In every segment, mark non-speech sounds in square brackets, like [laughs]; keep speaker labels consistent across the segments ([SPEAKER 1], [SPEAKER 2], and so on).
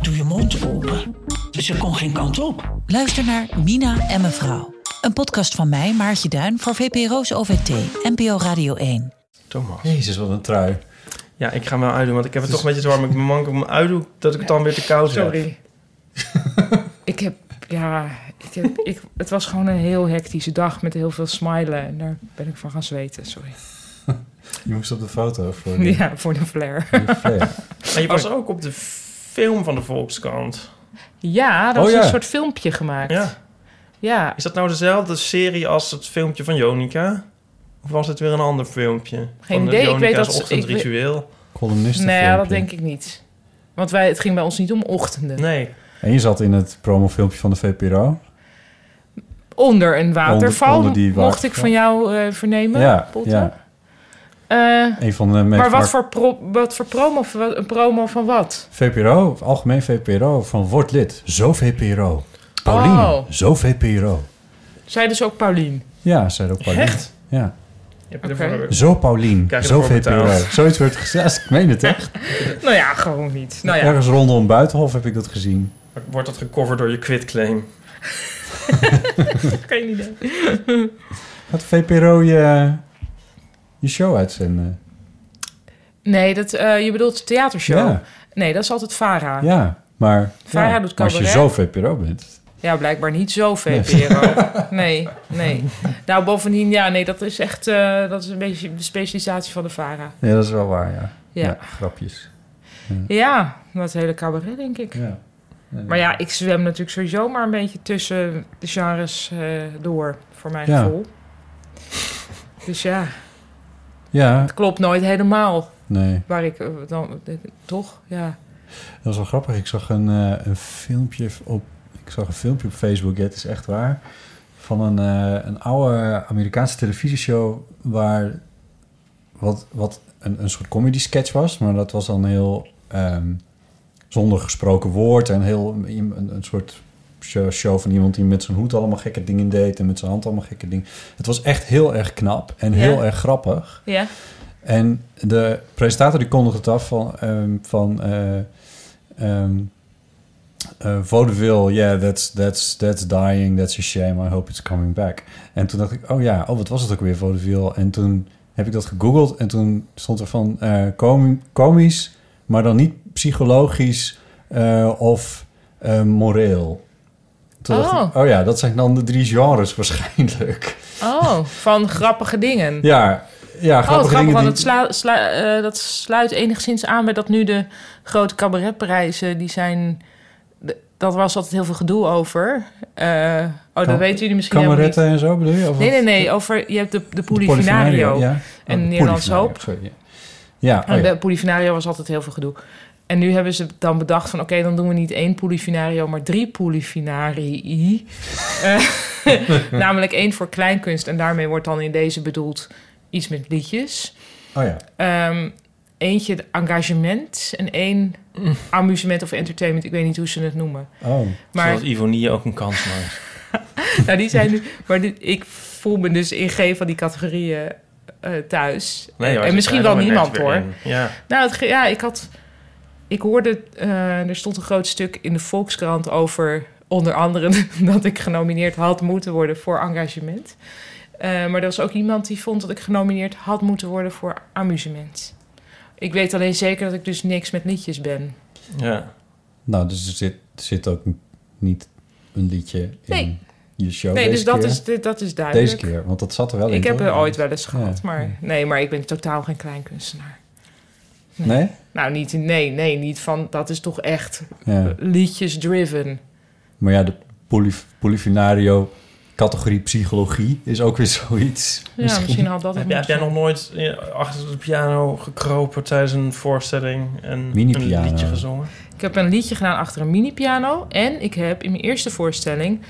[SPEAKER 1] doe je mond open. Ze kon geen kant op.
[SPEAKER 2] Luister naar Mina en mevrouw. Een podcast van mij, Maartje Duin, voor VPRO's OVT, NPO Radio 1.
[SPEAKER 3] Thomas.
[SPEAKER 4] Jezus, wat een trui.
[SPEAKER 3] Ja, ik ga me uitdoen, want ik heb het toch een beetje te warm. Ik ben mank om me uitdoen dat ik het dan weer te koud heb.
[SPEAKER 5] Sorry. ik heb, ja, ik heb, [laughs] ik, het was gewoon een heel hectische dag met heel veel smilen. En daar ben ik van gaan zweten, sorry.
[SPEAKER 4] Je moest op de foto voor de,
[SPEAKER 5] Ja, Oh. voor de flair.
[SPEAKER 4] voor de flare.
[SPEAKER 3] Maar je was ook op de film van de Volkskrant.
[SPEAKER 5] [laughs] Ja, dat
[SPEAKER 4] Oh,
[SPEAKER 5] is
[SPEAKER 4] ja.
[SPEAKER 5] een soort filmpje gemaakt.
[SPEAKER 3] Ja.
[SPEAKER 5] Ja,
[SPEAKER 3] Is dat nou dezelfde serie als het filmpje van Jonica? Of was het weer een ander filmpje?
[SPEAKER 5] Geen
[SPEAKER 3] van
[SPEAKER 5] idee, ik weet
[SPEAKER 3] Jonica's
[SPEAKER 5] dat ze- ik weet-
[SPEAKER 3] ochtendritueel.
[SPEAKER 4] Columnisten
[SPEAKER 5] nee,
[SPEAKER 4] filmpje.
[SPEAKER 5] dat denk ik niet. Want wij, het ging bij ons niet om ochtenden.
[SPEAKER 3] Nee.
[SPEAKER 4] En je zat in het promofilmpje van de VPRO.
[SPEAKER 5] Onder een waterval,
[SPEAKER 4] onder die
[SPEAKER 5] mocht
[SPEAKER 4] waterval.
[SPEAKER 5] ik van jou eh, vernemen,
[SPEAKER 4] Ja,
[SPEAKER 5] Botte.
[SPEAKER 4] ja.
[SPEAKER 5] Eh,
[SPEAKER 4] Een van de meest
[SPEAKER 5] maar wat
[SPEAKER 4] mark-
[SPEAKER 5] voor, pro- wat voor promo, een promo van wat?
[SPEAKER 4] VPRO, algemeen VPRO, van word lid. Zo VPRO. Paulien,
[SPEAKER 5] Oh.
[SPEAKER 4] zo VPRO.
[SPEAKER 5] Zij dus ook Paulien.
[SPEAKER 4] Ja, zei ook Paulien.
[SPEAKER 3] Echt?
[SPEAKER 4] Ja.
[SPEAKER 3] Je hebt
[SPEAKER 5] Oké.
[SPEAKER 3] ervoor-
[SPEAKER 4] Zo Paulien,
[SPEAKER 3] Krijg je
[SPEAKER 4] zo
[SPEAKER 3] ervoor
[SPEAKER 4] VPRO.
[SPEAKER 3] betaald?
[SPEAKER 4] Zoiets werd gezegd. Ik meen het echt.
[SPEAKER 5] [laughs] Nou ja, gewoon niet. Nou ja,
[SPEAKER 4] Ergens rondom Buitenhof heb ik dat gezien.
[SPEAKER 3] Wordt dat gecoverd door je quitclaim?
[SPEAKER 5] [laughs] geen idee.
[SPEAKER 4] Gaat VPRO je, je show uitzenden?
[SPEAKER 5] Nee, dat, eh, je bedoelt de theatershow?
[SPEAKER 4] Ja.
[SPEAKER 5] Nee, dat is altijd VARA. Ja,
[SPEAKER 4] Ja, maar
[SPEAKER 5] Vara
[SPEAKER 4] ja,
[SPEAKER 5] doet
[SPEAKER 4] maar als je zo
[SPEAKER 5] cabaret.
[SPEAKER 4] VPRO bent.
[SPEAKER 5] blijkbaar niet zo VPRO.
[SPEAKER 4] [laughs]
[SPEAKER 5] Nee, nee. Nou, bovendien, ja, nee, dat is echt... eh, dat is een beetje de specialisatie van de VARA.
[SPEAKER 4] Ja, dat is wel waar, ja.
[SPEAKER 5] Ja.
[SPEAKER 4] grapjes.
[SPEAKER 5] Ja, dat hele cabaret, denk ik.
[SPEAKER 4] Ja.
[SPEAKER 5] Maar ja, ik zwem natuurlijk sowieso maar een beetje tussen de genres eh, door, voor mijn
[SPEAKER 4] Ja.
[SPEAKER 5] gevoel. Dus ja,
[SPEAKER 4] ja,
[SPEAKER 5] het klopt nooit helemaal
[SPEAKER 4] nee.
[SPEAKER 5] waar ik eh, dan... eh, toch? Ja.
[SPEAKER 4] Dat was wel grappig. Ik zag een, eh, een filmpje op. Ik zag een filmpje op Facebook. Ja, het is echt waar. Van een, eh, een oude Amerikaanse televisieshow waar wat, wat een, een soort comedy sketch was, maar dat was dan heel ehm, zonder gesproken woord en heel een, een soort show, show van iemand die met zijn hoed allemaal gekke dingen deed en met zijn hand allemaal gekke dingen. Het was echt heel erg knap en
[SPEAKER 5] Ja.
[SPEAKER 4] heel erg grappig.
[SPEAKER 5] Ja.
[SPEAKER 4] En de presentator die kondigde het af van... ehm van eh ehm, eh, vaudeville, yeah, that's, that's, that's dying, that's a shame, I hope it's coming back. En toen dacht ik, oh ja, oh, wat was het ook weer, vaudeville? En toen heb ik dat gegoogeld en toen stond er van eh, comi- komisch, maar dan niet psychologisch eh, of eh, moreel. Toen dacht ik,
[SPEAKER 5] Oh.
[SPEAKER 4] oh ja, dat zijn dan de drie genres waarschijnlijk. [laughs]
[SPEAKER 5] Oh, van grappige dingen.
[SPEAKER 4] Ja,
[SPEAKER 5] Oh,
[SPEAKER 4] ja grappige
[SPEAKER 5] het grappige,
[SPEAKER 4] dingen
[SPEAKER 5] want
[SPEAKER 4] die-
[SPEAKER 5] het sla- sla- eh, dat sluit enigszins aan bij dat nu de grote cabaretprijzen, die zijn... d- Dat was altijd heel veel gedoe over. Eh, oh,
[SPEAKER 4] Cam-
[SPEAKER 5] dat weten jullie misschien helemaal niet.
[SPEAKER 4] Kameretten en zo bedoel je? Of
[SPEAKER 5] Nee,
[SPEAKER 4] wat?
[SPEAKER 5] nee, nee, over... Je hebt de, de
[SPEAKER 4] De
[SPEAKER 5] Polifinario.
[SPEAKER 4] ja. Oh,
[SPEAKER 5] en
[SPEAKER 4] de
[SPEAKER 5] Nederlandse
[SPEAKER 4] Polifinario,
[SPEAKER 5] Hoop.
[SPEAKER 4] sorry, ja. Ja, oh
[SPEAKER 5] En
[SPEAKER 4] ja.
[SPEAKER 5] de Polifinario was altijd heel veel gedoe. En nu hebben ze dan bedacht van... oké, dan doen we niet één Polifinario, maar drie Polifinarii. Eh, [laughs] namelijk één voor kleinkunst. En daarmee wordt dan in deze bedoeld iets met liedjes.
[SPEAKER 4] Oh ja.
[SPEAKER 5] Ehm, eentje de engagement en één amusement of entertainment. Ik weet niet hoe ze het noemen.
[SPEAKER 4] Mm. Oh.
[SPEAKER 5] Maar,
[SPEAKER 3] Zodat Ivonie ook een kans maakt.
[SPEAKER 5] nou, die zijn nu, maar dit- ik voel me dus in geen van die categorieën eh, thuis.
[SPEAKER 3] Nee, hoor,
[SPEAKER 5] en
[SPEAKER 3] ze
[SPEAKER 5] misschien
[SPEAKER 3] zijn
[SPEAKER 5] wel
[SPEAKER 3] er net
[SPEAKER 5] niemand
[SPEAKER 3] weer
[SPEAKER 5] hoor.
[SPEAKER 3] in. Ja.
[SPEAKER 5] Nou, het, ge- ja, ik had... Ik hoorde... eh, er stond een groot stuk in de Volkskrant over... onder andere [laughs] dat ik genomineerd had moeten worden voor engagement. Eh, maar er was ook iemand die vond dat ik genomineerd had moeten worden voor amusement. Ik weet alleen zeker dat ik dus niks met liedjes ben.
[SPEAKER 3] ja.
[SPEAKER 4] Nou, dus er zit, er zit ook niet een liedje in
[SPEAKER 5] Nee.
[SPEAKER 4] je show
[SPEAKER 5] nee,
[SPEAKER 4] deze
[SPEAKER 5] dus dat
[SPEAKER 4] keer.
[SPEAKER 5] is, dit- dat is duidelijk.
[SPEAKER 4] Deze keer, want dat zat er wel in.
[SPEAKER 5] Ik heb
[SPEAKER 4] toch?
[SPEAKER 5] er ooit wel eens gehad,
[SPEAKER 4] Ja.
[SPEAKER 5] maar... Nee, maar ik ben totaal geen kleinkunstenaar.
[SPEAKER 4] Nee?
[SPEAKER 5] Nou, niet, nee, nee, niet van... Dat is toch echt
[SPEAKER 4] Ja.
[SPEAKER 5] liedjes-driven.
[SPEAKER 4] Maar ja, de polyf- Polifinario categorie psychologie is ook weer [laughs] zoiets.
[SPEAKER 5] Ja, [laughs] misschien had dat het
[SPEAKER 3] Heb, jij- heb jij
[SPEAKER 5] moeten
[SPEAKER 3] nog nooit eh, achter de piano gekropen tijdens een voorstelling en een
[SPEAKER 4] Mini-piano.
[SPEAKER 3] liedje gezongen?
[SPEAKER 5] Ik heb een liedje gedaan achter een mini-piano. En ik heb in mijn eerste voorstelling.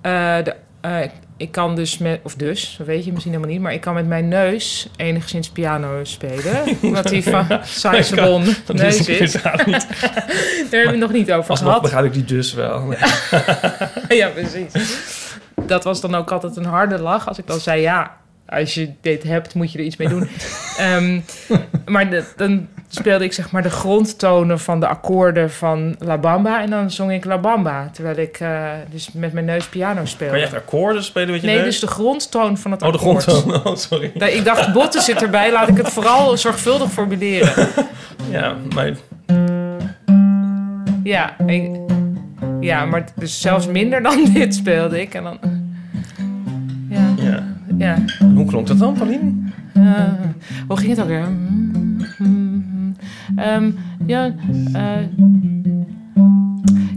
[SPEAKER 5] eh, de, eh, ik kan dus met. Of dus, dat weet je misschien helemaal niet. Maar ik kan met mijn neus enigszins piano
[SPEAKER 4] [laughs]
[SPEAKER 5] spelen. omdat die van Saxon
[SPEAKER 3] Dat
[SPEAKER 5] neus
[SPEAKER 3] is
[SPEAKER 5] is.
[SPEAKER 3] inderdaad niet.
[SPEAKER 5] [laughs] Daar hebben we het nog niet over
[SPEAKER 3] Alsnog
[SPEAKER 5] gehad.
[SPEAKER 3] begrijp ik die dus wel.
[SPEAKER 5] [laughs] ja, precies. Dat was dan ook altijd een harde lach als ik dan zei: ja, als je dit hebt, moet je er iets mee
[SPEAKER 3] [laughs]
[SPEAKER 5] doen. Ehm, maar dat- dan speelde ik zeg maar de grondtonen van de akkoorden van La Bamba en dan zong ik La Bamba terwijl ik eh, dus met mijn neus piano
[SPEAKER 3] Kan je
[SPEAKER 5] speelde.
[SPEAKER 3] echt akkoorden spelen met je
[SPEAKER 5] Nee,
[SPEAKER 3] neus?
[SPEAKER 5] dus de grondtoon van het
[SPEAKER 3] Oh, de
[SPEAKER 5] akkoord.
[SPEAKER 3] grondtoon. [laughs] Oh, sorry.
[SPEAKER 5] [laughs] Nee, Ik dacht, botten zit erbij, laat ik het vooral zorgvuldig formuleren.
[SPEAKER 3] Ja, maar
[SPEAKER 5] Ja, ik- ja maar dus zelfs minder dan [laughs] dit speelde ik. En dan, ja,
[SPEAKER 3] ja.
[SPEAKER 5] ja.
[SPEAKER 3] hoe klonk dat dan, Pauline?
[SPEAKER 5] Eh, hoe ging het ook weer? Mm, mm, mm. Ehm, ja, eh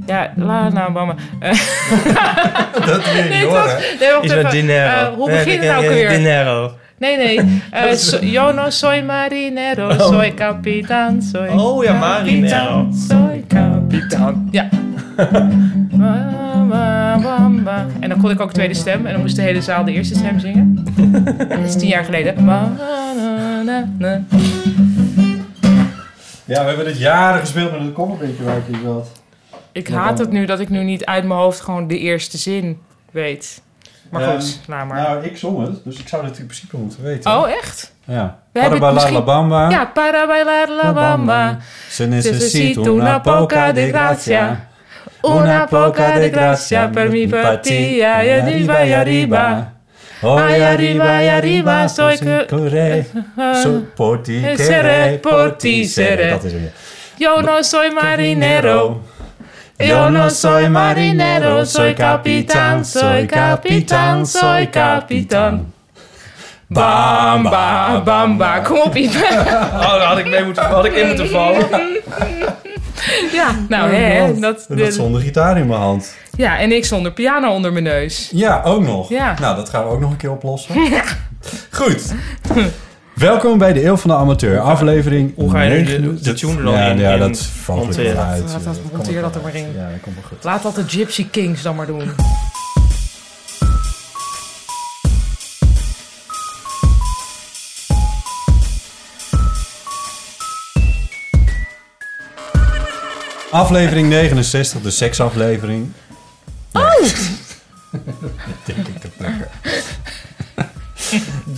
[SPEAKER 5] ja, la la mama. Eh,
[SPEAKER 4] Dat wil je
[SPEAKER 5] Nee, dat, nee, wacht
[SPEAKER 3] Is met
[SPEAKER 5] even.
[SPEAKER 3] dinero.
[SPEAKER 5] Eh, hoe begint het nou ook weer?
[SPEAKER 3] Dinero.
[SPEAKER 5] Nee,
[SPEAKER 3] [laughs]
[SPEAKER 5] nee. Eh so, yo no soy marinero, soy capitán, soy
[SPEAKER 3] Oh ja, marinero.
[SPEAKER 5] capitán, soy capitán. Ja. Wa, wa, wa, wa. En dan kon ik ook tweede stem en dan moest de hele zaal de eerste stem zingen. Dat is tien jaar geleden. Wa, na, na, na.
[SPEAKER 4] Ja, we hebben dit jaren gespeeld met een kofferbeentje waar ik hier zat. Nou,
[SPEAKER 5] Ik
[SPEAKER 4] Maar
[SPEAKER 5] haat
[SPEAKER 4] dan-
[SPEAKER 5] het nu dat ik nu niet uit mijn hoofd gewoon de eerste zin weet. Maar
[SPEAKER 4] Ehm,
[SPEAKER 5] goed, laat maar.
[SPEAKER 4] Nou, ik zong het, dus ik zou dat in principe moeten weten.
[SPEAKER 5] oh, echt?
[SPEAKER 4] Ja.
[SPEAKER 5] We hebben het
[SPEAKER 4] Parabala
[SPEAKER 5] misschien-
[SPEAKER 4] la bamba.
[SPEAKER 5] Ja, para bailar la bamba.
[SPEAKER 4] Se
[SPEAKER 5] necesito una poca de gracia. Una poca de gracia per mi partida. Y arriba, y arriba.
[SPEAKER 4] Hoy
[SPEAKER 5] Ay,
[SPEAKER 4] arriba,
[SPEAKER 5] arriba,
[SPEAKER 4] y
[SPEAKER 5] y
[SPEAKER 4] arriba.
[SPEAKER 5] arriba,
[SPEAKER 4] Soy
[SPEAKER 5] soy
[SPEAKER 4] que...
[SPEAKER 5] que- Eh, Ehm,
[SPEAKER 4] Porticere,
[SPEAKER 5] Sere,
[SPEAKER 4] porticere.
[SPEAKER 5] porticere.
[SPEAKER 4] Dat is het.
[SPEAKER 5] Yo no soy marinero. Yo no soy marinero. Soy capitán, soy capitán, soy capitán. Bamba, bamba. Kom op, Ipe. [laughs]
[SPEAKER 3] [laughs] Oh, daar had ik, mee moeten, had ik in moeten vallen.
[SPEAKER 5] Ja, nou hè. Dat,
[SPEAKER 4] En dat zonder gitaar in mijn hand.
[SPEAKER 5] ja, en ik zonder piano onder mijn neus.
[SPEAKER 4] Ja, ook nog.
[SPEAKER 5] Ja.
[SPEAKER 4] Nou, dat gaan we ook nog een keer oplossen. Goed. Welkom bij de Eeuw van de Amateur, aflevering
[SPEAKER 3] hoe ga je nu de-
[SPEAKER 4] 9.
[SPEAKER 3] de tune er dan
[SPEAKER 4] ja,
[SPEAKER 3] in-
[SPEAKER 4] Ja,
[SPEAKER 3] in
[SPEAKER 4] dat valt weer wel
[SPEAKER 3] monteren?
[SPEAKER 4] uit.
[SPEAKER 5] Laat
[SPEAKER 4] Ja,
[SPEAKER 5] dat-
[SPEAKER 4] komt
[SPEAKER 5] monteer
[SPEAKER 4] wel
[SPEAKER 5] dat er
[SPEAKER 4] uit.
[SPEAKER 5] maar in.
[SPEAKER 4] Ja, dat komt wel goed.
[SPEAKER 5] Laat dat de Gypsy Kings dan maar doen.
[SPEAKER 4] Aflevering 69, de
[SPEAKER 3] [laughs]
[SPEAKER 4] seksaflevering. Oh! Denk ik te plekken.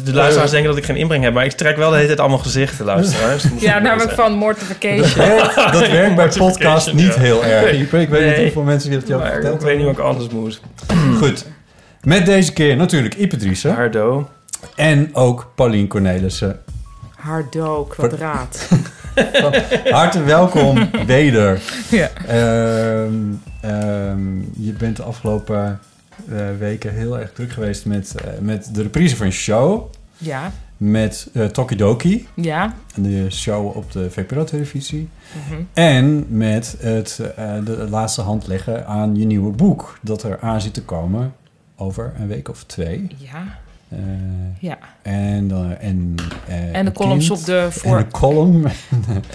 [SPEAKER 3] De luisteraars denken dat ik geen inbreng heb, maar ik trek wel de hele tijd allemaal
[SPEAKER 5] [laughs]
[SPEAKER 3] gezichten, luisteraars. Dat moet
[SPEAKER 5] Ja,
[SPEAKER 3] ik
[SPEAKER 5] namelijk
[SPEAKER 3] zeggen.
[SPEAKER 5] van Mortification.
[SPEAKER 4] Dat werkt bij podcast niet
[SPEAKER 3] ja.
[SPEAKER 4] heel erg. Ieper. Ik weet niet
[SPEAKER 3] Nee.
[SPEAKER 4] hoeveel mensen je dat je al
[SPEAKER 3] Maar ik
[SPEAKER 4] verteld
[SPEAKER 3] weet niet wat ik anders moet.
[SPEAKER 4] hebben. Goed. Met deze keer natuurlijk Ipe Driessen
[SPEAKER 3] Hardo.
[SPEAKER 4] en ook Paulien Cornelissen.
[SPEAKER 5] Hardo, kwadraat.
[SPEAKER 4] Hartelijk welkom weder.
[SPEAKER 5] Ja.
[SPEAKER 4] Ehm, ehm, je bent de afgelopen eh, weken heel erg druk geweest met, eh, met de reprise van een show.
[SPEAKER 5] Ja,
[SPEAKER 4] Met eh, Tokidoki,
[SPEAKER 5] ja.
[SPEAKER 4] de show op de VPRO-televisie.
[SPEAKER 5] Mhm.
[SPEAKER 4] En met het eh, de laatste hand leggen aan je nieuwe boek. Dat er aan zit te komen over een week of twee.
[SPEAKER 5] Ja,
[SPEAKER 4] Eh,
[SPEAKER 5] ja.
[SPEAKER 4] en, dan en, eh,
[SPEAKER 5] En de
[SPEAKER 4] een
[SPEAKER 5] columns
[SPEAKER 4] kind.
[SPEAKER 5] op de
[SPEAKER 4] En
[SPEAKER 5] voor...
[SPEAKER 4] de
[SPEAKER 5] [laughs]
[SPEAKER 4] column. Eh,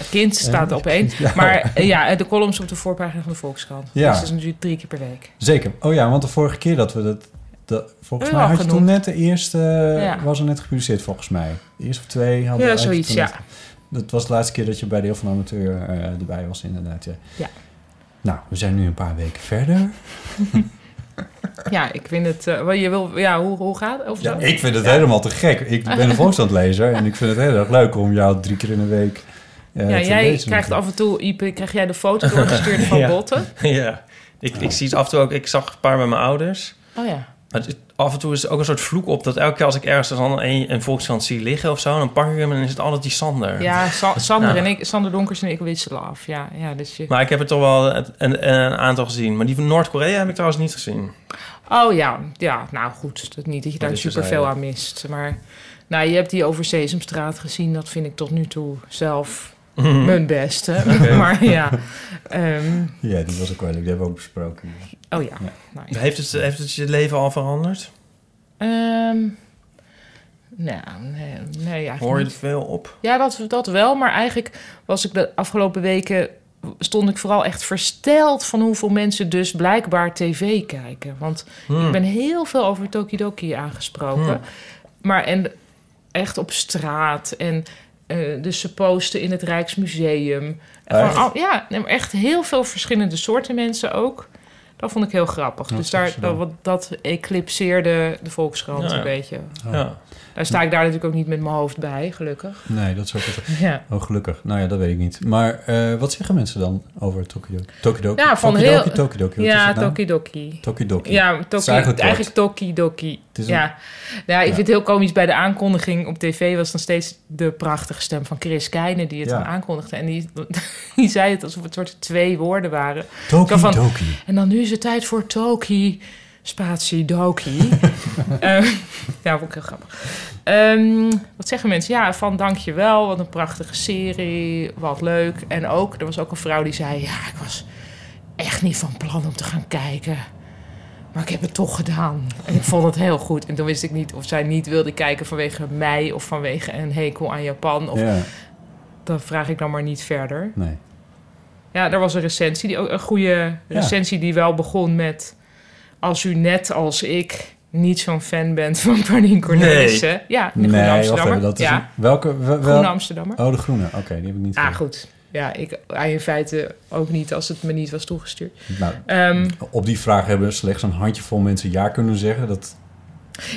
[SPEAKER 5] Kind staat op
[SPEAKER 4] [laughs]
[SPEAKER 5] één. Maar eh, ja, en de columns op de voorpagina van de Volkskrant.
[SPEAKER 4] Ja.
[SPEAKER 5] Ja. Dus dat is natuurlijk drie keer per week.
[SPEAKER 4] Zeker. Oh ja, want de vorige keer dat we dat... dat volgens
[SPEAKER 5] Ja,
[SPEAKER 4] mij had je
[SPEAKER 5] genoemd.
[SPEAKER 4] toen net de eerste...
[SPEAKER 5] Ja.
[SPEAKER 4] Was er net gepubliceerd volgens mij. De eerste of twee hadden we
[SPEAKER 5] Ja,
[SPEAKER 4] had je
[SPEAKER 5] zoiets,
[SPEAKER 4] toen
[SPEAKER 5] ja.
[SPEAKER 4] net- dat was de laatste keer dat je bij de heel van de Amateur eh, erbij was inderdaad. Ja.
[SPEAKER 5] Ja.
[SPEAKER 4] Nou, we zijn nu een paar weken verder.
[SPEAKER 5] Ja, ik vind het... eh, wel, je wil, ja, hoe, hoe gaat het? Of
[SPEAKER 4] Ja,
[SPEAKER 5] zo?
[SPEAKER 4] ik vind het helemaal te gek. Ik ben een volksstandlezer en ik vind het heel erg leuk om jou drie keer in de week eh,
[SPEAKER 5] ja,
[SPEAKER 4] te
[SPEAKER 5] jij
[SPEAKER 4] lezen.
[SPEAKER 5] krijgt af en toe, Ipe, krijg jij de foto
[SPEAKER 3] [laughs]
[SPEAKER 4] [laughs]
[SPEAKER 5] doorgestuurd van
[SPEAKER 3] Ja.
[SPEAKER 5] Botten?
[SPEAKER 3] Ja. Ik, ik zie het af en toe ook. Ik zag een paar bij mijn ouders.
[SPEAKER 5] Oh ja.
[SPEAKER 3] Maar het is- af en toe is er ook een soort vloek op dat elke keer als ik ergens dan een, een volkskrant zie liggen of zo, dan pak ik hem en dan is het altijd die Sander.
[SPEAKER 5] Ja, Sa- Sander,
[SPEAKER 3] Ja.
[SPEAKER 5] En ik, Sander Donkers en ik wisselen af. Ja, ja dus je...
[SPEAKER 3] Maar ik heb er toch wel een, een, een aantal gezien. Maar die van Noord-Korea heb ik trouwens niet gezien.
[SPEAKER 5] Oh ja, ja, nou goed. Dat niet dat je daar
[SPEAKER 3] is dus
[SPEAKER 5] superveel aan
[SPEAKER 3] eigenlijk-
[SPEAKER 5] mist. Maar nou, je hebt die over Sesamstraat gezien. Dat vind ik tot nu toe zelf
[SPEAKER 3] Mhm.
[SPEAKER 5] mijn beste.
[SPEAKER 3] [laughs]
[SPEAKER 5] [laughs] maar ja. ehm,
[SPEAKER 4] Ja, die was ook wel leuk. Die hebben we ook besproken.
[SPEAKER 5] oh ja. Nou, ja.
[SPEAKER 3] Heeft het, heeft het je leven al veranderd?
[SPEAKER 5] Ehm, nou, nee, nee eigenlijk
[SPEAKER 3] Hoor je
[SPEAKER 5] niet.
[SPEAKER 3] er veel op?
[SPEAKER 5] Ja, dat, dat wel. Maar eigenlijk was ik de afgelopen weken... stond ik vooral echt versteld van hoeveel mensen dus blijkbaar tv kijken. Want ik ben heel veel over Tokidoki aangesproken. Maar en echt op straat en... eh, dus ze posten in het Rijksmuseum. En
[SPEAKER 4] Echt?
[SPEAKER 5] gewoon al- ja, nee, maar echt heel veel verschillende soorten mensen ook. Dat vond ik heel grappig.
[SPEAKER 4] Dat
[SPEAKER 5] dus
[SPEAKER 4] is
[SPEAKER 5] daar,
[SPEAKER 4] zo.
[SPEAKER 5] dat, wat- dat eclipseerde de Volkskrant
[SPEAKER 3] Ja, ja.
[SPEAKER 5] een beetje.
[SPEAKER 3] Ja.
[SPEAKER 5] Daar sta ik daar natuurlijk ook niet met mijn hoofd bij, gelukkig.
[SPEAKER 4] Nee, dat is ook het.
[SPEAKER 5] Ja.
[SPEAKER 4] Oh, gelukkig. Nou ja, dat weet ik niet. Maar eh, wat zeggen mensen dan over Tokyo? Tokidoki?
[SPEAKER 5] Ja, van
[SPEAKER 4] Tokidoki,
[SPEAKER 5] heel-
[SPEAKER 4] Tokidoki, wat is
[SPEAKER 5] Ja,
[SPEAKER 4] het nou?
[SPEAKER 5] Tokidoki.
[SPEAKER 4] Tokidoki.
[SPEAKER 5] Ja, toki,
[SPEAKER 4] eigenlijk kort.
[SPEAKER 5] eigenlijk, Tokidoki.
[SPEAKER 4] Het is
[SPEAKER 5] ja. ja, ik
[SPEAKER 4] Ja.
[SPEAKER 5] vind het heel komisch. Bij de aankondiging op tv was dan steeds de prachtige stem van Chris Keijne die het
[SPEAKER 4] Ja.
[SPEAKER 5] dan aankondigde. En die, [laughs] die zei het alsof het soort twee woorden waren.
[SPEAKER 4] Tokidoki.
[SPEAKER 5] Zo En dan nu is het tijd voor Toki, spatie
[SPEAKER 4] [laughs]
[SPEAKER 5] Doki. [laughs] Eh, ja, vond ik heel grappig. Ehm, wat zeggen mensen? Ja, van dankjewel, wat een prachtige serie, wat leuk. En ook, er was ook een vrouw die zei... Ja, ik was echt niet van plan om te gaan kijken. Maar ik heb het toch gedaan. En ik vond het heel goed. En toen wist ik niet of zij niet wilde kijken vanwege mij... of vanwege een hekel aan Japan. Of,
[SPEAKER 4] Ja,
[SPEAKER 5] Dan vraag ik dan maar niet verder.
[SPEAKER 4] nee.
[SPEAKER 5] Ja, er was een recensie, die, ook- een goede recensie die wel begon met... Als u net als ik niet zo'n fan bent van Pardien Cornelissen. Ja, de Groene
[SPEAKER 4] Nee, wacht
[SPEAKER 5] Amsterdammer.
[SPEAKER 4] even. Dat is
[SPEAKER 5] ja,
[SPEAKER 4] een- welke? wel- wel-
[SPEAKER 5] Groene Amsterdammer.
[SPEAKER 4] Oh, de groene. Oké, die heb ik niet
[SPEAKER 5] Ah,
[SPEAKER 4] gezien.
[SPEAKER 5] goed. Ja, ik ah, in feite ook niet als het me niet was toegestuurd.
[SPEAKER 4] Nou,
[SPEAKER 5] Ehm,
[SPEAKER 4] op die vraag hebben slechts een handjevol mensen ja kunnen zeggen. Dat,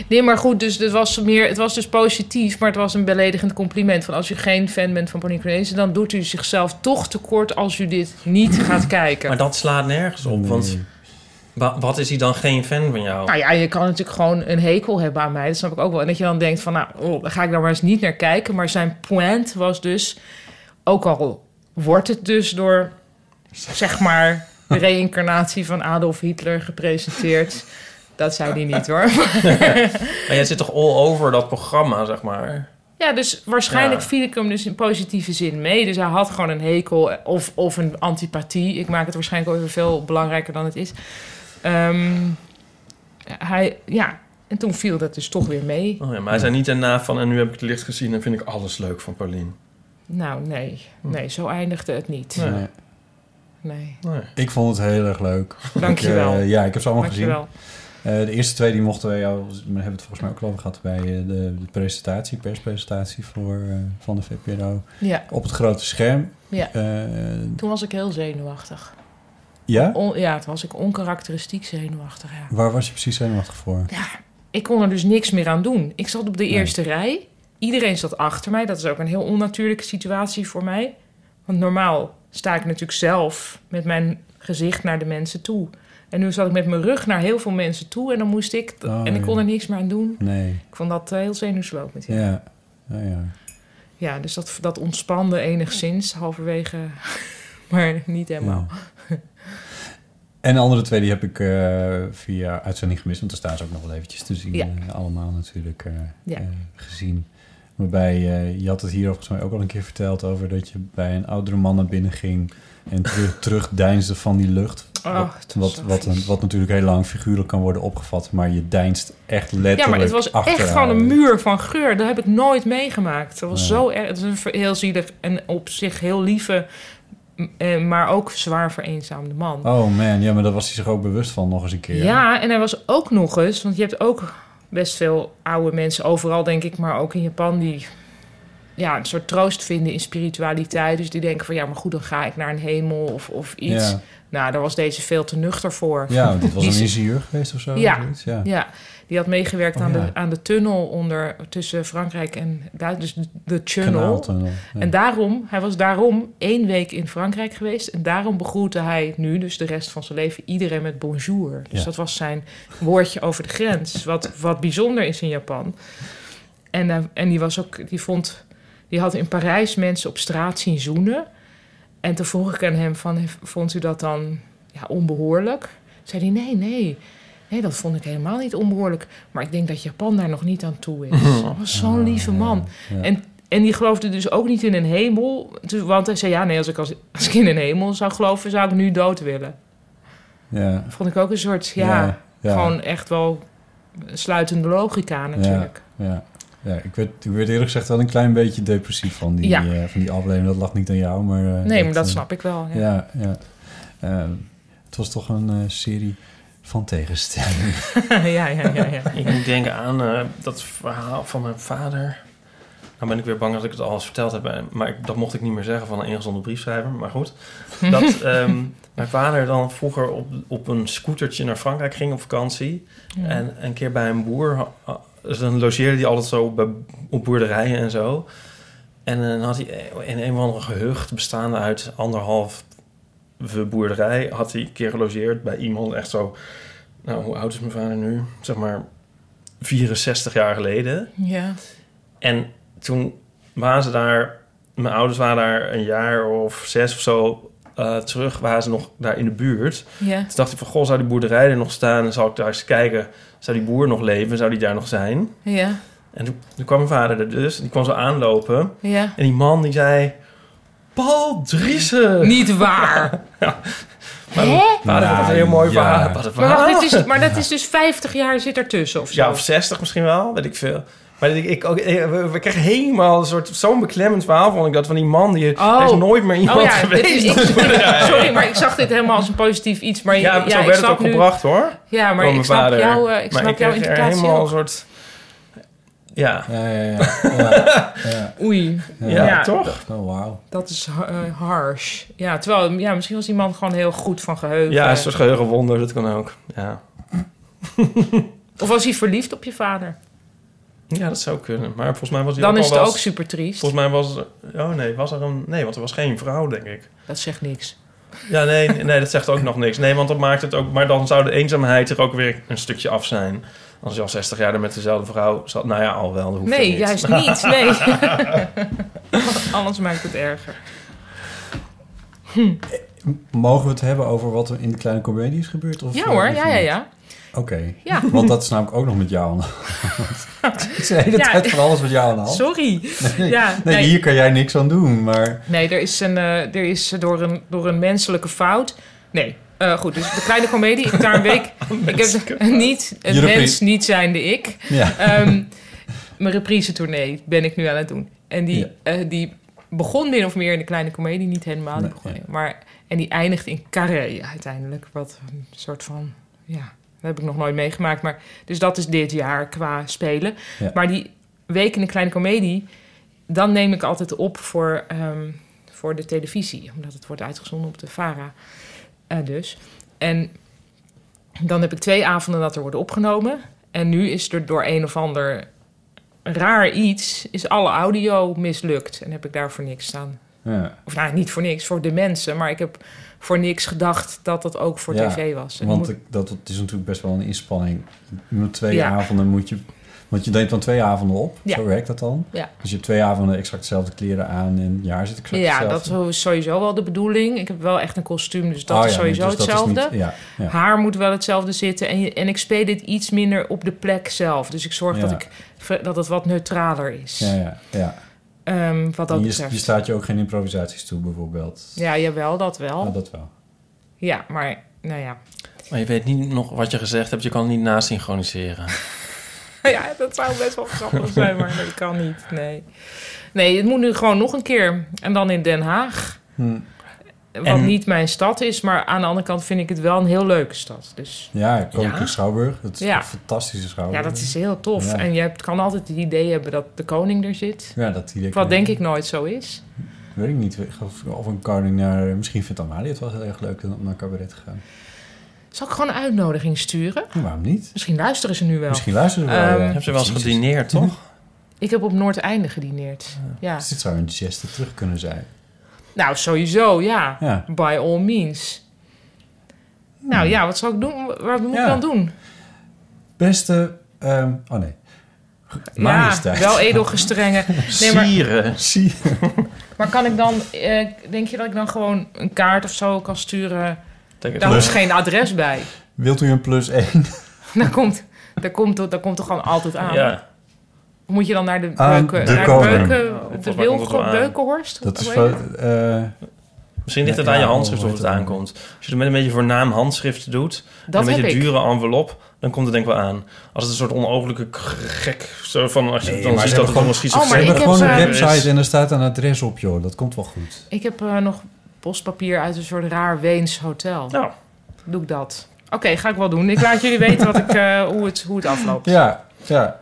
[SPEAKER 5] nee, maar goed, dus het was, meer, het was dus positief, maar het was een beledigend compliment. Van als u geen fan bent van Pardien Cornelissen, dan doet u zichzelf toch tekort als u dit niet gaat kijken.
[SPEAKER 3] Maar dat slaat nergens op, want wa- wat is hij dan geen fan van jou?
[SPEAKER 5] Nou ja, je kan natuurlijk gewoon een hekel hebben aan mij. Dat snap ik ook wel. En dat je dan denkt van, nou, oh, daar ga ik dan maar eens niet naar kijken. Maar zijn point was dus, ook al wordt het dus door, zeg maar, de reïncarnatie van Adolf Hitler gepresenteerd. Dat zei hij niet hoor.
[SPEAKER 3] [laughs] Maar jij zit toch all over dat programma, zeg maar?
[SPEAKER 5] Ja, dus waarschijnlijk
[SPEAKER 3] Ja.
[SPEAKER 5] viel ik hem dus in positieve zin mee. Dus hij had gewoon een hekel of, of een antipathie. Ik maak het waarschijnlijk ook even veel belangrijker dan het is. Ehm, hij, ja, en toen viel dat dus toch weer mee.
[SPEAKER 3] Oh ja, maar hij zei niet daarna van... en nu heb ik het licht gezien en vind ik alles leuk van Paulien.
[SPEAKER 5] Nou, nee. Nee, zo eindigde het niet.
[SPEAKER 3] Nee.
[SPEAKER 4] Nee.
[SPEAKER 5] Nee.
[SPEAKER 3] Nee.
[SPEAKER 4] Ik vond het heel erg leuk.
[SPEAKER 5] Dankjewel.
[SPEAKER 4] Ik, eh, ja, ik heb ze allemaal gezien.
[SPEAKER 5] Dankjewel.
[SPEAKER 4] Eh, de eerste twee die mochten wij al, we hebben het volgens mij ook al over gehad bij eh, de, de presentatie, perspresentatie voor, eh, van de VPRO.
[SPEAKER 5] Ja,
[SPEAKER 4] Op het grote scherm.
[SPEAKER 5] Ja.
[SPEAKER 4] Eh,
[SPEAKER 5] toen was ik heel zenuwachtig.
[SPEAKER 4] ja?
[SPEAKER 5] On- ja, toen was ik onkarakteristiek zenuwachtig, ja.
[SPEAKER 4] Waar was je precies zenuwachtig voor?
[SPEAKER 5] Ik kon er dus niks meer aan doen. Ik zat op de eerste rij. Iedereen zat achter mij. Dat is ook een heel onnatuurlijke situatie voor mij. Want normaal sta ik natuurlijk zelf met mijn gezicht naar de mensen toe. En nu zat ik met mijn rug naar heel veel mensen toe. En dan moest ik...
[SPEAKER 4] Oh,
[SPEAKER 5] en ik kon
[SPEAKER 4] ja.
[SPEAKER 5] er niks meer aan doen.
[SPEAKER 4] Nee.
[SPEAKER 5] Ik vond dat eh, heel zenuwslopend. Ja.
[SPEAKER 4] Ja. Ja, ja.
[SPEAKER 5] Ja, dus dat, dat ontspande enigszins, halverwege, [laughs] maar niet helemaal.
[SPEAKER 4] Ja. [laughs] En de andere twee die heb ik eh, via uitzending gemist. Want daar staan ze ook nog wel eventjes te zien.
[SPEAKER 5] Ja.
[SPEAKER 4] eh, allemaal natuurlijk eh,
[SPEAKER 5] Ja.
[SPEAKER 4] eh, gezien. Waarbij eh, je had het hier volgens mij ook al een keer verteld over dat je bij een oudere man naar binnen ging
[SPEAKER 5] [laughs]
[SPEAKER 4] en terug, terugdeinsde van die lucht.
[SPEAKER 5] Oh,
[SPEAKER 4] wat,
[SPEAKER 5] het was
[SPEAKER 4] wat,
[SPEAKER 5] zo
[SPEAKER 4] wat, een-
[SPEAKER 5] vies.
[SPEAKER 4] wat natuurlijk heel lang figuurlijk kan worden opgevat, maar je deinst echt letterlijk.
[SPEAKER 5] Ja, maar het was echt
[SPEAKER 4] achteruit.
[SPEAKER 5] gewoon een muur van geur. Dat heb ik nooit meegemaakt. Dat was
[SPEAKER 4] Nee.
[SPEAKER 5] zo erg. Het is een ver- heel zielig en op zich heel lieve, m- eh, maar ook zwaar vereenzaamde man.
[SPEAKER 4] Oh man, ja, maar daar was hij zich ook bewust van nog eens een keer.
[SPEAKER 5] Ja, en hij was ook nog eens, want je hebt ook best veel oude mensen overal, denk ik, maar ook in Japan die ja, een soort troost vinden in spiritualiteit. Dus die denken van ja, maar goed, dan ga ik naar een hemel of, of iets.
[SPEAKER 4] Ja.
[SPEAKER 5] Nou, daar was deze veel te nuchter voor.
[SPEAKER 4] Ja, want dit was
[SPEAKER 5] Die
[SPEAKER 4] een
[SPEAKER 5] is-
[SPEAKER 4] ingenieur geweest of zo.
[SPEAKER 5] Ja.
[SPEAKER 4] zoiets, ja.
[SPEAKER 5] Ja, die had meegewerkt
[SPEAKER 4] Oh,
[SPEAKER 5] aan,
[SPEAKER 4] ja.
[SPEAKER 5] de, aan de tunnel onder, tussen Frankrijk en Duitsland. Dus de tunnel.
[SPEAKER 4] Kanaaltunnel, ja.
[SPEAKER 5] En daarom, hij was daarom één week in Frankrijk geweest. En daarom begroette hij nu, dus de rest van zijn leven, iedereen met bonjour. Dus
[SPEAKER 4] Ja.
[SPEAKER 5] dat was zijn woordje over de grens. Wat, wat bijzonder is in Japan. En, eh, en die was ook, die vond, die had in Parijs mensen op straat zien zoenen. En toen vroeg ik aan hem van, "Hef- vond u dat dan ja, onbehoorlijk? Zei hij, nee, nee. Nee, dat vond ik helemaal niet onbehoorlijk. Maar ik denk dat Japan daar nog niet aan toe is. Dat was zo'n lieve man. En, en die geloofde dus ook niet in een hemel. Dus, want hij zei, ja, nee, als ik, als, als ik in een hemel zou geloven, zou ik nu dood willen.
[SPEAKER 4] ja.
[SPEAKER 5] Vond ik ook een soort, ja,
[SPEAKER 4] Ja, ja.
[SPEAKER 5] gewoon echt wel sluitende logica natuurlijk. [laughs]
[SPEAKER 4] Ja, ja. ik, werd, ik werd eerlijk gezegd wel een klein beetje depressief van die,
[SPEAKER 5] Ja.
[SPEAKER 4] eh, van die aflevering. Dat lag niet aan jou, maar... eh,
[SPEAKER 5] Nee, maar dat
[SPEAKER 4] eh,
[SPEAKER 5] snap ik wel. Ja.
[SPEAKER 4] Ja, ja. Ehm, het was toch een eh, serie van tegenstellingen. [laughs]
[SPEAKER 5] Ja. ja, ja, ja,
[SPEAKER 3] Ik moet denken aan eh, dat verhaal van mijn vader. Nou ben ik weer bang dat ik het alles verteld heb. eh, Maar ik, dat mocht ik niet meer zeggen van een ingezonden briefschrijver. Maar goed. Dat ehm, mijn vader dan vroeger op, op een scootertje naar Frankrijk ging op vakantie. En een keer bij een boer. ha- ha- Dus dan logeerde hij altijd zo bij, op boerderijen en zo. En eh, dan had hij in een of andere gehucht bestaande uit anderhalf boerderij... had hij een keer gelogeerd bij iemand echt zo... Nou, hoe oud is mijn vader nu? Zeg maar 64 jaar geleden.
[SPEAKER 5] ja.
[SPEAKER 3] En toen waren ze daar, mijn ouders waren daar een jaar of zes of zo eh, terug, waren ze nog daar in de buurt.
[SPEAKER 5] ja.
[SPEAKER 3] Toen dacht ik van, goh, zou die boerderij er nog staan? En zou ik daar eens kijken, zou die boer nog leven? Zou die daar nog zijn?
[SPEAKER 5] ja.
[SPEAKER 3] En toen, toen kwam mijn vader er dus, die kwam zo aanlopen.
[SPEAKER 5] ja.
[SPEAKER 3] En die man die zei, Paul Driessen!
[SPEAKER 5] Niet
[SPEAKER 3] [laughs]
[SPEAKER 5] waar.
[SPEAKER 3] Maar mijn vader vond dat een heel mooi
[SPEAKER 4] Nou, ja.
[SPEAKER 3] verhaal. Wat een
[SPEAKER 5] Maar, wacht,
[SPEAKER 3] verhaal.
[SPEAKER 5] dit is, maar dat is dus 50 jaar zit ertussen of zo.
[SPEAKER 3] Ja, of 60 misschien wel, weet ik veel. Maar ik, ik, ook- eh, we, we kregen helemaal een soort, zo'n beklemmend verhaal, vond ik dat, van die man die...
[SPEAKER 5] Oh.
[SPEAKER 3] Er is nooit meer iemand
[SPEAKER 5] Oh ja, dit
[SPEAKER 3] geweest.
[SPEAKER 5] is, ik,
[SPEAKER 3] [laughs]
[SPEAKER 5] [laughs] sorry, maar ik zag dit helemaal als een positief iets. Maar
[SPEAKER 3] ja,
[SPEAKER 5] ja,
[SPEAKER 3] zo
[SPEAKER 5] ik
[SPEAKER 3] werd het
[SPEAKER 5] snap
[SPEAKER 3] ook
[SPEAKER 5] nu-
[SPEAKER 3] gebracht, hoor.
[SPEAKER 5] Ja, maar
[SPEAKER 3] door
[SPEAKER 5] ik
[SPEAKER 3] mijn
[SPEAKER 5] snap,
[SPEAKER 3] vader.
[SPEAKER 5] jou, eh, ik
[SPEAKER 3] maar
[SPEAKER 5] snap
[SPEAKER 3] ik
[SPEAKER 5] jouw
[SPEAKER 3] kreeg er
[SPEAKER 5] interpretatie
[SPEAKER 3] helemaal een
[SPEAKER 5] ook.
[SPEAKER 3] soort... Ja,
[SPEAKER 4] Ja, ja,
[SPEAKER 3] [laughs]
[SPEAKER 4] ja. ja, ja.
[SPEAKER 5] Oei,
[SPEAKER 3] ja,
[SPEAKER 5] Ja.
[SPEAKER 3] toch?
[SPEAKER 4] Oh, wauw.
[SPEAKER 5] dat is ha- eh, harsh. Ja, terwijl ja, misschien was die man gewoon heel goed van geheugen.
[SPEAKER 3] Ja, een soort geheugenwonder, dat kan ook. Ja.
[SPEAKER 5] Of was hij verliefd op je vader?
[SPEAKER 3] ja, dat zou kunnen. Maar volgens mij was hij
[SPEAKER 5] Dan
[SPEAKER 3] ook
[SPEAKER 5] is
[SPEAKER 3] al
[SPEAKER 5] het
[SPEAKER 3] wel
[SPEAKER 5] ook
[SPEAKER 3] eens-
[SPEAKER 5] super triest.
[SPEAKER 3] Volgens mij was er... Oh nee, was er een... Nee, want er was geen vrouw, denk ik.
[SPEAKER 5] Dat zegt niks.
[SPEAKER 3] Ja, nee, nee, dat zegt ook nog niks. Nee, want dat maakt het ook... Maar dan zou de eenzaamheid er ook weer een stukje af zijn. Als je al 60 jaar er met dezelfde vrouw zat... Nou ja, al wel. dat hoeft
[SPEAKER 5] Nee,
[SPEAKER 3] niet.
[SPEAKER 4] [laughs]
[SPEAKER 5] juist niet. Nee. [laughs]
[SPEAKER 3] [laughs]
[SPEAKER 5] Anders maakt het erger.
[SPEAKER 4] Mogen we het hebben over wat er in de kleine comedie is gebeurd? Of,
[SPEAKER 5] Ja
[SPEAKER 4] eh,
[SPEAKER 5] hoor,
[SPEAKER 4] of
[SPEAKER 5] ja, ja,
[SPEAKER 4] niet?
[SPEAKER 5] ja.
[SPEAKER 4] Oké.
[SPEAKER 5] Ja.
[SPEAKER 4] [laughs] Want dat is namelijk ook nog met jou aan de hand. [laughs] Ik zei de hele
[SPEAKER 5] Ja.
[SPEAKER 4] tijd van
[SPEAKER 5] [laughs]
[SPEAKER 4] alles met jou aan de hand.
[SPEAKER 5] Sorry. Ja,
[SPEAKER 4] Nee,
[SPEAKER 5] nee.
[SPEAKER 4] hier kan jij niks aan doen, maar...
[SPEAKER 5] Nee, er is, een, eh, er is door, een, door een menselijke fout. Nee, eh, goed. Dus de kleine komedie. Ik heb daar een
[SPEAKER 4] [laughs]
[SPEAKER 5] week. ik heb [laughs] niet een
[SPEAKER 4] Europees.
[SPEAKER 5] mens, niet zijnde ik.
[SPEAKER 4] Ja.
[SPEAKER 5] Ehm, mijn reprise tournee ben ik nu aan het doen. En die,
[SPEAKER 4] Ja.
[SPEAKER 5] eh, die begon min of meer in de kleine komedie, niet helemaal.
[SPEAKER 4] Nee,
[SPEAKER 5] die begon,
[SPEAKER 4] ja.
[SPEAKER 5] maar, en die eindigt in Carré uiteindelijk. Wat een soort van. Ja, dat heb ik nog nooit meegemaakt. Maar, dus dat is dit jaar qua spelen.
[SPEAKER 4] Ja.
[SPEAKER 5] Maar die week in de kleine komedie, dan neem ik altijd op voor, ehm, voor de televisie. Omdat het wordt uitgezonden op de VARA. eh, dus. En dan heb ik twee avonden dat er wordt opgenomen. En nu is er door een of ander raar iets, is alle audio mislukt. En heb ik daar voor niks staan.
[SPEAKER 4] Ja,
[SPEAKER 5] Of nou, niet voor niks, voor de mensen. Maar ik heb voor niks gedacht dat dat ook voor
[SPEAKER 4] Ja,
[SPEAKER 5] tv was. En
[SPEAKER 4] want
[SPEAKER 5] moet-
[SPEAKER 4] ik- dat, dat is natuurlijk best wel een inspanning. Met twee
[SPEAKER 5] Ja.
[SPEAKER 4] avonden moet je... Want je neemt dan twee avonden op,
[SPEAKER 5] Ja.
[SPEAKER 4] zo werkt dat dan.
[SPEAKER 5] Ja.
[SPEAKER 4] Dus je hebt twee avonden exact dezelfde kleren aan en ja, zit exact
[SPEAKER 5] ja,
[SPEAKER 4] hetzelfde.
[SPEAKER 5] dat is sowieso wel de bedoeling. Ik heb wel echt een kostuum, dus dat
[SPEAKER 4] Oh
[SPEAKER 5] is
[SPEAKER 4] ja,
[SPEAKER 5] sowieso
[SPEAKER 4] dus dat is niet-
[SPEAKER 5] hetzelfde.
[SPEAKER 4] ja, ja.
[SPEAKER 5] Haar moet wel hetzelfde zitten. En, je- en ik speel dit iets minder op de plek zelf. Dus ik zorg dat,
[SPEAKER 4] Ja.
[SPEAKER 5] ik, ver- dat het wat neutraler is.
[SPEAKER 4] Ja, ja, ja.
[SPEAKER 5] Ehm, wat dat
[SPEAKER 4] En je,
[SPEAKER 5] betreft.
[SPEAKER 4] je staat je ook geen improvisaties toe, bijvoorbeeld.
[SPEAKER 5] Ja, jawel, dat wel.
[SPEAKER 4] Nou, dat wel.
[SPEAKER 5] Ja, maar nou ja. [laughs]
[SPEAKER 3] Maar je weet niet nog wat je gezegd hebt. Je kan het niet nasynchroniseren.
[SPEAKER 5] Ja, dat zou best wel grappig zijn, maar dat kan niet. Nee. nee, het moet nu gewoon nog een keer. En dan in Den Haag.
[SPEAKER 4] Hm.
[SPEAKER 5] Wat
[SPEAKER 3] En-
[SPEAKER 5] niet mijn stad is, maar aan de andere kant vind ik het wel een heel leuke stad. Dus
[SPEAKER 4] Ja, Koninklijke
[SPEAKER 3] Ja?
[SPEAKER 4] Schouwburg. Dat is
[SPEAKER 5] Ja.
[SPEAKER 4] een fantastische
[SPEAKER 5] ja,
[SPEAKER 4] schouwburg.
[SPEAKER 5] dat is heel tof.
[SPEAKER 4] Ja.
[SPEAKER 5] En je hebt, kan altijd het idee hebben dat de koning er zit.
[SPEAKER 4] Ja, dat idee
[SPEAKER 5] Wat
[SPEAKER 4] kan-
[SPEAKER 5] denk ik nooit zo is.
[SPEAKER 4] Weet ik niet. Of, of een koning naar... Misschien vindt Amalie het wel heel erg leuk om naar cabaret te gaan.
[SPEAKER 5] Zal ik gewoon een uitnodiging sturen?
[SPEAKER 4] Ja, waarom niet?
[SPEAKER 5] Misschien luisteren ze nu wel.
[SPEAKER 4] Misschien luisteren ze wel.
[SPEAKER 5] Ehm,
[SPEAKER 4] ja.
[SPEAKER 3] Je hebt ze wel eens
[SPEAKER 4] Precies. Mhm.
[SPEAKER 3] gedineerd, toch?
[SPEAKER 5] Ik heb op Noordeinde gedineerd. Ja.
[SPEAKER 4] Dus dit zou een geste terug kunnen zijn.
[SPEAKER 5] Nou, sowieso, ja.
[SPEAKER 4] Ja. Hmm.
[SPEAKER 5] By all means. Nou ja, wat zal ik doen? Wat moet
[SPEAKER 4] Ja.
[SPEAKER 5] ik dan doen?
[SPEAKER 4] Beste... ehm, oh nee. Majesteit.
[SPEAKER 5] Ja, wel edelgestrengen. Nee, maar,
[SPEAKER 3] Sieren.
[SPEAKER 4] Zie
[SPEAKER 5] maar kan ik dan... eh, denk je dat ik dan gewoon een kaart of zo kan sturen?
[SPEAKER 3] Denk het
[SPEAKER 5] Daar
[SPEAKER 3] wel.
[SPEAKER 5] hoeft geen adres bij.
[SPEAKER 4] Wilt u een plus
[SPEAKER 5] [laughs]
[SPEAKER 4] één?
[SPEAKER 5] Daar komt, daar komt, daar komt toch gewoon altijd aan?
[SPEAKER 3] Ja.
[SPEAKER 5] Of Moet je dan naar de
[SPEAKER 4] Aan
[SPEAKER 5] beuken...
[SPEAKER 4] Ah, de
[SPEAKER 5] naar
[SPEAKER 4] koning.
[SPEAKER 5] beuken,
[SPEAKER 3] Ja,
[SPEAKER 5] de
[SPEAKER 3] waar komt het wel
[SPEAKER 5] Wilgo-
[SPEAKER 3] aan?
[SPEAKER 5] beukenhorst?
[SPEAKER 4] Dat is
[SPEAKER 5] Hoe
[SPEAKER 4] wel...
[SPEAKER 5] heet het?
[SPEAKER 4] eh,
[SPEAKER 3] Misschien ligt
[SPEAKER 4] Ja,
[SPEAKER 3] het aan je
[SPEAKER 4] ja,
[SPEAKER 3] handschrift
[SPEAKER 4] hoe
[SPEAKER 3] of
[SPEAKER 4] heet
[SPEAKER 3] het
[SPEAKER 4] dat dan?
[SPEAKER 3] aankomt. Als je het met een beetje voornaam handschrift doet... en
[SPEAKER 5] Dat
[SPEAKER 3] een
[SPEAKER 5] heb
[SPEAKER 3] beetje
[SPEAKER 5] ik.
[SPEAKER 3] dure envelop... dan komt het denk ik wel aan. Als het een soort onogelijke k- gek... Zo van, als je
[SPEAKER 4] Nee,
[SPEAKER 3] dan
[SPEAKER 4] maar
[SPEAKER 3] ziet
[SPEAKER 4] ze
[SPEAKER 3] dat
[SPEAKER 4] hebben
[SPEAKER 3] het
[SPEAKER 4] gewoon-
[SPEAKER 3] gewoon
[SPEAKER 5] Oh, maar
[SPEAKER 4] Ze
[SPEAKER 3] schizofreen
[SPEAKER 5] ik
[SPEAKER 4] hebben
[SPEAKER 5] heb
[SPEAKER 4] gewoon een
[SPEAKER 5] ze-
[SPEAKER 4] website en daar staat een adres op, joh. Dat komt wel goed.
[SPEAKER 5] Ik heb eh, nog postpapier uit een soort raar Weens hotel.
[SPEAKER 3] Nou,
[SPEAKER 5] Doe ik dat. Oké, ga ik wel doen. Ik laat jullie
[SPEAKER 4] [laughs]
[SPEAKER 5] weten wat ik, eh, hoe, het, hoe het afloopt.
[SPEAKER 4] Ja, ja.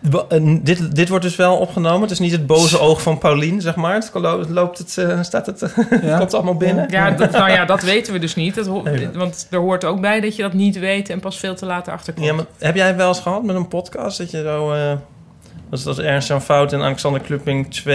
[SPEAKER 3] wa- en dit, dit wordt dus wel opgenomen. Het is niet het boze oog van Paulien, zeg maar. Het lo- het loopt het, eh, staat het, [laughs]
[SPEAKER 4] Ja.
[SPEAKER 3] komt allemaal binnen.
[SPEAKER 5] Ja, dat, nou ja, dat weten we dus niet. Dat ho-
[SPEAKER 3] Nee, dat-
[SPEAKER 5] Want er hoort ook bij dat je dat niet weet en pas veel te laat erachter komt.
[SPEAKER 3] Ja, maar heb jij wel eens gehad met een podcast dat je zo... eh dat, dat Ernst Jan Fout en Alexander Klupping 2,5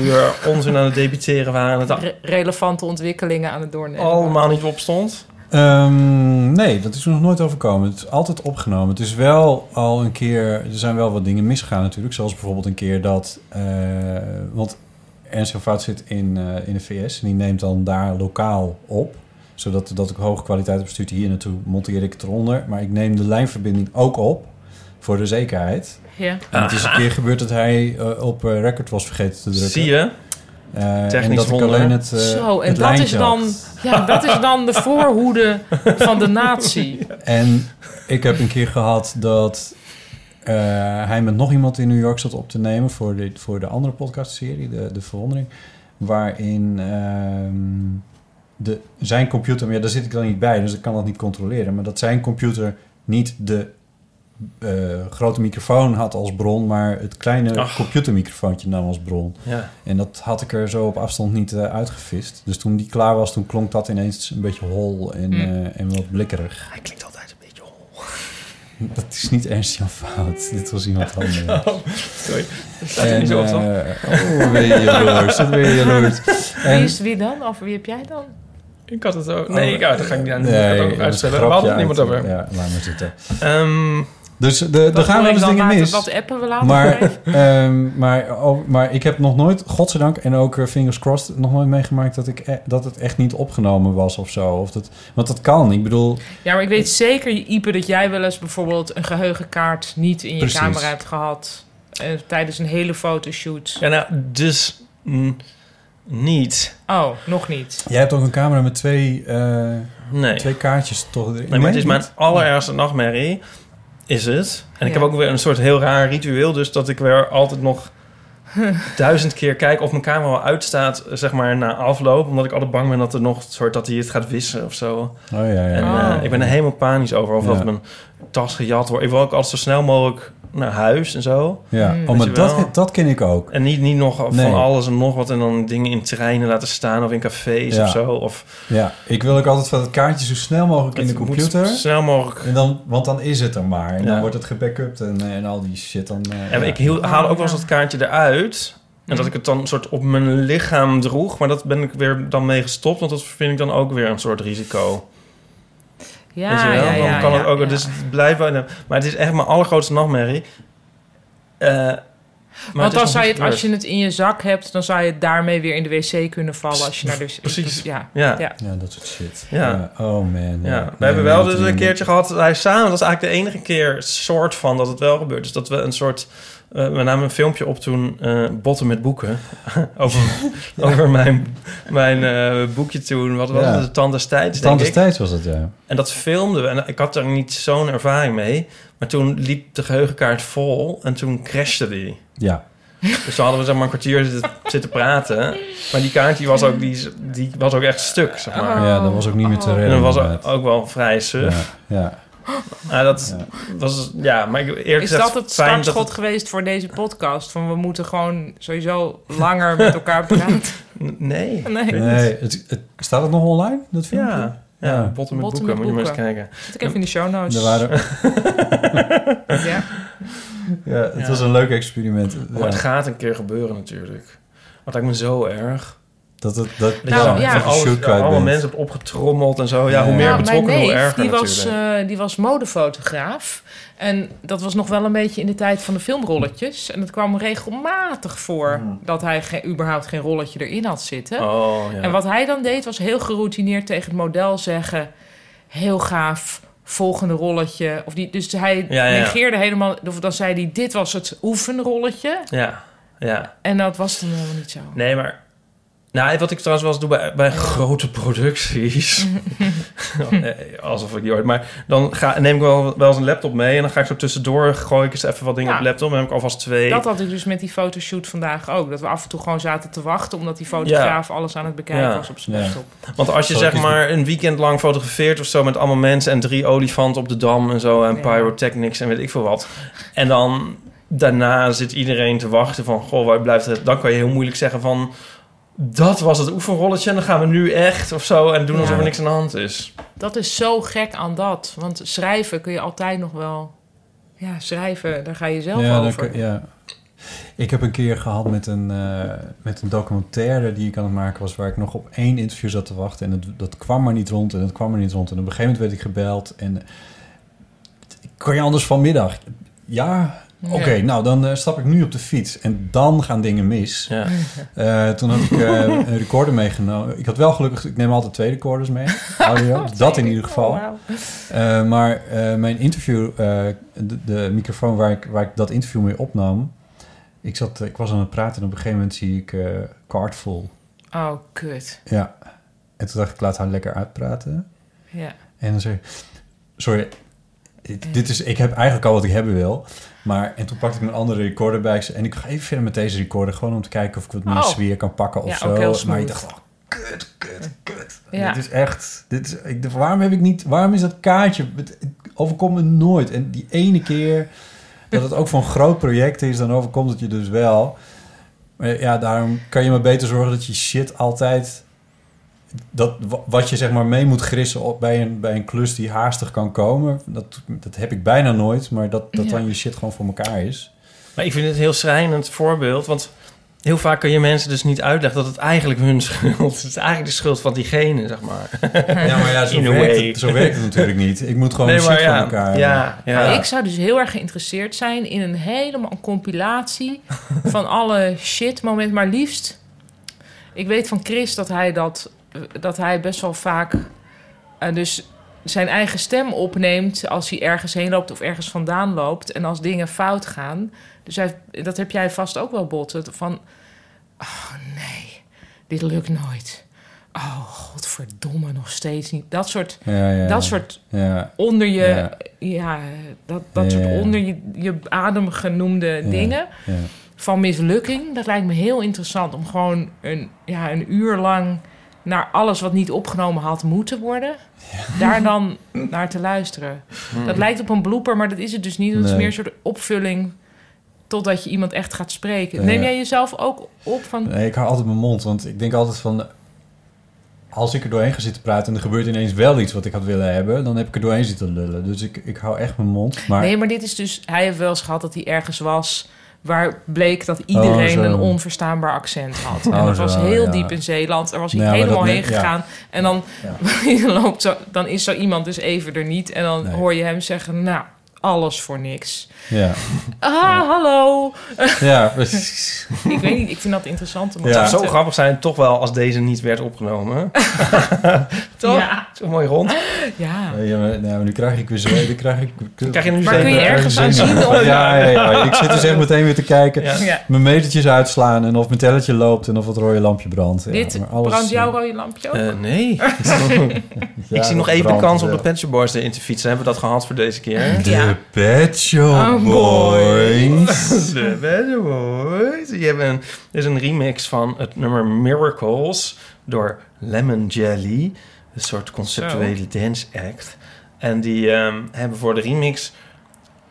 [SPEAKER 3] uur onzin aan het debiteren waren... en het
[SPEAKER 5] Re- relevante ontwikkelingen aan het doornemen.
[SPEAKER 3] allemaal niet opstond?
[SPEAKER 4] Ehm, nee, dat is nog nooit overkomen. Het is altijd opgenomen. Het is wel al een keer... Er zijn wel wat dingen misgegaan natuurlijk. Zoals bijvoorbeeld een keer dat... eh, want Ernst Jan Fout zit in, eh, in de VS... en die neemt dan daar lokaal op. Zodat dat ik hoge kwaliteit heb gestuurd hier naartoe... monteer ik het eronder. Maar ik neem de lijnverbinding ook op... voor de zekerheid.
[SPEAKER 5] Ja.
[SPEAKER 4] En het is een keer gebeurd dat hij eh, op eh, record was vergeten te drukken.
[SPEAKER 3] Zie je?
[SPEAKER 4] Eh, en
[SPEAKER 3] Technisch
[SPEAKER 4] dat ik
[SPEAKER 3] wonder.
[SPEAKER 4] alleen het, eh
[SPEAKER 5] Zo, en
[SPEAKER 4] het
[SPEAKER 5] dat is,
[SPEAKER 4] lijntje
[SPEAKER 5] dan,
[SPEAKER 4] had.
[SPEAKER 5] ja, dat is dan
[SPEAKER 4] [laughs]
[SPEAKER 5] de voorhoede van de natie.
[SPEAKER 4] En ik heb een keer gehad dat eh, hij met nog iemand in New York zat op te nemen voor de, voor de andere podcastserie, de, de Verwondering. Waarin ehm, de, zijn computer, maar ja, daar zit ik dan niet bij, dus ik kan dat niet controleren. Maar dat zijn computer niet de eh, grote microfoon had als bron, maar het kleine
[SPEAKER 3] Ach.
[SPEAKER 4] computermicrofoontje nam als bron.
[SPEAKER 3] Ja.
[SPEAKER 4] En dat had ik er zo op afstand niet eh, uitgevist. Dus toen die klaar was, toen klonk dat ineens een beetje hol en, eh, en wat blikkerig.
[SPEAKER 3] Mm. Hij klinkt altijd een beetje hol.
[SPEAKER 4] [laughs] Dat is niet Ernst Jan Fout. Dit was
[SPEAKER 3] [laughs]
[SPEAKER 4] iemand anders.
[SPEAKER 3] Oh, Sorry. Staat er
[SPEAKER 4] En,
[SPEAKER 3] niet zo op,
[SPEAKER 4] eh,
[SPEAKER 3] toch?
[SPEAKER 4] oh, weer jaloers. Dat weer
[SPEAKER 3] [laughs]
[SPEAKER 4] jaloers.
[SPEAKER 5] Wie [laughs]
[SPEAKER 4] En,
[SPEAKER 5] is wie dan? Of wie heb jij dan?
[SPEAKER 3] Ik had het ook. Nee, ik, dat ga ik niet aan. ik had het
[SPEAKER 4] nee, dat is
[SPEAKER 3] ook
[SPEAKER 4] een
[SPEAKER 3] uitstellen. We
[SPEAKER 4] grapje
[SPEAKER 3] hadden het niemand
[SPEAKER 4] uit-
[SPEAKER 3] over.
[SPEAKER 4] Ja, laat maar zitten.
[SPEAKER 3] Ehm,
[SPEAKER 4] Dus eh, er
[SPEAKER 5] Dat
[SPEAKER 4] gaan
[SPEAKER 5] doe
[SPEAKER 4] wel
[SPEAKER 5] ik
[SPEAKER 4] eens
[SPEAKER 5] dan
[SPEAKER 4] dingen
[SPEAKER 5] later,
[SPEAKER 4] mis.
[SPEAKER 5] Dat appen we later.
[SPEAKER 3] [laughs]
[SPEAKER 4] Maar,
[SPEAKER 5] even.
[SPEAKER 4] ehm, maar, oh, maar ik heb nog nooit, godzijdank, en ook eh, fingers crossed, nog nooit meegemaakt dat, ik, eh, dat het echt niet opgenomen was of zo. Of dat, want dat kan. Ik bedoel,
[SPEAKER 5] Ja, maar ik weet zeker, Ipe, dat jij wel eens bijvoorbeeld een geheugenkaart niet in je
[SPEAKER 4] Precies.
[SPEAKER 5] camera hebt gehad. eh, tijdens een hele fotoshoot.
[SPEAKER 3] ja, nou, dus mm, niet.
[SPEAKER 5] Oh, nog niet.
[SPEAKER 4] Jij hebt ook een camera met twee, eh,
[SPEAKER 3] Nee.
[SPEAKER 4] twee kaartjes toch? erin?
[SPEAKER 3] nee, maar het is mijn
[SPEAKER 4] niet?
[SPEAKER 3] allerergste nachtmerrie. Is het. En ik
[SPEAKER 5] Ja.
[SPEAKER 3] heb ook weer een soort heel raar ritueel. Dus dat ik weer altijd [laughs] nog duizend keer kijk of mijn camera wel uitstaat. Zeg maar na afloop. Omdat ik altijd bang ben dat er nog een soort dat hij het gaat wissen of zo.
[SPEAKER 4] Oh ja, ja.
[SPEAKER 3] En
[SPEAKER 5] Ah.
[SPEAKER 3] eh, ik ben er helemaal panisch over. Of
[SPEAKER 4] Ja.
[SPEAKER 3] dat mijn tas gejat wordt. Ik wil ook altijd zo snel mogelijk naar huis en zo.
[SPEAKER 5] Mm.
[SPEAKER 4] ja.
[SPEAKER 3] Hmm.
[SPEAKER 4] Oh,
[SPEAKER 3] Weet
[SPEAKER 4] maar
[SPEAKER 3] je wel.
[SPEAKER 4] dat, dat ken ik ook.
[SPEAKER 3] En niet, niet nog
[SPEAKER 4] Nee.
[SPEAKER 3] van alles en nog wat. En dan dingen in treinen laten staan of in cafés
[SPEAKER 4] Ja.
[SPEAKER 3] of zo. Of
[SPEAKER 4] Ja, ik wil ook altijd van het kaartje zo snel mogelijk in de
[SPEAKER 3] het moet
[SPEAKER 4] computer.
[SPEAKER 3] zo snel mogelijk.
[SPEAKER 4] En dan, want dan is het er maar. En
[SPEAKER 3] Ja.
[SPEAKER 4] dan wordt het gebackupt en, eh, en al die shit. Dan, eh,
[SPEAKER 3] En
[SPEAKER 4] ja.
[SPEAKER 3] ik hield, haalde ook wel eens dat kaartje eruit. En
[SPEAKER 4] Mm.
[SPEAKER 3] dat ik het dan een soort op mijn lichaam droeg. Maar dat ben ik weer dan mee gestopt. Want dat vind ik dan ook weer een soort risico.
[SPEAKER 5] Ja,
[SPEAKER 3] weet je wel?
[SPEAKER 5] ja,
[SPEAKER 3] dan
[SPEAKER 5] ja,
[SPEAKER 3] kan
[SPEAKER 5] ja,
[SPEAKER 3] het ook.
[SPEAKER 5] ja.
[SPEAKER 3] Dus het blijft wel. Maar het is echt mijn allergrootste nachtmerrie. Eh, maar
[SPEAKER 5] Want dan zou je het,
[SPEAKER 3] het, is nog niet
[SPEAKER 5] als je het in je zak hebt, dan zou je daarmee weer in de wc kunnen vallen. Als je naar de
[SPEAKER 3] Precies.
[SPEAKER 5] Ja.
[SPEAKER 3] gebeurd. Ja.
[SPEAKER 5] Ja.
[SPEAKER 4] Ja, dat soort shit.
[SPEAKER 3] Ja.
[SPEAKER 4] oh man.
[SPEAKER 3] Ja, we
[SPEAKER 4] Nee,
[SPEAKER 3] hebben wel
[SPEAKER 4] dat
[SPEAKER 3] dus
[SPEAKER 4] doen we
[SPEAKER 3] een
[SPEAKER 4] niet.
[SPEAKER 3] keertje gehad dat hij samen, dat is eigenlijk de enige keer soort van dat het wel gebeurt. Dus dat we een soort, eh, we namen een filmpje op toen, eh, Botten met boeken, [laughs]
[SPEAKER 4] [laughs]
[SPEAKER 3] over, over mijn, mijn eh, boekje toen, wat was
[SPEAKER 4] Ja.
[SPEAKER 3] het, de Tand des Tijds, denk
[SPEAKER 4] Tand des
[SPEAKER 3] ik.
[SPEAKER 4] Tijds was het, ja.
[SPEAKER 3] En dat filmden we en ik had daar niet zo'n ervaring mee, maar toen liep de geheugenkaart vol en toen crashte die.
[SPEAKER 4] Ja.
[SPEAKER 3] Dus toen hadden we zeg maar een kwartier zitten, zitten praten, maar die kaart die was, ook, die, die was ook echt stuk, zeg maar.
[SPEAKER 4] ja, dat was ook niet meer te
[SPEAKER 5] Oh.
[SPEAKER 4] redden.
[SPEAKER 3] En dat was ook,
[SPEAKER 4] inderdaad.
[SPEAKER 3] ook wel vrij suf. [gasps]
[SPEAKER 4] Ja, ja.
[SPEAKER 3] Ja, dat
[SPEAKER 4] Ja.
[SPEAKER 3] was... Ja, maar ik, eerlijk
[SPEAKER 5] Is
[SPEAKER 3] gezegd...
[SPEAKER 5] dat het
[SPEAKER 3] fijn dat
[SPEAKER 5] startschot
[SPEAKER 3] het-
[SPEAKER 5] geweest voor deze podcast? Van we moeten gewoon sowieso langer met elkaar praten. [laughs]
[SPEAKER 3] N- Nee.
[SPEAKER 5] Nee,
[SPEAKER 4] Nee, het, het- staat het nog online, dat filmpje?
[SPEAKER 3] Ja. Ja,
[SPEAKER 4] Ja.
[SPEAKER 3] botten met
[SPEAKER 5] Botten
[SPEAKER 3] boeken.
[SPEAKER 5] met
[SPEAKER 3] moet je maar eens
[SPEAKER 5] boeken.
[SPEAKER 3] kijken.
[SPEAKER 5] zet ik even in de show notes.
[SPEAKER 4] Er waren,
[SPEAKER 3] [laughs]
[SPEAKER 5] [laughs] Ja.
[SPEAKER 4] ja, het
[SPEAKER 3] Ja.
[SPEAKER 4] was een leuk experiment.
[SPEAKER 3] Maar het
[SPEAKER 4] Ja.
[SPEAKER 3] gaat een keer gebeuren natuurlijk. Want lijkt me zo erg.
[SPEAKER 4] Dat, het, dat,
[SPEAKER 3] Dat
[SPEAKER 5] Nou,
[SPEAKER 3] je dan
[SPEAKER 5] ja.
[SPEAKER 3] van
[SPEAKER 4] dat je
[SPEAKER 3] alles,
[SPEAKER 4] shoot kwijt
[SPEAKER 3] allemaal
[SPEAKER 4] bent.
[SPEAKER 3] mensen hebt opgetrommeld en zo. Ja,
[SPEAKER 4] Ja.
[SPEAKER 3] hoe meer
[SPEAKER 4] Nou,
[SPEAKER 3] betrokken,
[SPEAKER 5] mijn
[SPEAKER 3] hoe
[SPEAKER 5] neef,
[SPEAKER 3] erger
[SPEAKER 5] die was,
[SPEAKER 3] natuurlijk.
[SPEAKER 5] eh, die was modefotograaf. En dat was nog wel een beetje in de tijd van de filmrolletjes. En het kwam regelmatig voor dat hij ge- überhaupt geen rolletje erin had zitten.
[SPEAKER 3] Hmm. oh, ja.
[SPEAKER 5] En wat hij dan deed, was heel geroutineerd tegen het model zeggen... heel gaaf, volgende rolletje. Of die, dus hij
[SPEAKER 3] Ja, ja, ja.
[SPEAKER 5] negeerde helemaal... Of dan zei hij, dit was het oefenrolletje.
[SPEAKER 3] ja, ja.
[SPEAKER 5] En dat was dan helemaal niet zo.
[SPEAKER 3] Nee, maar... Nou, wat ik trouwens wel eens doe bij, bij grote
[SPEAKER 5] [laughs]
[SPEAKER 3] producties. Eh, Alsof ik die ooit... Maar dan ga, neem ik wel, wel eens een laptop mee... en dan ga ik zo tussendoor... gooi ik eens even wat dingen
[SPEAKER 5] Ja.
[SPEAKER 3] op de laptop... en dan heb ik alvast twee...
[SPEAKER 5] Dat had ik dus met die fotoshoot vandaag ook. Dat we af en toe gewoon zaten te wachten... omdat die fotograaf alles aan het bekijken
[SPEAKER 3] Ja.
[SPEAKER 5] was op zijn
[SPEAKER 4] Ja.
[SPEAKER 5] laptop.
[SPEAKER 3] Want als je
[SPEAKER 4] Zal ik
[SPEAKER 3] zeg
[SPEAKER 4] eens
[SPEAKER 3] maar een weekend lang fotografeert of zo met allemaal mensen en drie olifanten op de dam en zo en
[SPEAKER 5] Ja.
[SPEAKER 3] pyrotechnics en weet ik veel wat. En dan daarna zit iedereen te wachten van goh, waar blijft het? Dan kan je heel moeilijk zeggen van dat was het oefenrolletje en dan gaan we nu echt of zo en doen
[SPEAKER 5] Ja.
[SPEAKER 3] alsof er niks aan de hand is.
[SPEAKER 5] Dat is zo gek aan dat. Want schrijven kun je altijd nog wel... Ja, schrijven, daar ga je zelf
[SPEAKER 4] ja, dan
[SPEAKER 5] over.
[SPEAKER 4] kun- ja. Ik heb een keer gehad met een, eh, met een documentaire die ik aan het maken was... waar ik nog op één interview zat te wachten. En het, dat kwam maar niet rond en dat kwam maar niet rond. En op een gegeven moment werd ik gebeld. En kan je anders vanmiddag? Ja? Oké, nou dan eh, stap ik nu op de fiets. En dan gaan dingen mis.
[SPEAKER 3] Ja.
[SPEAKER 4] Eh, toen heb ik eh, een recorder meegenomen. Ik had wel gelukkig... Ik neem altijd twee recorders mee. Audio, dat in ieder geval.
[SPEAKER 5] Oh, wauw.
[SPEAKER 4] Eh, maar eh, mijn interview, eh, de, de microfoon waar ik, waar ik dat interview mee opnam, ik, zat, eh, ik was aan het praten en op een gegeven moment zie ik eh Cardful.
[SPEAKER 5] Oh, kut.
[SPEAKER 4] Ja. En toen dacht ik, laat haar lekker uitpraten.
[SPEAKER 5] Ja.
[SPEAKER 4] En dan zei ik, sorry, dit, dit is, ik heb eigenlijk al wat ik hebben wil. Maar, en toen pakte ik mijn andere recorder bij en ik ga even verder met deze recorder, gewoon om te kijken of ik wat meer
[SPEAKER 5] Oh.
[SPEAKER 4] sfeer kan pakken
[SPEAKER 5] Ja,
[SPEAKER 4] of
[SPEAKER 5] ook heel
[SPEAKER 4] zo. Maar
[SPEAKER 5] smooth.
[SPEAKER 4] ik dacht, oh, kut, kut, kut.
[SPEAKER 5] Ja.
[SPEAKER 4] Dit is echt, dit is, ik, dacht, waarom heb ik niet, waarom is dat kaartje, het, het overkomt me nooit. En die ene keer dat het ook voor een groot project is, dan overkomt het je dus wel. Maar ja, daarom kan je maar beter zorgen dat je shit altijd... Dat, wa- wat je zeg maar mee moet grissen op, bij, een, bij een klus die haastig kan komen... dat, dat heb ik bijna nooit, maar dat, dat
[SPEAKER 5] Ja.
[SPEAKER 4] dan je shit gewoon voor elkaar is.
[SPEAKER 3] Maar ik vind het een heel schrijnend voorbeeld, want heel vaak kun je mensen dus niet uitleggen dat het eigenlijk hun [laughs] schuld is. Het is eigenlijk de schuld van diegene, zeg maar.
[SPEAKER 4] Ja, maar
[SPEAKER 3] [laughs]
[SPEAKER 4] ja,
[SPEAKER 3] zo In a werkt way. het-
[SPEAKER 4] zo werkt het natuurlijk niet. Ik moet gewoon shit
[SPEAKER 3] maar
[SPEAKER 4] voor
[SPEAKER 3] ja,
[SPEAKER 4] elkaar
[SPEAKER 3] ja, ja.
[SPEAKER 5] Nou, ik zou dus heel erg geïnteresseerd zijn in een helemaal een
[SPEAKER 4] [laughs]
[SPEAKER 5] compilatie van alle shit moment. Maar liefst, ik weet van Chris dat hij dat, dat hij best wel vaak eh, dus zijn eigen stem opneemt als hij ergens heen loopt of ergens vandaan loopt. En als dingen fout gaan. Dus hij, dat heb jij vast ook wel botten. Van, oh nee, dit lukt nooit. Oh, godverdomme, nog steeds niet. Dat soort,
[SPEAKER 4] Ja, ja,
[SPEAKER 5] dat soort
[SPEAKER 4] Ja,
[SPEAKER 5] onder je, ja,
[SPEAKER 4] Ja.
[SPEAKER 5] dat, dat
[SPEAKER 4] Ja, ja,
[SPEAKER 5] soort
[SPEAKER 4] ja.
[SPEAKER 5] onder je, je adem genoemde dingen
[SPEAKER 4] ja.
[SPEAKER 5] van mislukking. Dat lijkt me heel interessant om gewoon een, ja, een uur lang naar alles wat niet opgenomen had moeten worden, daar
[SPEAKER 4] [laughs]
[SPEAKER 5] dan naar te luisteren. Dat lijkt op een blooper, maar dat is het dus niet. Het is
[SPEAKER 4] Hmm. Nee.
[SPEAKER 5] meer een soort opvulling totdat je iemand echt gaat spreken.
[SPEAKER 4] Ja.
[SPEAKER 5] Neem jij jezelf ook op van...
[SPEAKER 4] Nee, ik hou altijd mijn mond, want ik denk altijd van... Als ik er doorheen ga zitten praten en er gebeurt ineens wel iets wat ik had willen hebben... dan heb ik er doorheen zitten lullen. Dus ik, ik hou echt mijn mond. Maar
[SPEAKER 5] Nee, maar dit is dus... Hij heeft wel eens gehad dat hij ergens was... waar bleek dat iedereen
[SPEAKER 4] Oh, zo.
[SPEAKER 5] een onverstaanbaar accent had. en
[SPEAKER 4] Oh,
[SPEAKER 5] dat was
[SPEAKER 4] zo,
[SPEAKER 5] heel
[SPEAKER 4] ja.
[SPEAKER 5] diep in Zeeland. Daar was hij
[SPEAKER 4] Ja, maar
[SPEAKER 5] helemaal
[SPEAKER 4] dat
[SPEAKER 5] heen
[SPEAKER 4] neemt- ja.
[SPEAKER 5] gegaan. En dan, [laughs] loopt zo, dan is zo iemand dus even er niet. En dan
[SPEAKER 4] Nee.
[SPEAKER 5] hoor je hem zeggen... nou, alles voor niks.
[SPEAKER 4] ja.
[SPEAKER 5] Ah, hallo.
[SPEAKER 4] ja, precies.
[SPEAKER 5] [laughs] Ik weet niet, ik vind dat interessant. om
[SPEAKER 4] Ja.
[SPEAKER 3] Het
[SPEAKER 5] te-
[SPEAKER 3] zou zo grappig zijn, toch wel, als deze niet werd
[SPEAKER 5] [laughs]
[SPEAKER 3] opgenomen. toch?
[SPEAKER 5] Ja.
[SPEAKER 3] Zo mooi rond.
[SPEAKER 5] ja.
[SPEAKER 4] Ja, maar, nou, maar nu krijg ik weer zweet. Dan krijg ik...
[SPEAKER 3] Krijg je nu
[SPEAKER 5] Maar kun je
[SPEAKER 3] zeker-
[SPEAKER 5] ergens aan zien?
[SPEAKER 4] Ja,
[SPEAKER 5] of-
[SPEAKER 4] ja, ja, ja. Ik zit dus echt meteen weer te kijken.
[SPEAKER 3] Ja.
[SPEAKER 5] Ja.
[SPEAKER 4] Mijn metertjes uitslaan en of mijn telletje loopt en of het rode lampje brandt. Ja,
[SPEAKER 5] Dit
[SPEAKER 4] maar alles,
[SPEAKER 5] brandt jouw
[SPEAKER 4] eh, [laughs]
[SPEAKER 5] rode lampje [laughs] ook?
[SPEAKER 3] Eh, nee.
[SPEAKER 4] ja,
[SPEAKER 3] ik zie nog
[SPEAKER 4] dat
[SPEAKER 3] even de
[SPEAKER 4] brandt,
[SPEAKER 3] kans om
[SPEAKER 4] ja.
[SPEAKER 3] de Pet Shop Boys erin te fietsen. Hebben we dat gehad voor deze keer?
[SPEAKER 5] Ja.
[SPEAKER 4] De Pet Shop
[SPEAKER 5] Oh,
[SPEAKER 4] Boys.
[SPEAKER 3] [laughs] De Pet Shop Boys. Die hebben een, dit is een remix van het nummer Miracles door Lemon Jelly. Een soort conceptuele dance act. En die ehm, hebben voor de remix...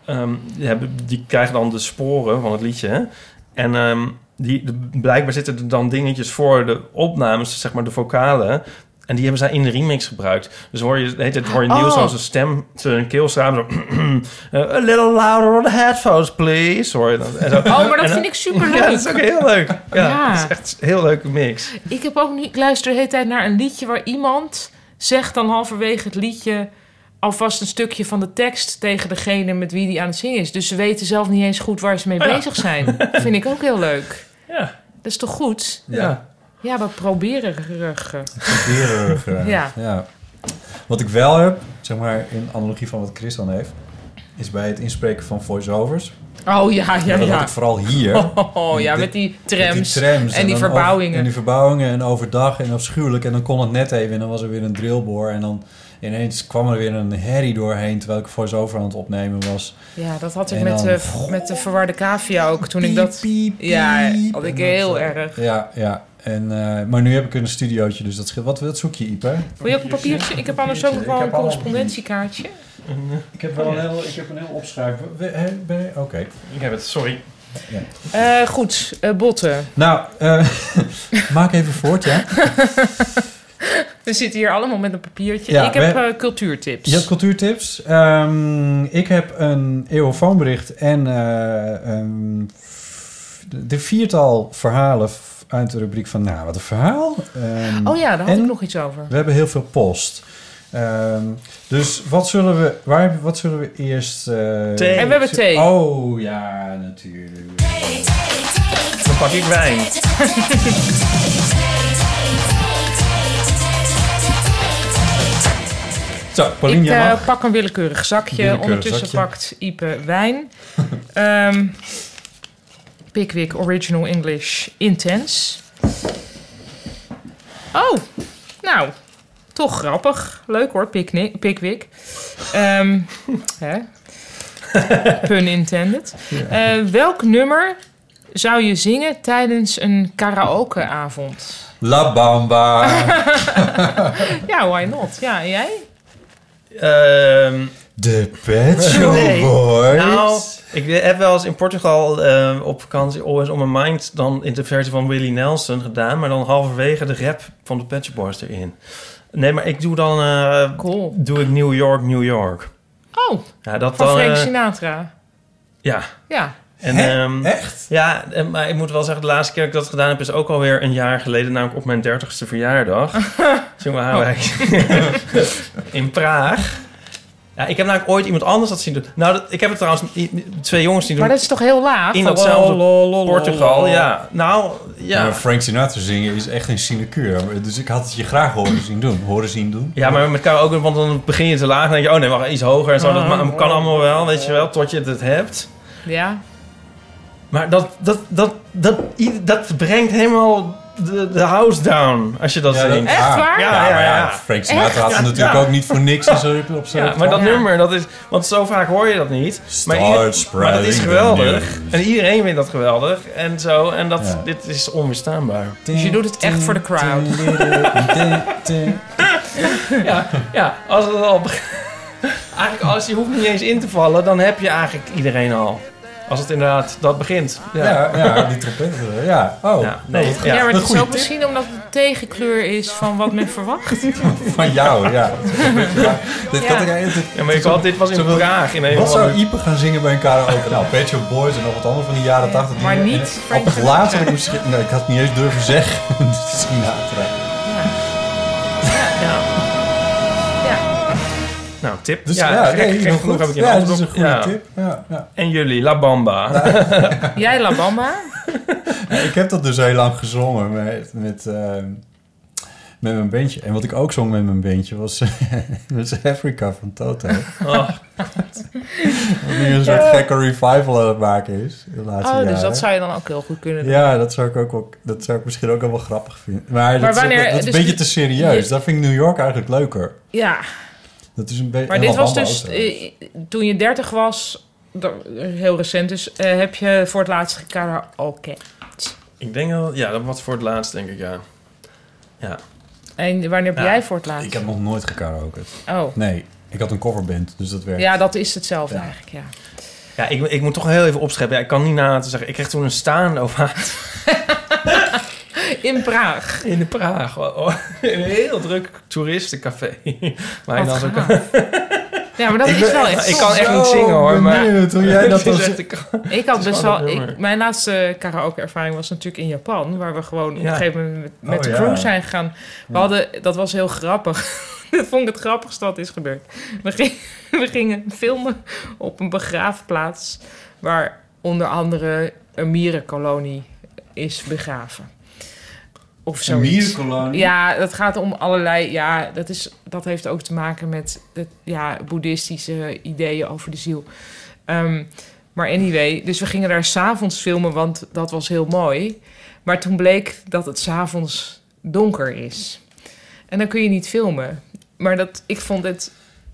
[SPEAKER 3] ehm, die, hebben, die krijgen dan de sporen van het liedje. En ehm, die, de- blijkbaar zitten er dan dingetjes voor de opnames, zeg maar de vocalen. En die hebben zij in de remix gebruikt. Dus hoor je, de hele tijd hoor je
[SPEAKER 5] Oh.
[SPEAKER 3] Niels als een stem, zijn keel staan. Zo, [clears throat] eh, a little louder on the headphones, please. Hoor je dan. En zo.
[SPEAKER 5] Oh, maar dat
[SPEAKER 3] En-
[SPEAKER 5] vind ik superleuk.
[SPEAKER 3] Ja, dat is ook heel leuk. Ja,
[SPEAKER 5] Ja.
[SPEAKER 3] dat is echt een heel leuke mix.
[SPEAKER 5] Ik heb ook nu, ik luister de hele tijd naar een liedje waar iemand zegt dan halverwege het liedje alvast een stukje van de tekst tegen degene met wie die aan het zingen is. Dus ze weten zelf niet eens goed waar ze mee
[SPEAKER 3] Oh ja.
[SPEAKER 5] bezig zijn. Dat vind ik ook heel leuk.
[SPEAKER 3] Ja.
[SPEAKER 5] Dat is toch goed?
[SPEAKER 3] Ja.
[SPEAKER 5] Ja, we proberen ruggen.
[SPEAKER 4] Heerlijk, eh,
[SPEAKER 5] [laughs] Ja.
[SPEAKER 4] ja. Wat ik wel heb, zeg maar in analogie van wat Chris dan heeft. is bij het inspreken van voiceovers.
[SPEAKER 5] Oh ja, ja,
[SPEAKER 4] dat had
[SPEAKER 5] ja.
[SPEAKER 4] ik vooral hier.
[SPEAKER 5] Oh ja,
[SPEAKER 4] Dit-
[SPEAKER 5] met die
[SPEAKER 4] Met
[SPEAKER 5] trams.
[SPEAKER 4] die trams.
[SPEAKER 5] en die
[SPEAKER 4] dan
[SPEAKER 5] verbouwingen.
[SPEAKER 4] over- en die verbouwingen en overdag en afschuwelijk. En dan kon het net even en dan was er weer een drillboor. En dan ineens kwam er weer een herrie doorheen terwijl ik voice-over aan het opnemen was.
[SPEAKER 5] Ja, dat had ik
[SPEAKER 4] En
[SPEAKER 5] met,
[SPEAKER 4] dan-
[SPEAKER 5] de, met de verwarde cavia ook. Toen ik dat...
[SPEAKER 4] Piep, piep,
[SPEAKER 5] Ja,
[SPEAKER 4] piep.
[SPEAKER 5] had
[SPEAKER 4] En
[SPEAKER 5] ik
[SPEAKER 4] dat,
[SPEAKER 5] heel
[SPEAKER 4] eh,
[SPEAKER 5] erg.
[SPEAKER 4] Ja, ja. En, eh, maar nu heb ik een studiootje, dus dat scheelt. Wat, wat zoek je, Ieper?
[SPEAKER 5] Wil je ook een papiertje? Ik heb anders ook nog
[SPEAKER 4] Ik
[SPEAKER 5] wel
[SPEAKER 4] heb
[SPEAKER 5] een
[SPEAKER 4] allemaal-
[SPEAKER 5] correspondentiekaartje.
[SPEAKER 4] Ik heb wel een heel, ik heb een heel opschrijf. Oké.
[SPEAKER 3] Ik heb het, sorry.
[SPEAKER 5] Eh, goed, eh, botten.
[SPEAKER 4] Nou, eh, [laughs] maak even voort, ja.
[SPEAKER 5] We zitten hier allemaal met een papiertje.
[SPEAKER 4] Ja,
[SPEAKER 5] ik heb
[SPEAKER 4] we-
[SPEAKER 5] eh, cultuurtips.
[SPEAKER 4] Je hebt cultuurtips. Ehm, ik heb een eeuwofoonbericht en eh, ehm, f- de viertal verhalen f- uit de rubriek van... Nou, wat een verhaal. Ehm,
[SPEAKER 5] oh ja, daar had
[SPEAKER 4] en-
[SPEAKER 5] ik nog iets over.
[SPEAKER 4] We hebben heel veel post. Ehm, dus wat zullen we, waar, wat zullen we eerst... eh,
[SPEAKER 3] Thee.
[SPEAKER 5] En we hebben thee.
[SPEAKER 4] Oh ja, natuurlijk.
[SPEAKER 3] Dan pak ik wijn.
[SPEAKER 4] Zo, Paulien,
[SPEAKER 5] Ik
[SPEAKER 4] jij
[SPEAKER 5] eh,
[SPEAKER 4] mag.
[SPEAKER 5] pak een willekeurig zakje.
[SPEAKER 4] Willekeurig
[SPEAKER 5] Ondertussen
[SPEAKER 4] zakje.
[SPEAKER 5] pakt Ipe wijn. [laughs] Ehm Pickwick Original English Intense. Oh, nou, toch grappig. Leuk hoor, Pickni- Pickwick. Ehm [laughs] hè?
[SPEAKER 4] [laughs]
[SPEAKER 5] Pun intended. Eh, welk nummer zou je zingen tijdens een karaokeavond?
[SPEAKER 4] La Bamba.
[SPEAKER 5] [laughs]
[SPEAKER 4] [laughs]
[SPEAKER 5] Ja, why not? Ja, en jij?
[SPEAKER 3] Ehm,
[SPEAKER 4] De Pet Shop
[SPEAKER 3] Nee.
[SPEAKER 4] Boys.
[SPEAKER 3] nou, ik heb wel eens in Portugal eh, op vakantie Always On My Mind... dan in de versie van Willie Nelson gedaan... maar dan halverwege de rap van de Patch Boys erin. Nee, maar ik doe dan... eh,
[SPEAKER 5] Cool.
[SPEAKER 3] doe ik New York, New York.
[SPEAKER 5] Oh,
[SPEAKER 3] Ja, dat
[SPEAKER 5] van
[SPEAKER 3] dan...
[SPEAKER 5] Frank
[SPEAKER 3] eh,
[SPEAKER 5] Sinatra.
[SPEAKER 3] ja.
[SPEAKER 5] Ja,
[SPEAKER 3] En,
[SPEAKER 4] Hè?
[SPEAKER 3] ehm,
[SPEAKER 4] Echt?
[SPEAKER 3] Ja, en- maar ik moet wel zeggen, de laatste keer dat ik dat gedaan heb... is ook alweer een jaar geleden, namelijk op mijn dertigste
[SPEAKER 5] [laughs]
[SPEAKER 3] verjaardag. Jongen,
[SPEAKER 5] Oh.
[SPEAKER 3] Haarwijk. [laughs] In Praag. Ja, ik heb namelijk ooit iemand anders dat zien doen. Nou, dat, ik heb het trouwens i- twee jongens zien doen.
[SPEAKER 5] Maar dat is toch heel laag?
[SPEAKER 3] in
[SPEAKER 5] Van oh,
[SPEAKER 3] datzelfde
[SPEAKER 5] lolololol.
[SPEAKER 3] Portugal, ja. Nou, ja.
[SPEAKER 4] Maar Frank Sinatra zingen is echt een sinecure. Dus ik had het je graag horen zien doen. Horen zien doen.
[SPEAKER 3] Ja, maar met elkaar ook, want dan begin je te laag en denk je... oh nee, wacht, iets hoger en zo. Dat
[SPEAKER 5] Ah,
[SPEAKER 3] ma- kan allemaal wel, weet je wel, tot je het hebt.
[SPEAKER 5] Ja.
[SPEAKER 3] Maar dat, dat, dat, dat, i- dat brengt helemaal de, de house down, als je dat
[SPEAKER 4] Ja, dat-
[SPEAKER 3] zingt.
[SPEAKER 5] Echt
[SPEAKER 4] Ah,
[SPEAKER 5] waar?
[SPEAKER 3] ja.
[SPEAKER 4] Ja, maar ja, Frank Sinatra had het natuurlijk
[SPEAKER 3] Ja.
[SPEAKER 4] ook niet voor niks en zo op zijn
[SPEAKER 3] Ja, maar dat
[SPEAKER 5] Ja.
[SPEAKER 3] nummer, dat is, want zo vaak hoor je dat niet. Maar,
[SPEAKER 4] Start
[SPEAKER 3] ieder- maar dat
[SPEAKER 4] spreading
[SPEAKER 3] is
[SPEAKER 4] the
[SPEAKER 3] geweldig.
[SPEAKER 4] news.
[SPEAKER 3] En iedereen vindt dat geweldig. En zo, en dat,
[SPEAKER 4] Ja.
[SPEAKER 3] dit is onweerstaanbaar.
[SPEAKER 5] Dus je doet het echt voor de
[SPEAKER 4] [laughs]
[SPEAKER 5] crowd.
[SPEAKER 3] Ja, als het al... beg- Eigenlijk, als je hoeft niet eens in te vallen, dan heb je eigenlijk iedereen al. Als het inderdaad dat begint. Ja,
[SPEAKER 4] Ja, ja, die trompetten. Ja, oh.
[SPEAKER 3] Ja, nee,
[SPEAKER 4] oh, wat
[SPEAKER 3] ja.
[SPEAKER 5] Ja, maar
[SPEAKER 4] Een
[SPEAKER 5] het is
[SPEAKER 4] goeie
[SPEAKER 5] ook
[SPEAKER 4] tip.
[SPEAKER 5] misschien omdat het een tegenkleur is van wat men [laughs] verwacht.
[SPEAKER 4] [laughs] Van jou,
[SPEAKER 3] [laughs]
[SPEAKER 4] ja. Dit kan ik eigenlijk-
[SPEAKER 3] Ja, maar ik had, dit was in
[SPEAKER 4] Zowel-
[SPEAKER 3] Praag. In een
[SPEAKER 4] Wat
[SPEAKER 3] van
[SPEAKER 4] zou
[SPEAKER 3] de-
[SPEAKER 4] Ieper gaan zingen bij een karaoke? Nou, Pet Shop Boys en nog wat andere van de jaren
[SPEAKER 5] Ja,
[SPEAKER 4] 80. die-
[SPEAKER 5] maar
[SPEAKER 4] en-
[SPEAKER 5] niet
[SPEAKER 4] en-
[SPEAKER 5] Frank
[SPEAKER 4] Op het
[SPEAKER 5] Sinatra.
[SPEAKER 4] laatst had ik misschien... Nee, ik had het niet eens durven zeggen. [laughs] Sinatra.
[SPEAKER 5] Ja.
[SPEAKER 3] Nou, tip.
[SPEAKER 4] Dus
[SPEAKER 3] ja,
[SPEAKER 4] ja,
[SPEAKER 3] gek,
[SPEAKER 4] nee,
[SPEAKER 3] gek
[SPEAKER 4] heel
[SPEAKER 3] genoeg
[SPEAKER 4] goed.
[SPEAKER 3] heb ik een
[SPEAKER 4] Ja, dat
[SPEAKER 3] antwoord
[SPEAKER 4] is een
[SPEAKER 3] op.
[SPEAKER 4] goede
[SPEAKER 3] Ja.
[SPEAKER 4] tip. Ja, ja.
[SPEAKER 3] En jullie, La Bamba.
[SPEAKER 4] [laughs]
[SPEAKER 5] Jij Labamba?
[SPEAKER 4] Ik heb dat dus heel lang gezongen met, met, eh, met mijn bandje. En wat ik ook zong met mijn bandje was, [laughs] was Africa van Toto.
[SPEAKER 3] Oh.
[SPEAKER 5] [laughs]
[SPEAKER 4] Wat nu een soort gekke revival aan het maken is. De laatste
[SPEAKER 5] Oh, dus
[SPEAKER 4] jaren.
[SPEAKER 5] dat zou je dan ook heel goed kunnen doen.
[SPEAKER 4] Ja, dat zou, ik ook wel, dat zou ik misschien ook wel wel grappig vinden. Maar, dat, is-
[SPEAKER 5] wanneer-
[SPEAKER 4] dat
[SPEAKER 5] dus
[SPEAKER 4] is een beetje
[SPEAKER 5] nu-
[SPEAKER 4] te serieus.
[SPEAKER 5] je-
[SPEAKER 4] Daar vind ik New York eigenlijk leuker.
[SPEAKER 5] Ja.
[SPEAKER 4] Dat is een beetje...
[SPEAKER 5] Maar
[SPEAKER 4] en
[SPEAKER 5] dit was
[SPEAKER 4] Alabama
[SPEAKER 5] dus...
[SPEAKER 4] ook.
[SPEAKER 5] eh, toen je 30 was, d- heel recent dus, eh, heb je voor het laatst gekaraoke.
[SPEAKER 3] Ik denk wel, ja, dat was voor het laatst, denk ik, ja. Ja.
[SPEAKER 5] En wanneer ben
[SPEAKER 3] Ja,
[SPEAKER 5] jij voor het laatst?
[SPEAKER 4] Ik heb nog nooit gekaraoke.
[SPEAKER 5] Oh.
[SPEAKER 4] Nee, ik had een coverband, dus dat werkt.
[SPEAKER 5] Ja, dat is hetzelfde
[SPEAKER 4] Ja.
[SPEAKER 5] eigenlijk, ja.
[SPEAKER 3] Ja, ik, ik moet toch heel even opscheppen. Ja, ik kan niet na te zeggen. Ik kreeg toen een staande ovaat
[SPEAKER 5] [laughs] In Praag.
[SPEAKER 3] in de Praag. Oh, oh, [laughs] in een heel druk toeristencafé. [laughs] Maar
[SPEAKER 5] Wat
[SPEAKER 3] dan zo kan-
[SPEAKER 5] gaaf. Ja, maar dat is wel echt
[SPEAKER 3] ik
[SPEAKER 5] zonde.
[SPEAKER 3] kan echt niet zingen hoor.
[SPEAKER 4] Zo
[SPEAKER 3] Maar
[SPEAKER 4] benieuwd hoe
[SPEAKER 3] [laughs]
[SPEAKER 4] jij dat
[SPEAKER 3] Het is
[SPEAKER 4] dan-
[SPEAKER 3] echt- ik-
[SPEAKER 5] [laughs] Ik had best
[SPEAKER 3] gewoon
[SPEAKER 5] wel.
[SPEAKER 3] een
[SPEAKER 5] Ik,
[SPEAKER 3] nummer.
[SPEAKER 5] mijn laatste karaoke-ervaring was natuurlijk in Japan, waar we gewoon op
[SPEAKER 3] Ja.
[SPEAKER 5] een gegeven moment met, met
[SPEAKER 4] Oh,
[SPEAKER 5] de
[SPEAKER 4] ja.
[SPEAKER 5] crew zijn gegaan. We hadden, dat was heel grappig. [laughs] dat vond ik het grappigste wat is gebeurd. We, ging- [laughs] we gingen filmen op een begraafplaats waar onder andere een mierenkolonie is begraven. Of
[SPEAKER 4] Een
[SPEAKER 5] zoiets.
[SPEAKER 4] mierenkolonne.
[SPEAKER 5] Ja, dat gaat om allerlei. Ja, dat, is, dat heeft ook te maken met de ja, boeddhistische ideeën over de ziel. Ehm, maar anyway, dus we gingen daar s'avonds filmen, want dat was heel mooi. Maar toen bleek dat het s'avonds donker is. En dan kun je niet filmen. Maar dat, ik vond het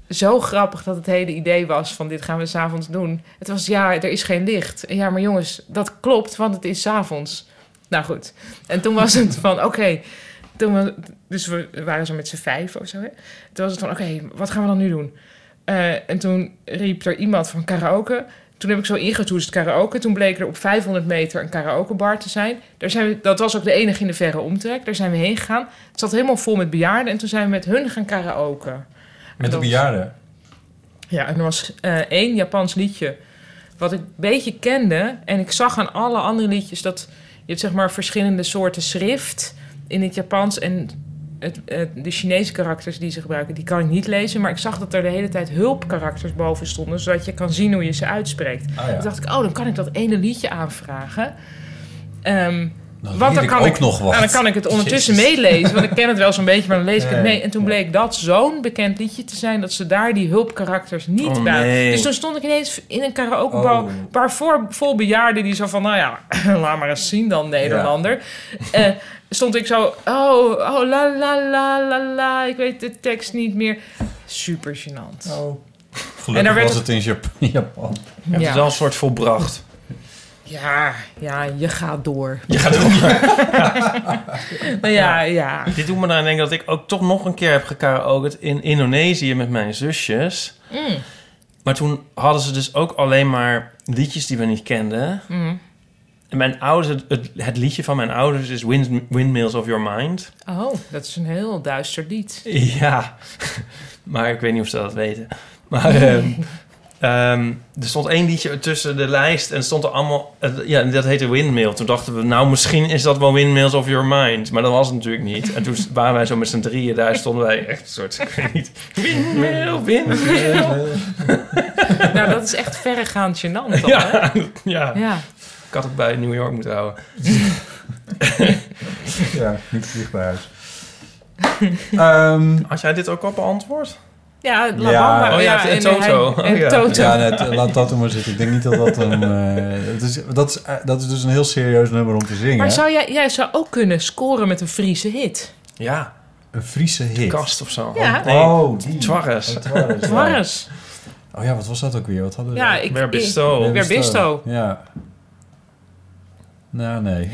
[SPEAKER 5] zo grappig dat het hele idee was van dit gaan we s'avonds doen. Het was ja, er is geen licht. En Ja, maar jongens, dat klopt, want het is s'avonds. Nou goed. En toen was het van oké, toen we, dus we waren zo met z'n vijf of zo. Hè? Toen was het van, oké, wat gaan we dan nu doen? Eh, en toen riep er iemand van karaoke. Toen heb ik zo ingetoetst karaoke. Toen bleek er op 500 meter een karaokebar te zijn. Daar zijn we, dat was ook de enige in de verre omtrek. Daar zijn we heen gegaan. Het zat helemaal vol met bejaarden. En toen zijn we met hun gaan karaoke.
[SPEAKER 4] Met de
[SPEAKER 5] Dat-
[SPEAKER 4] bejaarden.
[SPEAKER 5] Ja, en er was eh, één Japans liedje wat ik een beetje kende. En ik zag aan alle andere liedjes dat je hebt zeg maar verschillende soorten schrift in het Japans. En het, het- de Chinese karakters die ze gebruiken, die kan ik niet lezen. Maar ik zag dat er de hele tijd hulpkarakters boven stonden, zodat je kan zien hoe je ze uitspreekt.
[SPEAKER 4] Ah,
[SPEAKER 5] Toen
[SPEAKER 4] ja.
[SPEAKER 5] dacht ik, oh, dan kan ik dat ene liedje aanvragen. Ehm
[SPEAKER 4] Nou,
[SPEAKER 5] want
[SPEAKER 4] leer
[SPEAKER 5] dan kan,
[SPEAKER 4] ook
[SPEAKER 5] ik,
[SPEAKER 4] nog wat.
[SPEAKER 5] nou, dan kan ik het ondertussen
[SPEAKER 4] Jezus.
[SPEAKER 5] meelezen. Want ik ken het wel zo'n beetje, maar dan lees ik het
[SPEAKER 4] Nee,
[SPEAKER 5] mee. En toen bleek dat zo'n bekend liedje te zijn... dat ze daar die hulpkarakters niet
[SPEAKER 3] Oh,
[SPEAKER 5] bij...
[SPEAKER 3] nee.
[SPEAKER 5] Dus toen stond ik ineens in een karaokebar...
[SPEAKER 4] Oh.
[SPEAKER 5] een paar voor, vol bejaarden die zo van... nou ja, [clears throat] laat maar eens zien dan, Nederlander. Eh, stond ik zo... oh, oh, la, la, la, la, la... ik weet de tekst niet meer. Super gênant.
[SPEAKER 4] Gelukkig
[SPEAKER 5] En daar werd
[SPEAKER 4] was
[SPEAKER 5] het-
[SPEAKER 4] het in Jap- [laughs] Japan.
[SPEAKER 3] Je hebt
[SPEAKER 5] Ja.
[SPEAKER 3] het wel een soort volbracht.
[SPEAKER 5] Ja, ja, je gaat door.
[SPEAKER 3] Je gaat
[SPEAKER 5] [laughs]
[SPEAKER 3] ook.
[SPEAKER 5] Nou ja, ja.
[SPEAKER 3] Dit doet me dan denken dat ik ook toch nog een keer heb gekaraoked in Indonesië met mijn zusjes. Maar toen hadden ze dus ook alleen maar liedjes die we niet kenden. En mijn ouders, het, het, het liedje van mijn ouders is Wind, Windmills of Your Mind.
[SPEAKER 5] Oh, dat is een heel duister lied.
[SPEAKER 3] Ja, [laughs] maar ik weet niet of ze dat weten. Maar
[SPEAKER 4] [laughs]
[SPEAKER 3] ehm, ehm, er stond één liedje tussen de lijst en stond er allemaal... eh, ja, dat heette Windmill. Toen dachten we, nou, misschien is dat wel Windmills of Your Mind. Maar dat was het natuurlijk niet. En
[SPEAKER 4] [laughs]
[SPEAKER 3] toen waren wij zo met z'n drieën, daar stonden wij echt een soort... [laughs] Ik weet niet, Windmill, Windmill.
[SPEAKER 5] [laughs] Nou, dat is echt verregaand gênant dan, hè?
[SPEAKER 3] Ja, ja,
[SPEAKER 5] Ja.
[SPEAKER 3] ik had het bij New York moeten houden.
[SPEAKER 4] [laughs] Ja, niet vlieg bij huis. Ehm,
[SPEAKER 3] Had jij dit ook al beantwoord?
[SPEAKER 5] Ja, La
[SPEAKER 4] Ja.
[SPEAKER 5] Bamba.
[SPEAKER 3] Oh ja, en Toto.
[SPEAKER 5] hij- En
[SPEAKER 3] Oh [laughs] ja.
[SPEAKER 5] Toto.
[SPEAKER 4] ja, eh, nee, t- laat dat er maar zitten. Ik denk niet dat dat een... eh, het is, dat, is, eh, dat is dus een heel serieus nummer om te zingen.
[SPEAKER 5] Maar zou jij, jij zou ook kunnen scoren met een Friese hit.
[SPEAKER 3] Ja,
[SPEAKER 4] Een Friese hit.
[SPEAKER 3] kast of zo.
[SPEAKER 5] Ja.
[SPEAKER 3] Nee,
[SPEAKER 4] Oh, die.
[SPEAKER 3] Twarres.
[SPEAKER 4] Oh, Twarres, ja.
[SPEAKER 5] Dwars.
[SPEAKER 4] Oh ja, wat was dat ook weer? Wat hadden we
[SPEAKER 5] Ja,
[SPEAKER 4] daar?
[SPEAKER 5] ik...
[SPEAKER 3] Where
[SPEAKER 5] ik-
[SPEAKER 3] Bisto.
[SPEAKER 5] Weer Bisto.
[SPEAKER 4] Ja. Nou, nee.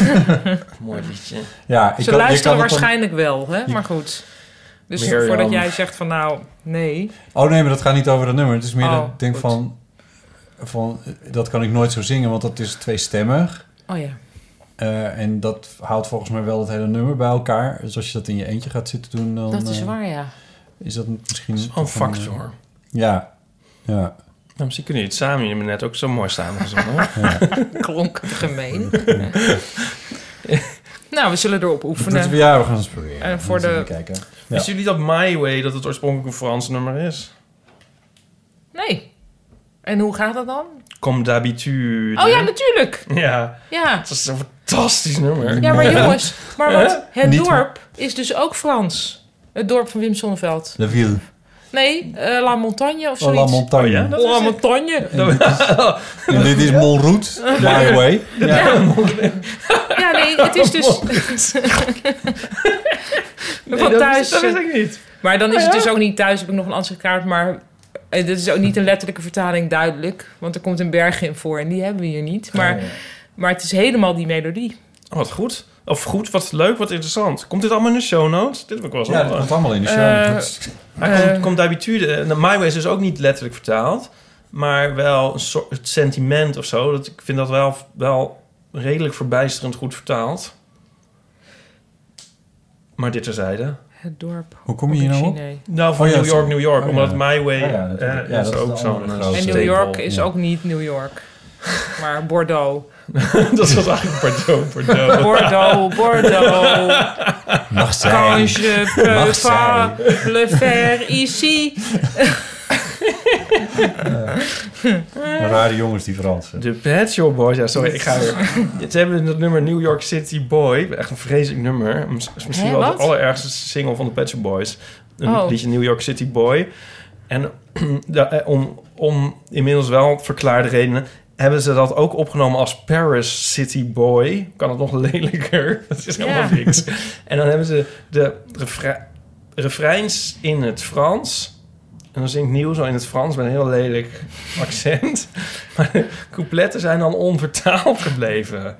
[SPEAKER 4] [laughs]
[SPEAKER 3] Mooi liedje.
[SPEAKER 4] Ja, ik
[SPEAKER 5] Ze
[SPEAKER 4] kan-
[SPEAKER 5] luisteren
[SPEAKER 4] je kan het dan-
[SPEAKER 5] waarschijnlijk wel, hè? Maar goed. Dus
[SPEAKER 3] Mirjam.
[SPEAKER 5] voordat jij zegt van nou, nee.
[SPEAKER 4] Oh nee, maar dat gaat niet over dat nummer. Het is meer
[SPEAKER 5] Oh,
[SPEAKER 4] dat ik denk
[SPEAKER 5] goed.
[SPEAKER 4] van, van... Dat kan ik nooit zo zingen, want dat is tweestemmig.
[SPEAKER 5] Oh ja.
[SPEAKER 4] Eh, en dat houdt volgens mij wel het hele nummer bij elkaar. Dus als je dat in je eentje gaat zitten doen, dan
[SPEAKER 5] Dat is
[SPEAKER 4] eh,
[SPEAKER 5] waar, ja.
[SPEAKER 4] is dat misschien
[SPEAKER 3] Dat is wel een
[SPEAKER 4] toch een,
[SPEAKER 3] factor. Nou,
[SPEAKER 4] eh, ja, ja.
[SPEAKER 3] misschien kunnen jullie het samen. Jullie hebben net ook zo mooi samen gezongen.
[SPEAKER 5] [laughs] Klonk gemeen. [laughs] nou, we zullen erop
[SPEAKER 4] Dat we,
[SPEAKER 5] oefenen.
[SPEAKER 4] ja, we gaan eens proberen.
[SPEAKER 5] En
[SPEAKER 4] We
[SPEAKER 5] voor
[SPEAKER 4] gaan eens
[SPEAKER 5] de-
[SPEAKER 4] even kijken. Ja.
[SPEAKER 3] Wisten jullie dat My Way, dat het oorspronkelijk een Frans nummer is?
[SPEAKER 5] Nee. En hoe gaat dat dan?
[SPEAKER 3] Comme d'habitude.
[SPEAKER 5] Oh ja, natuurlijk.
[SPEAKER 3] Ja,
[SPEAKER 5] Ja.
[SPEAKER 3] dat is een fantastisch nummer.
[SPEAKER 5] Ja, maar jongens, maar wat, het
[SPEAKER 4] Niet
[SPEAKER 5] dorp is dus ook Frans. Het dorp van Wim Sonneveld.
[SPEAKER 4] La Ville,
[SPEAKER 5] Nee, eh, La Montagne of
[SPEAKER 4] oh, La
[SPEAKER 5] zoiets.
[SPEAKER 4] Montagne.
[SPEAKER 3] Oh ja, dat-
[SPEAKER 5] La Montagne.
[SPEAKER 3] [laughs]
[SPEAKER 4] En dit is Monroet, my way. [laughs]
[SPEAKER 5] Ja, nee, het is dus [laughs] van
[SPEAKER 3] dat
[SPEAKER 5] thuis. eh.
[SPEAKER 3] wist- dat wist ik niet. Oh,
[SPEAKER 5] Maar dan is het dus ook niet thuis, heb ik nog een andere kaart. Maar eh, dit is ook niet een letterlijke vertaling duidelijk. Want er komt een berg in voor en die hebben we hier niet.
[SPEAKER 4] Oh,
[SPEAKER 5] Maar, maar het is helemaal die melodie.
[SPEAKER 3] Oh, wat goed. Of goed, wat leuk, wat interessant. Komt dit allemaal in de show notes? Dit heb ik wel eens
[SPEAKER 4] Ja, dat
[SPEAKER 3] opgelegd.
[SPEAKER 4] komt allemaal in de show.
[SPEAKER 5] Eh,
[SPEAKER 4] Dat is-
[SPEAKER 3] Maar
[SPEAKER 5] Eh.
[SPEAKER 3] komt, komt d'habitude. eh, nou, My Way is dus ook niet letterlijk vertaald. Maar wel een soort sentiment of zo. Dat, ik vind dat wel, wel redelijk verbijsterend goed vertaald. Maar dit terzijde.
[SPEAKER 5] Het dorp.
[SPEAKER 4] hoe kom je hier nou op?
[SPEAKER 5] Chine.
[SPEAKER 3] Nou, van
[SPEAKER 4] Oh ja,
[SPEAKER 3] New
[SPEAKER 4] zo-
[SPEAKER 3] York, New York.
[SPEAKER 4] oh ja.
[SPEAKER 3] omdat My Way
[SPEAKER 4] Oh ja, natuurlijk.
[SPEAKER 3] eh,
[SPEAKER 4] Ja,
[SPEAKER 3] is
[SPEAKER 4] dat is
[SPEAKER 3] ook
[SPEAKER 4] een
[SPEAKER 3] zo'n
[SPEAKER 4] andere
[SPEAKER 3] grote
[SPEAKER 4] grote.
[SPEAKER 5] En New York
[SPEAKER 3] staple.
[SPEAKER 5] is
[SPEAKER 4] ja.
[SPEAKER 5] ook niet New York. [laughs] Maar Bordeaux.
[SPEAKER 3] [laughs] dat was eigenlijk Bordeaux,
[SPEAKER 5] [laughs]
[SPEAKER 3] Bordeaux.
[SPEAKER 5] Bordeaux, Bordeaux. eh,
[SPEAKER 4] Mag
[SPEAKER 5] Quand
[SPEAKER 4] zijn.
[SPEAKER 5] je peux
[SPEAKER 4] Mag [laughs]
[SPEAKER 5] pas le faire ici.
[SPEAKER 4] Rare jongens, die Fransen.
[SPEAKER 3] De Pet Shop Boys, ja, sorry, ik ga weer.
[SPEAKER 5] [laughs]
[SPEAKER 3] Ze hebben het nummer New York City Boy. Echt een vreselijk nummer. Mis- is Misschien
[SPEAKER 5] Hè,
[SPEAKER 3] wel de
[SPEAKER 5] wat?
[SPEAKER 3] allerergste single van de Pet Shop Boys. Een
[SPEAKER 5] Oh.
[SPEAKER 3] liedje New York City Boy. En [clears throat] da- eh, om, om inmiddels wel verklaarde redenen... hebben ze dat ook opgenomen als Paris City Boy. Kan het nog [laughs] lelijker? Dat is helemaal
[SPEAKER 5] Ja.
[SPEAKER 3] niks. En dan hebben ze de refre- refreins in het Frans... En dan zingt Nieuw zo in het Frans met een heel lelijk [laughs] accent. Maar de coupletten zijn dan onvertaald gebleven.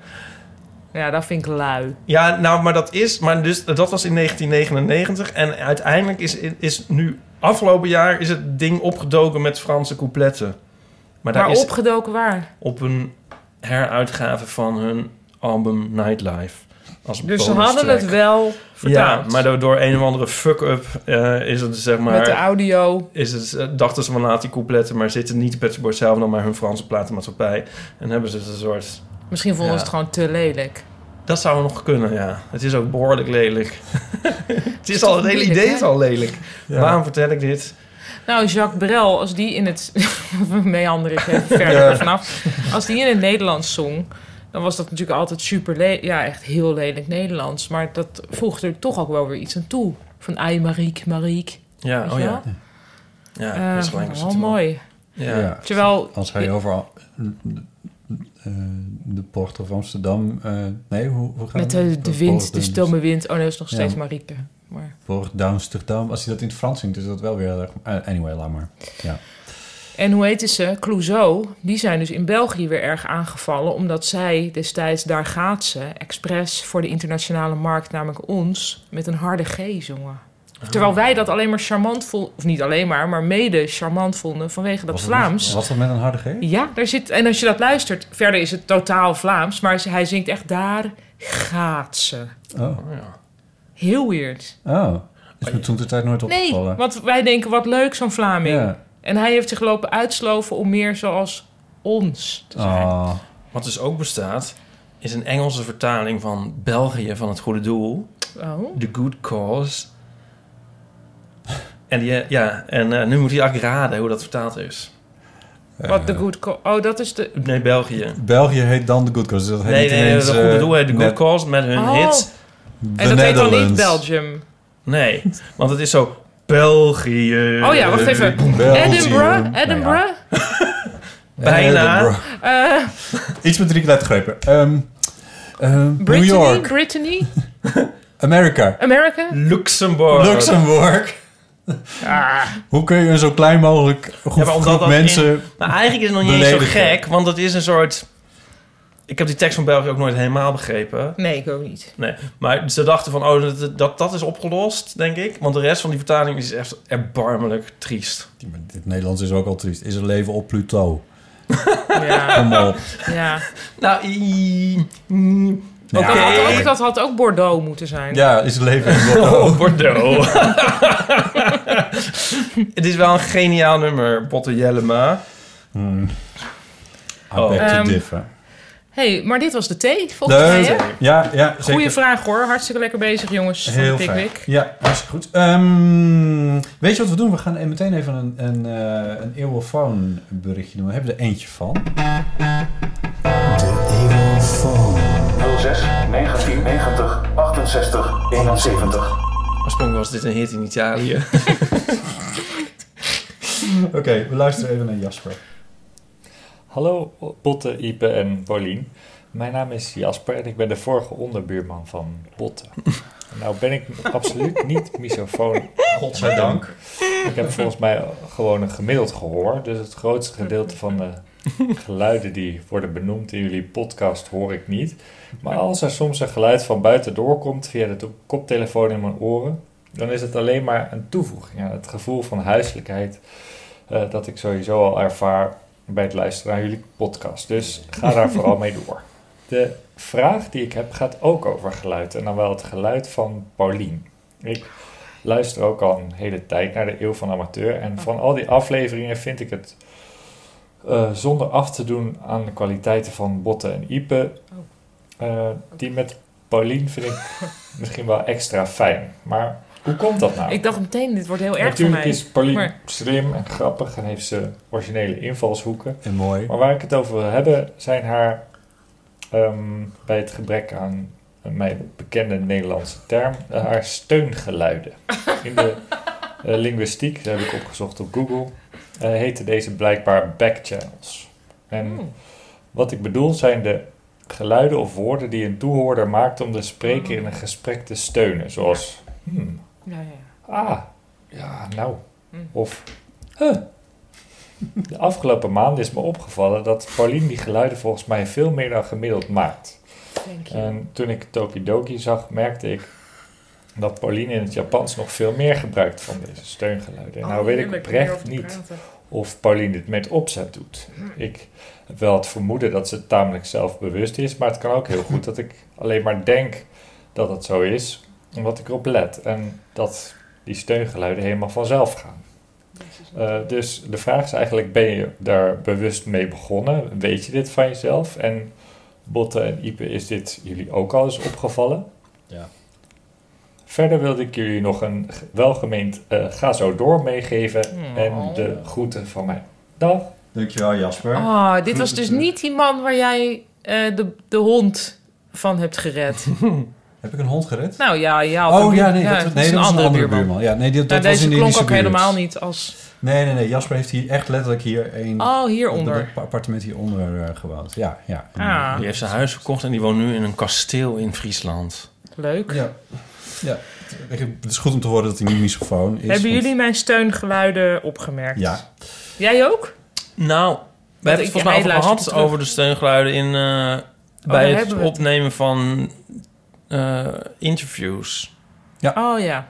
[SPEAKER 5] Ja, dat vind ik lui.
[SPEAKER 3] Ja, nou, maar dat is... Maar dus, dat was in 1999. En uiteindelijk is, is nu... Afgelopen jaar is het ding opgedoken met Franse coupletten. Maar daar
[SPEAKER 5] Maar
[SPEAKER 3] is
[SPEAKER 5] opgedoken waar?
[SPEAKER 3] op een heruitgave van hun album Nightlife. Als
[SPEAKER 5] Dus ze
[SPEAKER 3] bonus
[SPEAKER 5] hadden
[SPEAKER 3] track.
[SPEAKER 5] het wel vertaald.
[SPEAKER 3] Ja, maar door, door een of andere fuck-up eh, is het zeg maar...
[SPEAKER 5] Met de audio.
[SPEAKER 3] is het, eh, dachten ze van laat die coupletten, maar zitten niet de Pet Shop Boys zelf, dan maar hun Franse platenmaatschappij. En hebben ze het een soort...
[SPEAKER 5] Misschien vonden
[SPEAKER 3] Ja.
[SPEAKER 5] ze het gewoon te lelijk.
[SPEAKER 3] Dat zou nog kunnen, ja. Het is ook behoorlijk lelijk. [laughs] het is al, het hele
[SPEAKER 5] moeilijk,
[SPEAKER 3] idee
[SPEAKER 5] hè?
[SPEAKER 3] is al lelijk. Waarom vertel ik dit?
[SPEAKER 5] Nou, Jacques Brel, als die in het... [laughs] Meander ik even verder vanaf. Als die in het Nederlands zong... dan was dat natuurlijk altijd super... le- Ja, echt heel lelijk Nederlands. Maar dat voegde er toch ook wel weer iets aan toe. Van ai, Mariek, Mariek.
[SPEAKER 3] Ja,
[SPEAKER 5] Weet
[SPEAKER 3] oh
[SPEAKER 5] je
[SPEAKER 3] ja.
[SPEAKER 5] wel?
[SPEAKER 3] Ja,
[SPEAKER 5] Eh,
[SPEAKER 3] dat is gelijk.
[SPEAKER 5] wel mooi.
[SPEAKER 3] Ja.
[SPEAKER 4] Ja.
[SPEAKER 5] Terwijl...
[SPEAKER 4] Als hij overal... eh, de poort of Amsterdam... eh, nee, hoe, hoe gaat
[SPEAKER 5] Met
[SPEAKER 4] het?
[SPEAKER 5] de, de wind, de
[SPEAKER 4] Poort-
[SPEAKER 5] stomme wind. Oh nee, dat is nog
[SPEAKER 4] Ja.
[SPEAKER 5] steeds Marieke. Maar...
[SPEAKER 4] Poort Amsterdam. Als hij dat in het Frans zingt, is dat wel weer heel erg... eh, anyway, laat maar. Ja.
[SPEAKER 5] En hoe heette ze? Clouseau. Die zijn dus in België weer erg aangevallen. Omdat zij destijds, daar gaat ze, expres voor de internationale markt, namelijk ons, met een harde G zongen. Terwijl wij dat alleen maar charmant vonden, of niet alleen maar, maar mede charmant vonden vanwege dat
[SPEAKER 4] Was dat
[SPEAKER 5] Vlaams.
[SPEAKER 4] met- Was dat met een harde G?
[SPEAKER 5] Ja, daar zit, en als je dat luistert, verder is het totaal Vlaams, maar hij zingt echt daar gaat ze.
[SPEAKER 4] Oh.
[SPEAKER 5] Heel weird.
[SPEAKER 4] oh. Is me toen de tijd nooit
[SPEAKER 5] Nee,
[SPEAKER 4] opgevallen.
[SPEAKER 5] want wij denken wat leuk zo'n Vlaming.
[SPEAKER 4] Ja.
[SPEAKER 5] En hij heeft zich lopen uitsloven om meer zoals ons te zijn.
[SPEAKER 4] Oh.
[SPEAKER 3] Wat dus ook bestaat, is een Engelse vertaling van België van het goede doel.
[SPEAKER 5] Oh.
[SPEAKER 3] The Good Cause. En, die, eh, ja, en eh, nu moet hij eigenlijk raden hoe dat vertaald is.
[SPEAKER 4] Eh.
[SPEAKER 5] Wat de good call. Oh, dat is de.
[SPEAKER 3] Nee, België.
[SPEAKER 4] België heet dan de Good Cause. Dus dat heet
[SPEAKER 3] Nee,
[SPEAKER 4] niet
[SPEAKER 3] nee, nee,
[SPEAKER 4] ineens,
[SPEAKER 3] dat
[SPEAKER 4] eh,
[SPEAKER 3] goede doel heet The Good
[SPEAKER 4] net
[SPEAKER 3] Cause met hun
[SPEAKER 5] Oh.
[SPEAKER 3] hits.
[SPEAKER 4] The
[SPEAKER 5] En dat heet dan niet
[SPEAKER 4] Netherlands.
[SPEAKER 5] Belgium.
[SPEAKER 3] Nee, want het is zo België.
[SPEAKER 5] Oh ja, wacht even.
[SPEAKER 4] Belgium.
[SPEAKER 5] Edinburgh?
[SPEAKER 4] Nou ja, [laughs]
[SPEAKER 5] Edinburgh?
[SPEAKER 3] Bijna.
[SPEAKER 4] Edinburgh.
[SPEAKER 5] Eh,
[SPEAKER 4] Iets met drie lettergrepen. Ehm, ehm, New
[SPEAKER 5] Brittany?
[SPEAKER 4] York.
[SPEAKER 5] Brittany?
[SPEAKER 4] Amerika. [laughs]
[SPEAKER 5] Amerika?
[SPEAKER 3] Luxemburg.
[SPEAKER 4] Luxemburg. Hoe kun je een zo klein mogelijk groep,
[SPEAKER 3] Ja, maar omdat
[SPEAKER 4] groep
[SPEAKER 3] dat
[SPEAKER 4] mensen...
[SPEAKER 3] in- maar eigenlijk is het nog niet eens zo
[SPEAKER 4] beledigen.
[SPEAKER 3] gek, want het is een soort... Ik heb die tekst van België ook nooit helemaal begrepen.
[SPEAKER 5] Nee, ik ook niet.
[SPEAKER 3] Nee, maar ze dachten van, oh, dat, dat, dat is opgelost, denk ik. Want de rest van die vertaling is echt erbarmelijk triest.
[SPEAKER 4] Ja, maar Dit Nederlands is ook al triest. Is er leven op Pluto?
[SPEAKER 5] [laughs] Ja.
[SPEAKER 4] Kom op.
[SPEAKER 5] ja.
[SPEAKER 3] Nou, i- mm, oké.
[SPEAKER 5] Dat, had ook, dat had ook Bordeaux moeten zijn.
[SPEAKER 4] Ja, is er leven
[SPEAKER 3] [laughs]
[SPEAKER 4] op
[SPEAKER 3] Oh,
[SPEAKER 4] Pluto?
[SPEAKER 3] Bordeaux. [laughs] het is wel een geniaal nummer, Botte Jellema.
[SPEAKER 4] Hmm.
[SPEAKER 3] Oh.
[SPEAKER 4] I beg to
[SPEAKER 5] Ehm,
[SPEAKER 4] differ.
[SPEAKER 5] hey, maar dit was de thee, volgens mij.
[SPEAKER 4] De,
[SPEAKER 5] Hè?
[SPEAKER 4] ja, ja, zeker.
[SPEAKER 5] Goeie vraag hoor. Hartstikke lekker bezig, jongens. van
[SPEAKER 4] Heel
[SPEAKER 5] de
[SPEAKER 4] fijn.
[SPEAKER 5] Pickwick.
[SPEAKER 4] Ja, hartstikke goed. Ehm, weet je wat we doen? We gaan e- meteen even een, een, eh een eeuwofoon berichtje doen. We hebben er eentje van.
[SPEAKER 6] 06 1990 68 71.
[SPEAKER 3] Oorspronkelijk was dit een hit in Italië.
[SPEAKER 4] Oké, we luisteren even naar Jasper.
[SPEAKER 7] Hallo Botte, Ipe en Paulien. Mijn naam is Jasper en ik ben de vorige onderbuurman van Botte. Nou ben ik absoluut niet misofoon.
[SPEAKER 4] Godzijdank.
[SPEAKER 7] Ik heb volgens mij gewoon een gemiddeld gehoor. Dus het grootste gedeelte van de geluiden die worden benoemd in jullie podcast hoor ik niet. Maar als er soms een geluid van buiten doorkomt via de to- koptelefoon in mijn oren, dan is het alleen maar een toevoeging aan het gevoel van huiselijkheid eh, dat ik sowieso al ervaar bij het luisteren naar jullie podcast. Dus ga daar vooral mee door. De vraag die ik heb gaat ook over geluid en dan wel het geluid van Paulien. Ik luister ook al een hele tijd naar de Eeuw van Amateur. En van al die afleveringen vind ik het, eh, zonder af te doen aan de kwaliteiten van Botte en Ipe, eh, die met Paulien vind ik misschien wel extra fijn. Maar Hoe komt dat nou?
[SPEAKER 5] Ik dacht meteen, dit wordt heel erg voor
[SPEAKER 7] Natuurlijk
[SPEAKER 5] mij.
[SPEAKER 7] is Pauline
[SPEAKER 5] Maar-
[SPEAKER 7] slim en grappig en heeft ze originele invalshoeken.
[SPEAKER 4] En mooi.
[SPEAKER 7] Maar waar ik het over wil hebben, zijn haar ehm, bij het gebrek aan mijn bekende Nederlandse term, eh, haar
[SPEAKER 5] [laughs]
[SPEAKER 7] steungeluiden. In de eh, linguïstiek, dat heb ik opgezocht op Google, eh heten deze blijkbaar backchannels. En
[SPEAKER 5] Hmm.
[SPEAKER 7] wat ik bedoel zijn de geluiden of woorden die een toehoorder maakt om de
[SPEAKER 5] Hmm.
[SPEAKER 7] spreker in een gesprek te steunen. Zoals, hmm,
[SPEAKER 5] Ja, ja.
[SPEAKER 7] Ah, ja, nou.
[SPEAKER 5] Hm.
[SPEAKER 7] Of, huh. De afgelopen maanden is me opgevallen dat Pauline die geluiden volgens mij veel meer dan gemiddeld maakt.
[SPEAKER 5] Thank you.
[SPEAKER 7] En toen ik Tokidoki zag, merkte ik dat Pauline in het Japans nog veel meer gebruikt van deze steungeluiden. En
[SPEAKER 5] Oh,
[SPEAKER 7] nou weet ik
[SPEAKER 5] heerlijk om hierover
[SPEAKER 7] oprecht
[SPEAKER 5] te
[SPEAKER 7] niet
[SPEAKER 5] praten. Hmm.
[SPEAKER 7] of Pauline dit met opzet doet. Ik heb wel het vermoeden dat ze tamelijk zelfbewust is, maar het kan ook heel goed dat ik alleen maar denk dat het zo is, omdat ik erop let en dat die steungeluiden helemaal vanzelf gaan. Eh, dus de vraag is eigenlijk, ben je daar bewust mee begonnen? Weet je dit van jezelf? En Botte en Ipe, is dit jullie ook al eens opgevallen?
[SPEAKER 4] Ja.
[SPEAKER 7] Verder wilde ik jullie nog een g- welgemeend eh, ga zo door meegeven en
[SPEAKER 5] Oh.
[SPEAKER 7] de groeten van mij. Dag!
[SPEAKER 4] Dankjewel Jasper.
[SPEAKER 5] Ah, dit was dus niet die man waar jij eh, de, de hond van hebt
[SPEAKER 4] [laughs]
[SPEAKER 5] gered.
[SPEAKER 4] Heb ik een hond gered?
[SPEAKER 5] Nou ja, ja. op
[SPEAKER 4] Oh
[SPEAKER 5] een-
[SPEAKER 4] ja, nee, dat, nee, dat was een andere buurman. Ja, nee, die- dat,
[SPEAKER 5] Nou,
[SPEAKER 4] was
[SPEAKER 5] deze
[SPEAKER 4] in de
[SPEAKER 5] klonk
[SPEAKER 4] Indische
[SPEAKER 5] ook
[SPEAKER 4] buurt.
[SPEAKER 5] helemaal niet als...
[SPEAKER 4] Nee, nee, nee. Jasper heeft hier echt letterlijk hier een
[SPEAKER 5] Oh,
[SPEAKER 4] op
[SPEAKER 5] hieronder.
[SPEAKER 4] het appartement hieronder eh, gebouwd. Ja, ja.
[SPEAKER 5] Ah,
[SPEAKER 3] Die heeft zijn huis verkocht en die woont nu in een kasteel in Friesland.
[SPEAKER 5] leuk.
[SPEAKER 4] Ja. ja. Het is goed om te horen dat hij niet misofoon is.
[SPEAKER 5] Hebben
[SPEAKER 4] want-
[SPEAKER 5] jullie mijn steungeluiden opgemerkt?
[SPEAKER 4] Ja.
[SPEAKER 5] Jij ook?
[SPEAKER 3] Nou, we hebben het volgens mij
[SPEAKER 5] hij
[SPEAKER 3] over
[SPEAKER 5] luistert
[SPEAKER 3] gehad
[SPEAKER 5] terug.
[SPEAKER 3] over de steungeluiden in, eh, bij
[SPEAKER 5] Oh, daar
[SPEAKER 3] het
[SPEAKER 5] hebben we het.
[SPEAKER 3] opnemen van eh, interviews,
[SPEAKER 5] Oh ja.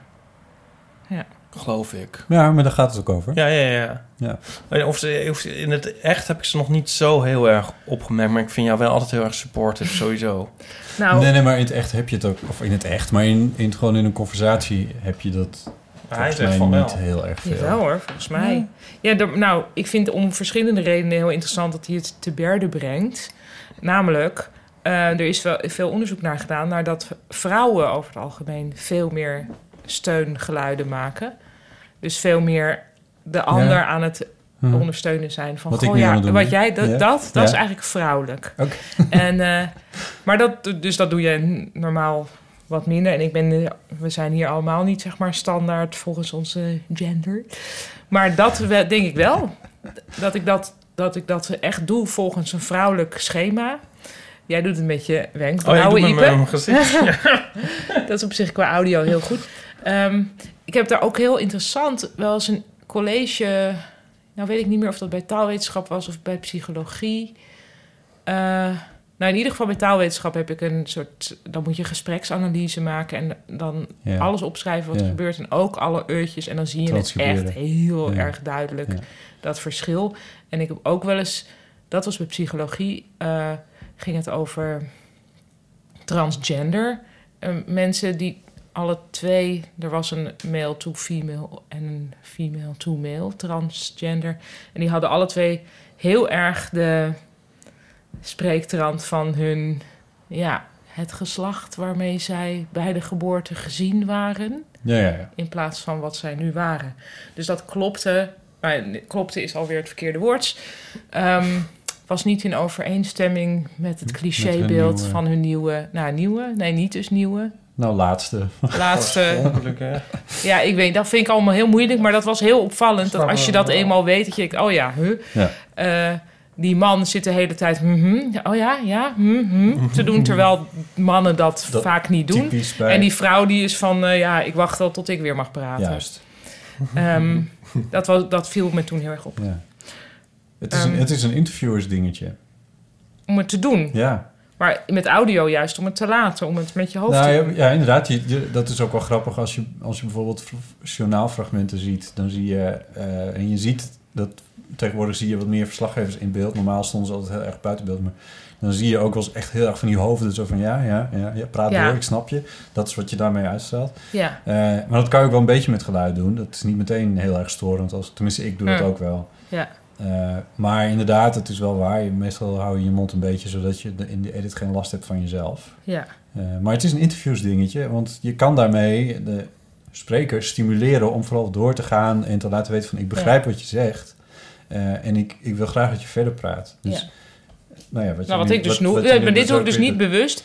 [SPEAKER 3] geloof ik.
[SPEAKER 4] Ja, maar daar gaat het ook over.
[SPEAKER 3] Ja, ja, ja.
[SPEAKER 4] Ja.
[SPEAKER 3] Maar Of ze, of ze- in het echt heb ik ze nog niet zo heel erg opgemerkt, maar ik vind jou wel altijd heel erg supportive, sowieso.
[SPEAKER 5] Nou,
[SPEAKER 4] Nee, nee, maar in het echt heb je het ook... Of in het echt, maar in, in, het- gewoon in een conversatie heb je dat
[SPEAKER 3] Hij
[SPEAKER 4] volgens mij
[SPEAKER 3] zegt van
[SPEAKER 4] niet
[SPEAKER 3] wel.
[SPEAKER 4] heel erg veel.
[SPEAKER 5] Jawel hoor, volgens mij. Ja, er- nou, ik vind om verschillende redenen heel interessant dat hij het te berde brengt. Namelijk, eh, er is wel veel onderzoek naar gedaan... naar dat vrouwen over het algemeen veel meer steungeluiden maken. Dus veel meer de ander aan het
[SPEAKER 4] Mhm.
[SPEAKER 5] ondersteunen zijn. Van,
[SPEAKER 4] Wat
[SPEAKER 5] goh,
[SPEAKER 4] ik nu aan
[SPEAKER 5] ja,
[SPEAKER 4] het doen
[SPEAKER 5] wat
[SPEAKER 4] ben.
[SPEAKER 5] jij, dat,
[SPEAKER 4] Ja.
[SPEAKER 5] dat, dat
[SPEAKER 4] Ja.
[SPEAKER 5] is eigenlijk vrouwelijk.
[SPEAKER 4] Oké.
[SPEAKER 5] [laughs] En, eh, maar dat, dus dat doe je normaal wat minder. En ik ben, eh, we zijn hier allemaal niet, zeg maar, standaard volgens onze gender. Maar dat we- denk ik wel. Dat ik dat, dat ik dat echt doe volgens een vrouwelijk schema. Jij doet het met je
[SPEAKER 3] Oh, ja, ik
[SPEAKER 5] wenkbrauwen,
[SPEAKER 3] doe met
[SPEAKER 5] Ipe.
[SPEAKER 3] mijn
[SPEAKER 5] [laughs]
[SPEAKER 3] gezicht. Ja.
[SPEAKER 5] Dat is op zich qua audio heel goed. Ehm, ik heb daar ook heel interessant wel eens een college. Nou weet ik niet meer of dat bij taalwetenschap was of bij psychologie. Eh, nou, in ieder geval bij taalwetenschap heb ik een soort. Dan moet je gespreksanalyse maken en dan
[SPEAKER 4] Ja.
[SPEAKER 5] alles opschrijven wat
[SPEAKER 4] Ja.
[SPEAKER 5] er gebeurt en ook alle uurtjes. En dan zie je het
[SPEAKER 4] Transcriberen.
[SPEAKER 5] echt heel
[SPEAKER 4] Ja.
[SPEAKER 5] erg duidelijk,
[SPEAKER 4] Ja.
[SPEAKER 5] dat verschil. En ik heb ook wel eens, dat was bij psychologie, eh, ging het over transgender. Eh, mensen die alle twee, er was een male to female en een female to male, transgender. En die hadden alle twee heel erg de spreektrand van hun, ja, het geslacht waarmee zij bij de geboorte gezien waren
[SPEAKER 4] Ja, ja, ja.
[SPEAKER 5] in plaats van wat zij nu waren. Dus dat klopte, maar klopte is alweer het verkeerde woord. Ehm, was niet in overeenstemming met het clichébeeld
[SPEAKER 4] nieuwe-
[SPEAKER 5] van hun nieuwe, nou nieuwe, nee niet dus nieuwe,
[SPEAKER 4] Nou, laatste.
[SPEAKER 5] laatste.
[SPEAKER 3] Ongeluk, hè?
[SPEAKER 5] ja, ik weet, dat vind ik allemaal heel moeilijk, maar dat was heel opvallend. Dat als je dat eenmaal weet, dat je denkt, oh ja, huh.
[SPEAKER 4] Ja.
[SPEAKER 5] Eh, die man zit de hele tijd, mhm, oh ja, ja,
[SPEAKER 4] [laughs]
[SPEAKER 5] mhm, te doen, terwijl mannen dat,
[SPEAKER 4] Dat
[SPEAKER 5] vaak niet doen.
[SPEAKER 4] Typisch bij...
[SPEAKER 5] En die vrouw die is van, eh, ja, ik wacht al tot ik weer mag praten.
[SPEAKER 4] Juist. [laughs]
[SPEAKER 5] Ehm, dat, was, dat viel me toen heel erg op.
[SPEAKER 4] [laughs] Ja. Het, is
[SPEAKER 5] Ehm.
[SPEAKER 4] een, het is een interviewers dingetje.
[SPEAKER 5] Om het te doen.
[SPEAKER 4] Ja.
[SPEAKER 5] Maar met audio juist om het te laten. Om het met je hoofd
[SPEAKER 4] Nou,
[SPEAKER 5] te
[SPEAKER 4] ja,
[SPEAKER 5] doen.
[SPEAKER 4] ja, inderdaad. Je, je- dat is ook wel grappig als je, als je bijvoorbeeld v- journaalfragmenten ziet. Dan zie je, eh, en je ziet dat tegenwoordig zie je wat meer verslaggevers in beeld. Normaal stonden ze altijd heel erg buiten beeld. Maar dan zie je ook wel eens echt heel erg van die hoofden. Zo van ja, ja, ja, ja praat
[SPEAKER 5] Ja.
[SPEAKER 4] door, ik snap je. Dat is wat je daarmee uitstraalt.
[SPEAKER 5] Ja.
[SPEAKER 4] Eh, maar dat kan je ook wel een beetje met geluid doen. Dat is niet meteen heel erg storend. Als, tenminste, ik doe dat
[SPEAKER 5] Hmm.
[SPEAKER 4] ook wel.
[SPEAKER 5] Ja.
[SPEAKER 4] Eh, maar inderdaad, het is wel waar. Je- Meestal hou je je mond een beetje, zodat je de- in de edit geen last hebt van jezelf.
[SPEAKER 5] ja.
[SPEAKER 4] Eh, maar het is een interviews dingetje, want je kan daarmee de sprekers stimuleren om vooral door te gaan en te laten weten van ik begrijp wat je zegt. eh, en ik, ik wil graag dat je verder praat. Dus,
[SPEAKER 5] Ja.
[SPEAKER 4] nou ja, wat, je
[SPEAKER 5] Nou, wat
[SPEAKER 4] nu-
[SPEAKER 5] ik dus
[SPEAKER 4] wat- wat
[SPEAKER 5] noem,
[SPEAKER 4] je
[SPEAKER 5] eh, maar
[SPEAKER 4] nu
[SPEAKER 5] dit doe ik
[SPEAKER 4] ook
[SPEAKER 5] dus
[SPEAKER 4] weer
[SPEAKER 5] niet
[SPEAKER 4] doet.
[SPEAKER 5] bewust.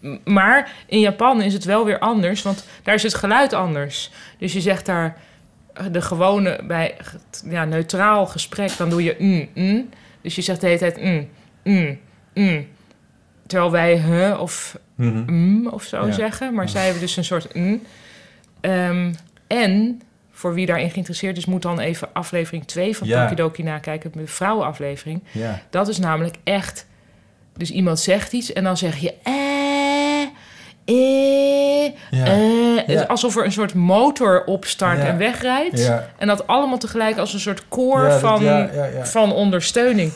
[SPEAKER 5] M- Maar in Japan is het wel weer anders, want daar is het geluid anders. Dus je zegt daar eh, de gewone, bij het, ja, neutraal gesprek, dan doe je mm, mm. Dus je zegt de hele tijd mm, mm, mm. Terwijl wij hè of
[SPEAKER 4] Mhm.
[SPEAKER 5] mm of zo
[SPEAKER 4] Ja.
[SPEAKER 5] zeggen, maar zij hebben dus een soort mm. Ehm, en, voor wie daarin geïnteresseerd is, moet dan even aflevering 2 van
[SPEAKER 4] Ja.
[SPEAKER 5] Tokidoki nakijken, de vrouwenaflevering.
[SPEAKER 4] Ja.
[SPEAKER 5] Dat is namelijk echt. Dus iemand zegt iets en dan zeg je. Eh, eh,
[SPEAKER 4] Ja.
[SPEAKER 5] eh. Het is
[SPEAKER 4] Ja.
[SPEAKER 5] Alsof er een soort motor opstart
[SPEAKER 4] Ja.
[SPEAKER 5] en wegrijdt.
[SPEAKER 4] Ja.
[SPEAKER 5] En dat allemaal tegelijk als een soort koor
[SPEAKER 4] Ja, dat-
[SPEAKER 5] van,
[SPEAKER 4] ja, ja, ja.
[SPEAKER 5] van
[SPEAKER 4] [laughs]
[SPEAKER 5] ondersteuning.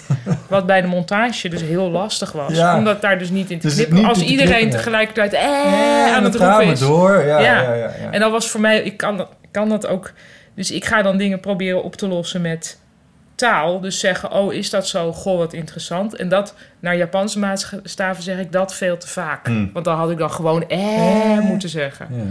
[SPEAKER 5] Wat bij de montage dus heel lastig was.
[SPEAKER 4] Ja.
[SPEAKER 5] Omdat daar dus niet in te
[SPEAKER 4] Dus het
[SPEAKER 5] knippen.
[SPEAKER 4] niet
[SPEAKER 5] als
[SPEAKER 4] in te
[SPEAKER 5] iedereen
[SPEAKER 4] knippen, ja.
[SPEAKER 5] tegelijkertijd eh, aan het
[SPEAKER 4] ramen
[SPEAKER 5] roepen is.
[SPEAKER 4] door. Ja, ja.
[SPEAKER 5] Ja.
[SPEAKER 4] Ja, ja, ja.
[SPEAKER 5] En dat was voor mij, ik kan dat, ik kan dat ook. Dus ik ga dan dingen proberen op te lossen met taal. Dus zeggen, oh, is dat zo? Goh, wat interessant. En dat, naar Japanse maatstaven zeg ik dat veel te vaak. Want dan had ik dan gewoon eh moeten zeggen.
[SPEAKER 4] Hmm. Ja.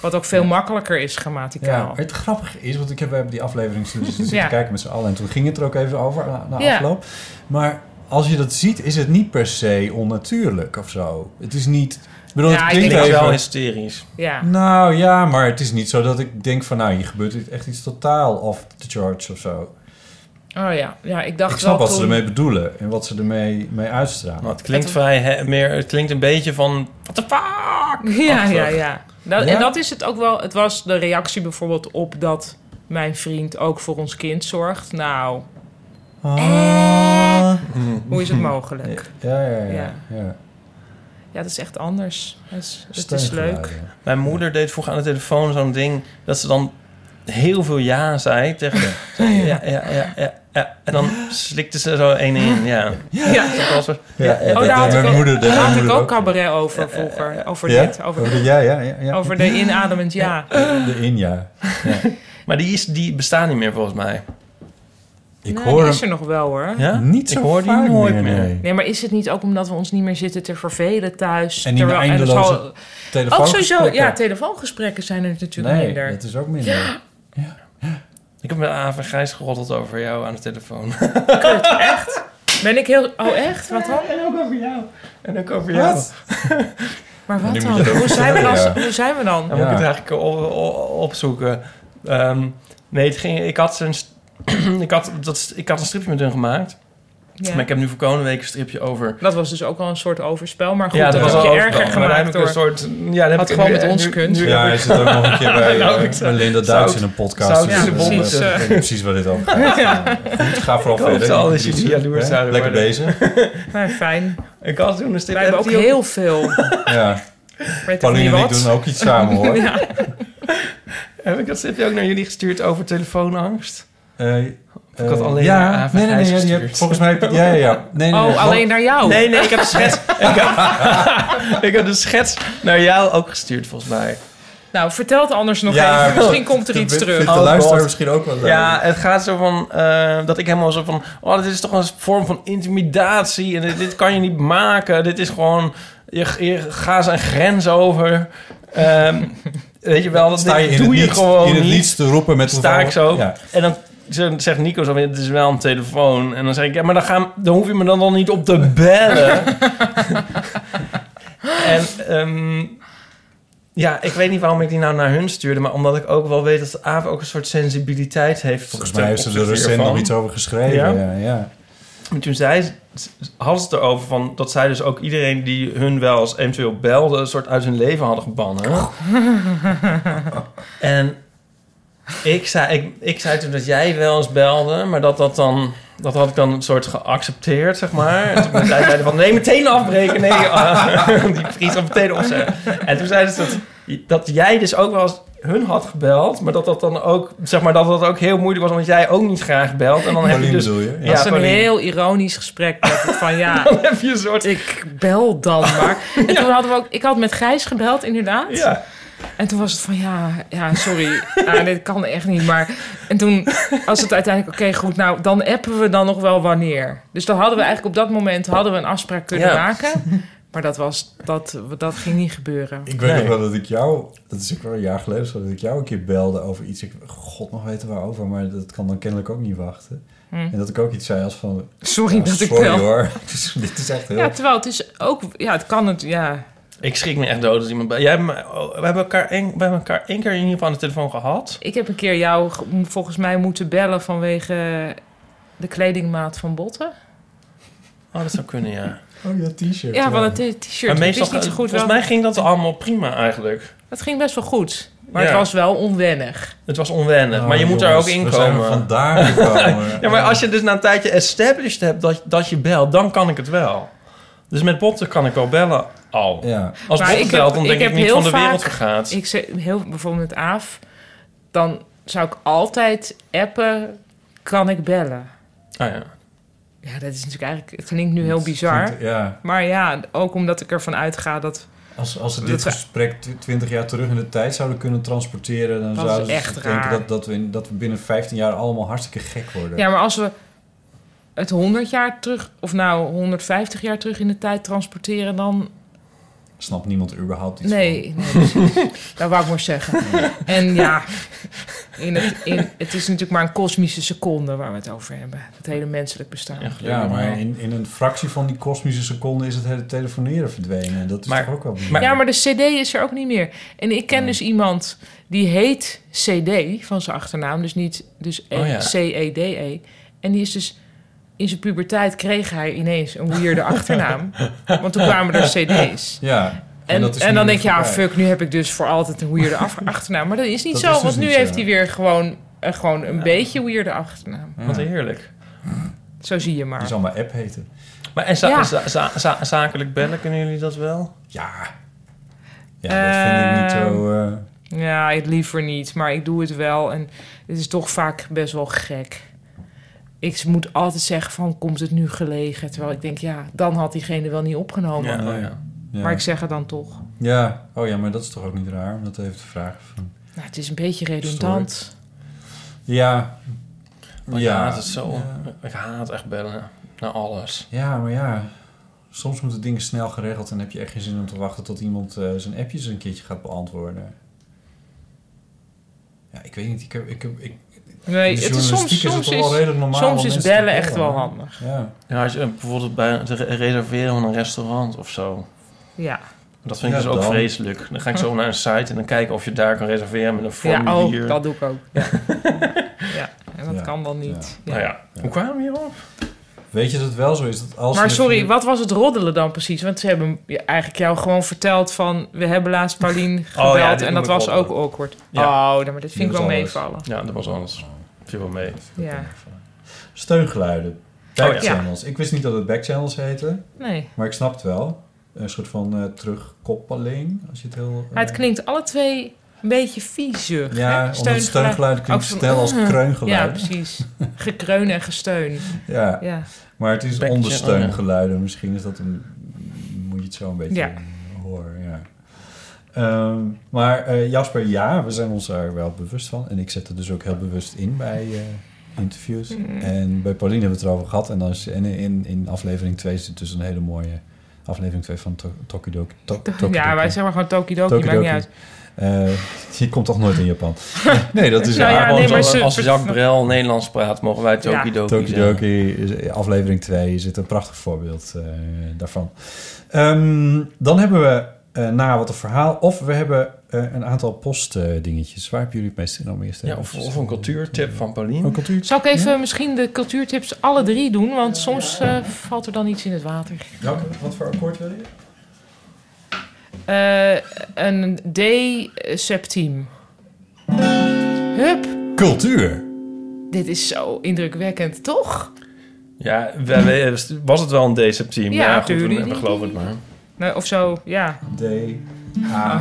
[SPEAKER 5] Wat ook veel makkelijker is
[SPEAKER 4] Ja,
[SPEAKER 5] grammaticaal.
[SPEAKER 4] maar het grappige is, want ik heb we hebben die aflevering zitten zitten
[SPEAKER 5] eh, Ja.
[SPEAKER 4] kijken met z'n allen. En toen ging het er ook even over na, na
[SPEAKER 5] Ja.
[SPEAKER 4] afloop. Maar als je dat ziet, is het niet per se onnatuurlijk of zo. Het is niet... Ik bedoel,
[SPEAKER 5] Ja,
[SPEAKER 4] het
[SPEAKER 5] ik
[SPEAKER 4] klinkt
[SPEAKER 5] denk
[SPEAKER 3] Het is wel
[SPEAKER 4] even...
[SPEAKER 3] hysterisch.
[SPEAKER 5] Ja.
[SPEAKER 4] Nou ja, maar het is niet zo dat ik denk van... Nou, hier gebeurt dit echt iets totaal off the charts of zo.
[SPEAKER 5] Oh ja. ja, ik dacht
[SPEAKER 4] ik snap
[SPEAKER 5] wel
[SPEAKER 4] wat ze
[SPEAKER 5] toen-
[SPEAKER 4] ermee bedoelen en wat ze ermee mee uitstralen.
[SPEAKER 3] Maar het klinkt vrij hè, meer... Het klinkt een beetje van... What the fuck?
[SPEAKER 5] Ja, ja,
[SPEAKER 3] Achtig.
[SPEAKER 5] ja. Dat,
[SPEAKER 4] Ja?
[SPEAKER 5] En dat is het ook wel. Het was de reactie bijvoorbeeld op dat mijn vriend ook voor ons kind zorgt. Nou,
[SPEAKER 4] Ah.
[SPEAKER 5] hoe is
[SPEAKER 4] [laughs]
[SPEAKER 5] het mogelijk?
[SPEAKER 4] Ja, ja, ja. ja.
[SPEAKER 5] Ja. Ja, dat is echt anders. Het is, het is
[SPEAKER 4] Steungeluiden.
[SPEAKER 5] leuk.
[SPEAKER 3] Mijn moeder deed vroeger aan de telefoon zo'n ding... dat ze dan heel veel ja zei tegen...
[SPEAKER 5] [laughs]
[SPEAKER 3] zei, Ja, ja, ja, ja, ja. En dan slikte ze zo één in, ja.
[SPEAKER 5] Ja.
[SPEAKER 3] Dat was wel-
[SPEAKER 4] Ja, ja,
[SPEAKER 5] Oh,
[SPEAKER 4] dat
[SPEAKER 5] daar had ik
[SPEAKER 4] deed mijn
[SPEAKER 5] ook,
[SPEAKER 4] moeder, dat
[SPEAKER 5] daar
[SPEAKER 4] deed
[SPEAKER 5] had
[SPEAKER 4] mijn
[SPEAKER 5] ik
[SPEAKER 4] moeder
[SPEAKER 5] ook cabaret over vroeger. Over
[SPEAKER 4] Ja?
[SPEAKER 5] dit. Over,
[SPEAKER 4] Over de- ja, ja, ja, ja.
[SPEAKER 5] over de inademend ja.
[SPEAKER 4] [laughs] De in, ja.
[SPEAKER 3] Maar die, is, die bestaan niet meer volgens mij.
[SPEAKER 4] Ik
[SPEAKER 5] Nou,
[SPEAKER 4] hoor
[SPEAKER 5] die
[SPEAKER 4] hem
[SPEAKER 5] is er nog wel hoor.
[SPEAKER 3] Ja?
[SPEAKER 4] niet zo
[SPEAKER 3] Ik hoor die
[SPEAKER 4] vaak
[SPEAKER 3] nooit
[SPEAKER 4] meer.
[SPEAKER 3] meer.
[SPEAKER 4] nee.
[SPEAKER 5] Nee, maar is het niet ook omdat we ons niet meer zitten te vervelen thuis?
[SPEAKER 4] En niet meer
[SPEAKER 5] en
[SPEAKER 4] eindeloze
[SPEAKER 5] zo- ook Oh, sowieso,
[SPEAKER 4] Telefoongesprekken.
[SPEAKER 5] ja, telefoongesprekken zijn er natuurlijk
[SPEAKER 4] nee,
[SPEAKER 5] minder.
[SPEAKER 4] dat is ook minder.
[SPEAKER 3] Ik heb met Aven Grijs geroddeld over jou aan de telefoon.
[SPEAKER 5] [gasps] Ben ik heel... Oh, echt? Wat dan?
[SPEAKER 3] En ook over jou. En ook over
[SPEAKER 4] Ja.
[SPEAKER 3] jou. [laughs]
[SPEAKER 5] Maar wat
[SPEAKER 4] Die
[SPEAKER 5] dan?
[SPEAKER 4] moet je er ook
[SPEAKER 5] Hoe zijn, we dan?
[SPEAKER 4] vertellen,
[SPEAKER 5] hoe zijn we dan?
[SPEAKER 3] Dan moet
[SPEAKER 4] Ja.
[SPEAKER 3] ik het eigenlijk o- o- opzoeken. Ehm, nee, het ging, ik, had een, st- [clears throat] ik, had, dat, st- ik had een stripje met hun gemaakt.
[SPEAKER 5] Ja.
[SPEAKER 3] Maar ik heb nu voor komende week een stripje over...
[SPEAKER 5] Dat was dus ook al een soort overspel. Maar goed,
[SPEAKER 3] ja,
[SPEAKER 5] dat was
[SPEAKER 3] al
[SPEAKER 5] je
[SPEAKER 3] overal.
[SPEAKER 5] erger
[SPEAKER 3] Maar daar
[SPEAKER 5] gemaakt
[SPEAKER 3] heb ik
[SPEAKER 5] door...
[SPEAKER 3] een soort... Ja, dat heb
[SPEAKER 5] Had
[SPEAKER 3] ik
[SPEAKER 5] gewoon
[SPEAKER 3] nu-
[SPEAKER 5] met ons
[SPEAKER 3] nu-
[SPEAKER 5] kunst.
[SPEAKER 3] nu-
[SPEAKER 4] Ja, hij zit ook nog
[SPEAKER 5] [laughs]
[SPEAKER 4] een keer bij,
[SPEAKER 3] Nou,
[SPEAKER 4] eh,
[SPEAKER 3] ik
[SPEAKER 4] bij Linda Duits in een podcast.
[SPEAKER 3] zout
[SPEAKER 5] in de
[SPEAKER 4] eh,
[SPEAKER 5] boel, dus,
[SPEAKER 4] dat- dat-
[SPEAKER 5] eh.
[SPEAKER 4] ik weet precies waar dit over gaat.
[SPEAKER 5] [laughs]
[SPEAKER 4] Goed, ga vooral
[SPEAKER 3] hoop
[SPEAKER 4] verder.
[SPEAKER 3] dat al die jullie jaloers
[SPEAKER 4] Hè?
[SPEAKER 3] zouden
[SPEAKER 4] Lekker
[SPEAKER 3] worden. [laughs]
[SPEAKER 4] bezig.
[SPEAKER 5] Nou, fijn.
[SPEAKER 3] Ik had toen een
[SPEAKER 5] Wij
[SPEAKER 3] stripje...
[SPEAKER 5] hebben ook
[SPEAKER 3] heb ik die
[SPEAKER 5] heel [laughs] veel.
[SPEAKER 4] Ja.
[SPEAKER 5] Weet ik niet
[SPEAKER 4] Pauline en ik
[SPEAKER 5] wat.
[SPEAKER 4] doen ook iets samen,
[SPEAKER 5] [laughs]
[SPEAKER 4] hoor.
[SPEAKER 5] Ja.
[SPEAKER 3] [laughs] Heb ik dat stripje ook naar jullie gestuurd over telefoonangst?
[SPEAKER 4] Eh,
[SPEAKER 3] Ik had
[SPEAKER 4] eh,
[SPEAKER 3] alleen maar
[SPEAKER 4] ja,
[SPEAKER 3] Aaf en
[SPEAKER 4] nee, nee, nee,
[SPEAKER 3] Gijs
[SPEAKER 4] ja, die
[SPEAKER 3] gestuurd.
[SPEAKER 4] heb, volgens mij heb je- ja, ja, ja. Nee, nee,
[SPEAKER 5] Oh,
[SPEAKER 4] nee,
[SPEAKER 5] alleen naar jou?
[SPEAKER 3] Nee, nee, ik heb een schets... ik, heb, [laughs] ik heb de schets naar jou ook gestuurd, volgens mij.
[SPEAKER 5] [laughs] Nou, vertel het anders nog
[SPEAKER 4] Ja, [laughs]
[SPEAKER 5] even. Misschien komt er
[SPEAKER 4] dat
[SPEAKER 5] iets [laughs]
[SPEAKER 4] vindt
[SPEAKER 5] terug.
[SPEAKER 4] De
[SPEAKER 3] Oh,
[SPEAKER 4] luisteraar
[SPEAKER 3] God.
[SPEAKER 4] misschien ook wel leuk.
[SPEAKER 3] Ja, het gaat zo van eh, dat ik helemaal zo van, oh, dit is toch een vorm van intimidatie en dit, dit kan je niet maken. Dit is gewoon, je, je gaat zijn grens over. Ehm, weet je wel, dat
[SPEAKER 4] sta je
[SPEAKER 3] dit
[SPEAKER 4] in
[SPEAKER 3] doe
[SPEAKER 4] het
[SPEAKER 3] je
[SPEAKER 4] niets,
[SPEAKER 3] gewoon
[SPEAKER 4] in het
[SPEAKER 3] niet.
[SPEAKER 4] niets te roepen met
[SPEAKER 3] Sta
[SPEAKER 4] een-
[SPEAKER 3] ik zo.
[SPEAKER 4] Ja.
[SPEAKER 3] En dan z- zegt Nico zo, van, het is wel een telefoon. En dan zeg ik, ja, maar dan, ga, dan hoef je me dan, dan niet op te bellen. en ehm, ja, ik weet niet waarom ik die nou naar hun stuurde. Maar omdat ik ook wel weet dat Aaf ook een soort sensibiliteit heeft.
[SPEAKER 4] Volgens
[SPEAKER 3] ten
[SPEAKER 4] mij heeft ze er
[SPEAKER 3] opzichte
[SPEAKER 4] recent
[SPEAKER 3] hiervan.
[SPEAKER 4] nog iets over geschreven. Ja,
[SPEAKER 3] Ja?
[SPEAKER 4] ja.
[SPEAKER 3] En toen zei ze- had ze het erover van dat zij dus ook iedereen die hun wel eens eventueel belde, een soort uit hun leven hadden gebannen. en ik zei, ik, ik zei toen dat jij wel eens belde, maar dat dat dan. Dat had ik dan een soort geaccepteerd, zeg maar. En toen zei zij van, nee, meteen afbreken. Nee, [laughs] ah, die vries dan meteen opzeggen. En toen zeiden ze dat, dat jij dus ook wel eens hun had gebeld... maar dat dat dan ook, zeg maar, dat dat ook heel moeilijk was... omdat jij ook niet graag belt. En dan heb je
[SPEAKER 4] Pauline
[SPEAKER 3] dus
[SPEAKER 4] bedoel je?
[SPEAKER 3] Ja,
[SPEAKER 5] dat is een
[SPEAKER 3] Pauline.
[SPEAKER 5] heel [laughs] ironisch gesprek. met het Van
[SPEAKER 4] [laughs]
[SPEAKER 5] ja,
[SPEAKER 3] Dan heb je een soort...
[SPEAKER 5] ik bel dan maar. En toen hadden we ook... Ik had met Gijs gebeld, inderdaad.
[SPEAKER 3] Ja.
[SPEAKER 5] En toen was het van, ja, ja sorry, [laughs] ja, dit kan echt niet. Maar en toen was het uiteindelijk, oké, goed, nou, dan appen we dan nog wel wanneer. Dus dan hadden we eigenlijk op dat moment hadden we een afspraak kunnen
[SPEAKER 3] Ja.
[SPEAKER 5] maken. Maar dat, was, dat, dat ging niet gebeuren.
[SPEAKER 4] Ik weet
[SPEAKER 3] Nee.
[SPEAKER 4] nog wel dat ik jou, dat is ook wel een jaar geleden, of zo, dat ik jou een keer belde over iets. Ik god nog weten waarover, maar dat kan dan kennelijk ook niet wachten. En dat ik ook iets zei als van,
[SPEAKER 5] Hm. Sorry
[SPEAKER 4] ja,
[SPEAKER 5] dat ik
[SPEAKER 4] sorry
[SPEAKER 5] wel.
[SPEAKER 4] hoor, [laughs] Dus dit is echt heel...
[SPEAKER 5] Ja, terwijl het is ook... Ja, het kan het... Ja,
[SPEAKER 3] Ik schrik me echt dood als iemand bij... Jij hebt me- oh, we, hebben elkaar één, we hebben elkaar één keer in ieder geval aan de telefoon gehad.
[SPEAKER 5] ik heb een keer jou ge- m- volgens mij moeten bellen vanwege de kledingmaat van Botten.
[SPEAKER 3] Oh, dat zou kunnen, ja.
[SPEAKER 4] Oh ja, t-shirt.
[SPEAKER 5] Ja, van het t- t-shirt. Ik wist niet zo goed wel.
[SPEAKER 3] volgens mij ging dat allemaal prima eigenlijk.
[SPEAKER 5] Het ging best wel goed. Maar het
[SPEAKER 3] Ja.
[SPEAKER 5] was wel onwennig.
[SPEAKER 3] Het was onwennig,
[SPEAKER 4] Oh,
[SPEAKER 3] maar je moet daar ook
[SPEAKER 4] jongens,
[SPEAKER 3] in
[SPEAKER 4] we zijn er
[SPEAKER 3] komen.
[SPEAKER 4] vandaar gekomen.
[SPEAKER 3] [laughs] Ja, maar als je dus na een tijdje established hebt dat, dat je belt, dan kan ik het wel. Dus met botten kan ik wel bellen al.
[SPEAKER 4] Ja,
[SPEAKER 3] Als
[SPEAKER 5] Maar
[SPEAKER 3] botten
[SPEAKER 5] ik heb-
[SPEAKER 3] belt, dan
[SPEAKER 5] ik
[SPEAKER 3] denk ik,
[SPEAKER 5] heb
[SPEAKER 3] niet
[SPEAKER 5] heel
[SPEAKER 3] van de wereld
[SPEAKER 5] vaak-
[SPEAKER 3] vergaat.
[SPEAKER 5] Ik zeg heel bijvoorbeeld met Aaf, dan zou ik altijd appen, kan ik bellen?
[SPEAKER 3] Ah, ja.
[SPEAKER 5] Ja, dat is natuurlijk eigenlijk, het klinkt nu heel bizar.
[SPEAKER 4] ja.
[SPEAKER 5] Maar ja, ook omdat ik ervan uitga dat
[SPEAKER 4] Als, als ze
[SPEAKER 5] Dat
[SPEAKER 4] dit
[SPEAKER 5] we-
[SPEAKER 4] gesprek tw- 20 jaar terug in de tijd zouden kunnen transporteren... dan
[SPEAKER 5] Dat
[SPEAKER 4] zouden
[SPEAKER 5] is
[SPEAKER 4] ze
[SPEAKER 5] echt
[SPEAKER 4] denken
[SPEAKER 5] raar.
[SPEAKER 4] Dat, dat, we in, dat we binnen 15 jaar allemaal hartstikke gek worden.
[SPEAKER 5] Ja, maar als we het 100 jaar terug, of nou 150 jaar terug in de tijd transporteren, dan.
[SPEAKER 4] Snapt niemand er überhaupt iets van.
[SPEAKER 5] Nee, nee precies. [laughs] dat wou ik maar zeggen. En ja, in het, in, het is natuurlijk maar een kosmische seconde waar we het over hebben. Het hele menselijk bestaan.
[SPEAKER 4] Ja, maar in, in een fractie van die kosmische seconde is het hele telefoneren verdwenen. Dat is
[SPEAKER 3] Maar-
[SPEAKER 4] toch ook wel
[SPEAKER 3] maar-
[SPEAKER 5] Ja, maar de CD is er ook niet meer. En ik ken dus iemand die heet CD van zijn achternaam, dus niet dus
[SPEAKER 3] Oh ja.
[SPEAKER 5] C-E-D-E. En die is dus in zijn puberteit kreeg hij ineens een weirde achternaam, want toen kwamen er CD's.
[SPEAKER 4] [laughs] Ja.
[SPEAKER 5] En, en,
[SPEAKER 4] dat is nu
[SPEAKER 5] dan
[SPEAKER 4] weer
[SPEAKER 5] denk je, ja,
[SPEAKER 4] voorbij.
[SPEAKER 5] fuck, nu heb ik dus voor altijd een weirde
[SPEAKER 4] [laughs]
[SPEAKER 5] af- achternaam. Maar dat is niet
[SPEAKER 4] Dat
[SPEAKER 5] zo,
[SPEAKER 4] is dus
[SPEAKER 5] want nu
[SPEAKER 4] niet zo.
[SPEAKER 5] heeft hij weer gewoon, eh, gewoon een beetje weirde achternaam.
[SPEAKER 3] Wat heerlijk.
[SPEAKER 5] Zo zie je
[SPEAKER 4] Die
[SPEAKER 5] maar.
[SPEAKER 4] zal maar app heten.
[SPEAKER 3] Maar en za-
[SPEAKER 5] Ja.
[SPEAKER 3] za- za- za- zakelijk bellen, kunnen jullie dat wel?
[SPEAKER 4] Ja. Ja, dat vind ik niet zo... eh,
[SPEAKER 5] Ehm, Ja, ik liever niet, maar ik doe het wel. En het is toch vaak best wel gek. Ik moet altijd zeggen van, komt het nu gelegen? Terwijl ik denk, ja, dan had diegene wel niet opgenomen.
[SPEAKER 3] Ja, oh
[SPEAKER 4] nee.
[SPEAKER 3] ja.
[SPEAKER 4] ja.
[SPEAKER 5] Maar ik zeg het dan toch.
[SPEAKER 4] ja. Oh ja, maar dat is toch ook niet raar? Want dat heeft de vraag van...
[SPEAKER 5] Nou, het is een beetje redundant.
[SPEAKER 4] Ja.
[SPEAKER 3] Maar ik haat het zo. Ik haat echt bellen. Naar alles.
[SPEAKER 4] Ja, maar ja. Soms moeten dingen snel geregeld en heb je echt geen zin om te wachten tot iemand eh, zijn appjes een keertje gaat beantwoorden. Ja, ik weet niet. Ik heb, ik heb, ik,
[SPEAKER 5] Nee,
[SPEAKER 4] in de
[SPEAKER 5] het is
[SPEAKER 4] journalistiek
[SPEAKER 5] soms,
[SPEAKER 4] is het
[SPEAKER 5] soms,
[SPEAKER 4] toch wel redelijk
[SPEAKER 5] is,
[SPEAKER 4] normaal
[SPEAKER 5] soms
[SPEAKER 4] om
[SPEAKER 5] is
[SPEAKER 4] mensen te
[SPEAKER 5] bellen echt
[SPEAKER 4] bellen,
[SPEAKER 5] wel
[SPEAKER 4] hè?
[SPEAKER 5] handig.
[SPEAKER 4] ja.
[SPEAKER 3] Ja, als je eh, bijvoorbeeld bij het re- reserveren van een restaurant of zo.
[SPEAKER 5] Ja.
[SPEAKER 3] Dat vind ik
[SPEAKER 4] Ja,
[SPEAKER 3] dus ook
[SPEAKER 4] dan.
[SPEAKER 3] vreselijk. Dan ga ik zo naar een site en dan kijken of je daar kan reserveren met een
[SPEAKER 5] Ja, oh,
[SPEAKER 3] formulier.
[SPEAKER 5] dat doe ik ook.
[SPEAKER 4] [laughs]
[SPEAKER 5] Ja, ja en dat
[SPEAKER 4] Ja,
[SPEAKER 5] kan dan niet. Ja.
[SPEAKER 3] Nou ja, hoe kwamen we hierop?
[SPEAKER 4] Weet je dat het wel zo is? Dat als
[SPEAKER 5] Maar
[SPEAKER 4] je-
[SPEAKER 5] sorry, wat was het roddelen dan precies? Want ze hebben je- eigenlijk jou gewoon verteld van... we hebben laatst
[SPEAKER 4] [laughs] Oh
[SPEAKER 5] Paulien gebeld
[SPEAKER 3] ja, dit
[SPEAKER 5] en
[SPEAKER 3] moet
[SPEAKER 5] dat
[SPEAKER 3] ik
[SPEAKER 5] was
[SPEAKER 3] roddelen.
[SPEAKER 5] ook awkward.
[SPEAKER 3] Ja.
[SPEAKER 5] Oh, nou, maar dit vind ik
[SPEAKER 4] Dat
[SPEAKER 5] wel
[SPEAKER 4] is alles.
[SPEAKER 5] meevallen.
[SPEAKER 3] Ja, dat was alles. Viel wel mee.
[SPEAKER 5] Ja,
[SPEAKER 4] Steungeluiden.
[SPEAKER 3] ja.
[SPEAKER 4] Backchannels. Ik wist niet dat het backchannels heette,
[SPEAKER 5] Oh, nee.
[SPEAKER 4] maar ik snap het wel. Een soort van eh, terugkoppeling, als je het heel... eh,
[SPEAKER 5] Maar het klinkt alle twee een beetje viezig.
[SPEAKER 4] Ja,
[SPEAKER 5] hè?
[SPEAKER 4] omdat het steungeluid klinkt
[SPEAKER 5] Ook van-
[SPEAKER 4] snel als
[SPEAKER 5] [laughs] Ja,
[SPEAKER 4] kreungeluid.
[SPEAKER 5] precies. Gekreun en gesteun.
[SPEAKER 4] ja.
[SPEAKER 5] Ja.
[SPEAKER 4] Maar het is
[SPEAKER 3] Backchannel,
[SPEAKER 4] ondersteungeluiden. Misschien is dat een... Moet je het zo een beetje
[SPEAKER 5] Ja.
[SPEAKER 4] horen, ja. Ehm, maar eh, Jasper, ja, we zijn ons daar wel bewust van. En ik zet er dus ook heel bewust in bij eh, interviews.
[SPEAKER 5] Mm.
[SPEAKER 4] En bij Pauline hebben we het erover gehad. En, dan is, en in, in aflevering 2 zit dus een hele mooie... Aflevering 2 van To- Tokidoki. To-
[SPEAKER 5] ja,
[SPEAKER 4] Tokidoki.
[SPEAKER 5] wij zeggen maar gewoon Tokidoki, maakt
[SPEAKER 4] Tokidoki.
[SPEAKER 5] niet uit.
[SPEAKER 4] Eh, je komt toch nooit in Japan? nee, dat is
[SPEAKER 5] Nou ja,
[SPEAKER 4] waar.
[SPEAKER 3] Gewoon
[SPEAKER 5] nee, maar
[SPEAKER 3] zo-
[SPEAKER 5] ze-
[SPEAKER 3] als Jacques Brel Nederlands praat, mogen wij Tokidoki
[SPEAKER 4] Tokidoki,
[SPEAKER 3] zeggen.
[SPEAKER 4] is- eh, aflevering 2 zit een prachtig voorbeeld eh, daarvan. Ehm, dan hebben we eh, na wat een verhaal, of we hebben eh, een aantal postdingetjes. Waar hebben jullie het meest in om eerst
[SPEAKER 3] Ja,
[SPEAKER 4] even-
[SPEAKER 3] of, of een cultuurtip van Paulien.
[SPEAKER 4] Een cultuur?
[SPEAKER 5] Zal ik even misschien de cultuurtips alle drie doen? Want soms eh, valt er dan iets in het water.
[SPEAKER 4] Welke, wat voor akkoord wil je?
[SPEAKER 5] Eh, een D-septiem. Hup,
[SPEAKER 4] Cultuur.
[SPEAKER 5] dit is zo indrukwekkend, toch?
[SPEAKER 3] Ja, we- we- was het wel een deceptiem?
[SPEAKER 5] Ja,
[SPEAKER 3] Ja, goed, we,
[SPEAKER 5] tuurlijk.
[SPEAKER 3] we geloven het maar.
[SPEAKER 5] Nou, of zo, ja. Oh.
[SPEAKER 4] D. A.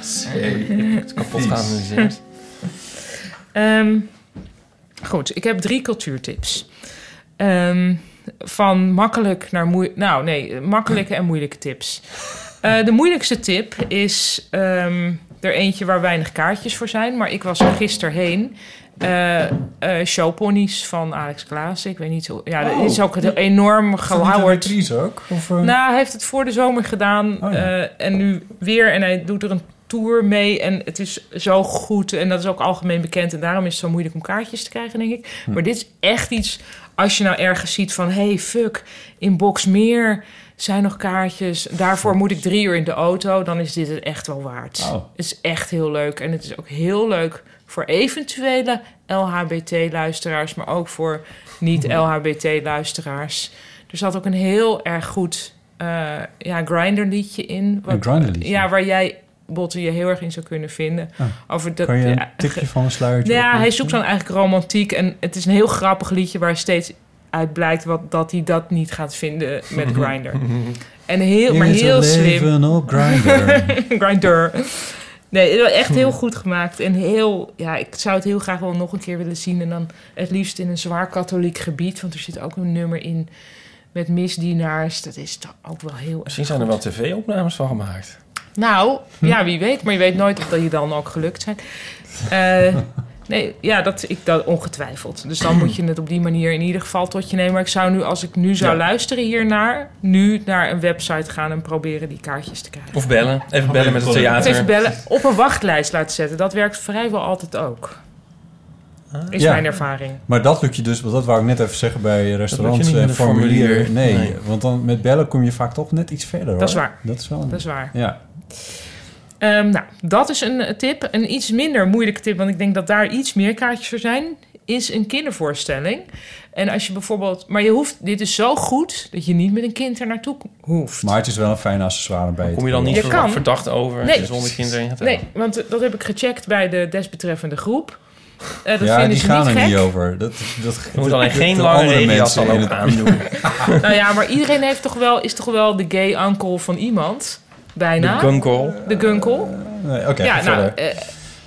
[SPEAKER 4] C.
[SPEAKER 3] Het is kapot geanalyseerd.
[SPEAKER 5] Ehm, goed, ik heb drie cultuurtips. Ehm, van makkelijk naar moeilijk. Nou, nee, makkelijke en moeilijke tips. Eh, de moeilijkste tip is ehm, er eentje waar weinig kaartjes voor zijn. Maar ik was er gisteren heen. Eh, eh, showponies van Alex Klaas. Ik weet niet hoe... Ja,
[SPEAKER 4] Oh,
[SPEAKER 5] dat is ook een enorm gelauwerd.
[SPEAKER 4] Tries ook? Of, eh,
[SPEAKER 5] Nou, hij heeft het voor de zomer gedaan
[SPEAKER 4] Oh ja.
[SPEAKER 5] eh, en nu weer. En hij doet er een tour mee en het is zo goed. En dat is ook algemeen bekend. En daarom is het zo moeilijk om kaartjes te krijgen, denk ik.
[SPEAKER 4] Hm.
[SPEAKER 5] Maar dit is echt iets, als je nou ergens ziet van... hey, fuck, in Boxmeer zijn nog kaartjes. Daarvoor moet ik drie uur in de auto. Dan is dit het echt wel waard.
[SPEAKER 4] Oh.
[SPEAKER 5] Het is echt heel leuk. En het is ook heel leuk voor eventuele LHBT-luisteraars... maar ook voor niet-LHBT-luisteraars. Er zat ook een heel erg goed eh ja, Grindr-liedje in.
[SPEAKER 4] Een Grindr-liedje?
[SPEAKER 5] Ja, waar jij, Botte, je heel erg in zou kunnen vinden. Over de,
[SPEAKER 4] Ah. kan je
[SPEAKER 5] ja,
[SPEAKER 4] een tipje van een sluiertje
[SPEAKER 5] nou ja,
[SPEAKER 4] opdoen?
[SPEAKER 5] hij zoekt dan eigenlijk romantiek. En het is een heel grappig liedje waar steeds uit blijkt wat, dat hij dat niet gaat vinden
[SPEAKER 4] [laughs]
[SPEAKER 5] met Grindr. En heel, maar
[SPEAKER 4] Hier is
[SPEAKER 5] heel
[SPEAKER 4] het
[SPEAKER 5] slim.
[SPEAKER 4] leven op Grindr.
[SPEAKER 5] [laughs] Grindr. Nee, wel echt
[SPEAKER 4] [laughs]
[SPEAKER 5] heel goed gemaakt. En heel, ja, ik zou het heel graag wel nog een keer willen zien. En dan het liefst in een zwaar katholiek gebied. Want er zit ook een nummer in met misdienaars. Dat is toch ook wel heel erg.
[SPEAKER 3] Misschien zijn er wel tv-opnames van gemaakt.
[SPEAKER 5] Nou,
[SPEAKER 3] Hm?
[SPEAKER 5] ja, wie weet. Maar je weet nooit of dat je dan ook gelukt zijn. Eh, nee, ja, dat, ik, dat ongetwijfeld. Dus dan moet je het op die manier in ieder geval tot je nemen. Maar ik zou nu, als ik nu zou
[SPEAKER 3] Ja.
[SPEAKER 5] luisteren hiernaar... nu naar een website gaan en proberen die kaartjes te krijgen.
[SPEAKER 3] Of bellen. Even bellen met het
[SPEAKER 5] Of even
[SPEAKER 3] theater.
[SPEAKER 5] bellen, op een wachtlijst laten zetten. Dat werkt vrijwel altijd ook.
[SPEAKER 3] Ah.
[SPEAKER 5] Is
[SPEAKER 4] Ja.
[SPEAKER 5] mijn ervaring.
[SPEAKER 4] Maar dat lukt je dus, want dat wou ik net even zeggen bij
[SPEAKER 3] lukt
[SPEAKER 4] restaurants
[SPEAKER 3] je niet
[SPEAKER 4] en
[SPEAKER 3] met een
[SPEAKER 4] formulier.
[SPEAKER 3] formulier.
[SPEAKER 4] Nee,
[SPEAKER 3] Nee.
[SPEAKER 4] want dan met bellen kom je vaak toch net iets verder.
[SPEAKER 5] Dat is
[SPEAKER 4] hoor.
[SPEAKER 5] waar.
[SPEAKER 4] Dat is wel. Een...
[SPEAKER 5] Dat is waar.
[SPEAKER 4] Ja.
[SPEAKER 5] Ehm, nou, dat is een eh, tip. Een iets minder moeilijke tip, want ik denk dat daar iets meer kaartjes voor zijn, is een kindervoorstelling. En als je bijvoorbeeld, maar je hoeft, dit is zo goed dat je niet met een kind er naartoe hoeft.
[SPEAKER 4] Maar het is wel een fijn accessoire bij. het
[SPEAKER 3] Kom je dan niet
[SPEAKER 5] Je
[SPEAKER 3] ver-
[SPEAKER 5] kan.
[SPEAKER 3] verdacht over
[SPEAKER 5] Nee.
[SPEAKER 3] zonder kinderen in het
[SPEAKER 5] nee, want eh, dat heb ik gecheckt bij de desbetreffende groep. Eh, dat
[SPEAKER 4] ja,
[SPEAKER 5] vinden
[SPEAKER 4] die
[SPEAKER 5] ze
[SPEAKER 4] gaan
[SPEAKER 5] niet
[SPEAKER 4] er
[SPEAKER 5] gek.
[SPEAKER 4] niet over. Dat, dat,
[SPEAKER 3] Je moet alleen geen
[SPEAKER 4] de
[SPEAKER 3] lange
[SPEAKER 4] andere
[SPEAKER 3] regenjas
[SPEAKER 4] mensen
[SPEAKER 3] dan
[SPEAKER 4] in
[SPEAKER 3] ook
[SPEAKER 5] [laughs]
[SPEAKER 4] het-
[SPEAKER 3] aandoen.
[SPEAKER 5] Nou ja, maar iedereen heeft toch wel, is toch wel de gay uncle van iemand, bijna.
[SPEAKER 3] De gunkel.
[SPEAKER 5] de gunkel.
[SPEAKER 4] Nee, Oké,
[SPEAKER 5] Ja,
[SPEAKER 4] ga verder.
[SPEAKER 5] nou,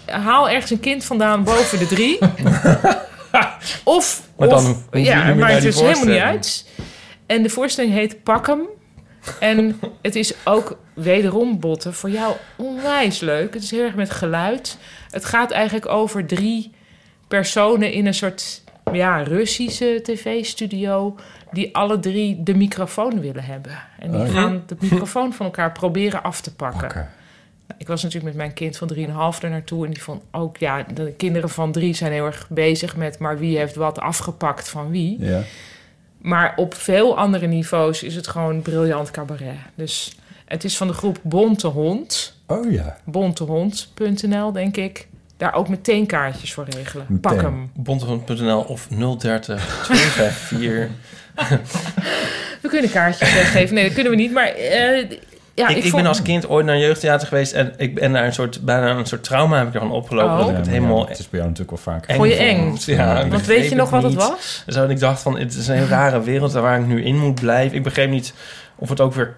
[SPEAKER 5] eh, haal ergens een kind vandaan boven de
[SPEAKER 3] [laughs]
[SPEAKER 5] drie. of,
[SPEAKER 3] Maar
[SPEAKER 5] of-
[SPEAKER 3] dan hoef je niet
[SPEAKER 5] ja, maar
[SPEAKER 3] meer naar
[SPEAKER 5] het
[SPEAKER 3] die
[SPEAKER 5] is helemaal niet
[SPEAKER 3] voorstelling.
[SPEAKER 5] uit. En de voorstelling heet Pak hem.
[SPEAKER 3] [laughs]
[SPEAKER 5] En het is ook wederom botten voor jou onwijs leuk. Het is heel erg met geluid. Het gaat eigenlijk over drie personen in een soort ja, Russische tv-studio die alle drie de microfoon willen hebben. En die
[SPEAKER 4] Oh ja.
[SPEAKER 5] gaan de microfoon van elkaar proberen af te pakken.
[SPEAKER 4] Oké.
[SPEAKER 5] Ik was natuurlijk met mijn kind van 3,5 er naartoe. En die vond ook, ja, de kinderen van drie zijn heel erg bezig met. Maar wie heeft wat afgepakt van wie?
[SPEAKER 4] Ja.
[SPEAKER 5] Maar op veel andere niveaus is het gewoon briljant cabaret. Dus het is van de groep Bonte Hond.
[SPEAKER 4] Oh ja.
[SPEAKER 5] Bontehond.nl, denk ik. Daar ook meteen kaartjes voor regelen. Pak
[SPEAKER 4] Meteen.
[SPEAKER 5] hem.
[SPEAKER 3] Bontegrond.nl of 030 254.
[SPEAKER 5] We kunnen kaartjes weggeven. Nee, dat kunnen we niet. Maar eh, [laughs] ja, ik,
[SPEAKER 3] ik, ik
[SPEAKER 5] vond-
[SPEAKER 3] ben als kind ooit naar een jeugdtheater geweest en ik ben daar een soort, bijna een soort trauma heb ik ervan opgelopen.
[SPEAKER 5] Oh.
[SPEAKER 3] Dat
[SPEAKER 4] Ja,
[SPEAKER 3] ik het
[SPEAKER 4] maar
[SPEAKER 3] helemaal
[SPEAKER 4] ja, het is bij jou natuurlijk wel vaak.
[SPEAKER 3] eng
[SPEAKER 5] Vond je eng?
[SPEAKER 3] Ja,
[SPEAKER 5] Want
[SPEAKER 3] ik
[SPEAKER 5] weet
[SPEAKER 3] begreep
[SPEAKER 5] je nog wat het
[SPEAKER 3] niet.
[SPEAKER 5] was?
[SPEAKER 3] Zo, en ik dacht van, het is een heel rare wereld waar ik nu in moet blijven. Ik begreep niet of het ook weer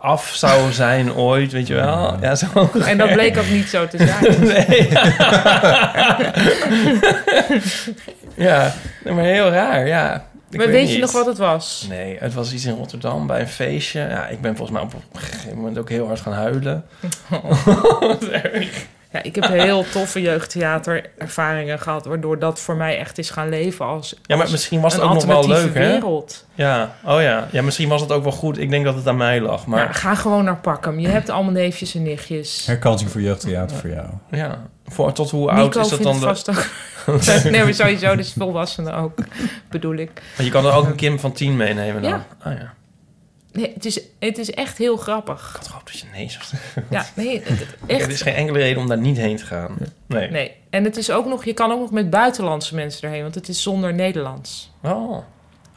[SPEAKER 3] af zou zijn ooit, weet je wel. Ja, zo.
[SPEAKER 5] En dat bleek ook niet zo te zijn. [laughs]
[SPEAKER 3] [laughs] Nee. [laughs] ja, nee, maar heel raar, ja. Ik
[SPEAKER 5] maar weet
[SPEAKER 3] weet
[SPEAKER 5] je
[SPEAKER 3] niet.
[SPEAKER 5] nog wat het was?
[SPEAKER 3] Nee, het was iets in Rotterdam bij een feestje. Ja, ik ben volgens mij op een gegeven moment ook heel hard gaan
[SPEAKER 5] [laughs]
[SPEAKER 3] huilen.
[SPEAKER 5] Ja, ik heb heel toffe jeugdtheaterervaringen gehad, waardoor dat voor mij echt is gaan leven als,
[SPEAKER 3] Ja, maar misschien was
[SPEAKER 5] een
[SPEAKER 3] het ook nog wel
[SPEAKER 5] alternatieve
[SPEAKER 3] leuk, hè?
[SPEAKER 5] wereld.
[SPEAKER 3] Ja, oh ja. Ja, misschien was het ook wel goed. Ik denk dat het aan mij lag,
[SPEAKER 5] Maar
[SPEAKER 3] maar
[SPEAKER 5] Nou, ga gewoon naar Pakkem. Je hebt allemaal neefjes en nichtjes.
[SPEAKER 4] Herkansing voor jeugdtheater voor jou.
[SPEAKER 3] ja. Voor, tot hoe oud
[SPEAKER 5] Nico
[SPEAKER 3] is dat
[SPEAKER 5] vindt
[SPEAKER 3] dan?
[SPEAKER 5] het
[SPEAKER 3] de-
[SPEAKER 5] vast ook.
[SPEAKER 3] [laughs]
[SPEAKER 5] nee, maar sowieso, dus volwassenen ook, bedoel ik.
[SPEAKER 3] Maar je kan er ook een Kim van 10 meenemen dan.
[SPEAKER 5] Ja.
[SPEAKER 3] Oh ja.
[SPEAKER 5] Nee, het, is, het is echt heel grappig.
[SPEAKER 3] Wat hoop dat je nee zou zeggen.
[SPEAKER 5] Ja, nee, het- het-
[SPEAKER 3] Er is
[SPEAKER 5] echt.
[SPEAKER 3] geen enkele reden om daar niet heen te gaan. Nee.
[SPEAKER 5] Nee. En het is ook nog, je kan ook nog met buitenlandse mensen erheen, want het is zonder Nederlands.
[SPEAKER 3] Oh.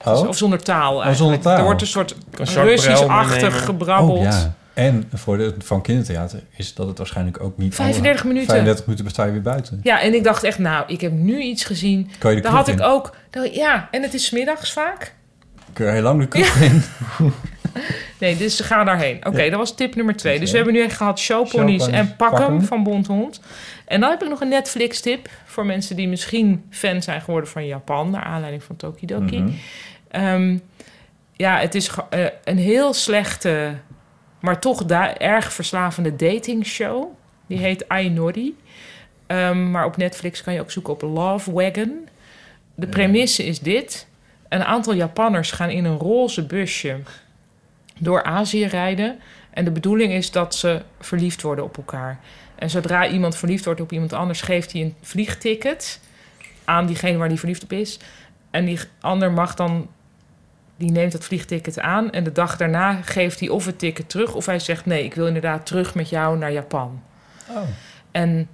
[SPEAKER 4] Oh,
[SPEAKER 5] Of zonder taal eigenlijk.
[SPEAKER 4] taal.
[SPEAKER 5] Er wordt een soort
[SPEAKER 3] kan Jacques Brel
[SPEAKER 5] Russisch-achtig
[SPEAKER 3] meenemen.
[SPEAKER 5] gebrabbeld.
[SPEAKER 4] Oh, ja. En voor de, van kindertheater is dat het waarschijnlijk ook niet...
[SPEAKER 5] 35 minuten.
[SPEAKER 4] 35 minuten besta je weer buiten.
[SPEAKER 5] Ja, en ik dacht echt, nou, ik heb nu iets gezien.
[SPEAKER 4] Kan je de
[SPEAKER 5] Daar
[SPEAKER 4] kroeg
[SPEAKER 5] had ik
[SPEAKER 4] in?
[SPEAKER 5] ook. daar- ja, en het is 's middags vaak.
[SPEAKER 4] Kun je eh, heel lang de kroeg in.
[SPEAKER 5] Nee, dus ze gaan daarheen. Oké, dat was tip nummer twee. Dus we hebben nu echt gehad showponies
[SPEAKER 4] Showponies,
[SPEAKER 5] en pakken
[SPEAKER 4] Pak'em.
[SPEAKER 5] van Bonte Hond. En dan heb ik nog een Netflix tip voor mensen die misschien fan zijn geworden van Japan, naar aanleiding van Tokidoki. Ehm, ja, het is ge- eh, een heel slechte, maar toch da- erg verslavende datingshow. Die heet Ainori. Ehm, maar op Netflix kan je ook zoeken op Love Wagon. De premisse is dit. Een aantal Japanners gaan in een roze busje door Azië rijden. En de bedoeling is dat ze verliefd worden op elkaar. En zodra iemand verliefd wordt op iemand anders, geeft hij een vliegticket aan diegene waar hij verliefd op is. En die ander mag dan, die neemt dat vliegticket aan. En de dag daarna geeft hij of het ticket terug, of hij zegt: Nee, ik wil inderdaad terug met jou naar Japan.
[SPEAKER 4] Oh.
[SPEAKER 5] En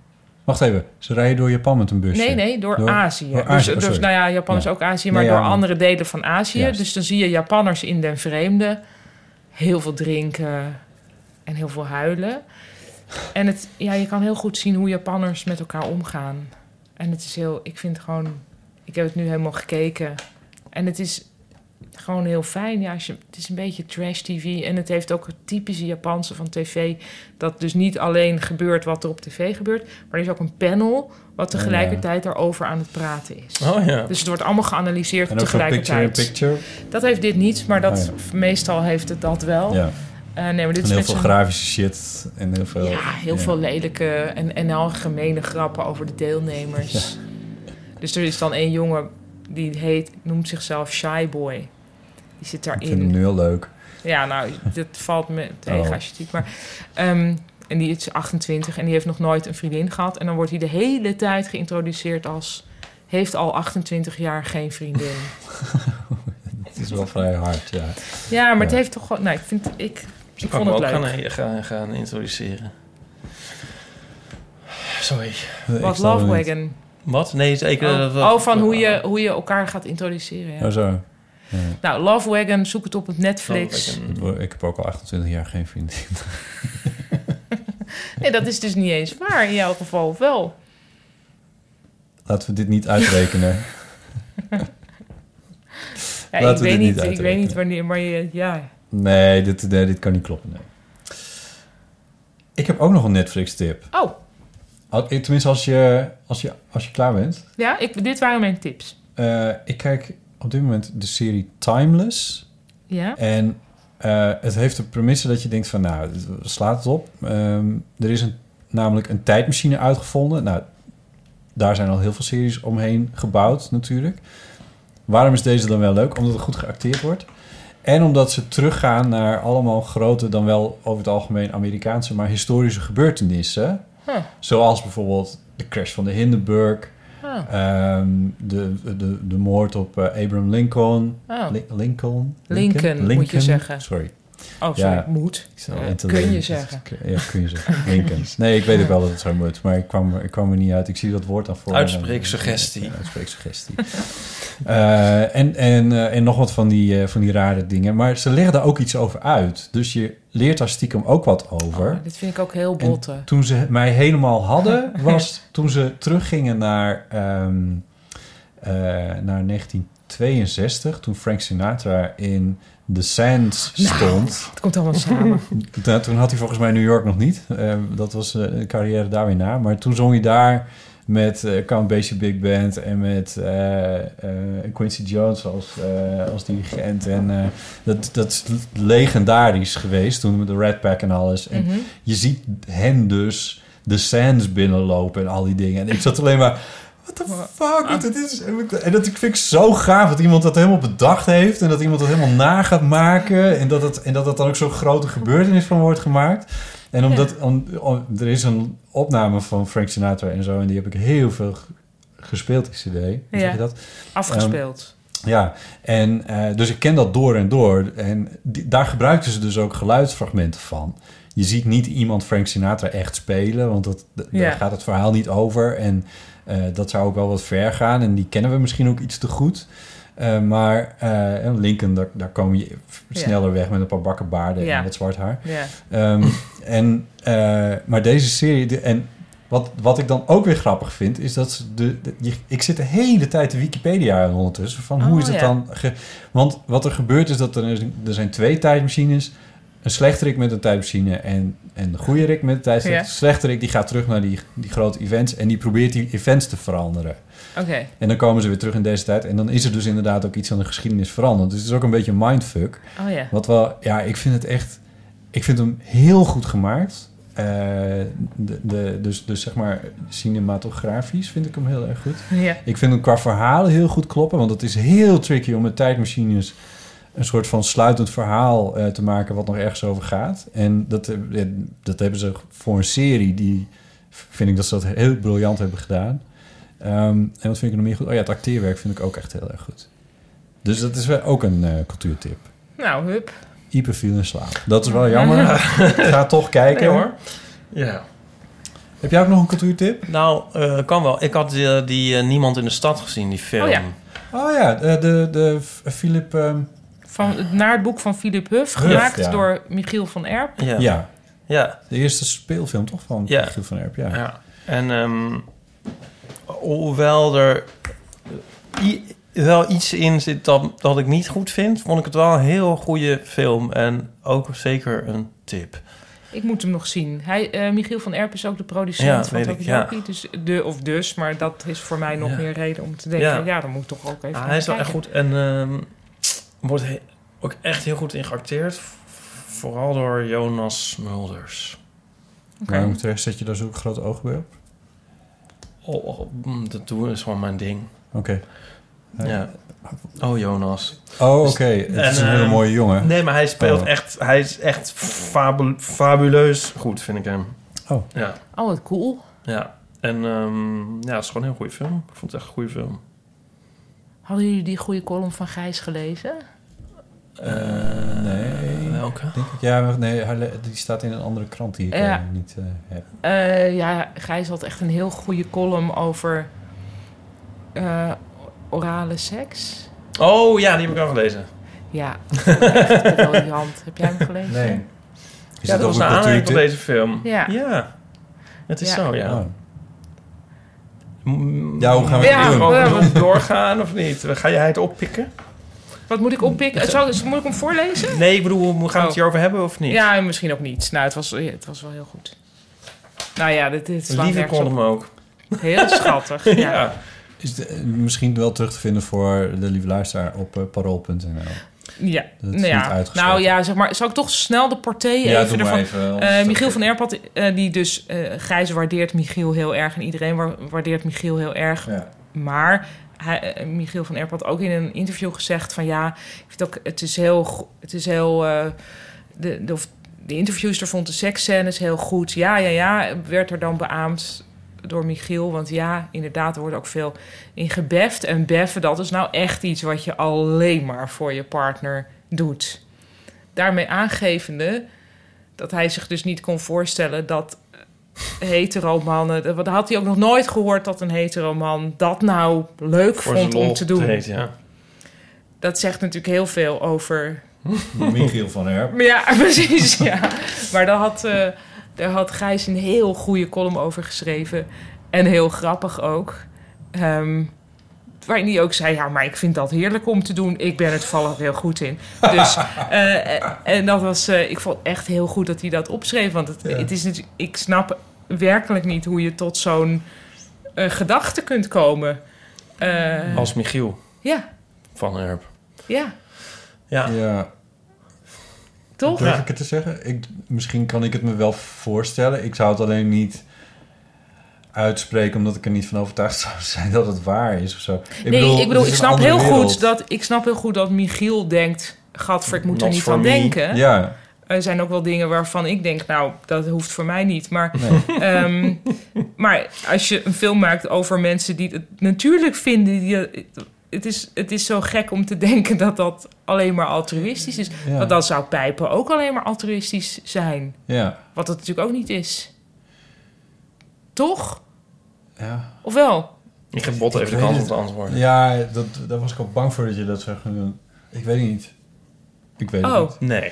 [SPEAKER 4] Wacht even, ze rijden door Japan met een busje.
[SPEAKER 5] Nee, nee, door,
[SPEAKER 4] Door-
[SPEAKER 5] Azië.
[SPEAKER 4] door Azië, oh,
[SPEAKER 5] dus, dus
[SPEAKER 4] sorry.
[SPEAKER 5] nou ja, Japan
[SPEAKER 4] Ja.
[SPEAKER 5] is ook Azië,
[SPEAKER 4] Ja,
[SPEAKER 5] maar
[SPEAKER 4] ja,
[SPEAKER 5] door
[SPEAKER 4] maar-
[SPEAKER 5] andere delen van Azië.
[SPEAKER 4] Juist.
[SPEAKER 5] Dus dan zie je Japanners in den vreemde heel veel drinken en heel veel huilen. En het, ja, je kan heel goed zien hoe Japanners met elkaar omgaan. En het is heel, ik vind gewoon, ik heb het nu helemaal gekeken. En het is gewoon heel fijn. Ja, als je, het is een beetje trash tv. En het heeft ook het typische Japanse van tv. Dat dus niet alleen gebeurt wat er op tv gebeurt. Maar er is ook een panel wat tegelijkertijd daarover aan het praten is.
[SPEAKER 3] Oh ja.
[SPEAKER 5] Dus het wordt allemaal geanalyseerd
[SPEAKER 4] En ook zo'n
[SPEAKER 5] tegelijkertijd.
[SPEAKER 4] picture-in-picture.
[SPEAKER 5] Dat heeft dit niet, maar dat,
[SPEAKER 4] Oh
[SPEAKER 5] meestal heeft het dat wel.
[SPEAKER 4] Ja.
[SPEAKER 5] Eh, nee, maar dit
[SPEAKER 4] En
[SPEAKER 5] is
[SPEAKER 4] heel
[SPEAKER 5] met
[SPEAKER 4] veel
[SPEAKER 5] zo'n-
[SPEAKER 4] grafische shit. En heel veel...
[SPEAKER 5] ja, heel
[SPEAKER 4] ja.
[SPEAKER 5] veel lelijke en, en algemene grappen over de deelnemers. Dus er is dan één jongen die heet, noemt zichzelf Shy Boy. Die zit
[SPEAKER 4] Ik vind hem
[SPEAKER 5] daarin.
[SPEAKER 4] nu heel leuk.
[SPEAKER 5] Ja, nou,
[SPEAKER 4] [laughs]
[SPEAKER 5] dat valt me tegen
[SPEAKER 4] Oh.
[SPEAKER 5] als je het ziet. Maar, ehm, en die is 28 en die heeft nog nooit een vriendin gehad. En dan wordt hij de hele tijd geïntroduceerd als... heeft al 28 jaar geen
[SPEAKER 4] [laughs]
[SPEAKER 5] vriendin.
[SPEAKER 4] Het is wel vrij hard, ja.
[SPEAKER 5] ja, maar het
[SPEAKER 4] Ja.
[SPEAKER 5] heeft toch gewoon... Nou, ik, vind, ik, Dus ik
[SPEAKER 3] Ik kan
[SPEAKER 5] vond
[SPEAKER 3] me
[SPEAKER 5] het
[SPEAKER 3] ook
[SPEAKER 5] leuk.
[SPEAKER 3] gaan, eh, gaan, gaan introduceren. Sorry.
[SPEAKER 4] Ik
[SPEAKER 5] Wat
[SPEAKER 4] snap
[SPEAKER 5] Love
[SPEAKER 4] het niet.
[SPEAKER 5] Wagon.
[SPEAKER 3] Wat? Nee, is- ik... eh,
[SPEAKER 5] Oh,
[SPEAKER 3] dat-
[SPEAKER 5] oh, van hoe je, hoe je elkaar gaat introduceren. Ja.
[SPEAKER 4] Oh, zo.
[SPEAKER 5] Nou, Love Wagon, zoek het op op
[SPEAKER 3] Oh,
[SPEAKER 5] Netflix.
[SPEAKER 3] ik
[SPEAKER 4] Ik
[SPEAKER 3] een-
[SPEAKER 4] word- Ik heb ook al 28 jaar geen vriendin.
[SPEAKER 5] Nee, dat is dus niet eens waar in jouw geval, of wel?
[SPEAKER 4] [laughs] Laten we dit niet uitrekenen.
[SPEAKER 5] [laughs] Ja,
[SPEAKER 4] Laten
[SPEAKER 5] ik
[SPEAKER 4] we
[SPEAKER 5] weet
[SPEAKER 4] dit
[SPEAKER 5] niet,
[SPEAKER 4] niet
[SPEAKER 5] ik weet niet
[SPEAKER 4] uitrekenen.
[SPEAKER 5] wanneer, maar je, ja.
[SPEAKER 4] Nee, dit, nee, dit kan niet kloppen, nee. Ik heb ook nog een Netflix-tip.
[SPEAKER 5] Oh,
[SPEAKER 4] Al- eh, Tenminste, als je, als je, als je klaar bent.
[SPEAKER 5] ja, ik, dit waren mijn tips.
[SPEAKER 4] Eh, ik kijk op dit moment de serie Timeless.
[SPEAKER 5] Ja?
[SPEAKER 4] En eh, het heeft de premisse dat je denkt van, nou, het slaat het op. Ehm, er is een, namelijk een tijdmachine uitgevonden. Nou, daar zijn al heel veel series omheen gebouwd natuurlijk. Waarom is deze dan wel leuk? Omdat het goed geacteerd wordt. En omdat ze teruggaan naar allemaal grote, dan wel over het algemeen Amerikaanse, maar historische gebeurtenissen.
[SPEAKER 5] Huh.
[SPEAKER 4] Zoals bijvoorbeeld de crash van de Hindenburg,
[SPEAKER 5] Oh,
[SPEAKER 4] ehm, de, de, de moord op eh, Abraham Lincoln,
[SPEAKER 5] oh.
[SPEAKER 4] Li- Lincoln?
[SPEAKER 5] Lincoln, moet je zeggen.
[SPEAKER 4] Sorry.
[SPEAKER 5] oh sorry,
[SPEAKER 4] Ja.
[SPEAKER 5] moet.
[SPEAKER 4] Ik zal
[SPEAKER 5] Ja,
[SPEAKER 4] het
[SPEAKER 5] kun je
[SPEAKER 4] alleen-
[SPEAKER 5] zeggen.
[SPEAKER 4] Ja, kun je zeggen.
[SPEAKER 5] [laughs]
[SPEAKER 4] Lincoln. Nee, ik weet ook wel dat het zo moet, maar ik kwam, ik kwam er niet uit. Ik zie dat woord dan
[SPEAKER 5] Oh.
[SPEAKER 4] voor. eh,
[SPEAKER 3] Uitspreeksuggestie.
[SPEAKER 4] Ja, uitspreeksuggestie. Eh, en, en, eh, en nog wat van die, eh, van die rare dingen. Maar ze leggen daar ook iets over uit. Dus je leert daar stiekem ook wat over.
[SPEAKER 5] Oh, dit vind ik ook heel
[SPEAKER 4] En
[SPEAKER 5] botte.
[SPEAKER 4] toen ze mij helemaal hadden, was toen ze teruggingen naar, ehm, eh, naar 1962, toen Frank Sinatra in The Sands
[SPEAKER 5] Nou,
[SPEAKER 4] stond.
[SPEAKER 5] [laughs] Het komt allemaal samen.
[SPEAKER 4] Da- [laughs] toen had hij volgens mij New York nog niet. Eh, dat was eh, een carrière daar weer na. Maar toen zong hij daar met eh, Count Basie Big Band en met eh, eh, Quincy Jones als, eh, als dirigent. En eh, dat, dat is legendarisch geweest toen met de Red Pack en alles. En
[SPEAKER 5] Mhm.
[SPEAKER 4] je ziet hen dus de sands binnenlopen en al die dingen. En ik zat alleen maar... What the
[SPEAKER 5] Ah.
[SPEAKER 4] fuck? Wat dit is? En dat ik vind ik zo gaaf dat iemand dat helemaal bedacht heeft. En dat iemand dat helemaal na gaat maken. En dat het, en dat het dan ook zo'n grote gebeurtenis van wordt gemaakt. En omdat... om- om- er is een opname van Frank Sinatra en zo. En die heb ik heel veel g- gespeeld, die cd. Hoe zeg
[SPEAKER 5] Ja.
[SPEAKER 4] je dat?
[SPEAKER 5] Afgespeeld.
[SPEAKER 4] Ja, en eh, dus ik ken dat door en door. En die- daar gebruikten ze dus ook geluidsfragmenten van. Je ziet niet iemand Frank Sinatra echt spelen, want dat, d-
[SPEAKER 5] Ja.
[SPEAKER 4] daar gaat het verhaal niet over. En eh, dat zou ook wel wat ver gaan. En die kennen we misschien ook iets te goed. Eh, maar eh, en Lincoln, daar, daar kom je sneller weg met een paar bakken baarden
[SPEAKER 5] Ja.
[SPEAKER 4] en wat zwart haar.
[SPEAKER 5] ja.
[SPEAKER 4] Ehm, en, eh, maar deze serie... de- en wat, wat ik dan ook weer grappig vind... is dat ze de, de- je- ik zit de hele tijd de Wikipedia aan ondertussen. Van
[SPEAKER 5] Oh,
[SPEAKER 4] hoe is dat
[SPEAKER 5] ja.
[SPEAKER 4] dan... ge- want wat er gebeurt is dat er, is- er zijn twee tijdmachines... Een slechterik met een tijdmachine en, en de goede rik met een tijdmachine.
[SPEAKER 5] Ja.
[SPEAKER 4] De slechterik die gaat terug naar die, die grote events... en die probeert die events te veranderen.
[SPEAKER 5] Oké.
[SPEAKER 4] En dan komen ze weer terug in deze tijd. En dan is er dus inderdaad ook iets aan de geschiedenis veranderd. Dus het is ook een beetje een mindfuck.
[SPEAKER 5] Oh ja.
[SPEAKER 4] Wat wel, ja, ik vind het echt. Ik vind hem heel goed gemaakt. eh, de, de, dus, dus zeg maar cinematografisch vind ik hem heel erg goed.
[SPEAKER 5] Ja.
[SPEAKER 4] Ik vind hem qua verhalen heel goed kloppen, want het is heel tricky om met tijdmachines een soort van sluitend verhaal eh, te maken wat nog ergens over gaat. En dat, heb- eh, dat hebben ze voor een serie die vind ik dat ze dat heel briljant hebben gedaan. Ehm, en wat vind ik er nog meer goed? Oh ja, het acteerwerk vind ik ook echt heel erg goed. Dus dat is wel ook een eh, cultuurtip.
[SPEAKER 5] Nou, hup.
[SPEAKER 4] Ieper viel in slaap. Dat is wel jammer. Ga toch kijken
[SPEAKER 3] Nee,
[SPEAKER 4] hoor.
[SPEAKER 3] hoor. Ja.
[SPEAKER 4] Heb jij ook nog een cultuurtip?
[SPEAKER 3] Nou, eh, kan wel. Ik had eh, die eh, Niemand in de Stad gezien, die film.
[SPEAKER 5] Oh ja.
[SPEAKER 4] Oh ja, de, de, de F- Philip... ehm,
[SPEAKER 5] Van, het- naar het boek van Philip Huff,
[SPEAKER 4] Huff,
[SPEAKER 5] gemaakt
[SPEAKER 4] ja.
[SPEAKER 5] door Michiel van Erp.
[SPEAKER 3] Ja.
[SPEAKER 4] ja.
[SPEAKER 3] ja. ja.
[SPEAKER 4] de eerste speelfilm toch van
[SPEAKER 3] Ja.
[SPEAKER 4] Giel van Erp. Ja.
[SPEAKER 3] En ehm, hoewel er i- wel iets in zit dat, dat ik niet goed vind, vond ik het wel een heel goede film. En ook zeker een tip.
[SPEAKER 5] Ik moet hem nog zien. Hij, eh, Michiel van Erp is ook de producent
[SPEAKER 3] Ja, dat
[SPEAKER 5] van
[SPEAKER 3] weet ik,
[SPEAKER 5] Toki dus de, Of dus, maar dat is voor mij nog
[SPEAKER 3] Ja.
[SPEAKER 5] meer reden om te denken... ja,
[SPEAKER 3] Ja.
[SPEAKER 5] dan moet ik toch ook even
[SPEAKER 3] Ah,
[SPEAKER 5] naar
[SPEAKER 3] hij is wel
[SPEAKER 5] kijken.
[SPEAKER 3] echt goed en ehm, wordt he- ook echt heel goed in geacteerd. Vooral door Jonas Mulders.
[SPEAKER 4] Waarom terecht zet je daar zo'n groot oog bij op?
[SPEAKER 3] Oh, oh, mm, dat doen is gewoon mijn ding.
[SPEAKER 4] Oké. Ja.
[SPEAKER 3] Ja. Oh, Jonas.
[SPEAKER 4] Oh, oké. Het
[SPEAKER 3] en,
[SPEAKER 4] is een hele
[SPEAKER 3] ehm,
[SPEAKER 4] mooie jongen.
[SPEAKER 3] Nee, maar hij speelt
[SPEAKER 4] Oh.
[SPEAKER 3] echt, hij is echt fabu- fabuleus goed, vind ik hem.
[SPEAKER 4] Oh.
[SPEAKER 3] Ja,
[SPEAKER 5] Oh, wat cool.
[SPEAKER 3] ja. En ehm, ja, het is gewoon een heel goede film. Ik vond het echt een goede film.
[SPEAKER 5] Hadden jullie die goede column van Gijs gelezen?
[SPEAKER 4] Eh, nee.
[SPEAKER 3] Eh, Welke?
[SPEAKER 4] Denk ik, ja, maar nee, hij le- die staat in een andere krant die ik eh,
[SPEAKER 5] Ja.
[SPEAKER 4] niet eh, heb.
[SPEAKER 5] Eh, ja, Gijs had echt een heel goede column over eh, orale seks.
[SPEAKER 3] Oh ja, die heb ik al gelezen.
[SPEAKER 4] [laughs]
[SPEAKER 5] Ja, [laughs] ik vond het echt briljant. Heb jij hem gelezen?
[SPEAKER 4] Is
[SPEAKER 3] ja, dat
[SPEAKER 4] dat ook
[SPEAKER 3] was
[SPEAKER 4] een
[SPEAKER 3] naar aanleiding van
[SPEAKER 4] cultuurtip?
[SPEAKER 3] deze film.
[SPEAKER 5] Ja.
[SPEAKER 3] Het is
[SPEAKER 5] Ja.
[SPEAKER 3] zo, ja.
[SPEAKER 4] Oh.
[SPEAKER 3] Mm,
[SPEAKER 4] Ja, hoe gaan we
[SPEAKER 5] Ja,
[SPEAKER 4] het doen?
[SPEAKER 5] we-
[SPEAKER 3] Over nog doorgaan of niet? Ga jij het oppikken?
[SPEAKER 5] Wat moet ik oppikken? Zal, moet ik hem voorlezen?
[SPEAKER 3] Nee, ik bedoel, gaan we
[SPEAKER 5] Oh.
[SPEAKER 3] het hierover hebben of niet?
[SPEAKER 5] Ja, misschien ook niet. Nou, het was, ja, het was wel heel goed. Nou ja, dit, dit slaat
[SPEAKER 3] Lieve
[SPEAKER 5] nergens
[SPEAKER 3] kon
[SPEAKER 5] op.
[SPEAKER 3] hem ook.
[SPEAKER 5] Heel
[SPEAKER 3] [laughs]
[SPEAKER 5] schattig. ja.
[SPEAKER 3] Ja.
[SPEAKER 4] Is de- eh, misschien wel terug te vinden voor de lieve luisteraar op eh, parool.nl.
[SPEAKER 5] Ja.
[SPEAKER 4] Dat
[SPEAKER 5] nou,
[SPEAKER 4] is niet
[SPEAKER 5] ja.
[SPEAKER 4] uitgesloten.
[SPEAKER 5] nou ja, zeg maar. Zal ik toch snel de porté even ervan...
[SPEAKER 4] even.
[SPEAKER 5] Eh,
[SPEAKER 4] anders
[SPEAKER 5] Michiel
[SPEAKER 4] dat-
[SPEAKER 5] van Erp had, eh, die dus... eh Gijs waardeert Michiel heel erg. En iedereen wa- waardeert Michiel heel erg.
[SPEAKER 4] Ja.
[SPEAKER 5] Maar hij, eh, Michiel van Erp had ook in een interview gezegd van ja, ik vind ook, het is heel, go- het is heel, eh, de, de, of de interviewster vond de seksscènes heel goed. Ja, ja, ja, werd er dan beaamd door Michiel. Want ja, inderdaad, er wordt ook veel in gebeft. En beffen, dat is nou echt iets wat je alleen maar voor je partner doet. Daarmee aangevende dat hij zich dus niet kon voorstellen dat eh, hetero mannen. dat- Dat had hij ook nog nooit gehoord dat een hetero man dat nou leuk
[SPEAKER 3] Voor zijn
[SPEAKER 5] vond om
[SPEAKER 3] lol
[SPEAKER 5] te doen.
[SPEAKER 3] heet, ja.
[SPEAKER 5] Dat zegt natuurlijk heel veel over.
[SPEAKER 3] Hm?
[SPEAKER 4] Michiel van Erp.
[SPEAKER 5] Maar ja, [laughs] precies. Ja. Maar daar had, eh, daar had Gijs een heel goede column over geschreven. En heel grappig ook. Ehm, waarin hij ook zei: Ja, maar ik vind dat heerlijk om te doen. Ik ben het vallig heel goed in. Dus, eh, eh, en dat was, eh, ik vond echt heel goed dat hij dat opschreef. Want het, het is natuurlijk, ik snap werkelijk niet hoe je tot zo'n eh, gedachte kunt komen. Eh,
[SPEAKER 3] Als Michiel
[SPEAKER 5] ja,
[SPEAKER 3] van Erp.
[SPEAKER 5] ja,
[SPEAKER 3] Ja.
[SPEAKER 4] Ja,
[SPEAKER 5] toch?
[SPEAKER 4] durf ik het te zeggen? Ik, misschien kan ik het me wel voorstellen. Ik zou het alleen niet uitspreken omdat ik er niet van overtuigd [laughs] zou zijn dat het waar is of zo. Ik
[SPEAKER 5] nee, ik
[SPEAKER 4] het
[SPEAKER 5] bedoel,
[SPEAKER 4] is
[SPEAKER 5] ik
[SPEAKER 4] een
[SPEAKER 5] snap,
[SPEAKER 4] andere
[SPEAKER 5] heel goed
[SPEAKER 4] wereld.
[SPEAKER 5] dat, ik snap heel goed dat Michiel denkt... Gadver, ik moet er
[SPEAKER 3] Not
[SPEAKER 5] niet
[SPEAKER 3] for
[SPEAKER 5] aan
[SPEAKER 3] me.
[SPEAKER 5] denken.
[SPEAKER 4] Ja,
[SPEAKER 5] Er zijn ook wel dingen waarvan ik denk... nou, dat hoeft voor mij niet. Maar,
[SPEAKER 4] Nee.
[SPEAKER 5] [laughs] ehm, maar als je een film maakt over mensen die het natuurlijk vinden... Die, het, is, het is zo gek om te [laughs] denken dat dat alleen maar altruïstisch is.
[SPEAKER 4] Ja.
[SPEAKER 5] Want dan zou pijpen ook alleen maar altruïstisch zijn.
[SPEAKER 4] ja,
[SPEAKER 5] Wat het natuurlijk ook niet is. Toch?
[SPEAKER 4] ja.
[SPEAKER 5] Of wel?
[SPEAKER 3] Ik heb Bot even de
[SPEAKER 4] weet
[SPEAKER 3] kans
[SPEAKER 4] het.
[SPEAKER 3] om te antwoorden.
[SPEAKER 4] Ja, dat, daar was ik al bang voor dat je dat zou gaan doen. Ik weet niet. Ik weet het
[SPEAKER 5] Oh,
[SPEAKER 4] niet.
[SPEAKER 3] Nee.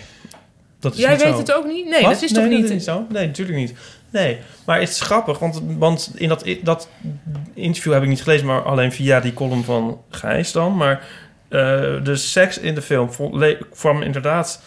[SPEAKER 3] Dat is
[SPEAKER 5] jij
[SPEAKER 3] niet
[SPEAKER 5] weet
[SPEAKER 3] zo.
[SPEAKER 5] het ook niet? Nee,
[SPEAKER 3] Wat?
[SPEAKER 5] dat is toch
[SPEAKER 3] Nee,
[SPEAKER 5] niet...
[SPEAKER 3] is zo? Nee, natuurlijk niet. Nee, maar het is grappig, want, want in dat, dat interview heb ik niet gelezen, maar alleen via die column van Gijs dan. Maar eh, de seks in de film vo- le- kwam inderdaad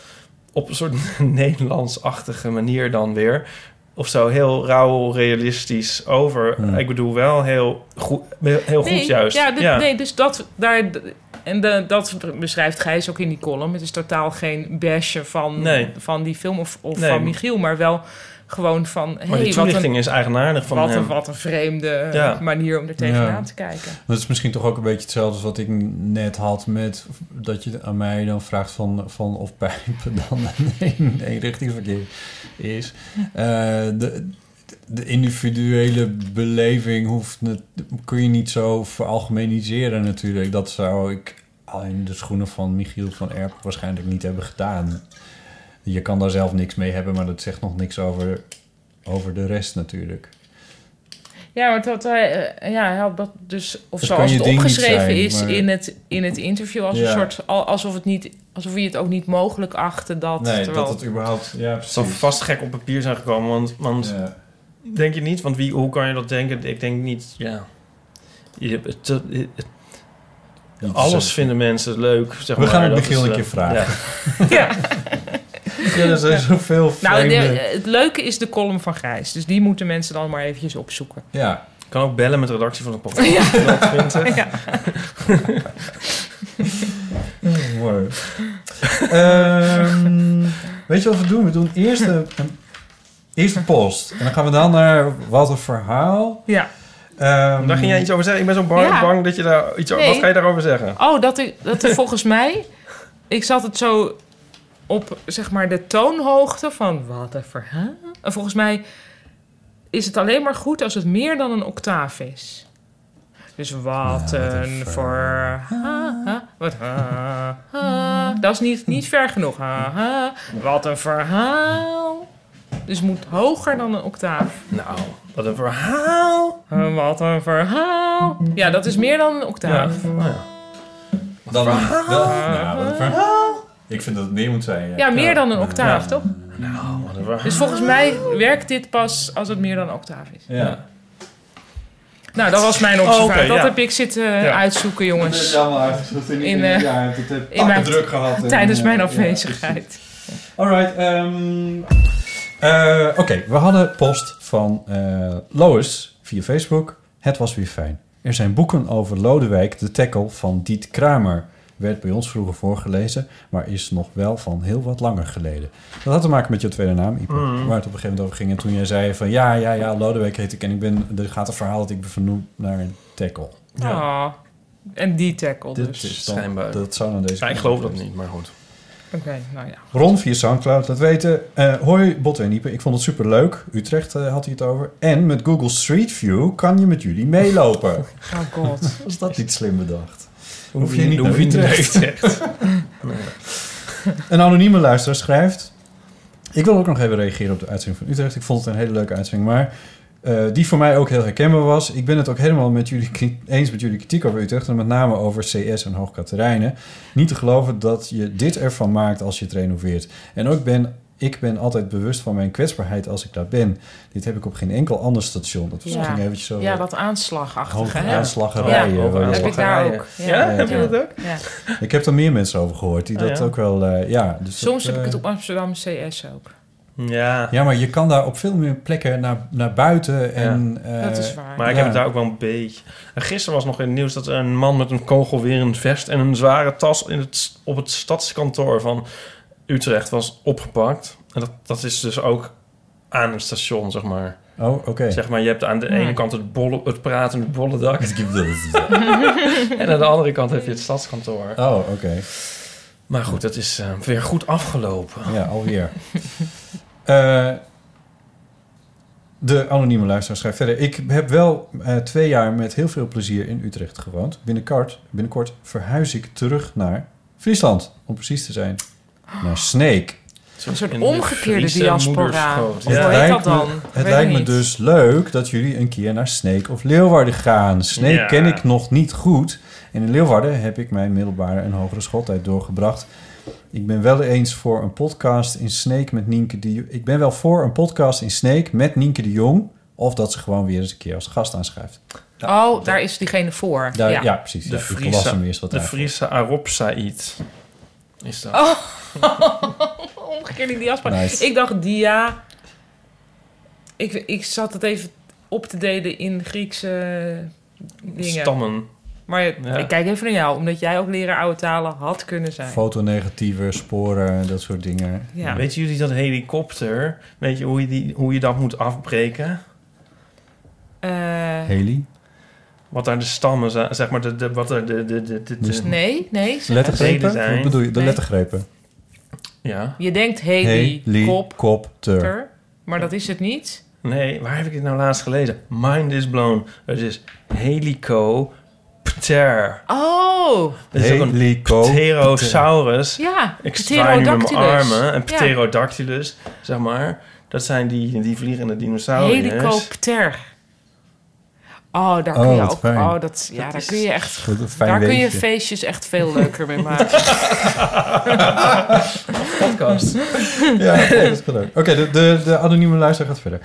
[SPEAKER 3] op een soort [laughs] Nederlands-achtige manier dan weer. Of zo heel rauw realistisch over.
[SPEAKER 4] Hmm.
[SPEAKER 3] Ik bedoel, wel heel goed, heel goed juist.
[SPEAKER 5] Ja, dit- nee, dus dat daar. d- en de- dat beschrijft Gijs ook in die column. Het is totaal geen bashen van,
[SPEAKER 3] Nee.
[SPEAKER 5] van die film of, of
[SPEAKER 3] Nee.
[SPEAKER 5] van Michiel, maar wel gewoon van...
[SPEAKER 3] Maar
[SPEAKER 5] hey,
[SPEAKER 3] die
[SPEAKER 5] wat een,
[SPEAKER 3] toelichting is eigenaardig van
[SPEAKER 5] wat,
[SPEAKER 3] hem.
[SPEAKER 5] een, wat een vreemde eh,
[SPEAKER 3] Ja.
[SPEAKER 5] manier om er tegenaan
[SPEAKER 4] Ja.
[SPEAKER 5] te kijken.
[SPEAKER 4] Dat is misschien toch ook een beetje hetzelfde als wat ik net had met... dat je aan mij dan vraagt van, van of pijpen [laughs] dan een eenrichtingsverkeer is. Eh, de, de individuele beleving hoeft net, kun je niet zo veralgemeniseren natuurlijk. Dat zou ik al in de schoenen van Michiel van Erp waarschijnlijk niet hebben gedaan. Je kan daar zelf niks mee hebben, maar dat zegt nog niks over, over de rest natuurlijk.
[SPEAKER 5] Ja, want dat hij, eh, ja, hij had dat dus, of
[SPEAKER 4] Dat kan
[SPEAKER 5] zoals
[SPEAKER 4] je
[SPEAKER 5] het
[SPEAKER 4] ding niet
[SPEAKER 5] opgeschreven
[SPEAKER 4] zijn,
[SPEAKER 5] is
[SPEAKER 4] maar-
[SPEAKER 5] in, het, in het interview, als
[SPEAKER 4] Ja.
[SPEAKER 5] een soort, al- alsof, het niet, alsof je het ook niet mogelijk achtte dat.
[SPEAKER 4] Nee,
[SPEAKER 5] terwijl-
[SPEAKER 4] dat het überhaupt... Ja,
[SPEAKER 3] Het zal
[SPEAKER 4] precies.
[SPEAKER 3] vast gek op papier zijn gekomen, want, want
[SPEAKER 4] Ja.
[SPEAKER 3] denk je niet? Want wie, hoe kan je dat denken? Ik denk niet, ja. Je, hebt het- het- het-
[SPEAKER 4] Niet
[SPEAKER 3] alles vinden mensen leuk, zeg
[SPEAKER 4] We
[SPEAKER 3] maar.
[SPEAKER 4] gaan het
[SPEAKER 3] Dat
[SPEAKER 4] Michiel
[SPEAKER 3] is,
[SPEAKER 4] een
[SPEAKER 3] eh,
[SPEAKER 4] keer vragen.
[SPEAKER 5] [laughs] ja.
[SPEAKER 4] [laughs] Ja, er zijn zoveel
[SPEAKER 5] Nou,
[SPEAKER 4] vreemde...
[SPEAKER 5] de- het leuke is de column van Gijs. Dus die moeten mensen dan maar eventjes opzoeken.
[SPEAKER 4] Ja,
[SPEAKER 3] ja. Kan ook bellen met de redactie van de podcast.
[SPEAKER 5] [laughs]
[SPEAKER 4] mooi. Ehm, weet je wat we doen? We doen eerst de, een- eerst de post. En dan gaan we dan naar wat een verhaal.
[SPEAKER 5] Ja.
[SPEAKER 4] Ehm,
[SPEAKER 3] Daar ging jij iets over zeggen. Ik ben zo bang,
[SPEAKER 5] Ja.
[SPEAKER 3] bang dat je daar iets over...
[SPEAKER 5] Nee.
[SPEAKER 3] Wat ga je daarover zeggen?
[SPEAKER 5] Oh, dat, ik, dat er volgens mij... Ik zat het zo op, zeg maar, de toonhoogte van... Wat een verhaal. En volgens mij is het alleen maar goed als het meer dan een octaaf is. Dus wat een verhaal. Wat ha, ha. Dat is niet, niet ver genoeg. Ha, ha. Wat een verhaal. Dus het moet hoger dan een octaaf.
[SPEAKER 3] Nou, wat een verhaal.
[SPEAKER 5] Eh, Wat een verhaal. Ja, dat is meer dan een octaaf. Ja,
[SPEAKER 4] Oh
[SPEAKER 3] Nou ja.
[SPEAKER 4] dan, dan, nou, wat een verhaal. Ik vind dat het meer moet zijn. Ja,
[SPEAKER 5] meer dan een octaaf, toch?
[SPEAKER 3] Nou, wat een verhaal.
[SPEAKER 5] Dus volgens mij werkt dit pas als het meer dan een octaaf is.
[SPEAKER 4] Ja.
[SPEAKER 5] Nou, dat was mijn observatie.
[SPEAKER 3] Oh, oké,
[SPEAKER 5] dat
[SPEAKER 3] ja.
[SPEAKER 5] heb ik zitten uitzoeken, jongens.
[SPEAKER 4] allemaal uit. Dat
[SPEAKER 5] niet In, in- eh, ja, in mijn- druk [laughs]
[SPEAKER 4] gehad. eh,
[SPEAKER 5] Tijdens mijn afwezigheid.
[SPEAKER 4] Alright, ehm, eh, oké. We hadden post van eh, Lois via Facebook. Het was weer fijn. Er zijn boeken over Lodewijk, de tackle van Diet Kramer. Werd bij ons vroeger voorgelezen, maar is nog wel van heel wat langer geleden. Dat had te maken met je tweede naam, Ipe, waar het op een gegeven moment over ging. En toen jij zei van ja, ja, ja, Lodewijk heet ik en ik ben, er gaat een verhaal dat ik ben vernoemd naar een tackle.
[SPEAKER 5] Oh. En die tackle
[SPEAKER 4] Dit
[SPEAKER 5] dus.
[SPEAKER 4] is dan-
[SPEAKER 3] schijnbaar.
[SPEAKER 4] Dat zou dan deze
[SPEAKER 3] Ja, ik
[SPEAKER 4] kant
[SPEAKER 3] geloof
[SPEAKER 4] zijn.
[SPEAKER 3] dat niet, maar goed.
[SPEAKER 5] Oké, nou ja.
[SPEAKER 4] Ron via Soundcloud laat weten. eh, hoi Botte en Iepen, ik vond het superleuk. Utrecht eh, had hij het over. En met Google Street View kan je met jullie meelopen.
[SPEAKER 5] Oh
[SPEAKER 4] [laughs]
[SPEAKER 5] god.
[SPEAKER 4] Was dat niet slim bedacht?
[SPEAKER 3] Hoef je niet, hoef je niet naar
[SPEAKER 4] [laughs]
[SPEAKER 3] Utrecht.
[SPEAKER 4] Een anonieme luisteraar schrijft... Ik wil ook nog even reageren op de uitzending van Utrecht. Ik vond het een hele leuke uitzending, maar... eh, die voor mij ook heel herkenbaar was. Ik ben het ook helemaal met jullie, kri- eens met jullie kritiek over Utrecht... en met name over CS en Hoogkaterijnen. Niet te geloven dat je dit ervan maakt als je het renoveert. En ook ben... Ik ben altijd bewust van mijn kwetsbaarheid als ik daar ben. Dit heb ik op geen enkel ander station. Dat was
[SPEAKER 5] Ja.
[SPEAKER 4] ging eventjes zo eh,
[SPEAKER 5] Ja, dat aanslagachtige.
[SPEAKER 4] hoge
[SPEAKER 5] hè?
[SPEAKER 4] aanslagerijen.
[SPEAKER 3] Ja, hoge
[SPEAKER 4] waar-
[SPEAKER 5] Heb ik daar ook.
[SPEAKER 3] Ja, heb
[SPEAKER 4] je
[SPEAKER 3] dat ook?
[SPEAKER 5] Ja. Oh,
[SPEAKER 4] Ik heb er meer mensen over gehoord die
[SPEAKER 3] Ah,
[SPEAKER 4] dat
[SPEAKER 3] ja.
[SPEAKER 4] ook wel... eh, ja, dus
[SPEAKER 5] Soms
[SPEAKER 4] dat,
[SPEAKER 5] heb ik het
[SPEAKER 4] eh,
[SPEAKER 5] op Amsterdam CS
[SPEAKER 4] [laughs]
[SPEAKER 5] ook.
[SPEAKER 3] Ja,
[SPEAKER 4] Ja, maar je kan daar op veel meer plekken naar, naar buiten. En, eh,
[SPEAKER 5] Dat is waar.
[SPEAKER 3] maar ik
[SPEAKER 4] Ja.
[SPEAKER 3] heb het daar ook wel een beetje... En gisteren was nog in het nieuws dat er een man met een kogelwerend vest... en een zware tas in het, op het stadskantoor van Utrecht was opgepakt. En dat, dat is dus ook aan het station, zeg maar.
[SPEAKER 4] Oh, oké.
[SPEAKER 3] Zeg maar, je hebt aan de ene kant het, bolle, het pratende bollendak... en aan de andere kant heb je het stadskantoor.
[SPEAKER 4] Oh, oké.
[SPEAKER 3] Maar goed, dat is eh, weer goed afgelopen.
[SPEAKER 4] Ja, alweer. [laughs] Eh, de anonieme luisteraar schrijft verder. Ik heb wel eh, twee jaar met heel veel plezier in Utrecht gewoond. Binnenkort, binnenkort verhuis ik terug naar Friesland. Om precies te zijn, naar Sneek.
[SPEAKER 3] Een
[SPEAKER 5] soort omgekeerde diaspora. Hoe
[SPEAKER 3] Ja.
[SPEAKER 5] heet
[SPEAKER 4] lijkt
[SPEAKER 5] dat dan?
[SPEAKER 4] me-
[SPEAKER 5] Ik
[SPEAKER 4] het
[SPEAKER 5] weet
[SPEAKER 4] lijkt
[SPEAKER 5] het
[SPEAKER 4] me
[SPEAKER 5] niet.
[SPEAKER 4] dus leuk dat jullie een keer naar Sneek of Leeuwarden gaan. Sneek
[SPEAKER 3] Ja.
[SPEAKER 4] ken ik nog niet goed. En in Leeuwarden heb ik mijn middelbare en hogere schooltijd doorgebracht. Ik ben wel eens voor een podcast in Sneek met Nienke de Jong. Ik ben wel voor een podcast in Sneek met Nienke de Jong. Of dat ze gewoon weer eens een keer als gast aanschrijft.
[SPEAKER 5] Oh, daar is diegene voor.
[SPEAKER 4] Daar, ja.
[SPEAKER 5] ja.
[SPEAKER 4] precies.
[SPEAKER 3] De
[SPEAKER 4] ja, ik las hem eerst
[SPEAKER 3] Friese,
[SPEAKER 4] wat
[SPEAKER 3] de
[SPEAKER 4] uit.
[SPEAKER 3] Friese Arop Said. Is dat?
[SPEAKER 5] Oh. [laughs] Omgekeerde diaspora.
[SPEAKER 4] Nice.
[SPEAKER 5] Ik dacht dia. Ik, ik zat het even op te delen in Griekse dingen.
[SPEAKER 3] Stammen.
[SPEAKER 5] Maar ik kijk even naar jou, omdat jij ook leraar oude talen had kunnen zijn.
[SPEAKER 4] Fotonegatieven, sporen, dat soort dingen.
[SPEAKER 5] Ja.
[SPEAKER 3] Weten jullie dat helikopter? Weet je hoe je, die, hoe je dat moet afbreken?
[SPEAKER 5] Eh,
[SPEAKER 4] Heli?
[SPEAKER 3] Wat daar de stammen zijn, zeg maar, de, de, wat er de, de, de, de- de-
[SPEAKER 4] Dus-
[SPEAKER 5] nee, nee. zeg-
[SPEAKER 3] Heli
[SPEAKER 4] Lettergrepen?
[SPEAKER 3] zijn.
[SPEAKER 4] Wat bedoel je? De
[SPEAKER 5] Nee.
[SPEAKER 4] lettergrepen.
[SPEAKER 3] Ja.
[SPEAKER 5] Je denkt heli, kop,
[SPEAKER 4] Helikopter.
[SPEAKER 5] ter, maar dat is het niet.
[SPEAKER 3] Nee, waar heb ik dit nou laatst gelezen? Mind is blown. Het is helicopter.
[SPEAKER 5] Oh,
[SPEAKER 3] Het is ook een pterosaurus.
[SPEAKER 5] ja.
[SPEAKER 3] Ik zwaai nu met mijn
[SPEAKER 5] pterodactylus.
[SPEAKER 3] armen. Een
[SPEAKER 5] Ja.
[SPEAKER 3] pterodactylus, zeg maar. Dat zijn die, die vliegende
[SPEAKER 4] Oh,
[SPEAKER 3] dinosauriërs.
[SPEAKER 5] Helicopter. Oh, daar
[SPEAKER 4] Oh,
[SPEAKER 5] kun je
[SPEAKER 4] wat
[SPEAKER 5] ook.
[SPEAKER 4] fijn.
[SPEAKER 5] Oh, dat, ja, daar kun je echt.
[SPEAKER 4] Goed, een fijn
[SPEAKER 5] Daar kun je
[SPEAKER 4] weetje.
[SPEAKER 5] feestjes echt veel leuker mee
[SPEAKER 4] [laughs]
[SPEAKER 5] maken.
[SPEAKER 3] podcast.
[SPEAKER 4] Ja,
[SPEAKER 5] [laughs]
[SPEAKER 4] dat is gelukt. Oké, de, de, de anonieme luisteraar gaat verder.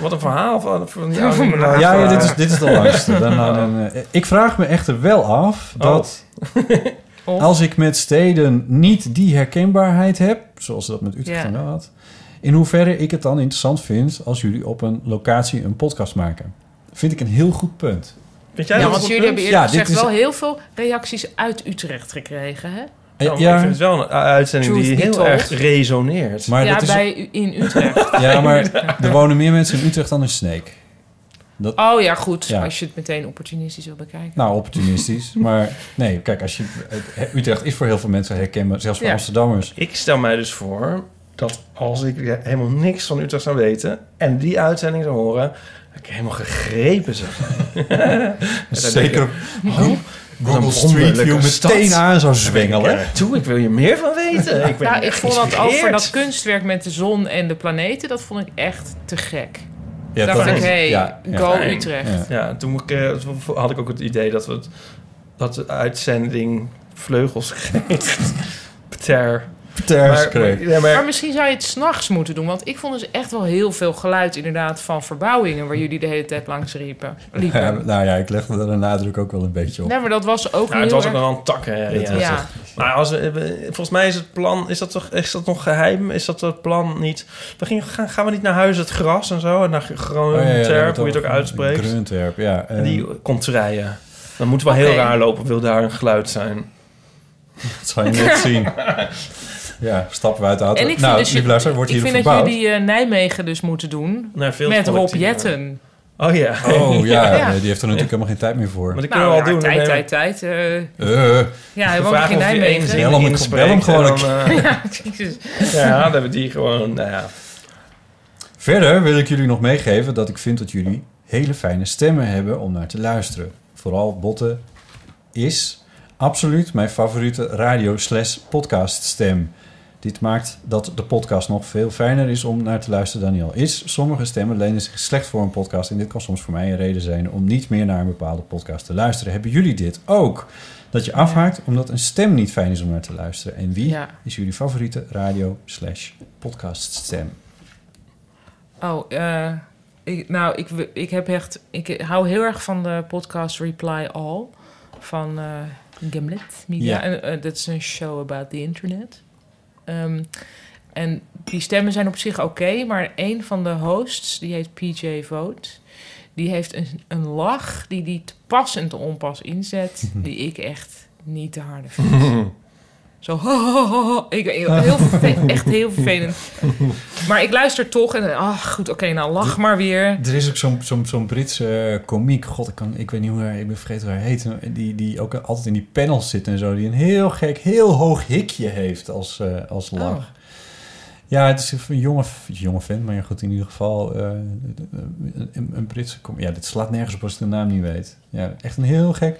[SPEAKER 3] Wat een verhaal van, van jou. die
[SPEAKER 4] Ja,
[SPEAKER 3] laatst
[SPEAKER 4] ja,
[SPEAKER 3] waren.
[SPEAKER 4] dit, is, dit is de
[SPEAKER 5] [laughs]
[SPEAKER 4] langste. Dan, dan, dan, eh, ik vraag me echter wel af dat
[SPEAKER 3] Oh. [laughs]
[SPEAKER 5] Of?
[SPEAKER 4] als ik met steden niet die herkenbaarheid heb, zoals dat met Utrecht
[SPEAKER 5] Ja.
[SPEAKER 4] dan wel had, in hoeverre ik het dan interessant vind als jullie op een locatie een podcast maken. Vind ik een heel goed punt.
[SPEAKER 3] Vind jij
[SPEAKER 5] Ja,
[SPEAKER 3] dat
[SPEAKER 5] want
[SPEAKER 3] goed
[SPEAKER 5] jullie
[SPEAKER 3] punt?
[SPEAKER 5] hebben eerlijk
[SPEAKER 4] Ja, dit
[SPEAKER 5] gezegd
[SPEAKER 4] is-
[SPEAKER 5] wel heel veel reacties uit Utrecht gekregen. Hè?
[SPEAKER 3] Ja, maar
[SPEAKER 4] Ja,
[SPEAKER 3] Ik vind het wel een uh, uitzending
[SPEAKER 5] Truth
[SPEAKER 3] die
[SPEAKER 5] be
[SPEAKER 3] heel
[SPEAKER 5] told.
[SPEAKER 3] erg resoneert.
[SPEAKER 4] maar
[SPEAKER 5] ja,
[SPEAKER 4] dat is,
[SPEAKER 5] bij, u- in Utrecht.
[SPEAKER 4] [laughs]
[SPEAKER 5] [laughs]
[SPEAKER 4] ja, maar er wonen meer mensen in Utrecht dan in Sneek.
[SPEAKER 5] Oh ja, goed.
[SPEAKER 4] Ja.
[SPEAKER 5] Als je het meteen opportunistisch wil bekijken.
[SPEAKER 4] Nou, opportunistisch. maar nee, kijk, als je, eh, Utrecht is [laughs] voor heel veel mensen herkenbaar, zelfs voor
[SPEAKER 5] Ja.
[SPEAKER 4] Amsterdammers.
[SPEAKER 3] Ik stel mij dus voor dat als ik helemaal niks van Utrecht zou weten... en die uitzending zou horen, dat ik helemaal gegrepen zou zijn.
[SPEAKER 4] [laughs] Zeker op
[SPEAKER 3] Wat
[SPEAKER 4] Google
[SPEAKER 3] een
[SPEAKER 4] Street View
[SPEAKER 3] wonderlijke stad.
[SPEAKER 4] meteen aan zou zwengelen.
[SPEAKER 3] Toe, ik wil je meer van
[SPEAKER 5] [laughs]
[SPEAKER 3] weten. Ik ben
[SPEAKER 5] Nou, ik vond dat
[SPEAKER 3] geïnspireerd.
[SPEAKER 5] over dat kunstwerk met de zon en de planeten, dat vond ik echt te gek.
[SPEAKER 4] Ja,
[SPEAKER 5] dacht ik,
[SPEAKER 3] is-
[SPEAKER 5] hé, hey,
[SPEAKER 4] ja, ja.
[SPEAKER 5] go
[SPEAKER 3] Fijn.
[SPEAKER 5] Utrecht.
[SPEAKER 4] Ja.
[SPEAKER 3] Ja, toen mo- eh, toen had ik ook het idee dat we het, dat de uitzending vleugels geeft. [laughs] Ter.
[SPEAKER 4] Pters
[SPEAKER 3] maar,
[SPEAKER 4] kreeg.
[SPEAKER 3] ja, maar-
[SPEAKER 5] Maar misschien zou je het s'nachts moeten doen. Want ik vond dus echt wel heel veel geluid inderdaad van verbouwingen... waar jullie de hele tijd langs riepen, liepen.
[SPEAKER 4] Ja, [laughs] nou ja, ik legde daar de nadruk ook wel een beetje op.
[SPEAKER 5] Nee, maar dat was ook
[SPEAKER 3] nou,
[SPEAKER 5] heel
[SPEAKER 3] het was ook
[SPEAKER 5] erg...
[SPEAKER 3] nog wel een tak. Hè,
[SPEAKER 4] Dat
[SPEAKER 3] ja.
[SPEAKER 5] ja.
[SPEAKER 4] was
[SPEAKER 5] Ja.
[SPEAKER 3] Maar als, we- eh, volgens mij is het plan, is dat, toch, is dat nog geheim? Is dat het plan niet? We gingen, gaan, gaan we niet naar huis het gras en zo? En naar
[SPEAKER 4] Oh, ja, ja,
[SPEAKER 3] Groenterp,
[SPEAKER 4] ja, dat
[SPEAKER 3] hoe je het ook
[SPEAKER 4] wel-
[SPEAKER 3] uitspreekt.
[SPEAKER 4] Grunterp, ja. Eh,
[SPEAKER 3] En
[SPEAKER 4] En
[SPEAKER 3] die komt rijden. Dan moeten we wel
[SPEAKER 5] Oké.
[SPEAKER 3] heel raar lopen, wil daar een geluid zijn.
[SPEAKER 4] [laughs] Dat zal je net zien. Ja, stappen we uit de auto.
[SPEAKER 5] En ik vind,
[SPEAKER 4] nou,
[SPEAKER 5] dus je-
[SPEAKER 4] lieve luisteraar, wordt
[SPEAKER 5] ik
[SPEAKER 4] hier
[SPEAKER 5] vind dat
[SPEAKER 4] verbouwd.
[SPEAKER 5] jullie eh, Nijmegen dus moeten doen.
[SPEAKER 3] Naar veel
[SPEAKER 5] met Rob
[SPEAKER 3] collectiever.
[SPEAKER 5] Jetten.
[SPEAKER 3] Oh [laughs] ja.
[SPEAKER 4] Oh ja,
[SPEAKER 5] Ja.
[SPEAKER 4] nee, die heeft er natuurlijk helemaal geen tijd meer voor.
[SPEAKER 3] Maar dat kunnen
[SPEAKER 5] Nou,
[SPEAKER 3] we
[SPEAKER 5] ja,
[SPEAKER 3] al doen.
[SPEAKER 5] tijd,
[SPEAKER 3] hè?
[SPEAKER 5] tijd, tijd. eh,
[SPEAKER 4] Eh,
[SPEAKER 5] ja, hij
[SPEAKER 3] We
[SPEAKER 5] woont nog
[SPEAKER 3] vragen
[SPEAKER 5] in
[SPEAKER 3] of hij één
[SPEAKER 5] Nijmegen.
[SPEAKER 3] zin
[SPEAKER 4] Bel hem,
[SPEAKER 3] inspreekt
[SPEAKER 4] bel hem
[SPEAKER 3] en
[SPEAKER 4] gewoon
[SPEAKER 3] dan,
[SPEAKER 4] een
[SPEAKER 3] eh,
[SPEAKER 5] [laughs] Ja, jezus.
[SPEAKER 3] [laughs] Ja, dan hebben we die gewoon, nou ja.
[SPEAKER 4] [laughs] Verder wil ik jullie nog meegeven dat ik vind dat jullie hele fijne stemmen hebben om naar te luisteren. Vooral Botte is absoluut mijn favoriete radio slash podcast stem. Dit maakt dat de podcast nog veel fijner is om naar te luisteren dan die al is. Sommige stemmen lenen zich slecht voor een podcast en dit kan soms voor mij een reden zijn om niet meer naar een bepaalde podcast te luisteren. Hebben jullie dit ook? Dat je afhaakt omdat een stem niet fijn is om naar te luisteren. En wie
[SPEAKER 5] Ja.
[SPEAKER 4] is jullie favoriete radio slash podcast stem?
[SPEAKER 5] Oh, eh, ik, nou, ik, w- ik heb echt... Ik hou heel erg van de podcast Reply All van eh Gimlet Media.
[SPEAKER 4] Ja.
[SPEAKER 5] En, eh, Dat is een show about the internet. Ehm, en die stemmen zijn op zich oké, maar een van de hosts, die heet PJ Vote... die heeft een, een lach die die te pas en te onpas inzet... die ik echt niet te harde vind. Zo, Ik, heel verve- echt heel vervelend. Maar ik luister toch en ah, goed, oké, nou lach maar weer.
[SPEAKER 4] Er is ook zo'n zo'n zo'n Britse eh, komiek, god, ik, kan, ik weet niet hoe hij, ik ben vergeten hoe hij heet, die, die ook altijd in die panels zit en zo, die een heel gek, heel hoog hikje heeft als, eh, als lach.
[SPEAKER 5] Oh.
[SPEAKER 4] Ja, het is een jonge, jonge vent, maar ja, goed, in ieder geval eh, een, een Britse komiek. Ja, dit slaat nergens op als ik de naam niet weet. Ja, echt een heel
[SPEAKER 3] [laughs]
[SPEAKER 4] gek...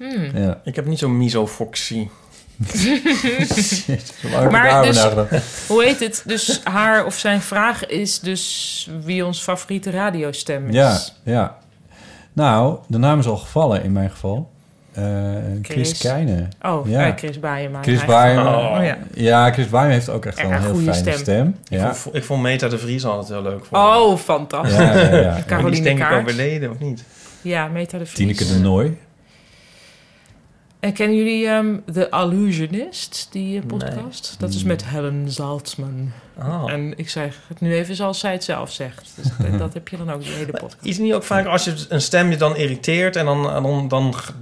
[SPEAKER 5] Hmm.
[SPEAKER 4] Ja,
[SPEAKER 3] Ik heb niet zo'n misofoxie.
[SPEAKER 5] Maar
[SPEAKER 4] waar maar
[SPEAKER 5] dus-
[SPEAKER 4] dus...
[SPEAKER 5] Hoe heet het? Dus haar of zijn vraag is dus wie ons favoriete radiostem is.
[SPEAKER 4] Ja, ja. Nou, de naam is al gevallen in mijn geval. Eh, Chris
[SPEAKER 5] Chris.
[SPEAKER 4] Keijne.
[SPEAKER 5] Oh,
[SPEAKER 4] Ja.
[SPEAKER 5] eh, Chris Baaienma.
[SPEAKER 4] Chris
[SPEAKER 5] Eigenlijk.
[SPEAKER 4] Baaienma.
[SPEAKER 5] Oh, ja.
[SPEAKER 4] Ja, Chris Baaienma heeft ook echt wel
[SPEAKER 5] Ja,
[SPEAKER 4] een heel
[SPEAKER 5] goede
[SPEAKER 4] fijne stem.
[SPEAKER 5] stem.
[SPEAKER 4] Ja.
[SPEAKER 3] Ik, vond, ik vond Meta de Vries altijd heel leuk. Voor me.
[SPEAKER 5] Oh, fantastisch.
[SPEAKER 4] Ja, ja,
[SPEAKER 5] [laughs] Ka-
[SPEAKER 4] ja.
[SPEAKER 3] Maar die is
[SPEAKER 5] Caroline
[SPEAKER 3] denk ik
[SPEAKER 5] Kaart.
[SPEAKER 3] overleden, of niet?
[SPEAKER 5] Ja, Meta de Vries.
[SPEAKER 4] Tineke de Nooi.
[SPEAKER 5] En kennen jullie ehm The Allusionist, die eh, podcast? Dat is
[SPEAKER 4] Hmm.
[SPEAKER 5] met Helen Zaltzman.
[SPEAKER 3] Oh.
[SPEAKER 5] En ik zeg het nu even zoals zij het zelf zegt. Dus
[SPEAKER 4] [laughs]
[SPEAKER 5] dat, dat heb je dan ook de hele podcast.
[SPEAKER 3] Is het niet ook vaak als je een stem je dan irriteert en dan, en dan, dan g-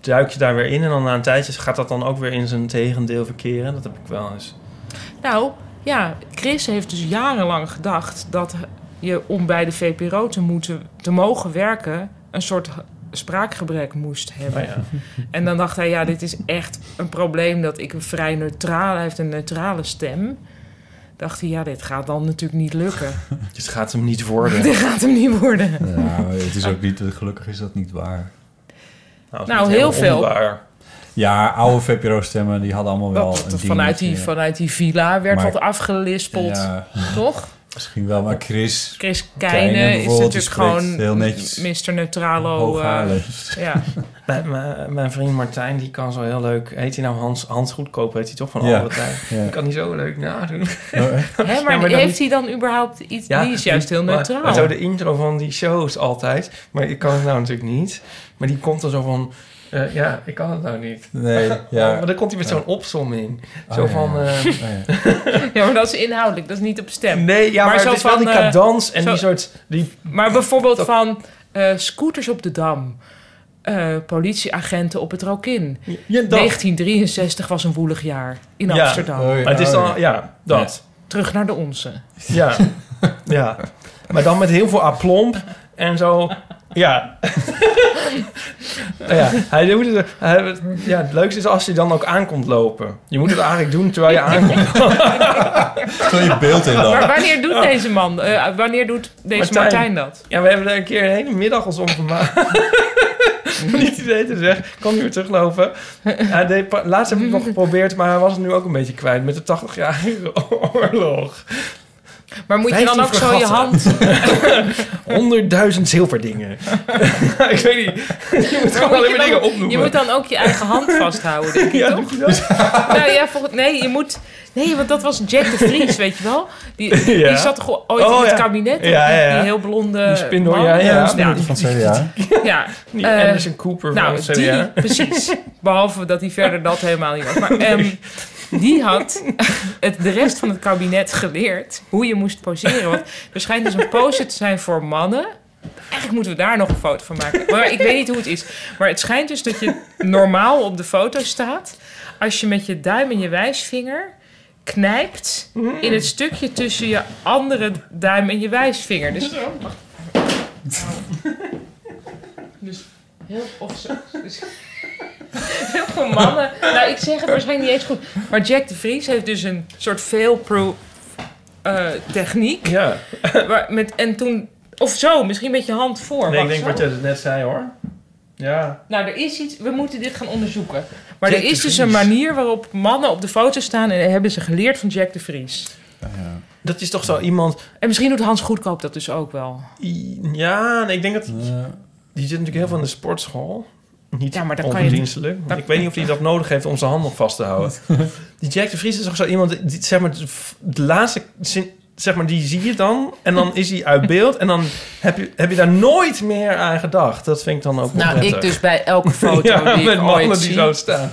[SPEAKER 3] duik je daar weer in en dan na een tijdje gaat dat dan ook weer in zijn tegendeel verkeren? Dat heb ik wel [laughs] eens.
[SPEAKER 5] Nou, ja, Chris heeft dus jarenlang gedacht dat je om bij de VPRO te moeten, te mogen werken, een soort h- spraakgebrek moest hebben.
[SPEAKER 3] Oh ja.
[SPEAKER 4] [laughs]
[SPEAKER 5] En dan dacht hij, ja, dit is echt een probleem dat ik een vrij neutrale, hij heeft een neutrale stem. Dacht hij, ja, dit gaat dan natuurlijk niet lukken.
[SPEAKER 3] Dit gaat hem
[SPEAKER 5] [laughs]
[SPEAKER 3] niet worden.
[SPEAKER 5] Dit gaat hem niet worden.
[SPEAKER 4] Nou, het is ook niet, gelukkig is dat niet waar.
[SPEAKER 3] Nou,
[SPEAKER 5] Nou, heel veel.
[SPEAKER 4] Ja, oude VPRO-stemmen, die hadden
[SPEAKER 5] [laughs]
[SPEAKER 4] allemaal wel
[SPEAKER 5] Wat,
[SPEAKER 4] een
[SPEAKER 5] vanuit, die,
[SPEAKER 4] dingetje.
[SPEAKER 5] vanuit die villa werd
[SPEAKER 4] Maar-
[SPEAKER 5] wat afgelispeld,
[SPEAKER 4] Ja,
[SPEAKER 5] toch?
[SPEAKER 4] misschien wel, maar Chris...
[SPEAKER 5] Chris
[SPEAKER 4] Keijne
[SPEAKER 5] Keijne is
[SPEAKER 4] bijvoorbeeld, die
[SPEAKER 5] natuurlijk
[SPEAKER 4] spreekt
[SPEAKER 5] gewoon
[SPEAKER 4] heel netjes.
[SPEAKER 5] Mr. Neutralo. eh,
[SPEAKER 4] Hooghaarlijk.
[SPEAKER 5] ja.
[SPEAKER 3] Mijn, mijn, mijn vriend Martijn, die kan zo heel leuk... Heet hij nou Hans, Hans Goedkoop? Heet hij toch van
[SPEAKER 4] Ja.
[SPEAKER 3] alle tijd?
[SPEAKER 4] Ja.
[SPEAKER 3] Die kan hij zo leuk nadoen.
[SPEAKER 5] [laughs]
[SPEAKER 4] Oh,
[SPEAKER 3] [laughs]
[SPEAKER 4] echt?
[SPEAKER 5] Hè, maar,
[SPEAKER 3] maar dan-
[SPEAKER 5] heeft hij dan überhaupt iets? die is juist heel
[SPEAKER 3] maar-
[SPEAKER 5] neutraal.
[SPEAKER 3] Maar, zo de intro van die shows altijd. Maar ik kan het nou natuurlijk niet. Maar die komt dan zo van... eh, ja, ik kan het nou niet. [laughs]
[SPEAKER 4] Nee,
[SPEAKER 3] Ja.
[SPEAKER 4] ja.
[SPEAKER 3] Maar dan komt hij met zo'n opzomming.
[SPEAKER 4] Oh,
[SPEAKER 3] zo
[SPEAKER 4] ja,
[SPEAKER 3] van...
[SPEAKER 4] ja.
[SPEAKER 3] eh,
[SPEAKER 4] Oh, ja.
[SPEAKER 5] [laughs] Ja, maar dat is inhoudelijk, dat is niet op stem.
[SPEAKER 3] nee, ja,
[SPEAKER 5] Maar
[SPEAKER 3] maar,
[SPEAKER 5] zo
[SPEAKER 3] het is wel
[SPEAKER 5] van,
[SPEAKER 3] die
[SPEAKER 5] eh,
[SPEAKER 3] cadans en
[SPEAKER 5] zo-
[SPEAKER 3] die soort... Die,
[SPEAKER 5] Maar bijvoorbeeld van eh, scooters op de dam. eh, politieagenten op het Rokin.
[SPEAKER 3] ja, dat.
[SPEAKER 5] 1963 was een woelig jaar in
[SPEAKER 3] Ja.
[SPEAKER 5] Amsterdam.
[SPEAKER 4] Oh, ja.
[SPEAKER 3] Maar het is
[SPEAKER 4] Oh,
[SPEAKER 3] dan...
[SPEAKER 4] ja.
[SPEAKER 3] Ja, dat.
[SPEAKER 5] Terug naar de onze.
[SPEAKER 3] Ja. ja. Maar dan met heel veel aplomb en zo. Ja. [laughs] ja, hij doet het, hij- ja, het leukste is als hij dan ook aankomt lopen. Je moet het eigenlijk doen terwijl
[SPEAKER 5] [laughs]
[SPEAKER 3] je aankomt.
[SPEAKER 4] Stel je beeld in
[SPEAKER 5] Maar
[SPEAKER 4] dan.
[SPEAKER 5] wanneer
[SPEAKER 3] Oh.
[SPEAKER 5] doet deze man, eh, wanneer doet deze Martijn,
[SPEAKER 3] Martijn.
[SPEAKER 5] dat?
[SPEAKER 3] Ja, we hebben daar een keer een hele middag ons om gemaakt. [laughs] Niet idee te zeggen. Kan nu weer teruglopen. Hij deed pa- laatst heb ik het nog geprobeerd, maar hij was het nu ook een beetje kwijt met de 80-jarige [laughs] oorlog.
[SPEAKER 5] Maar moet je dan
[SPEAKER 3] 15
[SPEAKER 5] ook zo je
[SPEAKER 3] fregatten.
[SPEAKER 5] hand...
[SPEAKER 3] [laughs] 100.000 zilverdingen. [laughs] ik weet niet. [laughs] Je moet gewoon
[SPEAKER 5] moet
[SPEAKER 3] alleen
[SPEAKER 5] je
[SPEAKER 3] maar dingen
[SPEAKER 5] dan-
[SPEAKER 3] opnoemen.
[SPEAKER 5] Je moet dan ook je eigen hand vasthouden, denk ik,
[SPEAKER 3] [laughs] Ja,
[SPEAKER 5] toch?
[SPEAKER 3] doet hij dat?
[SPEAKER 5] Nou ja, volgens, nee, je moet... Nee, want dat was Jack de Vries, weet je wel? Die, die, die
[SPEAKER 3] [laughs] Ja.
[SPEAKER 5] zat toch ooit
[SPEAKER 3] Oh,
[SPEAKER 5] in het
[SPEAKER 3] ja.
[SPEAKER 5] kabinet?
[SPEAKER 3] Ja, ja, ja.
[SPEAKER 5] Die heel blonde
[SPEAKER 3] Die spindoor,
[SPEAKER 5] man.
[SPEAKER 3] ja, ja.
[SPEAKER 5] Ja,
[SPEAKER 3] Ja,
[SPEAKER 4] Van het CDA.
[SPEAKER 5] [laughs] ja.
[SPEAKER 3] Die
[SPEAKER 5] Eh,
[SPEAKER 3] Anderson Cooper van
[SPEAKER 5] Nou,
[SPEAKER 3] het CDA.
[SPEAKER 5] die, [laughs] precies. Behalve dat hij verder dat helemaal niet was.
[SPEAKER 3] [laughs]
[SPEAKER 5] Maar ehm, die had het, de rest van het kabinet geleerd hoe je moest poseren. Want er schijnt dus een pose te zijn voor mannen. Eigenlijk moeten we daar nog een foto van maken. Maar ik weet niet hoe het is. Maar het schijnt dus dat je normaal op de foto staat... als je met je duim en je wijsvinger knijpt...
[SPEAKER 3] Mm.
[SPEAKER 5] in het stukje tussen je andere duim en je wijsvinger. Dus [laughs] Dus heel, of zo, dus, heel veel mannen. Nou, ik zeg het waarschijnlijk niet eens goed. Maar Jack de Vries heeft dus een soort fail-proof eh, techniek.
[SPEAKER 3] Ja,
[SPEAKER 5] Waar, met, en toen, of zo, misschien met je hand voor.
[SPEAKER 3] nee, ik
[SPEAKER 5] wacht,
[SPEAKER 3] denk
[SPEAKER 5] zo.
[SPEAKER 3] wat jij dus net zei hoor. Ja.
[SPEAKER 5] Nou, er is iets, we moeten dit gaan onderzoeken. Maar
[SPEAKER 3] Jack
[SPEAKER 5] er
[SPEAKER 3] de
[SPEAKER 5] is dus
[SPEAKER 3] Vries.
[SPEAKER 5] een manier waarop mannen op de foto staan en hebben ze geleerd van Jack de Vries.
[SPEAKER 3] Dat is toch zo iemand...
[SPEAKER 5] En misschien doet Hans Goedkoop dat dus ook wel.
[SPEAKER 3] i- Ja, nee, ik denk dat...
[SPEAKER 4] Eh,
[SPEAKER 3] Die zit natuurlijk heel veel in de sportschool. Niet
[SPEAKER 5] Ja,
[SPEAKER 3] ja,
[SPEAKER 5] maar
[SPEAKER 3] maar
[SPEAKER 5] dat kan je-
[SPEAKER 3] onverdienstelijk. want
[SPEAKER 5] dat-
[SPEAKER 3] Ik weet niet of hij dat nodig heeft om zijn handen vast te
[SPEAKER 4] [laughs]
[SPEAKER 3] houden. die Jack de Vries is toch zo iemand... Die, zeg maar, de f- de laatste... zin- Zeg maar, die zie je dan. En dan is hij uit beeld. En dan heb je, heb je daar nooit meer aan gedacht. Dat vind ik dan ook
[SPEAKER 5] Nou,
[SPEAKER 3] onprettig.
[SPEAKER 5] ik dus bij
[SPEAKER 3] [laughs]
[SPEAKER 5] elke foto
[SPEAKER 3] ja,
[SPEAKER 5] die
[SPEAKER 3] met
[SPEAKER 5] ik
[SPEAKER 3] mannen
[SPEAKER 5] ooit
[SPEAKER 3] die
[SPEAKER 5] zie.
[SPEAKER 3] zo staan.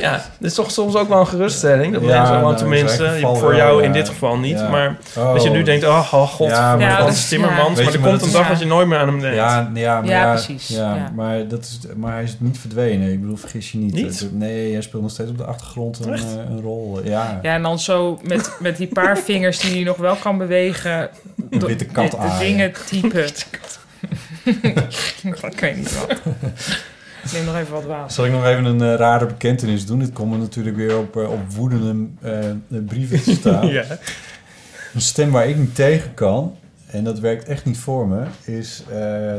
[SPEAKER 3] ja, dat is toch soms ook wel een geruststelling. Dat
[SPEAKER 4] Ja,
[SPEAKER 3] mensen, want
[SPEAKER 4] nou, in
[SPEAKER 3] tenminste,
[SPEAKER 4] zijn geval
[SPEAKER 3] voor
[SPEAKER 4] wel,
[SPEAKER 3] jou
[SPEAKER 4] ja.
[SPEAKER 3] in dit geval niet.
[SPEAKER 4] Ja.
[SPEAKER 3] Maar
[SPEAKER 4] oh.
[SPEAKER 3] dat je nu denkt, oh, oh god,
[SPEAKER 4] Ja, maar
[SPEAKER 3] ja,
[SPEAKER 4] dat
[SPEAKER 3] dat
[SPEAKER 5] is-
[SPEAKER 3] is Timmermans.
[SPEAKER 4] ja.
[SPEAKER 3] Maar er
[SPEAKER 4] Weet je,
[SPEAKER 3] komt
[SPEAKER 4] maar
[SPEAKER 3] een
[SPEAKER 5] dat
[SPEAKER 3] dag
[SPEAKER 5] is-
[SPEAKER 3] dat je nooit meer aan hem denkt.
[SPEAKER 4] Ja, nee, ja, maar
[SPEAKER 5] Ja,
[SPEAKER 4] ja,
[SPEAKER 5] precies,
[SPEAKER 4] Ja,
[SPEAKER 5] ja.
[SPEAKER 4] Maar, dat is, maar hij is niet verdwenen. Ik bedoel, vergis je niet.
[SPEAKER 3] Niet?
[SPEAKER 4] Het- Nee, hij speelt nog steeds op de achtergrond een, eh, een rol. Ja,
[SPEAKER 5] Ja, en dan zo met, met die
[SPEAKER 4] [laughs]
[SPEAKER 5] paar vingers die hij nog wel kan bewegen.
[SPEAKER 4] een witte kat
[SPEAKER 5] de
[SPEAKER 4] aan.
[SPEAKER 5] dingen typen. [laughs] ik weet niet wat. Ik neem nog even wat water.
[SPEAKER 4] Zal ik nog even een eh, rare bekentenis doen? Dit komt natuurlijk weer op, eh, op woedende eh, brieven te
[SPEAKER 5] [laughs]
[SPEAKER 4] staan.
[SPEAKER 3] Ja.
[SPEAKER 4] Een stem waar ik niet tegen kan, en dat werkt echt niet voor me, is eh,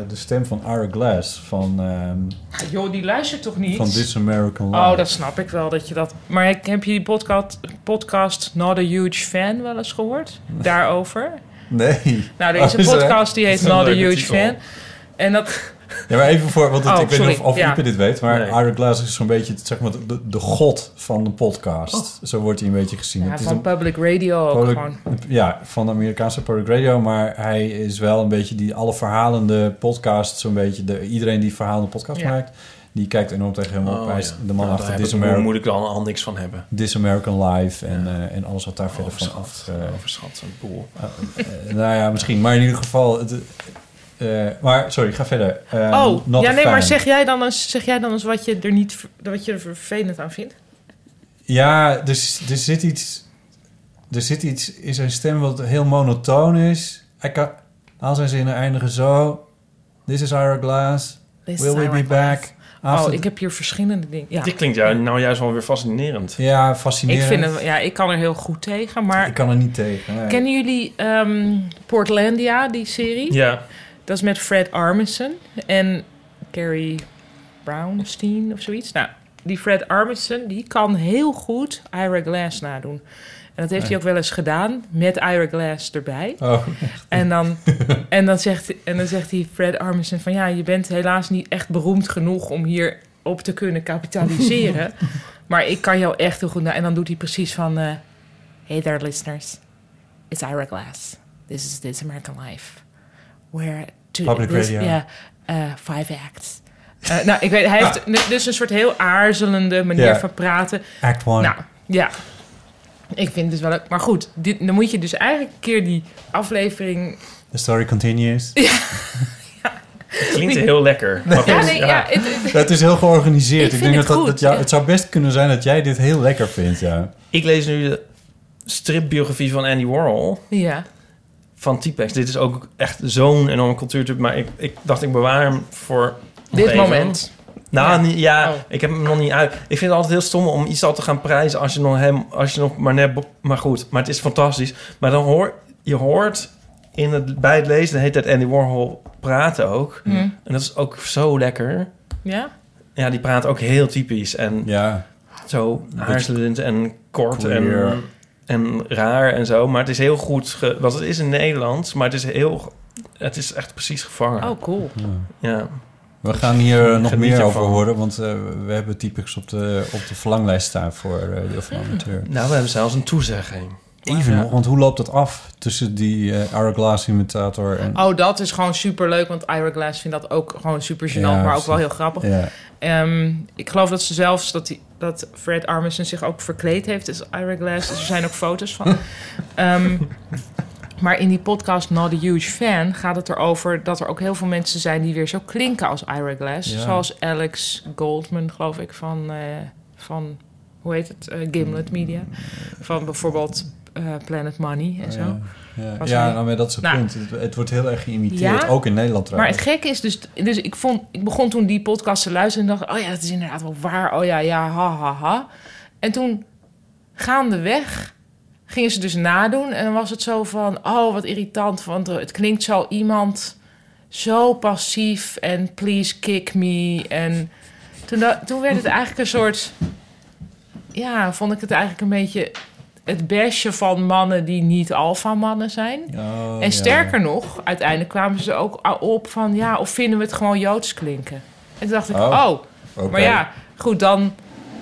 [SPEAKER 4] de stem van Ira Glass van, ehm,
[SPEAKER 5] Ah, joh, die luistert toch niet?
[SPEAKER 4] van This American Life.
[SPEAKER 5] Oh, dat snap ik wel dat je dat. Maar ik- heb je die podcast, podcast Not a Huge Fan wel eens gehoord? Daarover?
[SPEAKER 4] Nee.
[SPEAKER 5] Nou, er is
[SPEAKER 4] Oh,
[SPEAKER 5] een
[SPEAKER 4] is er, hè?
[SPEAKER 5] podcast die heet
[SPEAKER 3] Dat is een
[SPEAKER 5] Not a
[SPEAKER 3] leuke
[SPEAKER 5] Huge
[SPEAKER 3] titel.
[SPEAKER 5] Fan. En dat.
[SPEAKER 4] Ja, maar even voor, want het-
[SPEAKER 5] Oh,
[SPEAKER 4] ik weet
[SPEAKER 5] sorry,
[SPEAKER 4] niet of, of
[SPEAKER 5] ja.
[SPEAKER 4] Ipe dit weet, maar
[SPEAKER 3] Nee.
[SPEAKER 4] Ira Glass is zo'n beetje zeg maar, de, de god van de podcast.
[SPEAKER 5] Oh.
[SPEAKER 4] Zo wordt hij een beetje gezien.
[SPEAKER 5] Ja,
[SPEAKER 4] Het is
[SPEAKER 5] van
[SPEAKER 4] een
[SPEAKER 5] Public Radio ook
[SPEAKER 4] Public-
[SPEAKER 5] gewoon.
[SPEAKER 4] ja, van de Amerikaanse Public Radio. Maar hij is wel een beetje die alle verhalende podcast. Zo'n beetje de, iedereen die verhalende podcast
[SPEAKER 5] Ja.
[SPEAKER 4] maakt. Die kijkt enorm tegen hem op.
[SPEAKER 3] Oh,
[SPEAKER 4] Hij is
[SPEAKER 3] ja.
[SPEAKER 4] de man
[SPEAKER 3] Nou,
[SPEAKER 4] achter
[SPEAKER 3] daar
[SPEAKER 4] This,
[SPEAKER 3] heb ik-
[SPEAKER 4] Ameri-
[SPEAKER 3] moet ik dan al niks van hebben.
[SPEAKER 4] This American Life en, eh, en alles wat daar verder van af...
[SPEAKER 3] Overschat,
[SPEAKER 4] eh,
[SPEAKER 3] overschat, een boel.
[SPEAKER 4] Eh, nou ja, misschien. Maar in ieder geval... Het, eh, maar, sorry, ga verder. Eh,
[SPEAKER 5] oh,
[SPEAKER 4] Not
[SPEAKER 5] ja,
[SPEAKER 4] a
[SPEAKER 5] nee, maar
[SPEAKER 4] Fan.
[SPEAKER 5] zeg jij dan eens, zeg jij dan eens wat, je er niet, ver- wat je er vervelend aan vindt?
[SPEAKER 4] Ja, dus er zit iets... Er zit iets in zijn stem wat heel monotoon is. Hij kan, al zijn zinnen eindigen zo. This is our glass.
[SPEAKER 5] This is
[SPEAKER 4] Will we
[SPEAKER 5] our
[SPEAKER 4] be
[SPEAKER 5] glass.
[SPEAKER 4] back?
[SPEAKER 5] oh,
[SPEAKER 4] After-
[SPEAKER 5] ik heb hier verschillende dingen. Ja.
[SPEAKER 3] Dit klinkt jou nou juist wel weer fascinerend.
[SPEAKER 4] Ja,
[SPEAKER 5] Ik,
[SPEAKER 4] fascinerend.
[SPEAKER 5] vind hem, ja, ik kan er heel goed tegen, maar...
[SPEAKER 4] Ik kan er niet tegen. nee.
[SPEAKER 5] Kennen jullie ehm, Portlandia, die serie?
[SPEAKER 3] Ja,
[SPEAKER 5] Dat is met Fred Armisen en Carrie Brownstein of zoiets. Nou, die Fred Armisen, die kan heel goed Ira Glass nadoen. En dat heeft hij ook wel eens gedaan, met Ira Glass erbij.
[SPEAKER 4] Oh,
[SPEAKER 5] En dan, en, dan zegt, en dan zegt hij Fred Armisen van... ja, je bent helaas niet echt beroemd genoeg om hier op te kunnen kapitaliseren. [laughs] maar ik kan jou echt heel goed... na- En dan doet hij precies van... eh, hey there, listeners. It's Ira Glass. This is This American Life. We're... To
[SPEAKER 4] Public
[SPEAKER 5] this-
[SPEAKER 4] radio.
[SPEAKER 5] yeah, eh, five acts. Eh, nou, ik weet, hij heeft nu- dus een soort heel aarzelende manier
[SPEAKER 4] Ah. Ja.
[SPEAKER 5] van praten.
[SPEAKER 4] act one.
[SPEAKER 5] Nou, ja. Ik vind het wel leuk. Maar goed, dit, dan moet je dus eigenlijk een keer die aflevering
[SPEAKER 4] The story
[SPEAKER 5] [laughs]
[SPEAKER 4] continues.
[SPEAKER 3] het klinkt heel lekker. Maar goed,
[SPEAKER 5] Ja, nee, ja. het- het-
[SPEAKER 4] Het is heel georganiseerd.
[SPEAKER 5] Ik
[SPEAKER 4] Ik,
[SPEAKER 5] vind
[SPEAKER 4] denk
[SPEAKER 5] het
[SPEAKER 4] dat, dat,
[SPEAKER 5] goed,
[SPEAKER 4] dat jou-
[SPEAKER 5] ja.
[SPEAKER 4] het zou best kunnen zijn dat jij dit heel lekker vindt, ja.
[SPEAKER 3] Ik lees nu de stripbiografie van Andy Warhol
[SPEAKER 5] ja.
[SPEAKER 3] van T-Pax. Dit is ook echt zo'n enorme cultuurtip, maar ik, ik dacht ik bewaar hem voor... nog
[SPEAKER 5] Dit
[SPEAKER 3] even.
[SPEAKER 5] moment.
[SPEAKER 3] Nou,
[SPEAKER 5] Ja.
[SPEAKER 3] ja, ja
[SPEAKER 5] Oh.
[SPEAKER 3] ik heb hem nog niet uit. Ik vind het altijd heel stom om iets al te gaan prijzen als je nog, hem, als je nog maar net... be- Maar goed, maar het is fantastisch. Maar dan hoor je hoort in het, bij het lezen de hele tijd Andy Warhol praten ook.
[SPEAKER 5] Mm.
[SPEAKER 3] En dat is ook zo lekker.
[SPEAKER 5] Ja?
[SPEAKER 3] Ja, die praat ook heel typisch en
[SPEAKER 4] Ja,
[SPEAKER 3] zo aarzelend en kort
[SPEAKER 4] Queer.
[SPEAKER 3] en, en raar en zo. Maar het is heel goed, ge, wat het is in Nederlands, maar het is heel... Het is echt precies gevangen.
[SPEAKER 5] Oh, cool.
[SPEAKER 3] Ja.
[SPEAKER 4] we gaan hier eh, nog
[SPEAKER 3] Geniet
[SPEAKER 4] meer
[SPEAKER 3] ervan.
[SPEAKER 4] over horen, want eh, we hebben typisch op de, op de verlanglijst staan voor eh Deel van Amateur.
[SPEAKER 3] Nou, we hebben zelfs een toezegging.
[SPEAKER 4] Even nog, want hoe loopt dat af tussen die eh Hourglass imitator en...
[SPEAKER 5] Oh, dat is gewoon super leuk, want Ira Glass vindt dat ook gewoon super gênant,
[SPEAKER 4] Ja,
[SPEAKER 5] maar ook
[SPEAKER 4] precies.
[SPEAKER 5] wel heel grappig.
[SPEAKER 4] Ja,
[SPEAKER 5] Ehm, ik geloof dat ze zelfs dat, die, dat Fred Armisen zich ook verkleed heeft als Ira Glass. Dus er zijn ook foto's
[SPEAKER 4] [laughs]
[SPEAKER 5] van. Ehm, maar in die podcast Not a Huge Fan gaat het erover dat er ook heel veel mensen zijn die weer zo klinken als Ira Glass.
[SPEAKER 4] Ja.
[SPEAKER 5] Zoals Alex Goldman, geloof ik, van, eh, van hoe heet het? Eh, Gimlet Media. Van bijvoorbeeld eh, Planet Money en zo.
[SPEAKER 4] Oh ja, ja.
[SPEAKER 5] Was
[SPEAKER 4] ja
[SPEAKER 5] hij-
[SPEAKER 4] nou, maar dat is het
[SPEAKER 5] Nou.
[SPEAKER 4] punt. Het, het wordt heel erg geïmiteerd,
[SPEAKER 5] Ja,
[SPEAKER 4] ook in Nederland
[SPEAKER 5] Maar het
[SPEAKER 4] trouwens.
[SPEAKER 5] gekke is dus, dus ik, vond, ik begon toen die podcast te luisteren en dacht, oh ja, dat is inderdaad wel waar. Oh ja, ja, ha, ha, ha. En toen gaandeweg gingen ze dus nadoen en dan was het zo van, oh wat irritant, want eh, het klinkt zo iemand zo passief en please kick me. En toen, da- toen werd het eigenlijk een soort, ja, vond ik het eigenlijk een beetje het besje van mannen die niet alfa mannen zijn.
[SPEAKER 4] Oh, ja.
[SPEAKER 5] En sterker nog, uiteindelijk kwamen ze ook op van ja, of vinden we het gewoon joods klinken? En toen dacht ik,
[SPEAKER 4] Oh,
[SPEAKER 5] oh,
[SPEAKER 4] Oké.
[SPEAKER 5] maar ja, goed dan.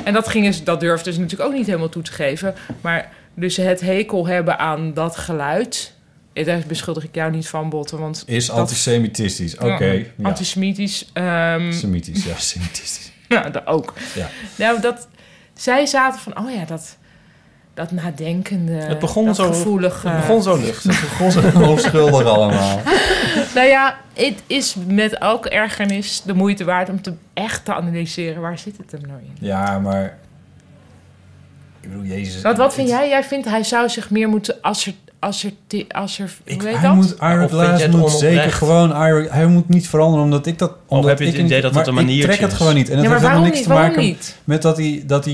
[SPEAKER 5] En dat, gingen ze, dat durfden ze natuurlijk ook niet helemaal toe te geven. Maar dus het hekel hebben aan dat geluid. eh, Daar beschuldig ik jou niet van, Botten. Want
[SPEAKER 4] Is
[SPEAKER 5] dat-
[SPEAKER 4] antisemitistisch, oké. ja.
[SPEAKER 5] Antisemitisch. ehm,
[SPEAKER 4] Semitisch, ja, [laughs] semitistisch.
[SPEAKER 5] nou, dat ook.
[SPEAKER 4] Ja.
[SPEAKER 5] Nou, dat, zij zaten van, oh ja, dat, dat nadenkende,
[SPEAKER 3] Het begon
[SPEAKER 5] dat
[SPEAKER 3] zo-
[SPEAKER 5] gevoelige.
[SPEAKER 3] Het begon zo
[SPEAKER 4] [laughs]
[SPEAKER 3] luchtig.
[SPEAKER 4] Onschuldig allemaal.
[SPEAKER 5] [laughs] Nou ja, het is met elke ergernis de moeite waard om te echt te analyseren waar zit het hem nou in.
[SPEAKER 4] Ja, maar... Ik bedoel, Jezus...
[SPEAKER 5] Wat, wat vind
[SPEAKER 4] het-
[SPEAKER 5] jij? Jij vindt hij zou zich meer moeten asser, asser, asser,
[SPEAKER 4] Ik,
[SPEAKER 5] hoe heet
[SPEAKER 4] hij
[SPEAKER 5] dat?
[SPEAKER 4] moet Ira
[SPEAKER 3] Of vind
[SPEAKER 4] Glass
[SPEAKER 3] je het
[SPEAKER 4] moet
[SPEAKER 3] onoprecht?
[SPEAKER 4] zeker gewoon Ira, hij moet niet veranderen omdat ik dat omdat
[SPEAKER 3] heb je het
[SPEAKER 4] ik niet-
[SPEAKER 3] idee dat het
[SPEAKER 4] maar
[SPEAKER 3] een maniertje
[SPEAKER 4] ik trek het
[SPEAKER 3] is?
[SPEAKER 4] gewoon niet en dat
[SPEAKER 5] Nee, maar
[SPEAKER 4] heeft helemaal
[SPEAKER 5] waarom
[SPEAKER 4] niks
[SPEAKER 5] niet?
[SPEAKER 4] te
[SPEAKER 5] Waarom niet?
[SPEAKER 4] maken met dat hij dat hij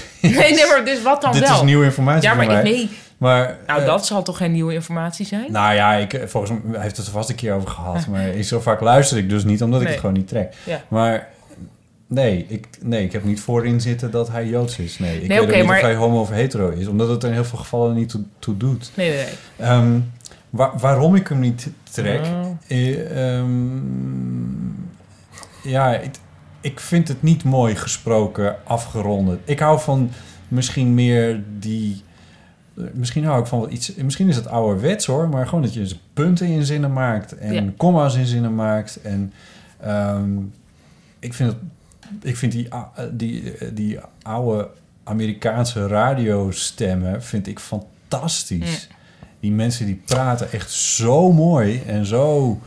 [SPEAKER 5] [laughs] Nee, nee, maar dus wat dan
[SPEAKER 4] dit
[SPEAKER 5] wel?
[SPEAKER 4] is nieuwe informatie
[SPEAKER 5] ja, maar
[SPEAKER 4] voor
[SPEAKER 5] ik,
[SPEAKER 4] mij [laughs]
[SPEAKER 5] nee.
[SPEAKER 4] maar
[SPEAKER 5] Nou,
[SPEAKER 4] eh,
[SPEAKER 5] dat zal toch geen nieuwe informatie zijn?
[SPEAKER 4] nou ja ik eh, volgens mij hij heeft het er vast een keer over
[SPEAKER 5] [laughs]
[SPEAKER 4] gehad maar ik zo vaak luister ik dus niet omdat ik
[SPEAKER 5] Nee.
[SPEAKER 4] het gewoon niet trek
[SPEAKER 5] Ja.
[SPEAKER 4] maar nee ik nee ik heb niet voorin zitten dat hij joods is nee ik
[SPEAKER 5] Nee,
[SPEAKER 4] weet ook
[SPEAKER 5] oké,
[SPEAKER 4] niet
[SPEAKER 5] maar-
[SPEAKER 4] of hij homo of hetero is omdat het er in heel veel gevallen niet toe, toe doet
[SPEAKER 5] Nee, nee, nee.
[SPEAKER 4] Ehm, wa- waarom ik hem niet trek?
[SPEAKER 5] Oh.
[SPEAKER 4] Eh, ehm, ja, ik, ik vind het niet mooi gesproken, afgerond. Ik hou van misschien meer die. eh, Misschien hou ik van wat iets. Misschien is het ouderwets hoor, maar gewoon dat je dus punten in zinnen maakt en
[SPEAKER 5] Ja.
[SPEAKER 4] komma's in zinnen maakt. En ehm, ik vind het ik vind die, a- eh, die, eh, die oude Amerikaanse radiostemmen vind ik fantastisch. Die mensen die praten echt zo mooi en zo...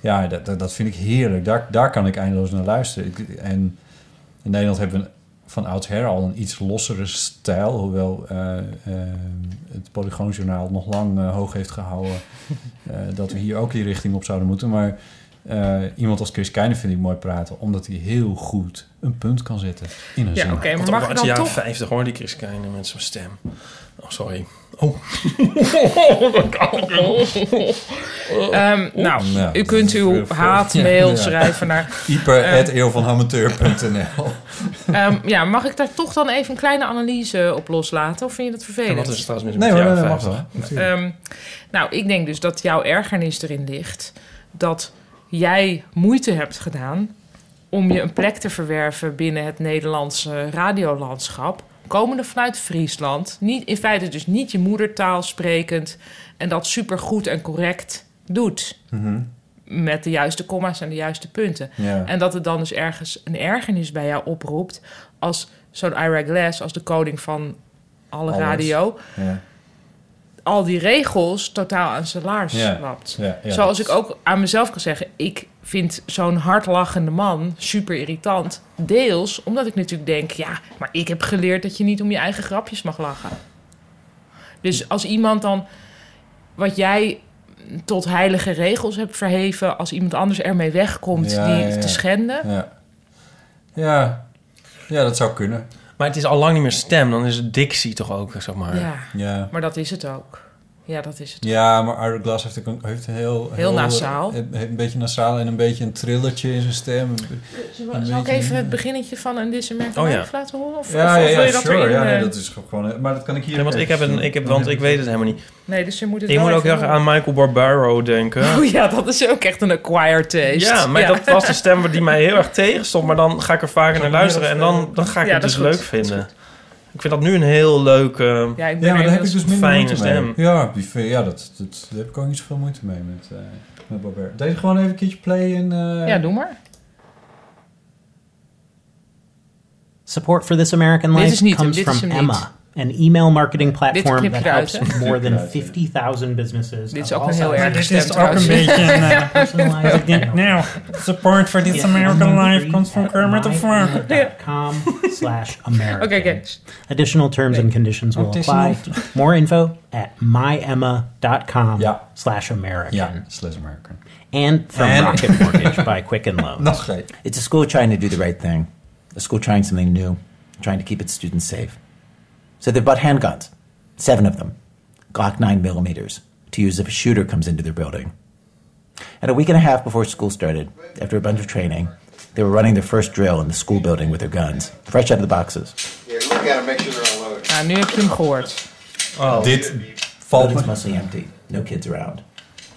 [SPEAKER 4] Ja, dat, dat, dat vind ik heerlijk. Daar, daar kan ik eindeloos naar luisteren. Ik- en in Nederland hebben we van oudsher al een iets lossere stijl. Hoewel eh, eh, het Polygoonjournaal nog lang eh, hoog heeft gehouden... eh, dat we hier ook die richting op zouden moeten. Maar eh, iemand als Chris Keijne vind ik mooi praten, omdat hij heel goed een punt kan zetten in een
[SPEAKER 5] Ja,
[SPEAKER 4] zin.
[SPEAKER 5] oké, maar
[SPEAKER 3] Komt ook
[SPEAKER 5] mag
[SPEAKER 3] uit
[SPEAKER 5] je
[SPEAKER 3] de
[SPEAKER 5] dan
[SPEAKER 3] jaren
[SPEAKER 5] toch...
[SPEAKER 3] 50 hoor, die Chris Keijne met zijn stem. Oh, sorry.
[SPEAKER 5] Ehm, nou,
[SPEAKER 4] Ja.
[SPEAKER 5] u kunt uw haatmail schrijven naar... Eh,
[SPEAKER 4] Ieper at eeuwvanamateur.nl.
[SPEAKER 5] [laughs] Ehm, ja, mag ik daar toch dan even een kleine analyse op loslaten? Of vind je dat
[SPEAKER 3] En
[SPEAKER 5] vervelend?
[SPEAKER 3] wat is het trouwens met
[SPEAKER 4] Nee,
[SPEAKER 3] de
[SPEAKER 4] maar
[SPEAKER 3] jaren
[SPEAKER 4] dat mag
[SPEAKER 3] 50?
[SPEAKER 4] wel. natuurlijk.
[SPEAKER 5] Ehm, nou, ik denk dus dat jouw ergernis erin ligt dat jij moeite hebt gedaan om je een plek te verwerven binnen het Nederlandse radiolandschap. Komende vanuit Friesland, niet, in feite dus niet je moedertaal sprekend en dat supergoed en correct doet.
[SPEAKER 4] Mhm.
[SPEAKER 5] Met de juiste comma's en de juiste punten.
[SPEAKER 4] Ja.
[SPEAKER 5] En dat het dan dus ergens een ergernis bij jou oproept. Als zo'n Ira Glass, als de koning van alle
[SPEAKER 4] Alles.
[SPEAKER 5] radio,
[SPEAKER 4] Ja.
[SPEAKER 5] al die regels totaal aan zijn laars
[SPEAKER 4] Ja,
[SPEAKER 5] slapt.
[SPEAKER 4] ja, ja.
[SPEAKER 5] Zoals ik ook aan mezelf kan zeggen, ik vind zo'n hardlachende man super irritant. Deels omdat ik natuurlijk denk, ja, maar ik heb geleerd dat je niet om je eigen grapjes mag lachen. Dus als iemand dan wat jij tot heilige regels hebt verheven, als iemand anders ermee wegkomt
[SPEAKER 4] Ja,
[SPEAKER 5] die
[SPEAKER 4] ja, ja.
[SPEAKER 5] te schenden,
[SPEAKER 4] Ja. Ja. ja, dat zou kunnen.
[SPEAKER 3] Maar het is al lang niet meer stem, dan is het dictie toch ook, zeg maar.
[SPEAKER 5] ja,
[SPEAKER 4] Ja.
[SPEAKER 5] maar dat is het ook. Ja, dat is het.
[SPEAKER 4] Ja, maar Ira Glass heeft, ook een- heeft een heel...
[SPEAKER 5] Heel nasaal.
[SPEAKER 4] Een, een beetje nasaal en een beetje een trillertje in zijn stem.
[SPEAKER 5] Zal
[SPEAKER 4] Een
[SPEAKER 5] Eh, zal ik
[SPEAKER 4] beetje-
[SPEAKER 5] even het beginnetje van een This American
[SPEAKER 3] Oh ja.
[SPEAKER 5] Life laten horen? Of,
[SPEAKER 4] Ja,
[SPEAKER 5] of
[SPEAKER 4] ja,
[SPEAKER 5] wil je
[SPEAKER 4] ja,
[SPEAKER 5] dat
[SPEAKER 4] sure.
[SPEAKER 5] erin?
[SPEAKER 4] Ja, nee,
[SPEAKER 5] eh?
[SPEAKER 4] dat
[SPEAKER 5] [laughs]
[SPEAKER 4] is gewoon... Maar dat kan ik hier...
[SPEAKER 3] Nee, want ik heb een, ik heb, want ik weet het helemaal niet.
[SPEAKER 5] Nee, dus je moet het
[SPEAKER 3] Ik
[SPEAKER 5] wel
[SPEAKER 3] moet ook
[SPEAKER 5] even
[SPEAKER 3] heel erg
[SPEAKER 5] horen.
[SPEAKER 3] aan Michael Barbaro denken.
[SPEAKER 5] Oh ja, dat is ook echt een acquired taste.
[SPEAKER 3] Ja, maar dat was de
[SPEAKER 4] dus-
[SPEAKER 3] stem die mij heel erg tegenstond. Maar dan ga ik er vaker naar luisteren en dan, dan ga ik
[SPEAKER 5] Ja,
[SPEAKER 3] het
[SPEAKER 5] dat
[SPEAKER 3] dus
[SPEAKER 5] is goed.
[SPEAKER 3] leuk vinden. Ik vind dat nu een heel leuk... eh,
[SPEAKER 5] Ja, ik ben
[SPEAKER 4] Ja, maar
[SPEAKER 5] er
[SPEAKER 4] daar heb ik
[SPEAKER 5] inmiddels-
[SPEAKER 4] dus minder
[SPEAKER 3] fijne
[SPEAKER 4] moeite mee.
[SPEAKER 3] stem.
[SPEAKER 4] Ja, die, vind- ja dat, dat, daar heb ik ook niet zoveel moeite mee met, eh met Bobert. Deze gewoon even een keertje play en... eh,
[SPEAKER 5] Ja, doe maar.
[SPEAKER 8] Support for This American
[SPEAKER 5] Dit
[SPEAKER 8] Life
[SPEAKER 5] is niet hem,
[SPEAKER 8] comes
[SPEAKER 5] dit is
[SPEAKER 8] from
[SPEAKER 5] hem niet.
[SPEAKER 8] Emma, an email marketing
[SPEAKER 5] knip
[SPEAKER 8] platform that
[SPEAKER 5] je eruit,
[SPEAKER 8] helps
[SPEAKER 5] hè?
[SPEAKER 8] more than
[SPEAKER 4] eruit, ja.
[SPEAKER 8] 50,000 businesses.
[SPEAKER 5] [laughs] Dit is
[SPEAKER 8] of
[SPEAKER 5] ook een
[SPEAKER 8] all
[SPEAKER 5] heel
[SPEAKER 8] sizes
[SPEAKER 5] erg
[SPEAKER 8] personalize
[SPEAKER 5] stem trouwens.
[SPEAKER 8] it. Personalize it.
[SPEAKER 9] Now, support for This
[SPEAKER 8] Get
[SPEAKER 9] American
[SPEAKER 8] number
[SPEAKER 9] Life
[SPEAKER 8] three
[SPEAKER 9] comes from
[SPEAKER 8] at
[SPEAKER 9] Kermit the Frog.
[SPEAKER 5] [laughs]
[SPEAKER 8] myemma.com slash American.
[SPEAKER 5] Oké, oké.
[SPEAKER 8] Additional terms and conditions will apply. More info at myemma.com
[SPEAKER 4] Ja.
[SPEAKER 8] slash American.
[SPEAKER 4] Ja, Slash American.
[SPEAKER 8] And from
[SPEAKER 9] And-
[SPEAKER 8] Rocket Mortgage by
[SPEAKER 4] [laughs]
[SPEAKER 8] Quicken Loans.
[SPEAKER 4] Nog geen.
[SPEAKER 9] It's a school trying to do the right thing, a school trying something new, trying to keep its students safe. So they've bought handguns, seven of them, Glock 9 millimeters, to use if a shooter comes into their building. And a week and a half before school started, after a bunch of training, they were running their first drill in the school building with their guns, fresh out of the boxes.
[SPEAKER 5] Nou, nu heb je hem gehoord.
[SPEAKER 4] Dit valt
[SPEAKER 9] Building's
[SPEAKER 4] me.
[SPEAKER 9] mostly empty, no kids around.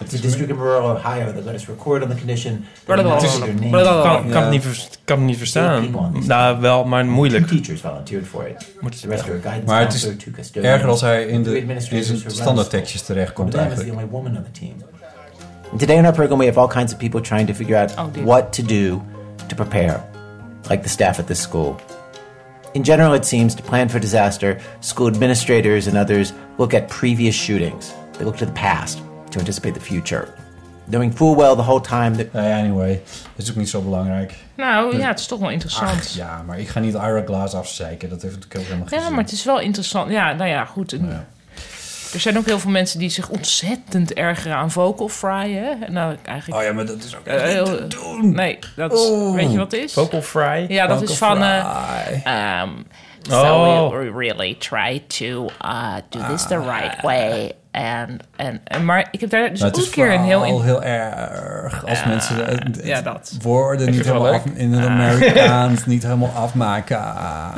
[SPEAKER 9] It's a district in rural Ohio that let us record on the condition that we
[SPEAKER 5] Blablabla.
[SPEAKER 9] not see their names.
[SPEAKER 5] Blablabla.
[SPEAKER 3] kan, kan, het niet, vers- kan het niet verstaan. Nou, wel, maar
[SPEAKER 9] Two
[SPEAKER 3] moeilijk.
[SPEAKER 9] teachers volunteered for it. The rest were guidance
[SPEAKER 4] Maar het is
[SPEAKER 9] counselor, two custodians.
[SPEAKER 4] Erger als hij
[SPEAKER 9] Three
[SPEAKER 4] in, de, in
[SPEAKER 9] administrators who
[SPEAKER 4] zijn
[SPEAKER 9] run
[SPEAKER 4] standaardtekstjes terechtkomt
[SPEAKER 9] Madame is the
[SPEAKER 4] eigenlijk.
[SPEAKER 9] only woman on the team. Today in our program, we have all kinds of people trying to figure out
[SPEAKER 5] Oh, dear.
[SPEAKER 9] what to do to prepare, like the staff at this school. In general, it seems to plan for disaster, school administrators and others look at previous shootings. They look to the past to anticipate the future, knowing full well the whole time that
[SPEAKER 4] Nou ja, anyway, dat is ook niet zo belangrijk.
[SPEAKER 5] Nou ja, het is toch wel interessant.
[SPEAKER 4] Ach, ja, maar ik ga niet Ira Glass afzeiken. Dat heeft natuurlijk ook helemaal geen
[SPEAKER 5] ja.
[SPEAKER 4] zin.
[SPEAKER 5] maar het is wel interessant. Ja, nou ja, goed. En-
[SPEAKER 4] Ja.
[SPEAKER 5] Er zijn ook heel veel mensen die zich ontzettend ergeren aan vocal fry, hè? En Nou, eigenlijk...
[SPEAKER 4] Oh ja, maar dat is ook...
[SPEAKER 5] eh, heel- nee, dat is... Weet je wat het is?
[SPEAKER 3] Vocal fry.
[SPEAKER 5] Ja, dat is van... eh, Um, so
[SPEAKER 3] Oh.
[SPEAKER 5] we really try to uh, do this the
[SPEAKER 4] Ah.
[SPEAKER 5] right way. And, and, en- maar ik heb daar dus
[SPEAKER 4] Nou, het
[SPEAKER 5] ook
[SPEAKER 4] is
[SPEAKER 5] een keer een heel...
[SPEAKER 4] vooral
[SPEAKER 5] in-
[SPEAKER 4] heel erg als mensen de- het- het
[SPEAKER 5] ja, dat.
[SPEAKER 4] woorden niet
[SPEAKER 3] vind het wel Ah.
[SPEAKER 4] helemaal af, in het Amerikaans niet helemaal afmaken.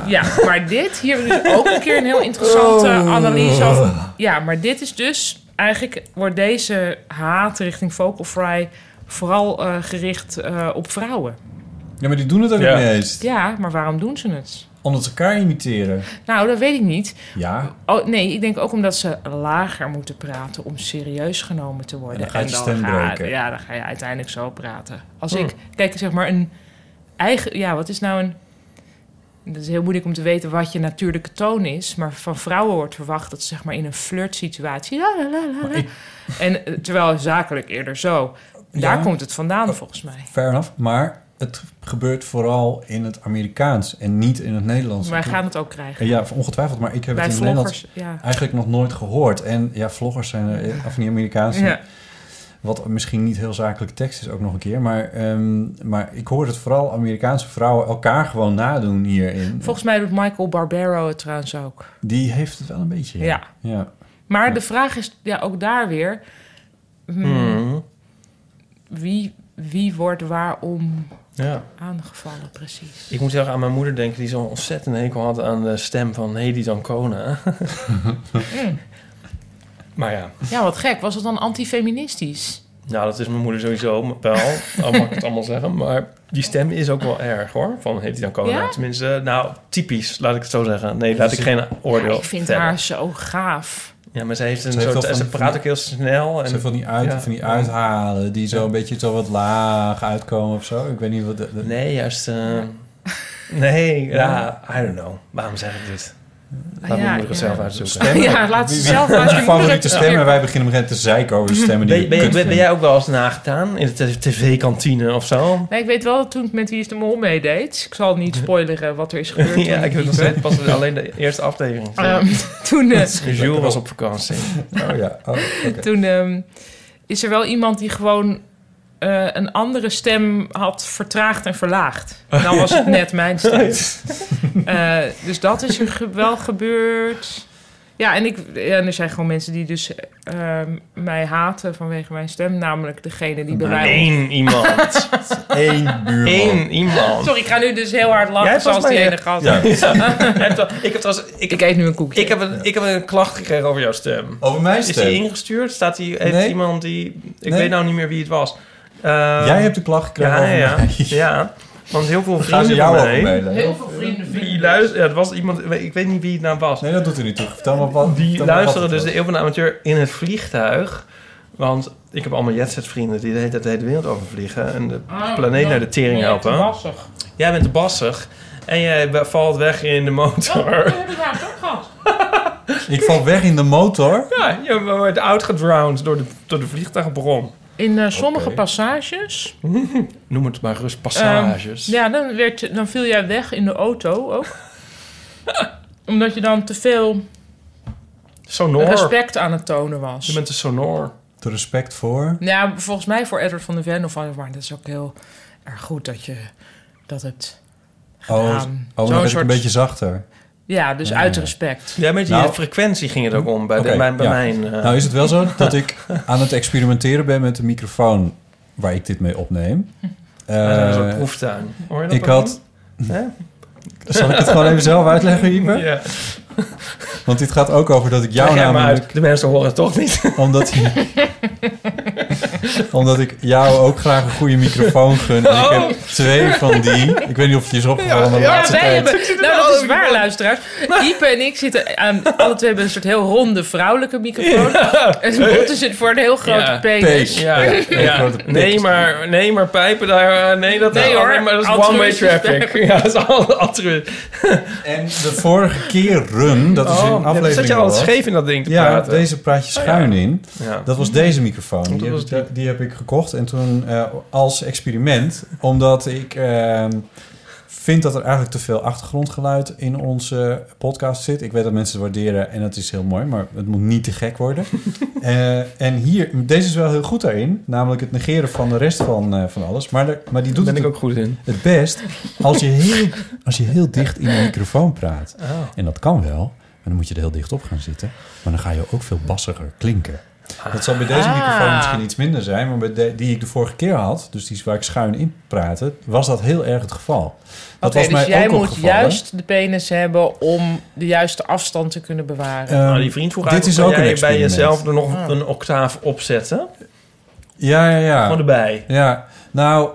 [SPEAKER 5] Ja, maar dit, hier hebben we dus ook een keer een heel interessante analyse over. Ja, maar dit is dus, eigenlijk wordt deze haat richting Vocal Fry vooral eh, gericht eh, op vrouwen.
[SPEAKER 4] Ja, maar die doen het ook
[SPEAKER 3] Ja.
[SPEAKER 4] het meest.
[SPEAKER 5] Ja, maar waarom doen ze het?
[SPEAKER 4] Omdat ze elkaar imiteren.
[SPEAKER 5] Nou, dat weet ik niet.
[SPEAKER 4] Ja,
[SPEAKER 5] Oh, nee, ik denk ook omdat ze lager moeten praten om serieus genomen te worden.
[SPEAKER 4] En dan ga je je stem Hm.
[SPEAKER 5] ga-
[SPEAKER 4] breken.
[SPEAKER 5] Ja, dan ga je uiteindelijk zo praten. Als ik, kijk, zeg maar, een, eigen... Ja, wat is nou een... Het is heel moeilijk om te weten wat je natuurlijke toon is. Maar van vrouwen wordt verwacht dat ze zeg maar in een flirtsituatie... La, la, la, la, la. En eh, terwijl zakelijk eerder zo. Daar
[SPEAKER 4] Ja. Oh.
[SPEAKER 5] komt het vandaan volgens mij.
[SPEAKER 4] Fair enough. Maar het gebeurt vooral in het Amerikaans en niet in het Nederlands.
[SPEAKER 5] Wij gaan het ook krijgen.
[SPEAKER 4] Ja, ongetwijfeld. Maar ik heb
[SPEAKER 5] Bij
[SPEAKER 4] het in het
[SPEAKER 5] vloggers,
[SPEAKER 4] Nederlands
[SPEAKER 5] ja.
[SPEAKER 4] eigenlijk nog nooit gehoord. En ja, vloggers zijn er, eh, of niet Amerikaanse.
[SPEAKER 5] Ja.
[SPEAKER 4] Wat misschien niet heel zakelijk tekst is ook nog een keer. Maar, ehm, maar ik hoor het vooral Amerikaanse vrouwen elkaar gewoon nadoen hierin.
[SPEAKER 5] Volgens mij doet Michael Barbero het trouwens ook.
[SPEAKER 4] Die heeft het wel een beetje.
[SPEAKER 5] Ja.
[SPEAKER 4] ja.
[SPEAKER 5] Maar de vraag is ja, ook daar weer... hmm,
[SPEAKER 4] Hmm.
[SPEAKER 5] Wie, wie wordt waarom
[SPEAKER 3] Ja.
[SPEAKER 5] aangevallen precies?
[SPEAKER 3] Ik moet heel erg aan mijn moeder denken, die zo'n ontzettend hekel had aan de stem van Hedy [laughs] Dancona.
[SPEAKER 4] Mm.
[SPEAKER 3] maar ja,
[SPEAKER 5] Ja, wat gek. Was het dan antifeministisch?
[SPEAKER 3] nou, dat is mijn moeder sowieso m- wel, al mag ik het allemaal zeggen. Maar die stem is ook wel erg hoor, van Hedy Dancona.
[SPEAKER 5] Ja?
[SPEAKER 3] Tenminste, nou, typisch, laat ik het zo zeggen. Nee, laat ik
[SPEAKER 4] dus
[SPEAKER 3] geen oordeel
[SPEAKER 5] Ja, ik vind
[SPEAKER 3] vellen.
[SPEAKER 5] haar zo gaaf.
[SPEAKER 3] Ja, maar ze heeft een
[SPEAKER 4] Ze heeft
[SPEAKER 3] soort...
[SPEAKER 4] wel van
[SPEAKER 3] ze
[SPEAKER 4] die-
[SPEAKER 3] praat ook heel snel. En,
[SPEAKER 4] Zo van die, uit,
[SPEAKER 3] ja.
[SPEAKER 4] van die uithalen die zo een beetje zo wat laag uitkomen of zo. Ik weet niet wat... de- de-
[SPEAKER 3] Nee, juist... eh, Nee, ja,
[SPEAKER 4] Ja.
[SPEAKER 3] I don't know. Waarom zeg ik dit? Laat
[SPEAKER 5] Ah, Ja,
[SPEAKER 3] mijn moeder het
[SPEAKER 5] ja.
[SPEAKER 3] zelf uitzoeken.
[SPEAKER 5] Stemmen? Ja, laat ze
[SPEAKER 4] Wie-
[SPEAKER 5] zelf
[SPEAKER 4] wie-
[SPEAKER 5] maar eens
[SPEAKER 4] Onze
[SPEAKER 5] je moeder
[SPEAKER 4] favoriete
[SPEAKER 5] het-
[SPEAKER 4] stemmen. Wij beginnen met te zeiken over de stemmen die
[SPEAKER 3] Ben, ben, ben,
[SPEAKER 4] je kut
[SPEAKER 3] ben
[SPEAKER 4] vindt.
[SPEAKER 3] jij ook wel eens nagedaan in de tv-kantine of zo?
[SPEAKER 5] Nee, ik weet wel dat toen ik met Wie is de Mol meedeed... Ik zal
[SPEAKER 3] [laughs]
[SPEAKER 5] niet spoileren wat er is gebeurd. toen
[SPEAKER 3] ja, ik heb nog
[SPEAKER 5] liep, hè.
[SPEAKER 3] steeds pas alleen de eerste aflevering.
[SPEAKER 5] Ehm, [laughs] toen, eh,
[SPEAKER 3] Jules was op vakantie.
[SPEAKER 4] Oh ja, oh, oké.
[SPEAKER 5] Toen ehm, is er wel iemand die gewoon eh, een andere stem had vertraagd en
[SPEAKER 4] [laughs]
[SPEAKER 5] verlaagd. En dan was het net mijn stem. Eh, dus dat is er ge- wel gebeurd. Ja, en, ik, ja, en er zijn gewoon mensen die dus ehm, mij haten vanwege mijn stem. Namelijk degene die bij mij...
[SPEAKER 3] Eén
[SPEAKER 5] [laughs]
[SPEAKER 3] iemand.
[SPEAKER 4] Eén buurman.
[SPEAKER 3] [laughs] Eén iemand.
[SPEAKER 5] Sorry, ik ga nu dus heel hard
[SPEAKER 3] Jij eh,
[SPEAKER 5] lachen
[SPEAKER 3] hebt
[SPEAKER 5] zoals
[SPEAKER 3] volgens
[SPEAKER 5] die
[SPEAKER 3] mij-
[SPEAKER 5] ene gast. [laughs]
[SPEAKER 4] Ja.
[SPEAKER 3] Jij hebt wel- Ik heb trouwens... Ik,
[SPEAKER 5] Ik eet nu een koekje.
[SPEAKER 3] ik heb, een, ik heb een klacht gekregen over jouw stem.
[SPEAKER 4] Over mijn
[SPEAKER 3] Is die
[SPEAKER 4] stem?
[SPEAKER 3] ingestuurd? Staat die, heeft
[SPEAKER 4] Nee.
[SPEAKER 3] iemand die... Ik
[SPEAKER 4] Nee.
[SPEAKER 3] weet nou niet meer wie het was. Eh,
[SPEAKER 4] Jij hebt de klacht gekregen
[SPEAKER 3] ja,
[SPEAKER 4] over
[SPEAKER 3] ja,
[SPEAKER 4] mij. [laughs]
[SPEAKER 3] ja. Want heel veel
[SPEAKER 4] Gaan
[SPEAKER 3] vrienden
[SPEAKER 4] ze jou
[SPEAKER 3] van mij...
[SPEAKER 4] over mailen?
[SPEAKER 5] veel vrienden
[SPEAKER 3] Die luisteren... Ja, het was iemand... Ik weet niet wie het nou was.
[SPEAKER 4] Nee, dat doet er niet toe. Vertel maar wat.
[SPEAKER 3] Die
[SPEAKER 4] vertel maar wat
[SPEAKER 3] luisteren
[SPEAKER 4] het
[SPEAKER 3] dus de Eeuw van de Amateur in het vliegtuig. Want ik heb allemaal jetset vrienden die de hele, tijd de hele wereld overvliegen. En de
[SPEAKER 5] Oh,
[SPEAKER 3] planeet naar de tering helpen. Jij bent te bassig. En jij be- valt weg in de
[SPEAKER 5] [laughs]
[SPEAKER 3] motor.
[SPEAKER 4] was. Ik val weg in de motor.
[SPEAKER 3] Ja, je wordt outgedrowned door de, door de vliegtuigbron.
[SPEAKER 5] In eh, sommige
[SPEAKER 4] Oké.
[SPEAKER 5] passages
[SPEAKER 3] Noem het maar rust
[SPEAKER 5] Ehm,
[SPEAKER 3] passages.
[SPEAKER 5] ja, dan, werd, dan viel jij weg in de auto ook. [laughs] Omdat je dan te veel
[SPEAKER 4] Oh,
[SPEAKER 3] Sonor.
[SPEAKER 5] respect aan het tonen
[SPEAKER 3] Je
[SPEAKER 5] was.
[SPEAKER 3] bent een sonor.
[SPEAKER 4] Te respect voor.
[SPEAKER 5] Ja, volgens mij voor Edward van de Ven of van... Maar dat is ook heel erg goed dat je dat hebt
[SPEAKER 4] Oh,
[SPEAKER 5] gedaan.
[SPEAKER 4] oh
[SPEAKER 5] Zo'n
[SPEAKER 4] dan ben ik
[SPEAKER 5] soort-
[SPEAKER 4] een beetje zachter.
[SPEAKER 5] Ja, dus uit respect.
[SPEAKER 3] Ja, met die
[SPEAKER 4] Nou.
[SPEAKER 3] frequentie ging het ook om bij, de-
[SPEAKER 4] Oké,
[SPEAKER 3] bij, bij
[SPEAKER 4] ja.
[SPEAKER 3] mijn... eh,
[SPEAKER 4] Nou is het wel zo dat ik aan het experimenteren ben met de microfoon waar ik dit mee
[SPEAKER 3] [laughs]
[SPEAKER 4] opneem.
[SPEAKER 3] wij zijn een soort
[SPEAKER 4] Eh,
[SPEAKER 3] proeftuin. Hoor je dat
[SPEAKER 4] ik
[SPEAKER 3] ook
[SPEAKER 4] had... Zal ik het gewoon even zelf uitleggen,
[SPEAKER 3] niet?
[SPEAKER 4] Ieper?
[SPEAKER 3] Ja.
[SPEAKER 4] Want dit gaat ook over dat ik jou
[SPEAKER 3] Leg jij maar
[SPEAKER 4] namelijk...
[SPEAKER 3] uit. De mensen horen het toch niet.
[SPEAKER 4] [laughs] Omdat,
[SPEAKER 3] [laughs]
[SPEAKER 4] omdat ik jou ook graag een goede microfoon gun. En
[SPEAKER 3] Oh.
[SPEAKER 4] ik heb twee van die. Ik weet niet of het je is opgevallen, maar de
[SPEAKER 5] Ja,
[SPEAKER 4] laatste
[SPEAKER 5] wij
[SPEAKER 4] tijd...
[SPEAKER 5] hebben, nou, dat is waar,
[SPEAKER 3] [laughs]
[SPEAKER 5] luisteraars. Ipe en ik zitten aan... Alle twee hebben een soort heel ronde vrouwelijke microfoon. En Botte zit voor een heel grote
[SPEAKER 3] Ja.
[SPEAKER 5] penis.
[SPEAKER 4] Pees.
[SPEAKER 3] Ja,
[SPEAKER 4] Ja, een grote pik.
[SPEAKER 3] Nee, maar, nee, maar pijpen daar. eh, Nee, dat,
[SPEAKER 5] Nee,
[SPEAKER 3] nee,
[SPEAKER 5] hoor.
[SPEAKER 3] maar dat is one-way
[SPEAKER 5] Altruïstisch
[SPEAKER 3] traffic. [laughs] Ja, dat is al altruïstisch.
[SPEAKER 4] En de vorige keer run, dat is in
[SPEAKER 3] Oh,
[SPEAKER 4] aflevering...
[SPEAKER 3] zat je al
[SPEAKER 4] wat.
[SPEAKER 3] scheef in dat ding te
[SPEAKER 4] Ja,
[SPEAKER 3] praten? Oh,
[SPEAKER 4] deze praat je schuin in.
[SPEAKER 3] Ja.
[SPEAKER 4] Dat was deze microfoon. Die,
[SPEAKER 3] was
[SPEAKER 4] heb, ik- eh, die heb ik gekocht en toen eh, als experiment, omdat ik eh, vind dat er eigenlijk te veel achtergrondgeluid in onze podcast zit. Ik weet dat mensen het waarderen en dat is heel mooi, maar het moet niet te gek
[SPEAKER 3] [laughs]
[SPEAKER 4] worden. Eh, en hier, deze is wel heel goed daarin, namelijk het negeren van de rest van, eh, van alles. Maar, de- maar die doet
[SPEAKER 3] Daar ben
[SPEAKER 4] het
[SPEAKER 3] ik ook goed in.
[SPEAKER 4] het best als je heel, als je heel dicht in een microfoon praat.
[SPEAKER 5] Oh.
[SPEAKER 4] En dat kan wel, maar dan moet je er heel dicht op gaan zitten. Maar dan ga je ook veel bassiger klinken. Dat zal bij deze
[SPEAKER 5] Ah.
[SPEAKER 4] microfoon misschien iets minder zijn, maar bij de- die ik de vorige keer had, dus die is waar ik schuin in praatte, was dat heel erg het geval. Dat
[SPEAKER 5] Oké,
[SPEAKER 4] was
[SPEAKER 5] dus
[SPEAKER 4] mij
[SPEAKER 5] jij
[SPEAKER 4] ook
[SPEAKER 5] moet
[SPEAKER 4] opgevallen.
[SPEAKER 5] juist de penis hebben om de juiste afstand te kunnen bewaren.
[SPEAKER 4] Ehm,
[SPEAKER 3] nou, die vriend vroeg
[SPEAKER 4] dit
[SPEAKER 3] eigenlijk, kan
[SPEAKER 4] is ook een
[SPEAKER 3] jij bij
[SPEAKER 4] experiment.
[SPEAKER 3] jezelf er
[SPEAKER 5] Ah.
[SPEAKER 3] nog een octaaf opzetten?
[SPEAKER 4] ja, ja, ja.
[SPEAKER 3] Gewoon erbij.
[SPEAKER 4] Ja, nou,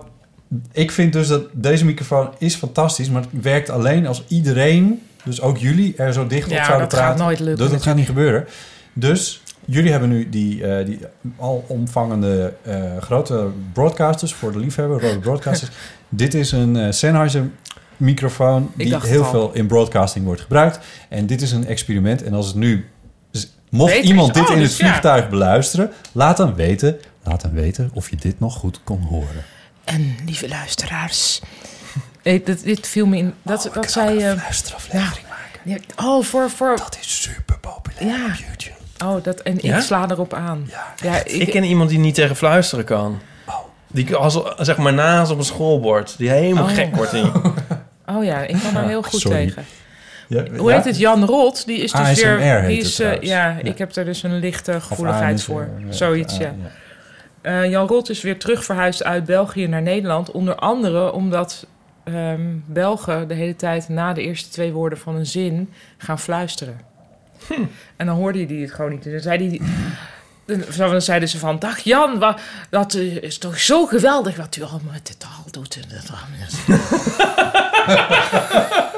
[SPEAKER 4] ik vind dus dat deze microfoon is fantastisch, maar het werkt alleen als iedereen, dus ook jullie, er zo dicht
[SPEAKER 5] Ja,
[SPEAKER 4] op zouden
[SPEAKER 5] dat gaat
[SPEAKER 4] praten.
[SPEAKER 5] nooit lukken
[SPEAKER 4] Dus dat gaat niet gebeuren. Dus Jullie hebben nu die, eh, die alomvangende eh, grote broadcasters voor de liefhebber, rode
[SPEAKER 5] [laughs]
[SPEAKER 4] broadcasters. Dit is een eh, Sennheiser microfoon
[SPEAKER 10] Ik
[SPEAKER 4] die
[SPEAKER 10] dacht
[SPEAKER 4] heel
[SPEAKER 10] al.
[SPEAKER 4] veel in broadcasting wordt gebruikt. En dit is een experiment. En als het nu, dus mocht
[SPEAKER 10] Beter is-
[SPEAKER 4] iemand dit
[SPEAKER 10] oh,
[SPEAKER 4] in
[SPEAKER 10] dus
[SPEAKER 4] het
[SPEAKER 10] ja.
[SPEAKER 4] vliegtuig beluisteren, laat dan weten, laat dan weten of je dit nog goed kon horen.
[SPEAKER 5] En lieve [laughs] luisteraars. Oh, Ik, dit, dit viel me in. Dat, dat zij. eh, ja, oh, voor, voor. Dat
[SPEAKER 4] is super populair
[SPEAKER 5] ja. op
[SPEAKER 4] YouTube.
[SPEAKER 5] Oh, dat, en
[SPEAKER 3] Ja?
[SPEAKER 5] ik sla erop aan. Ja, ik,
[SPEAKER 3] Ik ken iemand die niet tegen fluisteren kan. Die als, zeg maar naast op een schoolbord. Die helemaal
[SPEAKER 5] Oh.
[SPEAKER 3] gek wordt in.
[SPEAKER 5] Oh ja, ik kan
[SPEAKER 3] [laughs]
[SPEAKER 5] er
[SPEAKER 3] Ja,
[SPEAKER 5] heel goed
[SPEAKER 3] sorry.
[SPEAKER 5] tegen.
[SPEAKER 4] Eh,
[SPEAKER 5] Hoe heet het? Jan Rot, die is dus
[SPEAKER 3] ASMR
[SPEAKER 5] weer...
[SPEAKER 3] heet
[SPEAKER 5] Die
[SPEAKER 3] het
[SPEAKER 5] is, eh,
[SPEAKER 3] trouwens.
[SPEAKER 5] ja, ik heb daar dus een lichte gevoeligheid
[SPEAKER 4] AMS,
[SPEAKER 5] voor.
[SPEAKER 4] eh,
[SPEAKER 5] Zoiets,
[SPEAKER 4] eh,
[SPEAKER 5] ja. Eh, Jan Rot is weer terug verhuisd uit België naar Nederland. Onder andere omdat ehm, Belgen de hele tijd na de eerste twee woorden van een zin gaan fluisteren. En dan hoorde hij het gewoon niet. Dus dan zei hij... Dan- Dan zeiden ze van, dag Jan, wa- dat eh, is toch zo geweldig wat u allemaal met de taal doet. En dat allemaal.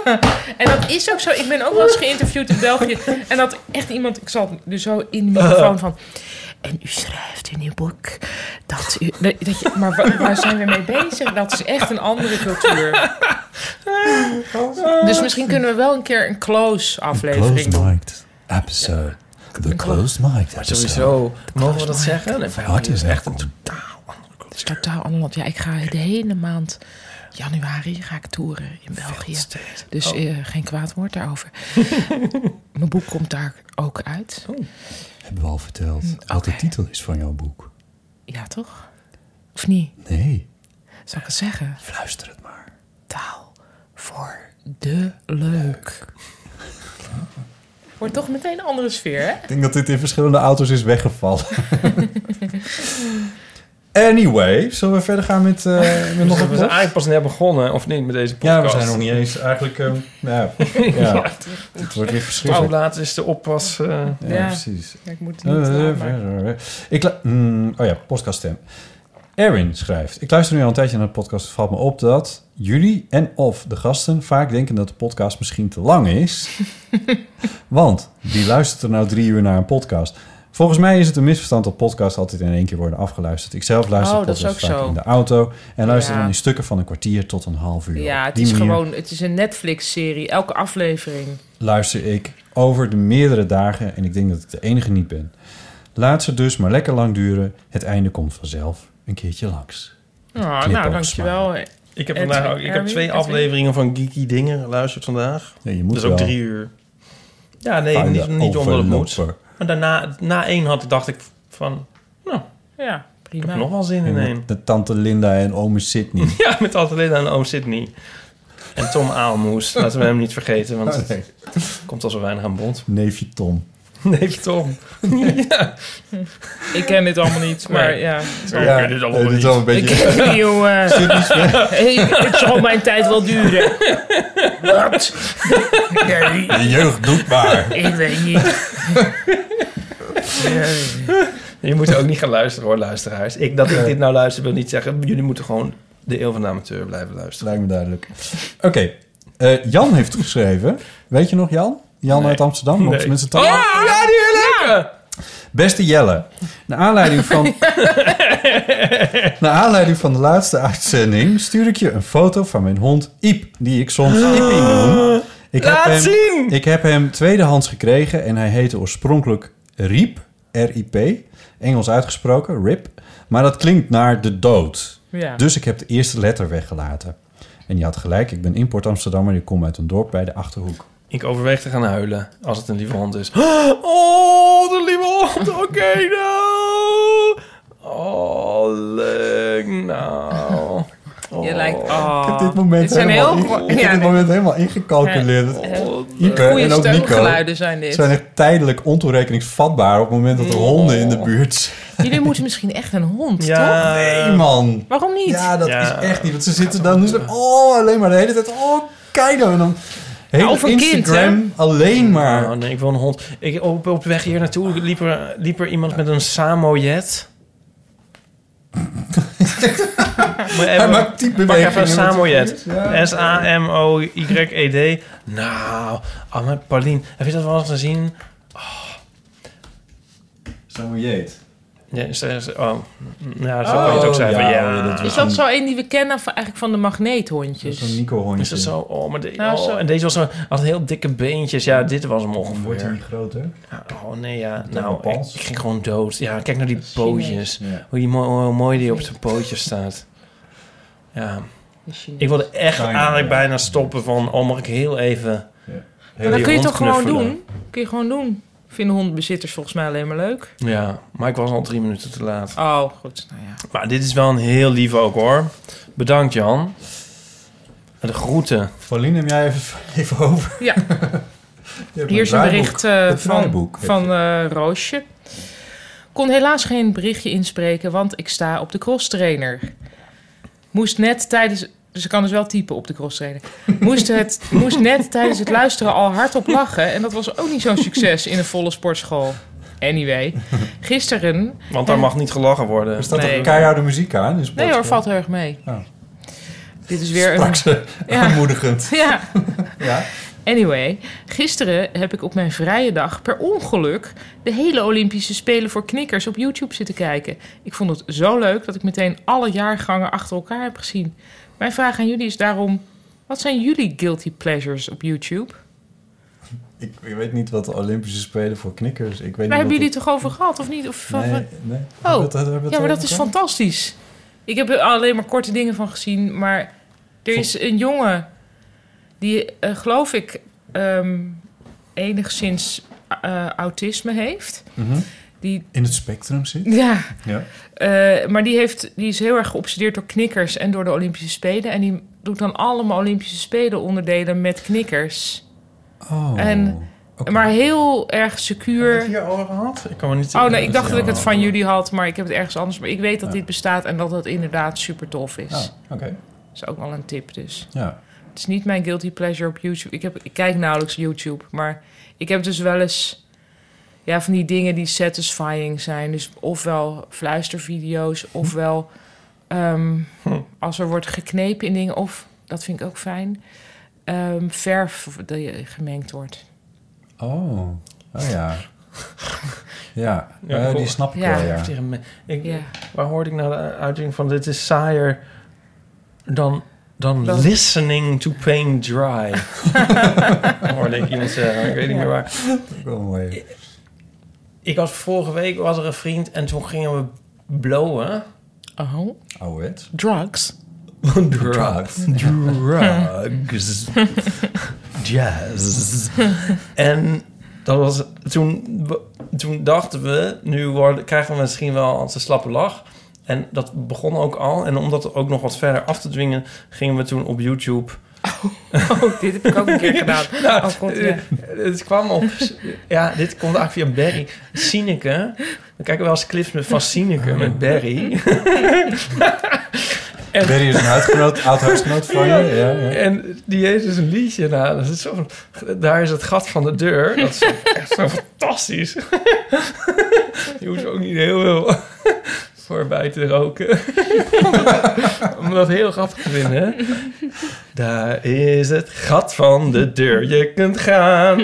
[SPEAKER 5] [laughs] En dat is ook zo. Ik ben ook wel eens geïnterviewd in België. En dat echt iemand, ik zal nu zo in de microfoon van. En u schrijft in uw boek dat u. Dat, dat je, maar wa- waar zijn we mee bezig? Dat is echt een andere cultuur.
[SPEAKER 3] Ah,
[SPEAKER 5] Dus misschien kunnen we wel een keer een close aflevering doen.
[SPEAKER 4] Closed-miced episode. The closed-miced
[SPEAKER 3] Maar
[SPEAKER 4] episode.
[SPEAKER 3] sowieso, mogen we dat zeggen? Nee,
[SPEAKER 4] Wat is echt een
[SPEAKER 5] Het is totaal ander land. Ja, ik ga de hele maand januari ga ik toeren in België. Dus
[SPEAKER 3] Oh.
[SPEAKER 5] eh, geen kwaad woord
[SPEAKER 3] [laughs]
[SPEAKER 5] daarover. Mijn boek komt daar ook uit.
[SPEAKER 3] Oh.
[SPEAKER 4] Hebben we al verteld
[SPEAKER 3] Mm,
[SPEAKER 4] wat de titel is van jouw boek?
[SPEAKER 5] Ja, toch? Of niet?
[SPEAKER 4] Nee.
[SPEAKER 5] Zal ik het zeggen?
[SPEAKER 4] Fluister het maar.
[SPEAKER 5] Taal voor de leuk. Wordt toch meteen een andere sfeer, hè?
[SPEAKER 4] Ik denk dat dit in verschillende auto's is
[SPEAKER 3] [laughs]
[SPEAKER 4] weggevallen. anyway, zullen we verder gaan met, eh met
[SPEAKER 3] Dus We
[SPEAKER 4] nog
[SPEAKER 3] zijn
[SPEAKER 4] een plot?
[SPEAKER 3] eigenlijk pas net begonnen, of niet, met deze podcast.
[SPEAKER 4] Ja, we zijn nog niet eens eigenlijk... ehm, nou, ja,
[SPEAKER 3] [laughs] Ja.
[SPEAKER 4] Het wordt weer
[SPEAKER 3] Hoe
[SPEAKER 4] verschrikkelijk.
[SPEAKER 3] laat is de oppas? eh,
[SPEAKER 4] Ja, precies.
[SPEAKER 5] Ja, ik moet
[SPEAKER 4] Eh, eh, eh, ik la- mm, oh ja, podcaststem. Erwin schrijft... Ik luister nu al een tijdje naar de podcast. Het valt me op dat jullie en of de gasten vaak denken dat de podcast misschien te lang
[SPEAKER 5] [laughs]
[SPEAKER 4] is. Want wie luistert er nou drie uur naar een podcast? Volgens mij is het een misverstand dat podcasts altijd in één keer worden afgeluisterd. Ik zelf luister
[SPEAKER 5] Oh, dat is
[SPEAKER 4] podcasts
[SPEAKER 5] ook
[SPEAKER 4] vaak
[SPEAKER 5] zo.
[SPEAKER 4] in de auto en luister
[SPEAKER 5] Ja.
[SPEAKER 4] dan in stukken van een kwartier tot een half uur.
[SPEAKER 5] Ja,
[SPEAKER 4] Op
[SPEAKER 5] het
[SPEAKER 4] die
[SPEAKER 5] is
[SPEAKER 4] manier
[SPEAKER 5] gewoon... Het is een Netflix-serie. Elke aflevering. Oh,
[SPEAKER 4] luister ik over de meerdere dagen en ik denk dat ik de enige niet ben. Laat ze dus maar lekker lang duren. Het einde komt vanzelf een keertje langs.
[SPEAKER 5] Oh,
[SPEAKER 4] Knip
[SPEAKER 5] nou,
[SPEAKER 4] ook
[SPEAKER 5] dankjewel.
[SPEAKER 3] Ik heb, vandaag, ook- ik heb twee afleveringen van Geeky Dingen geluisterd vandaag.
[SPEAKER 4] Ja, je moet
[SPEAKER 3] dat is ook
[SPEAKER 4] wel.
[SPEAKER 3] drie uur. Ja, nee,
[SPEAKER 4] Fijne
[SPEAKER 3] niet, niet omdat het moet.
[SPEAKER 4] overloper.
[SPEAKER 3] Maar daarna, na één had, dacht ik van... Nou,
[SPEAKER 5] Ja, prima.
[SPEAKER 3] Ik heb nog wel zin in
[SPEAKER 4] En
[SPEAKER 3] één.
[SPEAKER 4] De tante Linda en ome Sydney.
[SPEAKER 3] [laughs] Ja, met Adelina en oom Sydney. En Tom [laughs] Aalmoes. Laten we hem niet vergeten, want
[SPEAKER 4] Oh, nee.
[SPEAKER 3] het [laughs] komt al zo weinig aan bod.
[SPEAKER 4] Neefje Tom.
[SPEAKER 3] Nee, [laughs] Tom. ja.
[SPEAKER 5] Ik ken dit allemaal niet, maar
[SPEAKER 3] Nee.
[SPEAKER 5] ja.
[SPEAKER 3] Ja, ik ken dit allemaal
[SPEAKER 4] eh, dit is wel een
[SPEAKER 5] Ik
[SPEAKER 4] beetje...
[SPEAKER 5] ken
[SPEAKER 4] [laughs]
[SPEAKER 5] het niet, jongen. [laughs] Ik- Het zal mijn tijd wel duren. Wat? Nee,
[SPEAKER 4] De jeugd doet
[SPEAKER 5] [laughs]
[SPEAKER 4] maar.
[SPEAKER 5] ik weet niet.
[SPEAKER 3] Je moet ook niet gaan luisteren hoor, luisteraars. Ik, dat ik dit nou luister wil niet zeggen. Jullie moeten gewoon de eeuw van de amateur blijven luisteren.
[SPEAKER 4] Lijkt me duidelijk. Oké, eh, Jan heeft geschreven. Weet je nog Jan? Jan uit Amsterdam.
[SPEAKER 3] Nee. Ah!
[SPEAKER 4] Met
[SPEAKER 5] Oh,
[SPEAKER 4] zijn tante.
[SPEAKER 3] ja, die leuke!
[SPEAKER 4] Beste Jelle, naar
[SPEAKER 3] [laughs]
[SPEAKER 4] aanleiding van... naar aanleiding van de laatste uitzending stuur ik je een foto van mijn hond Iep, die ik soms Iepie noem. Ik
[SPEAKER 3] Ah. Laat
[SPEAKER 4] hem,
[SPEAKER 3] zien!
[SPEAKER 4] Ik heb hem tweedehands gekregen en hij heette oorspronkelijk Riep, R-I-P, Engels uitgesproken, Rip. Maar dat klinkt naar de dood.
[SPEAKER 5] Ja.
[SPEAKER 4] Dus ik heb de eerste letter weggelaten. En je had gelijk, ik ben import Amsterdammer, ik kom uit een dorp bij de Achterhoek.
[SPEAKER 3] Ik overweeg te gaan huilen als het een lieve hond is. [gasps] Oh, de lieve hond. Oké, [laughs] nou. Oh, leuk. Nou.
[SPEAKER 5] Je lijkt... Oh.
[SPEAKER 4] Ik heb dit moment
[SPEAKER 5] Dit zijn
[SPEAKER 4] helemaal,
[SPEAKER 5] heel
[SPEAKER 4] in-
[SPEAKER 5] go-
[SPEAKER 4] ik heb
[SPEAKER 5] ja,
[SPEAKER 4] dit
[SPEAKER 5] nee.
[SPEAKER 4] moment helemaal ingecalculeerd.
[SPEAKER 5] Ja,
[SPEAKER 4] Ipe
[SPEAKER 5] goeie
[SPEAKER 4] Oh, eh, en ook Nico
[SPEAKER 5] steungeluiden zijn dit.
[SPEAKER 4] zijn echt tijdelijk ontoerekeningsvatbaar op het moment dat er
[SPEAKER 5] Oh.
[SPEAKER 4] honden in de buurt zijn.
[SPEAKER 5] Jullie moeten misschien echt een hond, toch?
[SPEAKER 4] Nee, man.
[SPEAKER 5] Waarom niet?
[SPEAKER 4] Ja, dat
[SPEAKER 5] Ja.
[SPEAKER 4] is echt niet. Want ze zitten dan nu zo, oh, alleen maar de hele tijd, oh, kijk
[SPEAKER 5] Nou,
[SPEAKER 4] dan. En dan heel
[SPEAKER 5] of een kind,
[SPEAKER 4] Instagram alleen maar.
[SPEAKER 3] Oh nee, ik wil een hond. Ik, op, op weg hier naartoe liep er, liep er iemand met een
[SPEAKER 4] [laughs]
[SPEAKER 3] Samoyed. Moet je
[SPEAKER 4] Hij maakt die
[SPEAKER 3] Pak
[SPEAKER 4] bewegingen
[SPEAKER 3] even een
[SPEAKER 4] met zijn
[SPEAKER 3] Samoyed.
[SPEAKER 4] vingers, ja.
[SPEAKER 3] S-A-M-O-Y-E-D. Nou, Anne, Paulien, heb je dat wel eens gezien? Oh.
[SPEAKER 4] Samuel Jeet.
[SPEAKER 3] Ja, ze- ze- oh, ja, zo kan je het
[SPEAKER 4] Oh,
[SPEAKER 3] ook zeggen. Ja,
[SPEAKER 5] Is dat zo een die we kennen van, eigenlijk van de magneethondjes?
[SPEAKER 4] Nico-hondje.
[SPEAKER 3] Is dat zo? Oh, maar de-
[SPEAKER 5] Nou,
[SPEAKER 3] oh,
[SPEAKER 5] zo.
[SPEAKER 3] en deze was zo, had heel dikke beentjes. Ja, dit was hem ongeveer.
[SPEAKER 4] Wordt hij niet groter?
[SPEAKER 3] Ja, Oh nee, ja.
[SPEAKER 4] dat
[SPEAKER 3] Nou,
[SPEAKER 4] een pals?
[SPEAKER 3] ik ging gewoon dood. Ja, kijk naar die pootjes.
[SPEAKER 4] Ja.
[SPEAKER 3] Hoe, die, mooi- hoe mooi die op zijn pootjes staat. Ja. Ik wilde echt
[SPEAKER 4] China,
[SPEAKER 3] eigenlijk
[SPEAKER 4] ja.
[SPEAKER 3] bijna stoppen van... Oh, mag ik heel even...
[SPEAKER 5] Maar dat
[SPEAKER 3] die
[SPEAKER 5] kun je
[SPEAKER 3] hond
[SPEAKER 5] toch gewoon
[SPEAKER 3] knuffelen?
[SPEAKER 5] doen? Kun je gewoon doen. Vinden hondenbezitters volgens mij alleen maar
[SPEAKER 4] [laughs]
[SPEAKER 5] leuk.
[SPEAKER 3] Ja, maar ik was al drie minuten te laat.
[SPEAKER 5] Oh, goed. Nou ja.
[SPEAKER 3] Maar dit is wel een heel lief ook, hoor. Bedankt, Jan. En De groeten.
[SPEAKER 4] Pauline, neem jij even, even over.
[SPEAKER 5] Ja.
[SPEAKER 4] Je hebt
[SPEAKER 5] Hier is een
[SPEAKER 4] draaiboek.
[SPEAKER 5] bericht eh,
[SPEAKER 4] Het
[SPEAKER 5] van,
[SPEAKER 4] draaiboek heb
[SPEAKER 5] van eh, Roosje. Kon helaas geen berichtje inspreken, want ik sta op de crosstrainer. Moest net tijdens... Ze kan dus wel typen op de crosstrainer. Moest,
[SPEAKER 3] [laughs]
[SPEAKER 5] het, moest net tijdens het luisteren al hardop lachen. En dat was ook niet zo'n succes in een volle sportschool. Anyway, gisteren...
[SPEAKER 3] Want daar
[SPEAKER 5] Eh,
[SPEAKER 3] mag niet gelachen worden.
[SPEAKER 4] Er staat
[SPEAKER 5] Nee.
[SPEAKER 4] toch keiharde muziek aan? dus in de
[SPEAKER 5] Nee hoor,
[SPEAKER 4] sportschool?
[SPEAKER 5] valt heel erg mee.
[SPEAKER 4] Oh.
[SPEAKER 5] Dit is weer
[SPEAKER 4] Sprak
[SPEAKER 5] een...
[SPEAKER 4] ze
[SPEAKER 5] Ja.
[SPEAKER 4] aanmoedigend.
[SPEAKER 5] [laughs] Ja.
[SPEAKER 4] [laughs] Ja.
[SPEAKER 5] Anyway, gisteren heb ik op mijn vrije dag per ongeluk de hele Olympische Spelen voor knikkers op YouTube zitten kijken. Ik vond het zo leuk dat ik meteen alle jaargangen achter elkaar heb gezien. Mijn vraag aan jullie is daarom: wat zijn jullie guilty pleasures op YouTube?
[SPEAKER 4] Ik, ik weet niet wat de Olympische Spelen voor knikkers... Ik weet
[SPEAKER 5] Daar hebben jullie
[SPEAKER 4] niet wat
[SPEAKER 5] het toch over gehad, of niet? Of,
[SPEAKER 4] dat-
[SPEAKER 5] of-
[SPEAKER 4] Nee, nee.
[SPEAKER 5] Oh,
[SPEAKER 4] Wat- wat- wat- wat-
[SPEAKER 5] ja, maar dat
[SPEAKER 4] wat-
[SPEAKER 5] is fantastisch. Ik heb er alleen maar korte dingen van gezien, maar er is een jongen die, eh, geloof ik, ehm, enigszins eh, autisme heeft.
[SPEAKER 4] Mhm.
[SPEAKER 5] Die,
[SPEAKER 4] In het spectrum zit?
[SPEAKER 5] ja,
[SPEAKER 4] Ja.
[SPEAKER 5] eh, maar die, heeft, die is heel erg geobsedeerd door knikkers en door de Olympische Spelen. En die doet dan allemaal Olympische Spelen onderdelen met knikkers.
[SPEAKER 4] Oh.
[SPEAKER 5] En,
[SPEAKER 4] oké.
[SPEAKER 5] Maar heel erg secuur.
[SPEAKER 3] hier over gehad? Ik kan me niet...
[SPEAKER 5] Oh nee, ik dacht dat ik het van
[SPEAKER 3] Ja.
[SPEAKER 5] jullie had, maar ik heb het ergens anders. Maar ik weet dat
[SPEAKER 4] Ja.
[SPEAKER 5] dit bestaat en dat het inderdaad super tof is.
[SPEAKER 4] Ja, oké.
[SPEAKER 5] Dat is ook wel een tip dus.
[SPEAKER 4] Ja.
[SPEAKER 5] Het is niet mijn guilty pleasure op YouTube. Ik, heb, ik kijk nauwelijks YouTube, maar ik heb dus wel eens... Ja, van die dingen die satisfying zijn. Dus ofwel fluistervideo's,
[SPEAKER 4] Hm.
[SPEAKER 5] ofwel ehm, als er wordt geknepen in dingen. Of, dat vind ik ook fijn, ehm, verf die gemengd
[SPEAKER 4] [laughs]
[SPEAKER 5] wordt.
[SPEAKER 4] Oh. Oh ja. ja.
[SPEAKER 3] Ja,
[SPEAKER 4] Eh, die
[SPEAKER 3] cool.
[SPEAKER 4] snap ik
[SPEAKER 5] Ja.
[SPEAKER 4] wel, ja.
[SPEAKER 3] Tegen me- Ik,
[SPEAKER 5] Ja.
[SPEAKER 3] Waar hoorde ik nou de uitdrukking van? Dit is saaier dan, dan
[SPEAKER 5] Dan-
[SPEAKER 3] listening to
[SPEAKER 5] [laughs]
[SPEAKER 3] pain dry. hoorde ik iemand zeggen, maar ik weet niet meer waar.
[SPEAKER 4] Ook wel mooi.
[SPEAKER 3] Ik was vorige week was er een vriend en toen gingen we blowen.
[SPEAKER 5] Oh,
[SPEAKER 4] Ouderwets.
[SPEAKER 5] drugs.
[SPEAKER 3] [laughs] Drugs. Drugs. [laughs] Jazz. En dat was, toen, toen dachten we, nu worden, krijgen we misschien wel een slappe lach. En dat begon ook al. En om dat ook nog wat verder af te dwingen, gingen we toen op YouTube.
[SPEAKER 5] Oh, dit heb ik ook [laughs] een keer
[SPEAKER 3] [laughs]
[SPEAKER 5] gedaan.
[SPEAKER 3] Nou,
[SPEAKER 5] Oh, God, ja.
[SPEAKER 3] eh, Het kwam op. Ja, dit komt eigenlijk via Barry. Sineke. We kijken wel eens clips met van Sineke met Barry. [laughs]
[SPEAKER 4] Berry is een huisgenoot, oud huisgenoot van je. Ja, ja.
[SPEAKER 3] En die heeft dus een liedje. Nou, dat is zo, van- daar is het gat van de deur. Dat is echt zo fantastisch. [laughs] Je hoeft ook niet heel veel voorbij te roken. [laughs] Om dat heel grappig te vinden. Daar is het gat van de deur. Je kunt gaan.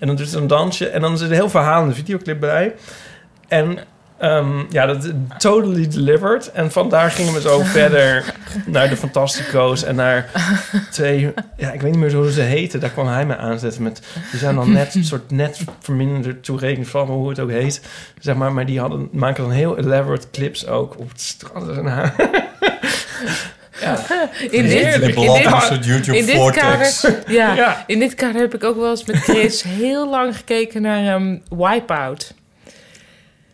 [SPEAKER 3] En dan doet ze een dansje. En dan is er een heel verhalende videoclip bij. En ehm, ja, dat totally delivered. En vandaar gingen we zo verder naar de Fantastico's en naar twee... Ja, ik weet niet meer hoe ze heten. Daar kwam hij me aanzetten met... Die zijn dan net een soort net verminderd toerekening van hoe het ook heet. Zeg maar, maar die hadden, maken dan heel elaborate clips ook op het strand. en haar. [laughs] ja.
[SPEAKER 5] [laughs] In dit, in
[SPEAKER 3] Heerlijk.
[SPEAKER 4] Beland
[SPEAKER 5] dit,
[SPEAKER 4] een soort YouTube
[SPEAKER 5] in dit
[SPEAKER 4] vortex. [laughs]
[SPEAKER 5] kader, ja,
[SPEAKER 3] Ja.
[SPEAKER 5] in dit kader heb ik ook wel eens met Chris heel lang gekeken naar ehm Wipeout.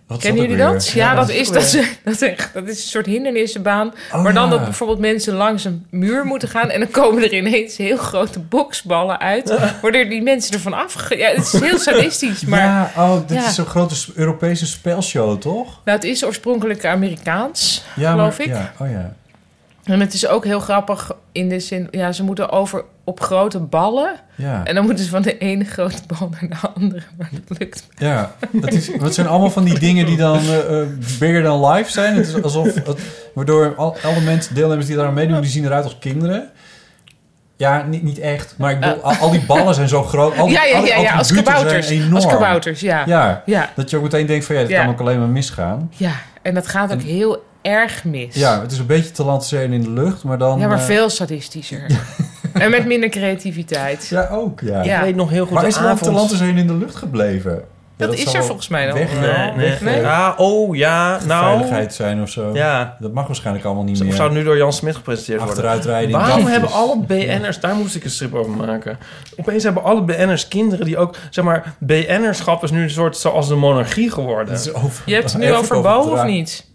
[SPEAKER 4] Wat is
[SPEAKER 5] Kennen
[SPEAKER 4] ook
[SPEAKER 5] jullie
[SPEAKER 4] weer?
[SPEAKER 5] dat? Ja, dat is, dat, ze- [laughs] dat, is- dat is een soort hindernissenbaan.
[SPEAKER 4] Oh,
[SPEAKER 5] maar dan
[SPEAKER 4] ja.
[SPEAKER 5] dat bijvoorbeeld mensen langs een muur moeten gaan... en dan komen er ineens heel grote boksballen
[SPEAKER 4] [laughs]
[SPEAKER 5] uit... waardoor die mensen ervan af... Ja, het is heel sadistisch, maar...
[SPEAKER 4] ja, oh, dit
[SPEAKER 5] Ja.
[SPEAKER 4] is zo'n grote s- Europese spelshow, toch?
[SPEAKER 5] Nou, het is oorspronkelijk Amerikaans,
[SPEAKER 4] Ja,
[SPEAKER 5] geloof
[SPEAKER 4] maar-
[SPEAKER 5] ik.
[SPEAKER 4] Ja, oh ja.
[SPEAKER 5] En het is ook heel grappig in de zin... ja, ze moeten over op grote ballen...
[SPEAKER 4] Ja,
[SPEAKER 5] En dan moeten ze van de ene grote bal naar de andere. Maar dat lukt.
[SPEAKER 4] ja. Dat, is, dat zijn allemaal van die dingen die dan eh, eh, bigger than life zijn. Het is alsof, het- waardoor al, alle mensen, deelnemers die daar aan meedoen, die zien eruit als kinderen. Ja, niet, niet echt. Maar ik bedoel, al, al die ballen zijn zo groot. Al die,
[SPEAKER 5] Eh. ja, ja,
[SPEAKER 4] al die
[SPEAKER 5] ja, ja, als
[SPEAKER 4] attributen zijn
[SPEAKER 5] kabouters.
[SPEAKER 4] enorm.
[SPEAKER 5] Als kabouters, ja.
[SPEAKER 4] Ja,
[SPEAKER 5] Ja.
[SPEAKER 4] dat je ook meteen denkt van ja, dit
[SPEAKER 5] Ja.
[SPEAKER 4] kan ook alleen maar misgaan.
[SPEAKER 5] Ja, en dat gaat ook heel erg mis.
[SPEAKER 4] Ja, het is een beetje te lanceren in de lucht, maar dan...
[SPEAKER 5] Ja, maar
[SPEAKER 4] eh,
[SPEAKER 5] veel sadistischer. en met minder creativiteit.
[SPEAKER 4] Ja, ook, ja.
[SPEAKER 5] Ja. Ik weet nog heel goed
[SPEAKER 4] Maar
[SPEAKER 5] de
[SPEAKER 4] is er te
[SPEAKER 5] avond-
[SPEAKER 4] lanceren in de lucht gebleven? Ja,
[SPEAKER 5] Dat is
[SPEAKER 4] zal
[SPEAKER 5] er
[SPEAKER 4] wel
[SPEAKER 5] volgens mij nog.
[SPEAKER 4] Weg,
[SPEAKER 5] Nee,
[SPEAKER 4] wel,
[SPEAKER 5] nee.
[SPEAKER 4] weg,
[SPEAKER 5] Nee.
[SPEAKER 4] eh,
[SPEAKER 3] Ja, oh ja, nou.
[SPEAKER 4] Veiligheid zijn of zo.
[SPEAKER 3] Ja.
[SPEAKER 4] Dat mag waarschijnlijk allemaal niet
[SPEAKER 3] Of
[SPEAKER 4] meer.
[SPEAKER 3] zou het nu door Jan Smit gepresenteerd worden?
[SPEAKER 4] Achteruitrijden in
[SPEAKER 3] Waarom
[SPEAKER 4] kampen.
[SPEAKER 3] hebben alle BN'ers, daar moest ik een strip over maken. Opeens hebben alle BN'ers kinderen die ook, zeg maar, BN'erschap is nu een soort zoals de monarchie geworden.
[SPEAKER 5] Je
[SPEAKER 4] [laughs]
[SPEAKER 5] hebt [laughs] het nu over Bo of niet?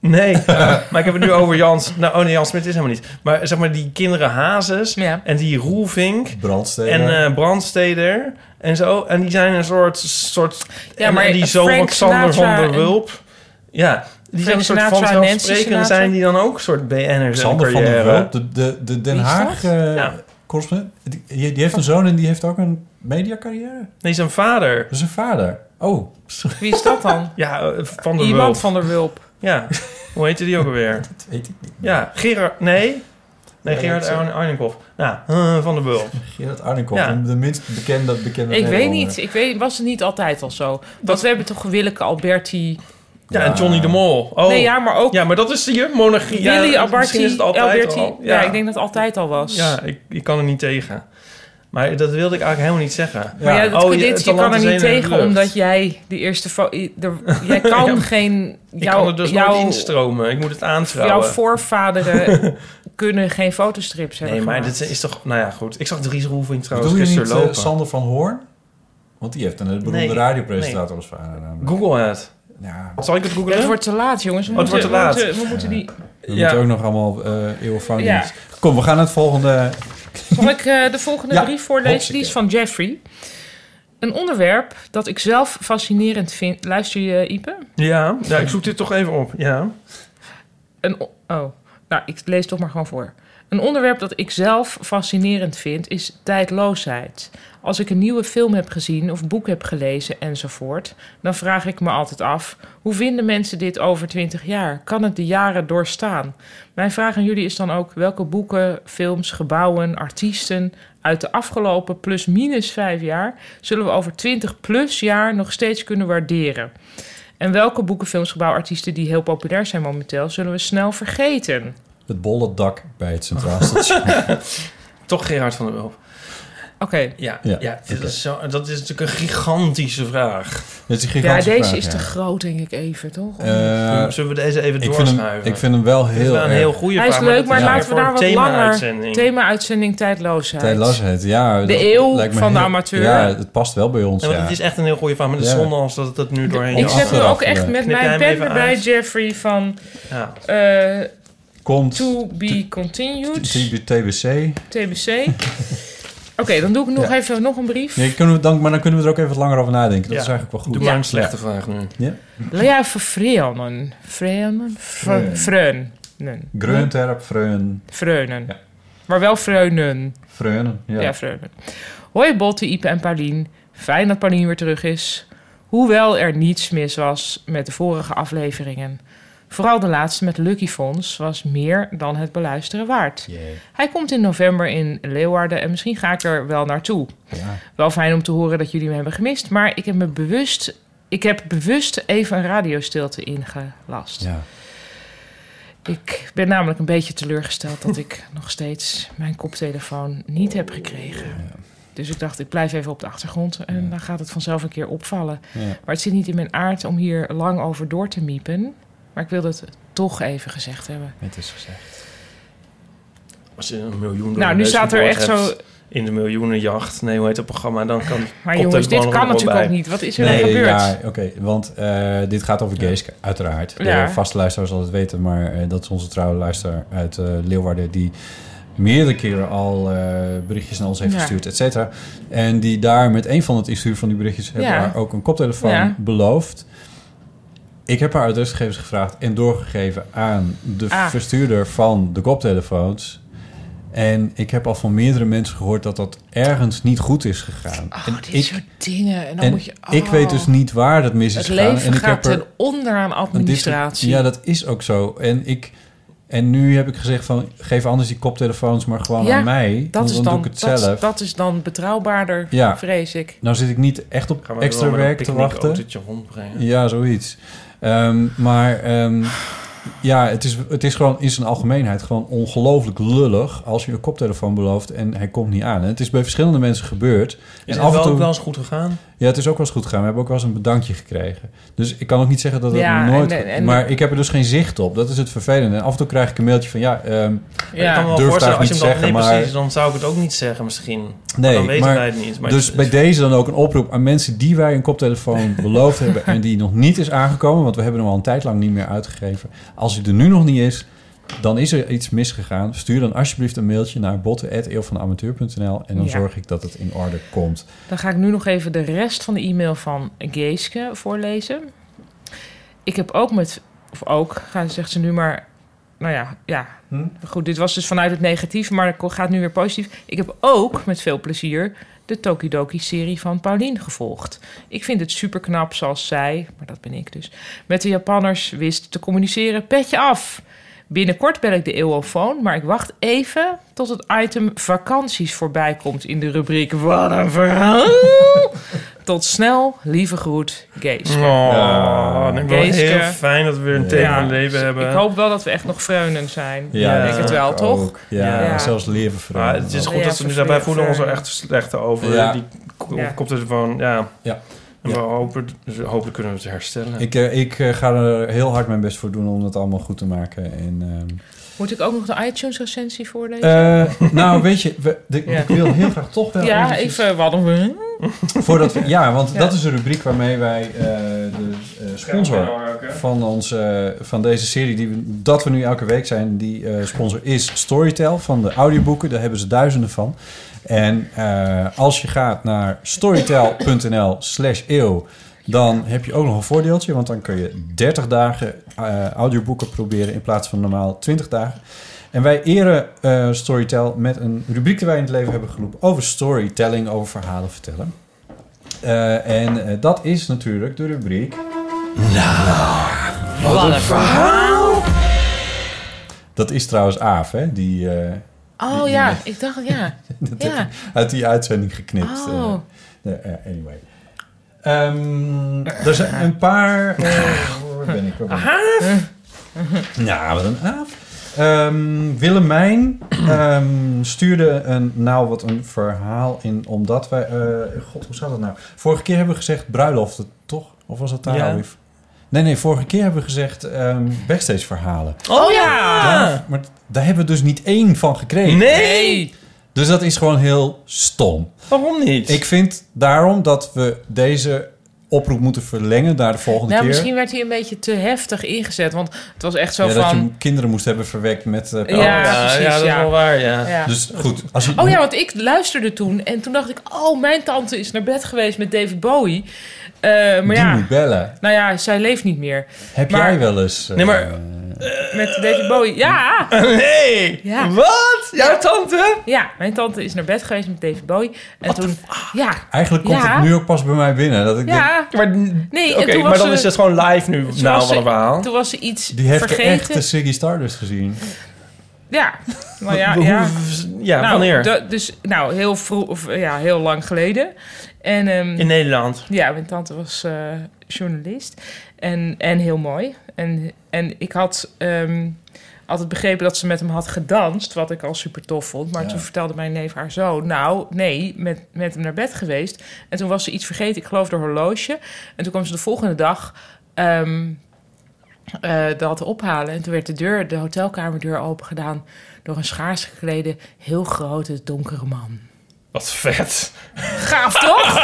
[SPEAKER 3] Nee, [laughs] maar ik heb het nu over Jans. Nou, oh nee, Jan Smit is helemaal niet. Maar zeg maar die kinderen Hazes en die Roelvink.
[SPEAKER 4] Brandsteder.
[SPEAKER 3] En eh, Brandsteder en zo. En die zijn een soort... soort
[SPEAKER 5] Ja,
[SPEAKER 3] en,
[SPEAKER 5] maar
[SPEAKER 3] en die zoon
[SPEAKER 5] Frank
[SPEAKER 3] van Xander van
[SPEAKER 5] Sinatra
[SPEAKER 3] der
[SPEAKER 5] en-
[SPEAKER 3] Wulp. Ja,
[SPEAKER 5] Frank
[SPEAKER 3] die zijn een soort
[SPEAKER 5] Sinatra en Nancy
[SPEAKER 3] vanzelfsprekende
[SPEAKER 5] Sinatra.
[SPEAKER 3] zijn die dan ook een soort BN'ers en
[SPEAKER 4] Xander van der
[SPEAKER 3] carrière.
[SPEAKER 4] Wulp, de, de, de Den
[SPEAKER 3] Wie is
[SPEAKER 4] Haag
[SPEAKER 3] dat?
[SPEAKER 4] eh,
[SPEAKER 3] Ja.
[SPEAKER 4] correspondent. Die, die heeft een zoon en die heeft ook een mediacarrière.
[SPEAKER 3] Nee, zijn vader.
[SPEAKER 4] Zijn vader. Oh,
[SPEAKER 5] Wie is dat dan?
[SPEAKER 3] Ja, eh, van der
[SPEAKER 5] Iemand
[SPEAKER 3] Wulp.
[SPEAKER 5] van der Wulp.
[SPEAKER 3] Ja, hoe heette die ook
[SPEAKER 4] [laughs]
[SPEAKER 3] alweer? Dat
[SPEAKER 4] weet ik niet.
[SPEAKER 3] Ja, Gerard... Nee? Nee,
[SPEAKER 4] Ja,
[SPEAKER 3] Gerard
[SPEAKER 4] dat- eh,
[SPEAKER 3] Arn- Arninkhoff. Ja, eh, van der Wulp.
[SPEAKER 4] [laughs] Gerard Arnikoff,
[SPEAKER 3] Ja.
[SPEAKER 4] de minst bekende bekende
[SPEAKER 5] Ik weet
[SPEAKER 4] Nederlander.
[SPEAKER 5] niet. Ik weet, was het niet altijd al zo? Want we hebben toch Willeke Alberti...
[SPEAKER 3] Ja, en Johnny de Mol. Oh.
[SPEAKER 5] Nee, ja, maar ook...
[SPEAKER 3] Ja, maar dat is je monarchie. Ja,
[SPEAKER 5] Willy
[SPEAKER 3] misschien
[SPEAKER 5] Alberti...
[SPEAKER 3] is het altijd
[SPEAKER 5] Alberti
[SPEAKER 3] al.
[SPEAKER 5] ja. ik denk dat het altijd al was.
[SPEAKER 3] Ja, ik, ik kan er niet tegen. Maar dat wilde ik eigenlijk helemaal niet zeggen.
[SPEAKER 5] Maar ja, dat,
[SPEAKER 3] Oh,
[SPEAKER 5] dit,
[SPEAKER 3] het
[SPEAKER 5] je kan er
[SPEAKER 3] talent is
[SPEAKER 5] niet
[SPEAKER 3] één in de
[SPEAKER 5] tegen
[SPEAKER 3] lucht.
[SPEAKER 5] omdat jij de eerste... fo- i- de- jij kan
[SPEAKER 3] [laughs] Ja, maar
[SPEAKER 5] geen...
[SPEAKER 3] Ik
[SPEAKER 5] jouw-
[SPEAKER 3] kan er dus
[SPEAKER 5] jouw-
[SPEAKER 3] nooit instromen. Ik moet het
[SPEAKER 5] Jouw
[SPEAKER 3] aanschouwen. [laughs]
[SPEAKER 5] voorvaderen kunnen geen fotostrips hebben
[SPEAKER 3] Nee, maar
[SPEAKER 5] gemaakt.
[SPEAKER 3] dit is toch... Nou ja, goed. Ik zag Dries Roelvink trouwens
[SPEAKER 4] Bedoel je
[SPEAKER 3] gisteren
[SPEAKER 4] niet eh,
[SPEAKER 3] lopen.
[SPEAKER 4] Sander van Hoorn? Want die heeft een eh, beroemde
[SPEAKER 3] Nee,
[SPEAKER 4] radiopresentator als vader. namelijk.
[SPEAKER 3] Google het. Zal ik het googlen?
[SPEAKER 5] Het wordt te laat, jongens. We
[SPEAKER 3] Oh, het wordt
[SPEAKER 5] moeten-
[SPEAKER 3] te laat.
[SPEAKER 5] We moeten, we moeten die...
[SPEAKER 4] We
[SPEAKER 3] Ja.
[SPEAKER 4] moeten ook nog allemaal eh eeuwenfout
[SPEAKER 5] Ja.
[SPEAKER 4] doen. Kom, we gaan naar het volgende.
[SPEAKER 5] Zal ik eh, de volgende
[SPEAKER 4] Ja,
[SPEAKER 5] brief voorlezen? Die is van Jeffrey. Een onderwerp dat ik zelf fascinerend vind. Luister je, Ipe?
[SPEAKER 3] Ja, ja, ik zoek dit toch even op. Ja.
[SPEAKER 5] Een, o- oh, nou, ik lees toch maar gewoon voor. Een onderwerp dat ik zelf fascinerend vind is tijdloosheid. Als ik een nieuwe film heb gezien of boek heb gelezen enzovoort, dan vraag ik me altijd af: hoe vinden mensen dit over 20 jaar? Kan het de jaren doorstaan? Mijn vraag aan jullie is dan ook: welke boeken, films, gebouwen, artiesten uit de afgelopen plus-minus vijf jaar zullen we over 20 plus jaar nog steeds kunnen waarderen? En welke boeken, films, gebouwen, artiesten die heel populair zijn momenteel, zullen we snel vergeten?
[SPEAKER 4] Het bolle dak bij het
[SPEAKER 5] [laughs]
[SPEAKER 4] Centraal Station.
[SPEAKER 3] Toch Gerard van der Wulp.
[SPEAKER 5] Oké.
[SPEAKER 3] Ja,
[SPEAKER 4] Ja,
[SPEAKER 3] ja, dit is zo, dat is natuurlijk een gigantische vraag.
[SPEAKER 4] Dit is een
[SPEAKER 5] Ja,
[SPEAKER 4] gigantische
[SPEAKER 5] deze
[SPEAKER 4] vraag,
[SPEAKER 5] is
[SPEAKER 4] ja.
[SPEAKER 5] te groot, denk ik even, toch?
[SPEAKER 4] Eh,
[SPEAKER 3] Zullen we deze even
[SPEAKER 4] ik vind hem,
[SPEAKER 3] doorschuiven?
[SPEAKER 4] ik vind hem wel
[SPEAKER 3] Dit is
[SPEAKER 4] heel
[SPEAKER 3] wel een
[SPEAKER 4] erg-
[SPEAKER 3] heel goede
[SPEAKER 5] Hij is
[SPEAKER 3] vraag.
[SPEAKER 5] leuk,
[SPEAKER 3] dat
[SPEAKER 5] maar
[SPEAKER 3] is
[SPEAKER 5] laten we
[SPEAKER 3] voor een
[SPEAKER 5] daar wat langer...
[SPEAKER 3] thema-uitzending.
[SPEAKER 5] Thema-uitzending tijdloosheid.
[SPEAKER 4] Tijdloosheid, ja.
[SPEAKER 5] De
[SPEAKER 4] dat
[SPEAKER 5] eeuw
[SPEAKER 4] lijkt me
[SPEAKER 5] van de amateur.
[SPEAKER 4] Ja, het past wel bij ons,
[SPEAKER 3] Ja, want
[SPEAKER 4] ja.
[SPEAKER 3] het is echt een heel goede vraag, maar het is
[SPEAKER 4] Ja.
[SPEAKER 3] zonde als dat het nu doorheen
[SPEAKER 5] Ik
[SPEAKER 3] is.
[SPEAKER 5] zet nu ook echt met
[SPEAKER 3] Knip jij
[SPEAKER 5] mijn
[SPEAKER 3] hem
[SPEAKER 5] pen
[SPEAKER 3] even
[SPEAKER 5] erbij,
[SPEAKER 3] uit?
[SPEAKER 5] Jeffrey, van...
[SPEAKER 3] Ja.
[SPEAKER 5] eh,
[SPEAKER 4] Komt
[SPEAKER 5] to be continued,
[SPEAKER 4] T- TBC. Nee,
[SPEAKER 5] TBC. Oké, dan doe ik nog
[SPEAKER 4] Ja.
[SPEAKER 5] even nog een brief.
[SPEAKER 4] kunnen we dan, maar dan kunnen we er ook even wat langer over nadenken. Dat is eigenlijk wel goed.
[SPEAKER 3] Doe maar een slechte vraag nu.
[SPEAKER 4] Ja.
[SPEAKER 5] Lea Verfreunen. Freunen? Fre-
[SPEAKER 4] Freun.
[SPEAKER 5] Freunen.
[SPEAKER 4] Greunterp, Freun,
[SPEAKER 5] Freunen. Maar wel freunen.
[SPEAKER 4] Freunen. Ja.
[SPEAKER 5] Ja, Freunen. Hoi Botte, Ipe en Paulien. Fijn dat Paulien weer terug is. Hoewel er niets mis was met de vorige afleveringen. Vooral de laatste met Lucky Fonds was meer dan het beluisteren waard. Hij komt in november in Leeuwarden en misschien ga ik er wel naartoe. Wel fijn om te horen dat jullie me hebben gemist, maar ik heb me bewust, ik heb bewust even een radiostilte ingelast.
[SPEAKER 4] Ja.
[SPEAKER 5] Ik ben namelijk een beetje teleurgesteld dat ik [laughs] nog steeds mijn koptelefoon niet heb gekregen. Dus ik dacht, ik blijf even op de achtergrond en dan gaat het vanzelf een keer opvallen.
[SPEAKER 4] Ja.
[SPEAKER 5] Maar het zit niet in mijn aard om hier lang over door te miepen. Maar ik wilde het toch even gezegd hebben.
[SPEAKER 4] Het is gezegd.
[SPEAKER 3] Als je een miljoen door
[SPEAKER 5] Nou,
[SPEAKER 3] de
[SPEAKER 5] nu
[SPEAKER 3] neus
[SPEAKER 5] staat er
[SPEAKER 3] geboord
[SPEAKER 5] echt
[SPEAKER 3] hebt
[SPEAKER 5] zo-
[SPEAKER 3] In de miljoenenjacht. Nee, hoe heet dat programma? Dan kan
[SPEAKER 5] [laughs] Maar
[SPEAKER 3] komt
[SPEAKER 5] jongens, dit
[SPEAKER 3] er gewoon nog
[SPEAKER 5] kan
[SPEAKER 3] wel
[SPEAKER 5] natuurlijk
[SPEAKER 3] bij.
[SPEAKER 5] ook niet. Wat is er
[SPEAKER 4] Nee,
[SPEAKER 5] dan gebeurd?
[SPEAKER 4] ja, oké. want eh, dit gaat over Geeske, uiteraard. De
[SPEAKER 5] Ja.
[SPEAKER 4] vaste luisteraar zal het weten, maar eh, dat is onze trouwe luisteraar uit eh, Leeuwarden... die meerdere keren al eh, berichtjes naar ons heeft
[SPEAKER 5] Ja.
[SPEAKER 4] gestuurd, et cetera. En die daar met een van het insturen van die berichtjes... hebben
[SPEAKER 5] Ja.
[SPEAKER 4] haar ook een koptelefoon
[SPEAKER 5] Ja.
[SPEAKER 4] beloofd. Ik heb haar adresgegevens gevraagd en doorgegeven aan de
[SPEAKER 5] Ah.
[SPEAKER 4] verstuurder van de koptelefoons... En ik heb al van meerdere mensen gehoord dat dat ergens niet goed is gegaan. en
[SPEAKER 5] Dit soort dingen. En dan
[SPEAKER 4] en
[SPEAKER 5] moet je,
[SPEAKER 4] ik
[SPEAKER 5] oh.
[SPEAKER 4] weet dus niet waar dat mis is
[SPEAKER 5] Het
[SPEAKER 4] gegaan.
[SPEAKER 5] leven
[SPEAKER 4] en ik
[SPEAKER 5] gaat
[SPEAKER 4] heb er
[SPEAKER 5] ten onder aan
[SPEAKER 4] een diffi-
[SPEAKER 5] administratie.
[SPEAKER 4] Ja, dat is ook zo. En ik En nu heb ik gezegd van, geef anders die koptelefoons maar gewoon
[SPEAKER 5] Ja,
[SPEAKER 4] aan mij.
[SPEAKER 5] dat
[SPEAKER 4] want
[SPEAKER 5] is
[SPEAKER 4] dan,
[SPEAKER 5] dan,
[SPEAKER 4] doe ik het
[SPEAKER 5] dat,
[SPEAKER 4] zelf.
[SPEAKER 5] Dat is dan betrouwbaarder,
[SPEAKER 4] Ja.
[SPEAKER 5] vrees ik.
[SPEAKER 4] Nou zit ik niet echt op
[SPEAKER 3] Ga maar
[SPEAKER 4] extra
[SPEAKER 3] wel met een
[SPEAKER 4] werk te wachten.
[SPEAKER 3] picknickautootje rondbrengen.
[SPEAKER 4] Ja, zoiets. Ehm, maar ehm, ja, het is, het is gewoon in zijn algemeenheid gewoon ongelooflijk lullig als je een koptelefoon belooft en hij komt niet aan. En het is bij verschillende mensen gebeurd.
[SPEAKER 3] Is
[SPEAKER 4] en
[SPEAKER 3] het wel ook wel eens goed gegaan?
[SPEAKER 4] Ja, het is ook wel eens goed gegaan. We hebben ook wel eens een bedankje gekregen. Dus ik kan ook niet zeggen dat het
[SPEAKER 3] Ja,
[SPEAKER 4] nooit...
[SPEAKER 3] en- en-
[SPEAKER 4] maar ik heb er dus geen zicht op. Dat is het vervelende. En af en toe krijg ik een mailtje van... Ja, ehm
[SPEAKER 3] Ik kan me wel
[SPEAKER 4] durf het
[SPEAKER 3] voorstellen,
[SPEAKER 4] eigenlijk
[SPEAKER 3] als je hem dan...
[SPEAKER 4] niet zeggen,
[SPEAKER 3] Nee,
[SPEAKER 4] maar...
[SPEAKER 3] precies, dan zou ik het ook niet zeggen misschien. Maar
[SPEAKER 4] Nee,
[SPEAKER 3] dan weten
[SPEAKER 4] maar,
[SPEAKER 3] wij het niet. Maar
[SPEAKER 4] dus
[SPEAKER 3] het-
[SPEAKER 4] bij deze dan ook een oproep aan mensen die wij een
[SPEAKER 3] [laughs]
[SPEAKER 4] koptelefoon beloofd hebben en die nog niet is aangekomen, want we hebben hem al een tijd lang niet meer uitgegeven. Als hij er nu nog niet is, dan is er iets misgegaan. Stuur dan alsjeblieft een mailtje naar botten@eeuwvanamateur.nl en dan
[SPEAKER 5] Ja.
[SPEAKER 4] zorg ik dat het in orde komt.
[SPEAKER 5] Dan ga ik nu nog even de rest van de e-mail van Geeske voorlezen. Ik heb ook met, of ook, gaan, zegt ze nu maar, nou ja, ja. Goed, dit was dus vanuit het negatief, maar het gaat nu weer positief. Ik heb ook met veel plezier de Tokidoki-serie van Paulien gevolgd. Ik vind het superknap zoals zij, maar dat ben ik dus, met de Japanners wist te communiceren. Petje af! Binnenkort ben ik de eeuwofoon, maar ik wacht even tot het item vakanties voorbij komt in de rubriek Wat een verhaal! tot snel, lieve groet, Gees.
[SPEAKER 3] Oh,
[SPEAKER 5] Ja.
[SPEAKER 3] ik ben
[SPEAKER 5] Geeske.
[SPEAKER 3] heel fijn dat we weer een
[SPEAKER 5] Ja.
[SPEAKER 3] thema leven hebben.
[SPEAKER 5] Ik hoop wel dat we echt nog vreunend zijn.
[SPEAKER 3] Ja,
[SPEAKER 5] ik denk
[SPEAKER 3] dat
[SPEAKER 5] het wel,
[SPEAKER 3] ook.
[SPEAKER 5] toch?
[SPEAKER 4] Ja, en zelfs leven
[SPEAKER 3] Maar
[SPEAKER 4] veranderen.
[SPEAKER 3] het is
[SPEAKER 4] Ja,
[SPEAKER 3] goed dat ze nu
[SPEAKER 5] vervelen-
[SPEAKER 3] daarbij voelen ons er
[SPEAKER 5] ver-
[SPEAKER 3] echt slecht over.
[SPEAKER 4] Ja.
[SPEAKER 3] Die ko-
[SPEAKER 5] Ja.
[SPEAKER 3] koptelefoon, ja.
[SPEAKER 4] ja.
[SPEAKER 3] En we hopen, dus hopelijk kunnen we het herstellen.
[SPEAKER 4] Ik, eh, ik eh, ga er heel hard mijn best voor doen om dat allemaal goed te maken. En, ehm,
[SPEAKER 5] Moet ik ook nog de iTunes-recensie voorlezen?
[SPEAKER 4] eh, nou, weet je, we, de-
[SPEAKER 5] Ja.
[SPEAKER 4] ik wil heel graag toch wel
[SPEAKER 5] Ja,
[SPEAKER 4] eventjes-
[SPEAKER 5] even eh, wat een verhaal.
[SPEAKER 4] [laughs] Voordat we, ja, want
[SPEAKER 5] Ja.
[SPEAKER 4] dat is de rubriek waarmee wij eh, de eh, sponsor van, ons, eh, van deze serie, die we, dat we nu elke week zijn, die eh, sponsor is Storytel van de audioboeken. Daar hebben ze duizenden van. En eh, als je gaat naar storytel.nl slash eeuw, dan heb je ook nog een voordeeltje, want dan kun je 30 dagen eh, audioboeken proberen in plaats van normaal 20 dagen. En wij eren eh, Storytel met een rubriek die wij in het leven hebben geroepen over storytelling, over verhalen vertellen. Eh, en eh, dat is natuurlijk de rubriek. Nou,
[SPEAKER 11] wat een verhaal.
[SPEAKER 4] Dat is trouwens Aaf, hè? Die eh,
[SPEAKER 5] Oh ja, ik dacht,
[SPEAKER 4] [laughs]
[SPEAKER 5] ja.
[SPEAKER 4] dat heb
[SPEAKER 5] ja.
[SPEAKER 4] ik uit die uitzending geknipt.
[SPEAKER 5] Oh.
[SPEAKER 4] Eh, nee, eh, anyway. Ehm, er zijn een paar. eh, waar ben ik?
[SPEAKER 5] [laughs]
[SPEAKER 4] Waar ben ik? [laughs] Ja, wat een aaf. Ehm, Willemijn ehm, stuurde een, nou wat een verhaal in, omdat wij, eh, god hoe zat dat nou? Vorige keer hebben we gezegd bruiloften, toch? Of was dat daar
[SPEAKER 3] Ja.
[SPEAKER 4] alweer? Nee, nee, vorige keer hebben we gezegd ehm backstage verhalen.
[SPEAKER 3] Oh ja!
[SPEAKER 4] Daar- maar daar hebben we dus niet één van gekregen.
[SPEAKER 3] Nee!
[SPEAKER 4] Dus dat is gewoon heel stom.
[SPEAKER 3] Waarom niet?
[SPEAKER 4] Ik vind daarom dat we deze oproep moeten verlengen naar de volgende
[SPEAKER 5] Nou,
[SPEAKER 4] keer.
[SPEAKER 5] misschien werd hij een beetje te heftig ingezet, want het was echt zo
[SPEAKER 4] ja, dat
[SPEAKER 5] van...
[SPEAKER 4] je kinderen moest hebben verwekt met... eh,
[SPEAKER 5] Ja,
[SPEAKER 4] pijltjes.
[SPEAKER 5] precies, Ja, dat is ja. wel
[SPEAKER 3] waar,
[SPEAKER 5] Ja.
[SPEAKER 4] Dus goed, als je...
[SPEAKER 5] Oh ja, want ik luisterde toen en toen dacht ik... oh, mijn tante is naar bed geweest met David Bowie. Eh, maar
[SPEAKER 4] die
[SPEAKER 5] ja,
[SPEAKER 4] moet bellen.
[SPEAKER 5] nou ja, zij leeft niet meer.
[SPEAKER 4] Heb
[SPEAKER 5] Maar-
[SPEAKER 4] jij wel eens... eh,
[SPEAKER 5] Nee, maar- Met David Bowie,
[SPEAKER 3] [laughs]
[SPEAKER 5] ja!
[SPEAKER 3] Nee!
[SPEAKER 5] Ja.
[SPEAKER 3] Wat? Jouw tante?
[SPEAKER 5] Ja, mijn tante is naar bed geweest met David Bowie. En toen, ja,
[SPEAKER 4] Eigenlijk komt
[SPEAKER 5] Ja.
[SPEAKER 4] het nu ook pas bij mij binnen. Dat ik denk,
[SPEAKER 5] ja.
[SPEAKER 3] Maar,
[SPEAKER 5] nee, en
[SPEAKER 3] Oké,
[SPEAKER 5] toen was
[SPEAKER 3] maar dan
[SPEAKER 5] ze-
[SPEAKER 3] is het gewoon live nu.
[SPEAKER 5] toen
[SPEAKER 3] Nou,
[SPEAKER 5] was
[SPEAKER 3] wat
[SPEAKER 5] ze-
[SPEAKER 3] een verhaal.
[SPEAKER 5] Toen was ze iets
[SPEAKER 4] die heeft
[SPEAKER 5] vergeten.
[SPEAKER 4] echt de Ziggy Stardust gezien.
[SPEAKER 5] Ja, nou
[SPEAKER 4] [laughs]
[SPEAKER 5] ja,
[SPEAKER 3] Hoe-
[SPEAKER 5] ja.
[SPEAKER 3] ja,
[SPEAKER 5] nou,
[SPEAKER 3] wanneer?
[SPEAKER 5] da- dus, nou, heel vroeg, of, ja, heel lang geleden. En, ehm,
[SPEAKER 3] In Nederland.
[SPEAKER 5] Ja, mijn tante was eh, journalist en, en heel mooi. En, en ik had ehm, altijd begrepen dat ze met hem had gedanst, wat ik al super tof vond. Maar
[SPEAKER 11] Ja.
[SPEAKER 5] toen vertelde mijn neef haar zo, nou nee, met, met hem naar bed geweest. En toen was ze iets vergeten, ik geloof de horloge. En toen kwam ze de volgende dag ehm, eh, dat ophalen. En toen werd de deur, de hotelkamerdeur opengedaan door een schaars geklede, heel grote, donkere man.
[SPEAKER 3] Wat vet.
[SPEAKER 5] Gaaf toch?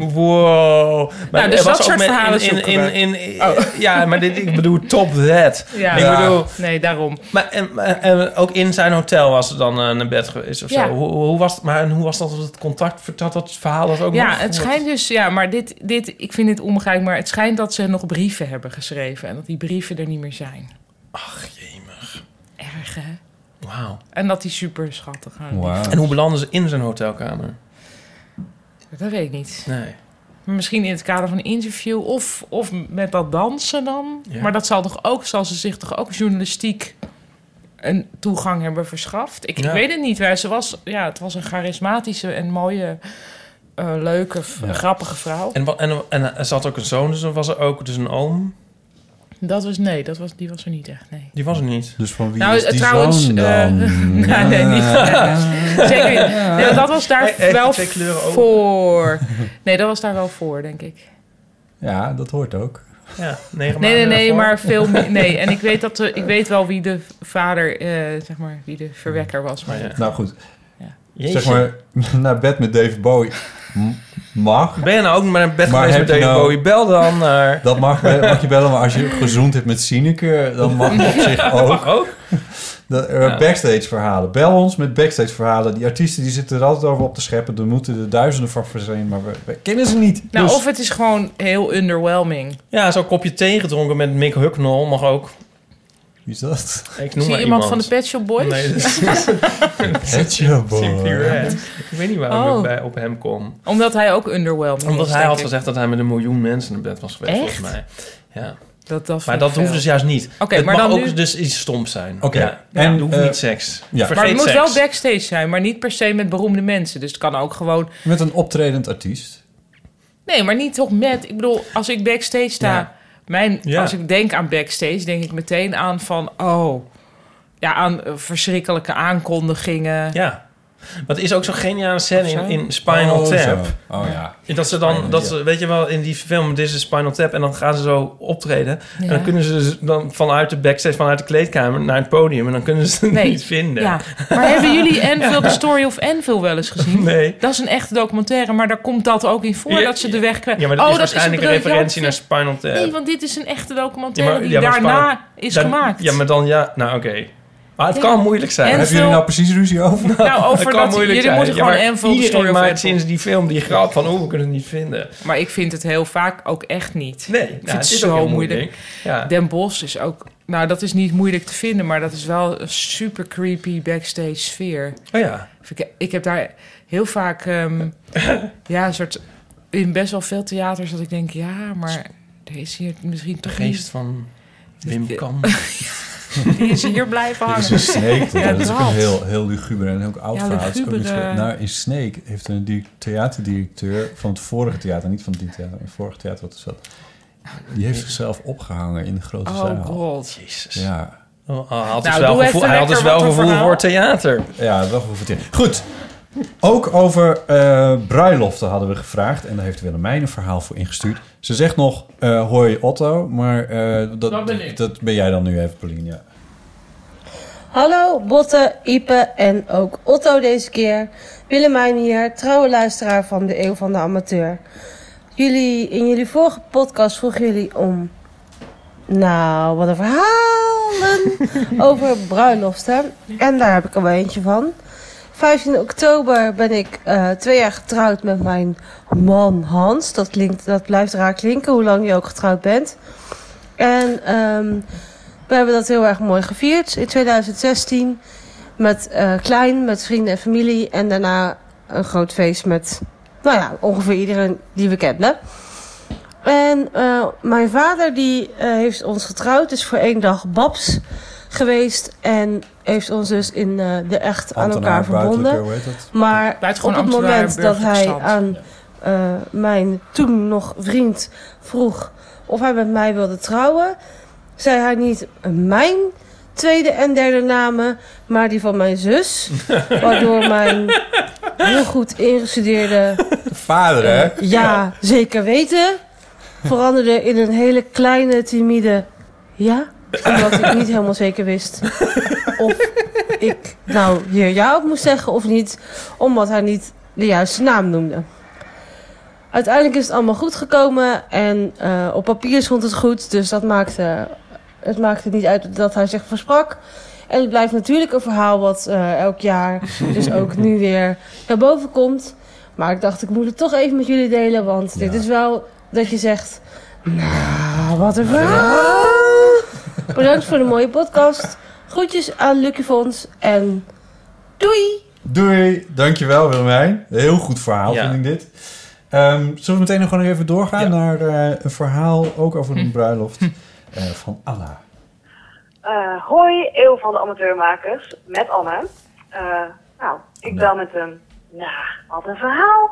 [SPEAKER 3] Wow.
[SPEAKER 5] Nou, dus
[SPEAKER 3] er was
[SPEAKER 5] dat
[SPEAKER 3] ook
[SPEAKER 5] soort
[SPEAKER 3] met-
[SPEAKER 5] verhalen
[SPEAKER 3] in, in,
[SPEAKER 5] zoeken
[SPEAKER 3] in, in- [laughs] Ja, maar dit, ik bedoel top that.
[SPEAKER 5] Ja.
[SPEAKER 3] Ik
[SPEAKER 5] Ja.
[SPEAKER 3] bedoel...
[SPEAKER 5] Nee, daarom.
[SPEAKER 3] Maar en, maar- en ook in zijn hotel was ze dan eh, naar bed geweest of
[SPEAKER 5] Ja.
[SPEAKER 3] zo. Hoe, hoe was, het- maar en hoe was dat, het contact? Vertelt dat verhaal Oh, dat ook nog?
[SPEAKER 5] Ja, het schijnt dus, ja, maar dit, dit, ik vind dit onbegrijpelijk, maar het schijnt dat ze nog brieven hebben geschreven en dat die brieven er niet meer zijn. Ach, jemig. Erg, hè?
[SPEAKER 3] Wauw.
[SPEAKER 5] En dat die super schattig aan.
[SPEAKER 3] Oh. En hoe belanden ze in zijn hotelkamer?
[SPEAKER 5] Dat weet ik niet.
[SPEAKER 3] Nee.
[SPEAKER 5] Misschien in het kader van een interview of, of met dat dansen dan.
[SPEAKER 3] Ja.
[SPEAKER 5] Maar dat zal toch ook, zal ze zich toch ook journalistiek een toegang hebben verschaft. Ik, ik
[SPEAKER 7] Ja.
[SPEAKER 5] weet het niet. Wij- Ze was, ja, het was een charismatische en mooie, eh, leuke, v-
[SPEAKER 3] Ja.
[SPEAKER 5] grappige vrouw.
[SPEAKER 3] En, wa- en, en, ze had ook een zoon, dus dan was er ook dus een oom.
[SPEAKER 5] Dat was, nee, dat was, die was er niet echt, nee.
[SPEAKER 3] Die was er niet.
[SPEAKER 4] Dus van wie
[SPEAKER 5] Nou,
[SPEAKER 4] is die
[SPEAKER 5] trouwens,
[SPEAKER 4] zoon
[SPEAKER 5] eh,
[SPEAKER 4] dan?
[SPEAKER 5] [laughs] nee, nee,
[SPEAKER 3] [laughs]
[SPEAKER 5] niet.
[SPEAKER 4] [laughs]
[SPEAKER 5] [laughs] Zeker niet. Nee, want dat was daar
[SPEAKER 4] Hey, hey,
[SPEAKER 5] wel
[SPEAKER 4] twee kleuren ogen.
[SPEAKER 5] voor. Nee, dat was daar wel voor, denk ik.
[SPEAKER 4] Ja, dat hoort ook.
[SPEAKER 3] Ja, negen
[SPEAKER 5] Nee, nee,
[SPEAKER 3] maanden
[SPEAKER 5] nee,
[SPEAKER 3] daarvoor.
[SPEAKER 5] maar
[SPEAKER 4] [laughs]
[SPEAKER 5] veel meer. Nee, en ik weet, dat, de- ik weet wel wie de vader, eh, zeg maar, wie de verwekker was. Maar
[SPEAKER 4] Nou goed.
[SPEAKER 3] Jeetje.
[SPEAKER 4] Zeg maar, [laughs] naar bed met David Bowie m- mag.
[SPEAKER 3] Ben je nou ook naar bed geweest met
[SPEAKER 4] heb je nou-
[SPEAKER 3] David Bowie? Bel dan naar...
[SPEAKER 4] Dat mag, wel- mag je bellen, maar als je gezoend hebt met Sineke, dan
[SPEAKER 3] [laughs]
[SPEAKER 4] mag dat op zich ook. Dat, eh,
[SPEAKER 3] Ja.
[SPEAKER 4] Backstage verhalen. Bel ons met backstage verhalen. Die artiesten die zitten er altijd over op te scheppen. Er moeten er duizenden van verzinnen, maar we, we kennen ze niet.
[SPEAKER 5] Nou,
[SPEAKER 4] Dus-
[SPEAKER 5] of het is gewoon heel underwhelming.
[SPEAKER 3] Ja, zo'n kopje thee gedronken met Mick Hucknall mag ook.
[SPEAKER 4] Wie is dat?
[SPEAKER 3] Ik
[SPEAKER 5] Zie
[SPEAKER 3] noem
[SPEAKER 5] je
[SPEAKER 3] maar
[SPEAKER 5] iemand van de Pet Shop Boys?
[SPEAKER 3] Nee, dat
[SPEAKER 5] [laughs]
[SPEAKER 3] is-
[SPEAKER 4] [laughs] Pet Shop Boys.
[SPEAKER 3] Simply Red. Ik weet niet waarom
[SPEAKER 5] Oh.
[SPEAKER 3] ik bij, op hem kom.
[SPEAKER 5] [laughs] Omdat hij ook underwhelming
[SPEAKER 3] Omdat
[SPEAKER 5] is,
[SPEAKER 3] hij
[SPEAKER 5] denk
[SPEAKER 3] had
[SPEAKER 5] ik.
[SPEAKER 3] gezegd dat hij met een miljoen mensen naar bed was geweest,
[SPEAKER 5] Echt?
[SPEAKER 3] volgens mij. Ja.
[SPEAKER 5] Dat, dat
[SPEAKER 3] maar
[SPEAKER 5] vind
[SPEAKER 3] dat
[SPEAKER 5] ik
[SPEAKER 3] hoeft
[SPEAKER 5] veel.
[SPEAKER 3] dus juist niet.
[SPEAKER 5] Oké,
[SPEAKER 3] het
[SPEAKER 5] maar
[SPEAKER 3] mag
[SPEAKER 5] dan
[SPEAKER 3] ook
[SPEAKER 5] nu-
[SPEAKER 3] dus iets stoms zijn.
[SPEAKER 4] Oké.
[SPEAKER 3] Ja.
[SPEAKER 4] En,
[SPEAKER 3] het hoeft
[SPEAKER 4] eh,
[SPEAKER 3] niet seks.
[SPEAKER 4] ja.
[SPEAKER 3] Vergeet
[SPEAKER 5] maar het moet
[SPEAKER 3] seks.
[SPEAKER 5] wel backstage zijn, maar niet per se met beroemde mensen. Dus het kan ook gewoon...
[SPEAKER 4] Met een optredend artiest.
[SPEAKER 5] Nee, maar niet toch met... Ik bedoel, als ik backstage sta...
[SPEAKER 4] Ja.
[SPEAKER 5] Mijn,
[SPEAKER 4] Ja.
[SPEAKER 5] Als ik denk aan backstage, denk ik meteen aan van... Oh, ja, aan eh, verschrikkelijke aankondigingen.
[SPEAKER 3] Ja. Wat is ook zo'n geniale scène
[SPEAKER 5] Of
[SPEAKER 3] in,
[SPEAKER 5] zo?
[SPEAKER 3] in Spinal
[SPEAKER 4] Oh,
[SPEAKER 3] Tap.
[SPEAKER 4] zo. Oh, ja.
[SPEAKER 3] [laughs] Dat ze dan,
[SPEAKER 4] Spinal
[SPEAKER 3] dat
[SPEAKER 4] Tap.
[SPEAKER 3] ze, weet je wel, in die film, dit is Spinal Tap. En dan gaan ze zo optreden. En
[SPEAKER 5] Ja.
[SPEAKER 3] dan kunnen ze dus dan vanuit de backstage, vanuit de kleedkamer naar het podium. En dan kunnen ze het
[SPEAKER 5] Nee.
[SPEAKER 3] niet vinden.
[SPEAKER 5] Ja. Maar hebben jullie Enfield,
[SPEAKER 3] Ja.
[SPEAKER 5] de Story of Enfield wel eens gezien?
[SPEAKER 3] [laughs] Nee.
[SPEAKER 5] Dat is een echte documentaire, maar daar komt dat ook in voor,
[SPEAKER 3] Ja,
[SPEAKER 5] dat ze de weg kwijt.
[SPEAKER 3] Ja, maar dat
[SPEAKER 5] oh,
[SPEAKER 3] is waarschijnlijk een
[SPEAKER 5] briljant
[SPEAKER 3] referentie naar
[SPEAKER 5] film.
[SPEAKER 3] Spinal Tap.
[SPEAKER 5] Nee, want dit is een echte
[SPEAKER 3] Ja,
[SPEAKER 5] documentaire
[SPEAKER 3] maar-
[SPEAKER 5] die
[SPEAKER 3] ja, maar
[SPEAKER 5] daarna
[SPEAKER 3] Spinal-
[SPEAKER 5] is
[SPEAKER 3] dan-
[SPEAKER 5] gemaakt.
[SPEAKER 3] Ja, maar dan ja. Nou, oké. Maar het
[SPEAKER 5] Ja.
[SPEAKER 3] kan moeilijk zijn.
[SPEAKER 5] En Hebben jullie veel- nou
[SPEAKER 4] precies ruzie over?
[SPEAKER 5] Nou, over
[SPEAKER 3] Het kan
[SPEAKER 5] dat-
[SPEAKER 3] moeilijk
[SPEAKER 5] jullie
[SPEAKER 3] zijn.
[SPEAKER 5] moeten gewoon
[SPEAKER 3] maar
[SPEAKER 5] Enfield de
[SPEAKER 3] Iedereen
[SPEAKER 5] Story of
[SPEAKER 3] maakt
[SPEAKER 5] Enfield.
[SPEAKER 3] sinds die film die grap van... oeh, we kunnen het niet vinden.
[SPEAKER 5] Maar ik vind het heel vaak ook echt niet.
[SPEAKER 3] Nee,
[SPEAKER 5] ik vind
[SPEAKER 3] nou,
[SPEAKER 5] het
[SPEAKER 3] het is
[SPEAKER 5] zo
[SPEAKER 3] ook heel
[SPEAKER 5] moeilijk.
[SPEAKER 3] moeilijk. Ja.
[SPEAKER 5] Den Bosch is ook... Nou, dat is niet moeilijk te vinden, maar dat is wel een super creepy backstage sfeer.
[SPEAKER 3] Oh ja.
[SPEAKER 5] Vind Ik, ik heb daar heel vaak...
[SPEAKER 3] [laughs]
[SPEAKER 5] ehm, ja, een soort... In best wel veel theaters dat ik denk... Ja, maar er is hier misschien
[SPEAKER 3] De
[SPEAKER 5] toch niet-
[SPEAKER 3] geest van Wim Kam.
[SPEAKER 5] [laughs] Die is hier
[SPEAKER 4] [laughs]
[SPEAKER 5] blijven hangen.
[SPEAKER 4] Dit is een Snake.
[SPEAKER 5] Ja,
[SPEAKER 4] dat is ook een
[SPEAKER 5] dat.
[SPEAKER 4] heel, heel luguber en heel oud
[SPEAKER 5] Ja,
[SPEAKER 4] verhaal. Het is ook
[SPEAKER 5] luguber,
[SPEAKER 4] niet ge-
[SPEAKER 5] eh.
[SPEAKER 4] nou, in Snake heeft een di- theaterdirecteur van het vorige theater, niet van dit theater, maar het vorige theater wat er zat, die heeft zichzelf opgehangen in de grote
[SPEAKER 5] Oh,
[SPEAKER 4] zaal.
[SPEAKER 5] god.
[SPEAKER 3] Jezus.
[SPEAKER 4] Ja.
[SPEAKER 3] Oh, Hij had
[SPEAKER 5] Nou,
[SPEAKER 3] dus
[SPEAKER 5] doe
[SPEAKER 3] wel
[SPEAKER 5] even
[SPEAKER 3] gevoel, hij had dus
[SPEAKER 5] lekker
[SPEAKER 3] wel
[SPEAKER 5] wat een
[SPEAKER 3] gevoel
[SPEAKER 5] verhaal.
[SPEAKER 3] voor theater.
[SPEAKER 4] Ja, wel goed verteld. Goed. Ook over eh, bruiloften hadden we gevraagd. En daar heeft Willemijn een verhaal voor ingestuurd. Ze zegt nog, eh hoi Otto. Maar eh, dat,
[SPEAKER 10] Dat ben ik.
[SPEAKER 4] dat ben jij dan nu even, Pauline. Ja.
[SPEAKER 10] Hallo Botte, Ipe en ook Otto deze keer. Willemijn hier, trouwe luisteraar van de Eeuw van de Amateur. Jullie, in jullie vorige podcast vroegen jullie om... Nou, wat een verhalen over bruiloften. En daar heb ik er wel eentje van. 15 oktober ben ik eh, twee jaar getrouwd met mijn man Hans. Dat, klinkt, dat blijft raar klinken, hoe lang je ook getrouwd bent. En ehm, we hebben dat heel erg mooi gevierd in 2016. Met eh, klein, met vrienden en familie. En daarna een groot feest met, nou ja, ongeveer iedereen die we kenden. En eh, mijn vader die eh, heeft ons getrouwd. Is voor één dag babs geweest. En heeft ons dus in eh, de echt aan elkaar verbonden.
[SPEAKER 4] hoe heet dat?
[SPEAKER 10] Maar op
[SPEAKER 5] Buitengewoon
[SPEAKER 10] het
[SPEAKER 5] ambtenaar,
[SPEAKER 10] moment dat
[SPEAKER 5] burgerlijk
[SPEAKER 10] hij
[SPEAKER 5] stand.
[SPEAKER 10] aan eh, mijn toen nog vriend vroeg of hij met mij wilde trouwen, zei hij niet mijn tweede en derde namen, maar die van mijn zus. waardoor mijn heel goed ingestudeerde eh,
[SPEAKER 4] Vader, hè?
[SPEAKER 10] ja, zeker weten. Veranderde in een hele kleine, timide ja. Omdat ik niet helemaal zeker wist of ik nou hier ja op moest zeggen of niet. Omdat hij niet de juiste naam noemde. Uiteindelijk is het allemaal goed gekomen. En eh, op papier stond het goed. Dus dat maakte, het maakte niet uit dat hij zich versprak. En het blijft natuurlijk een verhaal wat eh, elk jaar, dus ook nu weer, naar boven komt. Maar ik dacht, ik moet het toch even met jullie delen. Want dit is wel dat je zegt... Nou, wat een verhaal! Bedankt voor de mooie podcast. Groetjes aan Lucky Fons en doei!
[SPEAKER 4] Doei. Dankjewel, Willemijn. Heel goed verhaal,
[SPEAKER 3] Ja.
[SPEAKER 4] vind ik dit. Ehm, zullen we meteen nog gewoon even doorgaan naar eh, een verhaal, ook over een bruiloft, eh, van Anna.
[SPEAKER 12] Eh, hoi, Eeuw van de Amateurmakers, met Anne. Eh, nou, ik bel met een, nou, wat een verhaal.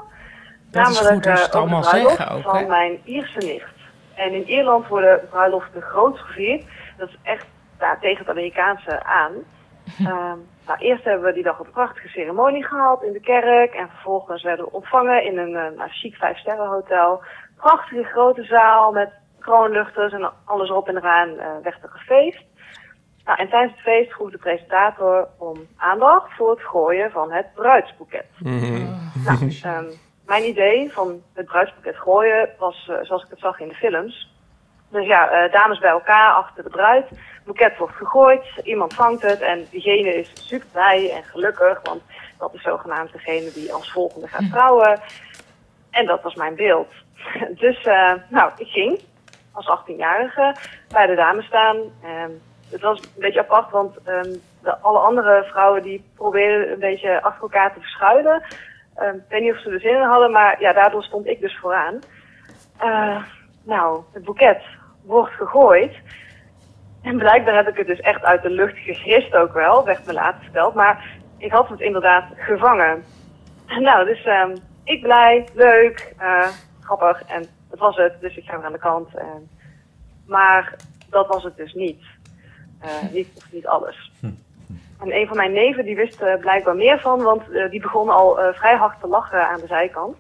[SPEAKER 5] Dat is goed als
[SPEAKER 12] eh,
[SPEAKER 5] je het
[SPEAKER 12] over
[SPEAKER 5] allemaal
[SPEAKER 12] de bruiloft
[SPEAKER 5] zeggen ook,
[SPEAKER 12] van
[SPEAKER 5] hè?
[SPEAKER 12] mijn Ierse nicht. En in Ierland worden bruiloften groots gevierd. Dat is echt nou, tegen het Amerikaanse
[SPEAKER 5] [laughs]
[SPEAKER 12] aan. Ehm, nou, eerst hebben we die dag een prachtige ceremonie gehad in de kerk. En vervolgens werden we ontvangen in een eh nou, chic vijfsterrenhotel. Prachtige grote zaal met kroonluchters en alles op en eraan eh werd er gefeest. Nou, en tijdens het feest vroeg de presentator om aandacht voor het gooien van het bruidsboeket.
[SPEAKER 5] Oh.
[SPEAKER 12] Nou,
[SPEAKER 11] [laughs]
[SPEAKER 12] ehm, mijn idee van het bruidspakket gooien was eh, zoals ik het zag in de films. Dus ja, eh, dames bij elkaar achter de bruid. Boeket wordt gegooid, iemand vangt het en diegene is super blij en gelukkig. Want dat is zogenaamd degene die als volgende gaat trouwen. En dat was mijn beeld. [laughs] Dus eh, nou, ik ging als 18-jarige bij de dames staan. Ehm, het was een beetje apart, want ehm, de, alle andere vrouwen die probeerden een beetje achter elkaar te verschuilen. Ehm, ik weet niet of ze er zin in hadden, maar ja, daardoor stond ik dus vooraan. Eh, nou, het boeket wordt gegooid. En blijkbaar heb ik het dus echt uit de lucht gegrist ook wel, werd me later verteld. Maar ik had het inderdaad gevangen. Nou, dus ehm, ik blij, leuk, eh, grappig. En dat was het, dus ik ga weer aan de kant. En... Maar dat was het dus niet. Eh, niet of niet alles. En een van mijn neven die wist er blijkbaar meer van, want eh, die begon al eh, vrij hard te lachen aan de zijkant.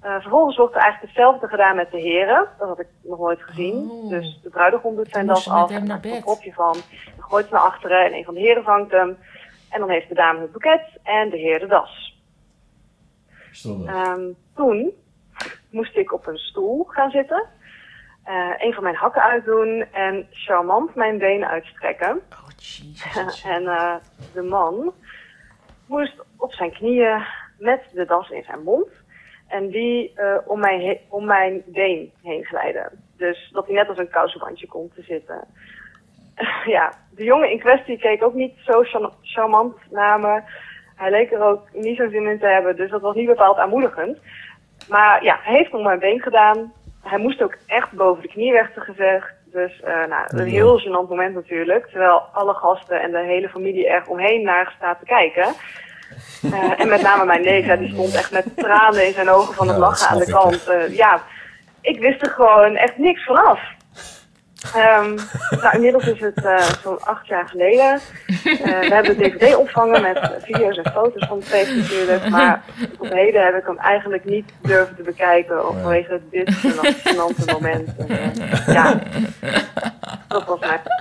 [SPEAKER 12] Eh, vervolgens wordt er eigenlijk hetzelfde gedaan met de heren. Dat had ik nog nooit gezien. Dus de bruidegom doet zijn
[SPEAKER 5] Moest
[SPEAKER 12] das
[SPEAKER 5] ze met
[SPEAKER 12] af
[SPEAKER 5] hem
[SPEAKER 12] en
[SPEAKER 5] naar
[SPEAKER 12] maakt er een kopje van. Dan gooit ze naar achteren en een van de heren vangt hem. En dan heeft de dame het boeket en de heer de das. Ehm, toen moest ik op een stoel gaan zitten, eh, een van mijn hakken uitdoen en charmant mijn benen uitstrekken. Oh, [laughs] en eh, de man moest op zijn knieën met de das in zijn mond en die eh, om, mijn he- om mijn been heen glijden. Dus dat hij net als een kousenbandje komt te zitten. [laughs] ja, de jongen in kwestie keek ook niet zo char- charmant naar me. Hij leek er ook niet zo zin in te hebben, dus dat was niet bepaald aanmoedigend. Maar ja, hij heeft nog mijn been gedaan. Hij moest ook echt boven de knie werden gezegd. Dus eh, nou,
[SPEAKER 13] Ja.
[SPEAKER 12] een heel gênant moment natuurlijk. Terwijl alle gasten en de hele familie er omheen naar staat te kijken. Eh, en met name mijn neef, ja, die stond echt met tranen in zijn ogen van het
[SPEAKER 13] Ja,
[SPEAKER 12] lachen
[SPEAKER 13] dat
[SPEAKER 12] aan de
[SPEAKER 13] snap ik,
[SPEAKER 12] kant. Eh, ja, ik wist er gewoon echt niks vanaf. Ehm, nou, inmiddels is het eh, zo'n acht jaar geleden. Eh, we hebben de dvd opvangen met eh, video's en foto's van het feest natuurlijk. Maar op heden heb ik hem eigenlijk niet durven te bekijken. Of vanwege dit genante moment. En, eh, ja, dat was mijn...
[SPEAKER 4] [laughs]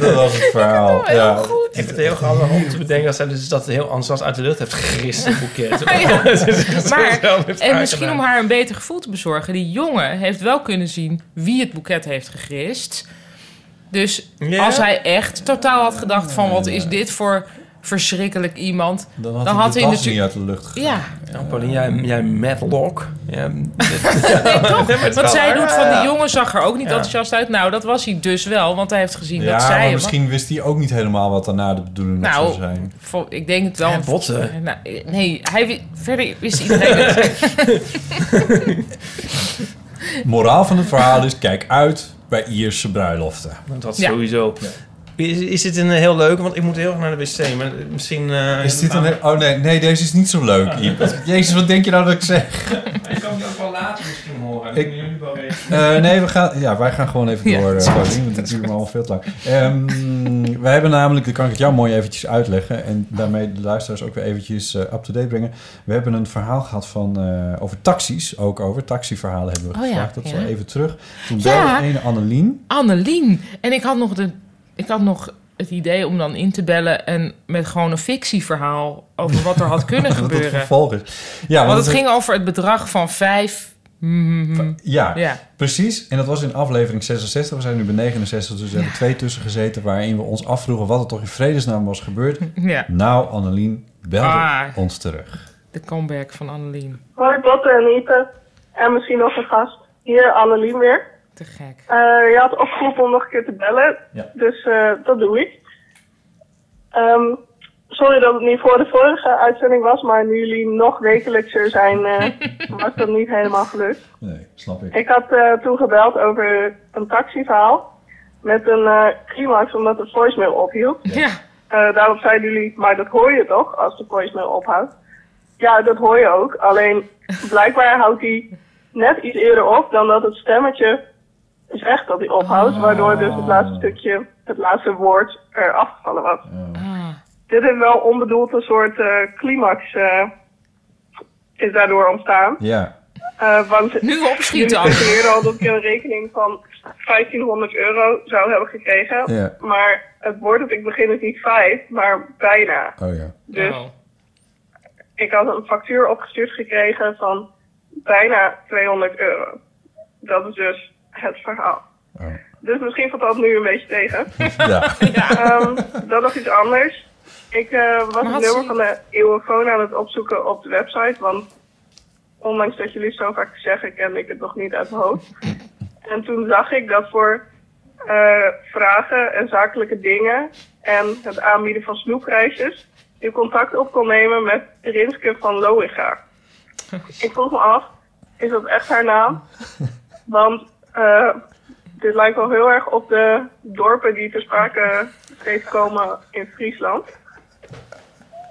[SPEAKER 4] Dat was het verhaal. Ja.
[SPEAKER 3] Ik vind het heel grappig om te bedenken dat zij dus dat heel enthousiast uit de lucht heeft gerist,
[SPEAKER 5] [laughs]
[SPEAKER 3] het boeket. [laughs]
[SPEAKER 5] Ja.
[SPEAKER 4] [laughs]
[SPEAKER 3] Het is echt zo
[SPEAKER 5] maar,
[SPEAKER 3] zelf heeft
[SPEAKER 5] en misschien om
[SPEAKER 3] aangedaan.
[SPEAKER 5] haar een beter gevoel te bezorgen. Die jongen heeft wel kunnen zien wie het boeket heeft gerist. Dus als hij echt totaal had gedacht van... wat is dit voor verschrikkelijk iemand...
[SPEAKER 4] Dan had hij de tas niet uit de lucht
[SPEAKER 5] Ja,
[SPEAKER 3] Nou, Paulien, jij, jij madlock. Ja,
[SPEAKER 5] nee,
[SPEAKER 4] [laughs]
[SPEAKER 5] toch?
[SPEAKER 3] maar het
[SPEAKER 5] Wat
[SPEAKER 3] is wel
[SPEAKER 5] zij
[SPEAKER 3] waar.
[SPEAKER 5] doet van die jongen zag er ook niet
[SPEAKER 3] Ja.
[SPEAKER 5] enthousiast uit. Nou, dat was hij dus wel, want hij heeft gezien
[SPEAKER 4] Ja,
[SPEAKER 5] dat zij...
[SPEAKER 4] maar
[SPEAKER 5] hem-
[SPEAKER 4] misschien wist hij ook niet helemaal wat daarna de bedoeling nog
[SPEAKER 5] Nou,
[SPEAKER 4] zou zijn.
[SPEAKER 5] vol- ik denk het wel.
[SPEAKER 4] Ja, botten.
[SPEAKER 5] Nou, nee, hij, wi- verder wist iedereen
[SPEAKER 4] [laughs]
[SPEAKER 5] het.
[SPEAKER 4] Moraal van het verhaal is, kijk uit bij Ierse bruiloften.
[SPEAKER 3] Dat
[SPEAKER 4] Ja.
[SPEAKER 3] sowieso. Is, is dit een eh, heel leuke? Want ik moet heel erg naar de wc. Maar misschien... eh, Oh.
[SPEAKER 4] Is dit een... Oh nee, nee, deze is niet zo leuk, Iep. Jezus, wat denk je nou dat ik zeg?
[SPEAKER 3] Ik kan het ook wel later misschien horen.
[SPEAKER 4] Ik-
[SPEAKER 3] Kunnen jullie wel weten?
[SPEAKER 4] Eh, nee, we gaan, ja, wij gaan gewoon even
[SPEAKER 5] [laughs]
[SPEAKER 3] Ja,
[SPEAKER 4] door,
[SPEAKER 3] dat is
[SPEAKER 4] eh,
[SPEAKER 3] goed.
[SPEAKER 4] Paulien, want het duurt me al veel te lang. Ehm, [laughs] wij hebben namelijk, dat kan ik het jou mooi eventjes uitleggen... en daarmee de luisteraars ook weer eventjes eh, up-to-date brengen. We hebben een verhaal gehad van, eh, over taxis, ook over taxiverhalen hebben we
[SPEAKER 5] Oh ja,
[SPEAKER 4] gevraagd. Dat is
[SPEAKER 5] ja.
[SPEAKER 4] wel even terug. Toen
[SPEAKER 5] Ja.
[SPEAKER 4] belde ene Annelien.
[SPEAKER 5] Annelien. En ik had nog, de, ik had nog het idee om dan in te bellen... en met gewoon een fictieverhaal over wat er had kunnen
[SPEAKER 4] [laughs] dat het
[SPEAKER 5] gebeuren.
[SPEAKER 4] vervolg is. Ja,
[SPEAKER 5] want het ging over het bedrag van vijf... mhm.
[SPEAKER 4] Ja,
[SPEAKER 5] Ja.
[SPEAKER 4] precies. En dat was in aflevering 66. We zijn nu bij 69, dus er hebben twee tussen gezeten... waarin we ons afvroegen wat er toch in vredesnaam was gebeurd.
[SPEAKER 5] Ja.
[SPEAKER 4] Nou, Annelien, belde
[SPEAKER 5] Ah.
[SPEAKER 4] ons terug.
[SPEAKER 5] De comeback van Annelien.
[SPEAKER 14] Hoi Botte en Ipe. En misschien nog een gast. Hier, Annelien weer.
[SPEAKER 5] Te gek.
[SPEAKER 14] Eh, je had opgeroepen om nog een keer te bellen.
[SPEAKER 4] Ja.
[SPEAKER 14] Dus eh, dat doe ik. Ehm, sorry dat het niet voor de vorige uitzending was, maar nu jullie nog wekelijkser zijn,
[SPEAKER 5] [laughs]
[SPEAKER 14] eh, was dat niet helemaal gelukt.
[SPEAKER 4] Nee, snap
[SPEAKER 14] Ik had eh, toen gebeld over een taxiverhaal.
[SPEAKER 11] met een eh, climax omdat de voicemail ophield.
[SPEAKER 5] Ja.
[SPEAKER 11] Eh, daarop zeiden jullie, maar dat hoor je toch als de voicemail ophoudt? Ja, dat hoor je ook. Alleen blijkbaar houdt hij net iets eerder op dan dat het stemmetje zegt dat hij ophoudt. Waardoor dus het laatste stukje, het laatste woord er afgevallen was. Dit heeft wel onbedoeld een soort eh, climax eh, is daardoor ontstaan.
[SPEAKER 4] Ja.
[SPEAKER 11] Eh, want
[SPEAKER 5] nu
[SPEAKER 11] opschieten. Ik eerder al dat ik een rekening van 1500 euro zou hebben gekregen.
[SPEAKER 4] Ja.
[SPEAKER 11] Maar het woord dat ik begin is niet 5, maar bijna.
[SPEAKER 4] Oh ja.
[SPEAKER 11] Dus ik had een factuur opgestuurd gekregen van bijna 200 euro. Dat is dus het verhaal. Dus misschien valt dat nu een beetje tegen.
[SPEAKER 4] Oh. Ja.
[SPEAKER 11] Ehm, dan nog iets anders. Ik eh, was
[SPEAKER 5] had
[SPEAKER 11] het nummer
[SPEAKER 5] ze-
[SPEAKER 11] van de eeuwenfoon aan het opzoeken op de website, want ondanks dat jullie het zo vaak zeggen, kende ik het nog niet uit mijn
[SPEAKER 5] [laughs]
[SPEAKER 11] hoofd. En toen zag ik dat voor eh, vragen en zakelijke dingen en het aanbieden van snoepreisjes je contact op kon nemen met Rinske van
[SPEAKER 5] [laughs]
[SPEAKER 11] Loiga. Ik vroeg me af, is dat echt haar
[SPEAKER 5] [laughs]
[SPEAKER 11] naam? Want eh, dit lijkt wel heel erg op de dorpen die ter sprake steeds komen in Friesland.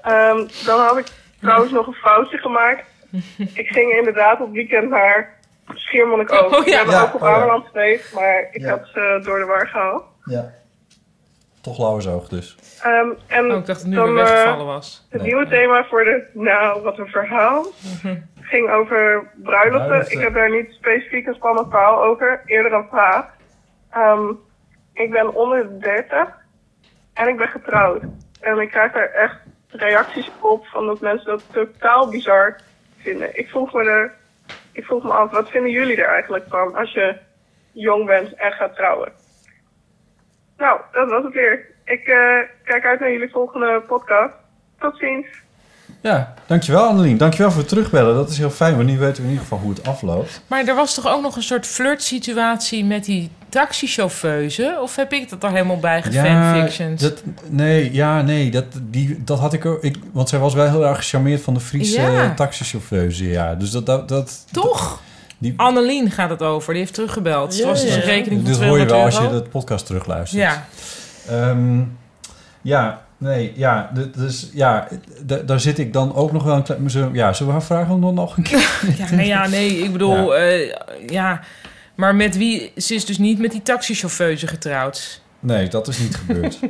[SPEAKER 11] Ehm, dan had ik trouwens nog een foutje gemaakt.
[SPEAKER 5] [laughs]
[SPEAKER 11] Ik ging inderdaad op weekend naar Schiermonnik ook.
[SPEAKER 5] Oh, ja.
[SPEAKER 11] Ik ben
[SPEAKER 4] Ja,
[SPEAKER 11] ook op
[SPEAKER 4] oh, ja.
[SPEAKER 11] Ameland geweest, maar ik
[SPEAKER 4] Ja.
[SPEAKER 11] had ze door de war gehaald.
[SPEAKER 4] Ja. Toch Lauwersoog dus.
[SPEAKER 11] Ehm, en
[SPEAKER 5] Oh, ik dacht dat nu
[SPEAKER 11] dan,
[SPEAKER 5] weer weggevallen
[SPEAKER 11] eh,
[SPEAKER 5] was.
[SPEAKER 11] Het
[SPEAKER 4] Nee.
[SPEAKER 11] nieuwe thema voor de, nou, wat een verhaal, ging over bruiloften.
[SPEAKER 4] Bruiloften.
[SPEAKER 11] Ik heb daar niet specifiek een spannend verhaal over, eerder een vraag. Ehm, ik ben onder de 30 en ik ben getrouwd. En ik krijg daar echt reacties op van dat mensen dat totaal bizar vinden. Ik vroeg me, er, ik vroeg me af, wat vinden jullie er eigenlijk van als je jong bent en gaat trouwen? Nou, dat was het weer. Ik eh, kijk uit naar jullie volgende podcast. Tot ziens.
[SPEAKER 4] Ja, dankjewel Annelien. Dankjewel voor het terugbellen. Dat is heel fijn, want nu weten we in ieder geval hoe het afloopt.
[SPEAKER 5] Maar er was toch ook nog een soort flirtsituatie met die taxichauffeuse? Of heb ik dat er helemaal bij gefanfictioned?
[SPEAKER 4] dat, nee, ja, nee, dat, die, dat had ik ook. Ik, want zij was wel heel erg gecharmeerd van de Friese
[SPEAKER 5] Ja.
[SPEAKER 4] eh, taxichauffeuse, ja. Dus dat... dat, dat
[SPEAKER 5] Toch?
[SPEAKER 4] Die-
[SPEAKER 5] Annelien gaat het over, die heeft teruggebeld. Het was dus een rekening van
[SPEAKER 4] Dit hoor je
[SPEAKER 5] 200
[SPEAKER 4] wel als je
[SPEAKER 5] euro.
[SPEAKER 4] de podcast terugluistert.
[SPEAKER 5] Ja.
[SPEAKER 4] Ehm, ja, nee, ja. d- Dus ja, d- daar zit ik dan ook nog wel een klein... zullen we- Ja, zullen we haar vragen om dan nog een keer...
[SPEAKER 5] Ja, nee, ja, nee, ik bedoel, eh, ja. Maar met wie? Ze is dus niet met die taxichauffeuse getrouwd.
[SPEAKER 4] Nee, dat is niet gebeurd.
[SPEAKER 5] [laughs]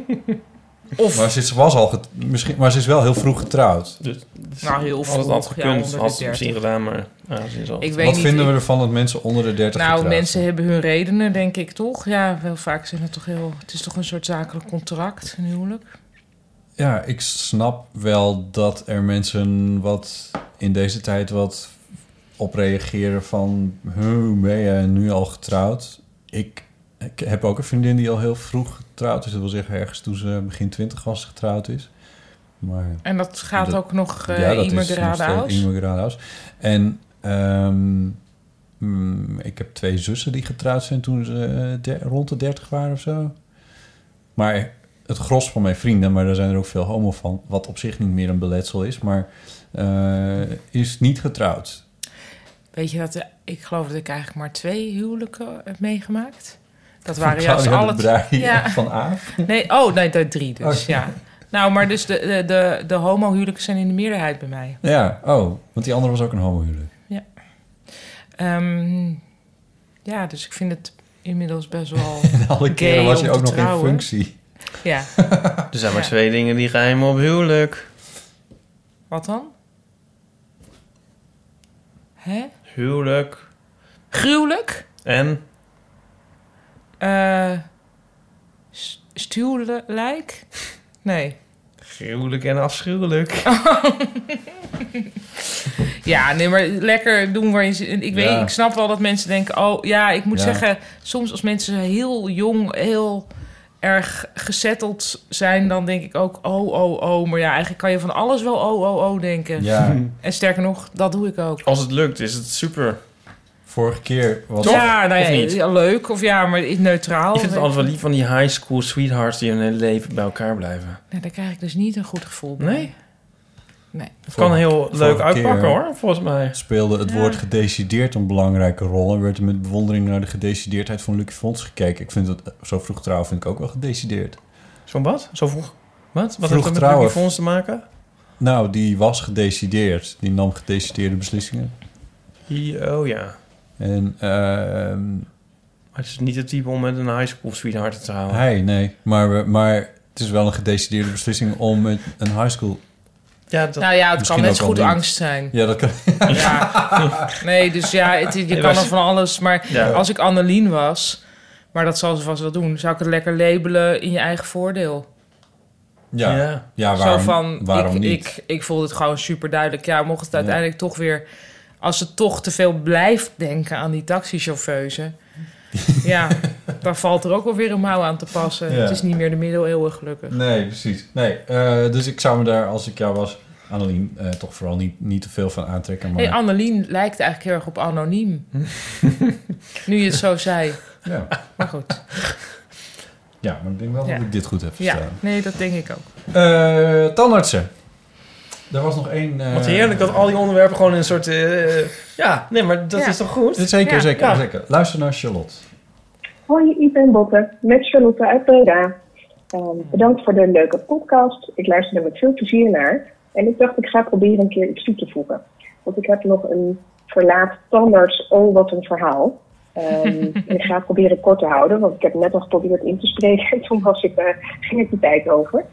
[SPEAKER 5] Of-
[SPEAKER 4] Maar ze, is- was al get- misschien, maar ze is wel heel vroeg getrouwd.
[SPEAKER 5] Nou, heel
[SPEAKER 3] Dus Had
[SPEAKER 5] vroeg,
[SPEAKER 3] het had
[SPEAKER 5] ja,
[SPEAKER 3] gekund,
[SPEAKER 5] onder de
[SPEAKER 3] had ze het misschien
[SPEAKER 5] 30.
[SPEAKER 3] gedaan, maar ja, ze is al.
[SPEAKER 5] Ik weet
[SPEAKER 4] Wat
[SPEAKER 5] niet,
[SPEAKER 4] vinden we
[SPEAKER 5] ik-
[SPEAKER 4] ervan dat mensen onder de 30
[SPEAKER 5] Nou,
[SPEAKER 4] getrouwd
[SPEAKER 5] mensen hebben hun redenen, denk ik toch? Ja, heel vaak zijn het toch heel. Het is toch een soort zakelijk contract, een huwelijk?
[SPEAKER 4] Ja, ik snap wel dat er mensen wat in deze tijd wat op reageren van... Hoe ben je nu al getrouwd? Ik, ik heb ook een vriendin die al heel vroeg getrouwd is. Dat wil zeggen ergens toen ze begin 20 was getrouwd is. Maar
[SPEAKER 5] En dat gaat ook nog, eh, Immer
[SPEAKER 4] dat is nog
[SPEAKER 5] Gerade
[SPEAKER 4] steeds
[SPEAKER 5] Aus?
[SPEAKER 4] Immer Gerade Aus. En ehm, mm, ik heb twee zussen die getrouwd zijn toen ze eh, der- rond de 30 waren of zo. Maar het gros van mijn vrienden, maar daar zijn er ook veel homo van, wat op zich niet meer een beletsel is, maar eh, is niet getrouwd.
[SPEAKER 5] Weet je dat? eh, Ik geloof dat ik eigenlijk maar twee huwelijken heb meegemaakt. Dat
[SPEAKER 4] Van
[SPEAKER 5] waren juist
[SPEAKER 4] Claudia de
[SPEAKER 5] alle
[SPEAKER 4] Breij en van Aaf?
[SPEAKER 5] Nee, oh, nee, dat drie dus.
[SPEAKER 4] Oh.
[SPEAKER 5] ja. Nou, maar dus de, de, de, de homohuwelijken zijn in de meerderheid bij mij.
[SPEAKER 4] Ja, oh, want die andere was ook een homohuwelijk.
[SPEAKER 5] Ehm, ja, dus ik vind het inmiddels best
[SPEAKER 4] [laughs]
[SPEAKER 5] wel.
[SPEAKER 4] En alle keren
[SPEAKER 5] gay
[SPEAKER 4] was
[SPEAKER 5] om
[SPEAKER 4] hij
[SPEAKER 5] te
[SPEAKER 4] ook nog in
[SPEAKER 5] trouwen.
[SPEAKER 4] functie. [laughs]
[SPEAKER 5] Ja,
[SPEAKER 3] Er zijn maar
[SPEAKER 5] Ja.
[SPEAKER 3] twee dingen die geheim op huwelijk.
[SPEAKER 5] wat dan? Hè?
[SPEAKER 3] Huwelijk
[SPEAKER 5] Gruwelijk?
[SPEAKER 3] en
[SPEAKER 5] Eh s- stuwlijk? Nee.
[SPEAKER 3] gruwelijk en
[SPEAKER 4] [laughs]
[SPEAKER 3] afschuwelijk.
[SPEAKER 5] Ja, nee, maar lekker doen waar je zin- Ik, weet,
[SPEAKER 3] Ja.
[SPEAKER 5] ik snap wel dat mensen denken... Oh, ja, ik moet
[SPEAKER 3] Ja.
[SPEAKER 5] zeggen... Soms als mensen heel jong, heel erg gezetteld zijn... dan denk ik ook, oh, oh, oh. Maar ja, eigenlijk kan je van alles wel oh, oh, oh denken.
[SPEAKER 4] Ja.
[SPEAKER 5] [laughs] En sterker nog, dat doe ik ook.
[SPEAKER 3] Als het lukt, is het super.
[SPEAKER 4] Vorige keer was
[SPEAKER 5] ja, nou
[SPEAKER 3] of
[SPEAKER 5] ja,
[SPEAKER 3] niet?
[SPEAKER 5] ja, leuk. Of ja, maar ik- neutraal.
[SPEAKER 3] Ik vind het altijd wel lief van die high school sweethearts die hun hele leven bij elkaar blijven.
[SPEAKER 5] Nee, daar krijg ik dus niet een goed gevoel bij. Nee? Nee.
[SPEAKER 3] Het kan heel leuk uitpakken hoor. volgens mij.
[SPEAKER 4] Speelde het
[SPEAKER 5] Ja.
[SPEAKER 4] woord gedecideerd een belangrijke rol en werd er met bewondering naar de gedecideerdheid van Lucky Fons gekeken. Ik vind dat eh, zo vroeg trouwen vind ik ook wel gedecideerd.
[SPEAKER 3] Zo'n wat? Zo vroeg? Wat? Wat
[SPEAKER 4] Vroeg
[SPEAKER 3] heeft dat met
[SPEAKER 4] trouwen.
[SPEAKER 3] Lucky Fons te maken?
[SPEAKER 4] Nou, die was gedecideerd. Die nam gedecideerde beslissingen.
[SPEAKER 3] Die- oh ja.
[SPEAKER 4] En ehm,
[SPEAKER 3] Het is niet het type om met een high school sweetheart te trouwen.
[SPEAKER 4] hij, nee. Maar, we- maar het is wel een gedecideerde beslissing om met een high school.
[SPEAKER 3] Ja,
[SPEAKER 5] Nou ja, het
[SPEAKER 4] Misschien
[SPEAKER 5] kan net
[SPEAKER 4] ook
[SPEAKER 5] zo
[SPEAKER 4] al
[SPEAKER 5] goed
[SPEAKER 4] niet.
[SPEAKER 5] angst zijn.
[SPEAKER 4] Ja, dat kan. [laughs]
[SPEAKER 5] [laughs] Ja. Nee, dus ja, het- je
[SPEAKER 4] Ja,
[SPEAKER 5] kan
[SPEAKER 4] maar-
[SPEAKER 5] er van alles. Maar
[SPEAKER 4] Ja.
[SPEAKER 5] als ik Annelien was, maar dat zal ze vast wel doen, zou ik het lekker labelen in je eigen voordeel.
[SPEAKER 4] Ja, ja. waarom,
[SPEAKER 5] Zo van,
[SPEAKER 4] waarom
[SPEAKER 5] ik,
[SPEAKER 4] niet?
[SPEAKER 5] Ik, ik voelde het gewoon super duidelijk. Ja, mocht het uiteindelijk toch weer... Als ze toch te veel blijft denken aan die
[SPEAKER 4] [laughs]
[SPEAKER 5] taxichauffeuse... ja, daar valt er ook wel weer een mouw aan te passen.
[SPEAKER 4] Ja.
[SPEAKER 5] Het is niet meer de middeleeuwen, gelukkig.
[SPEAKER 4] Nee, precies. Nee, eh, dus ik zou me daar, als ik jou was, Annelien, eh, toch vooral niet, niet te veel van aantrekken. Maar
[SPEAKER 5] Hey, Annelien lijkt eigenlijk heel erg op
[SPEAKER 4] [laughs]
[SPEAKER 5] anoniem. nu je het zo zei.
[SPEAKER 4] Ja.
[SPEAKER 5] Maar goed.
[SPEAKER 4] ja, maar ik denk wel
[SPEAKER 5] Ja.
[SPEAKER 4] dat ik dit goed heb
[SPEAKER 5] Ja,
[SPEAKER 4] verstaan.
[SPEAKER 5] nee, dat denk ik ook.
[SPEAKER 4] Eh, tandartsen. Er was nog één... eh,
[SPEAKER 3] Wat heerlijk dat al die onderwerpen gewoon in een soort... eh, ja, nee, maar dat
[SPEAKER 14] Ja.
[SPEAKER 3] is toch goed?
[SPEAKER 4] Zeker,
[SPEAKER 3] Ja.
[SPEAKER 4] zeker,
[SPEAKER 5] nou.
[SPEAKER 3] Ja.
[SPEAKER 4] zeker. Luister naar Charlotte.
[SPEAKER 14] Hoi, ik ben Botte, met Charlotte uit Breda. Ehm, bedankt voor de leuke podcast. Ik luisterde met veel plezier naar. En ik dacht, ik ga proberen een keer iets toe te voegen. Want ik heb nog een verlaat tandarts, oh wat een verhaal.
[SPEAKER 5] [laughs]
[SPEAKER 14] Ehm, en ik ga het proberen kort te houden, want ik heb net al geprobeerd in te spreken. [laughs] Toen was ik, eh, ging het de tijd over.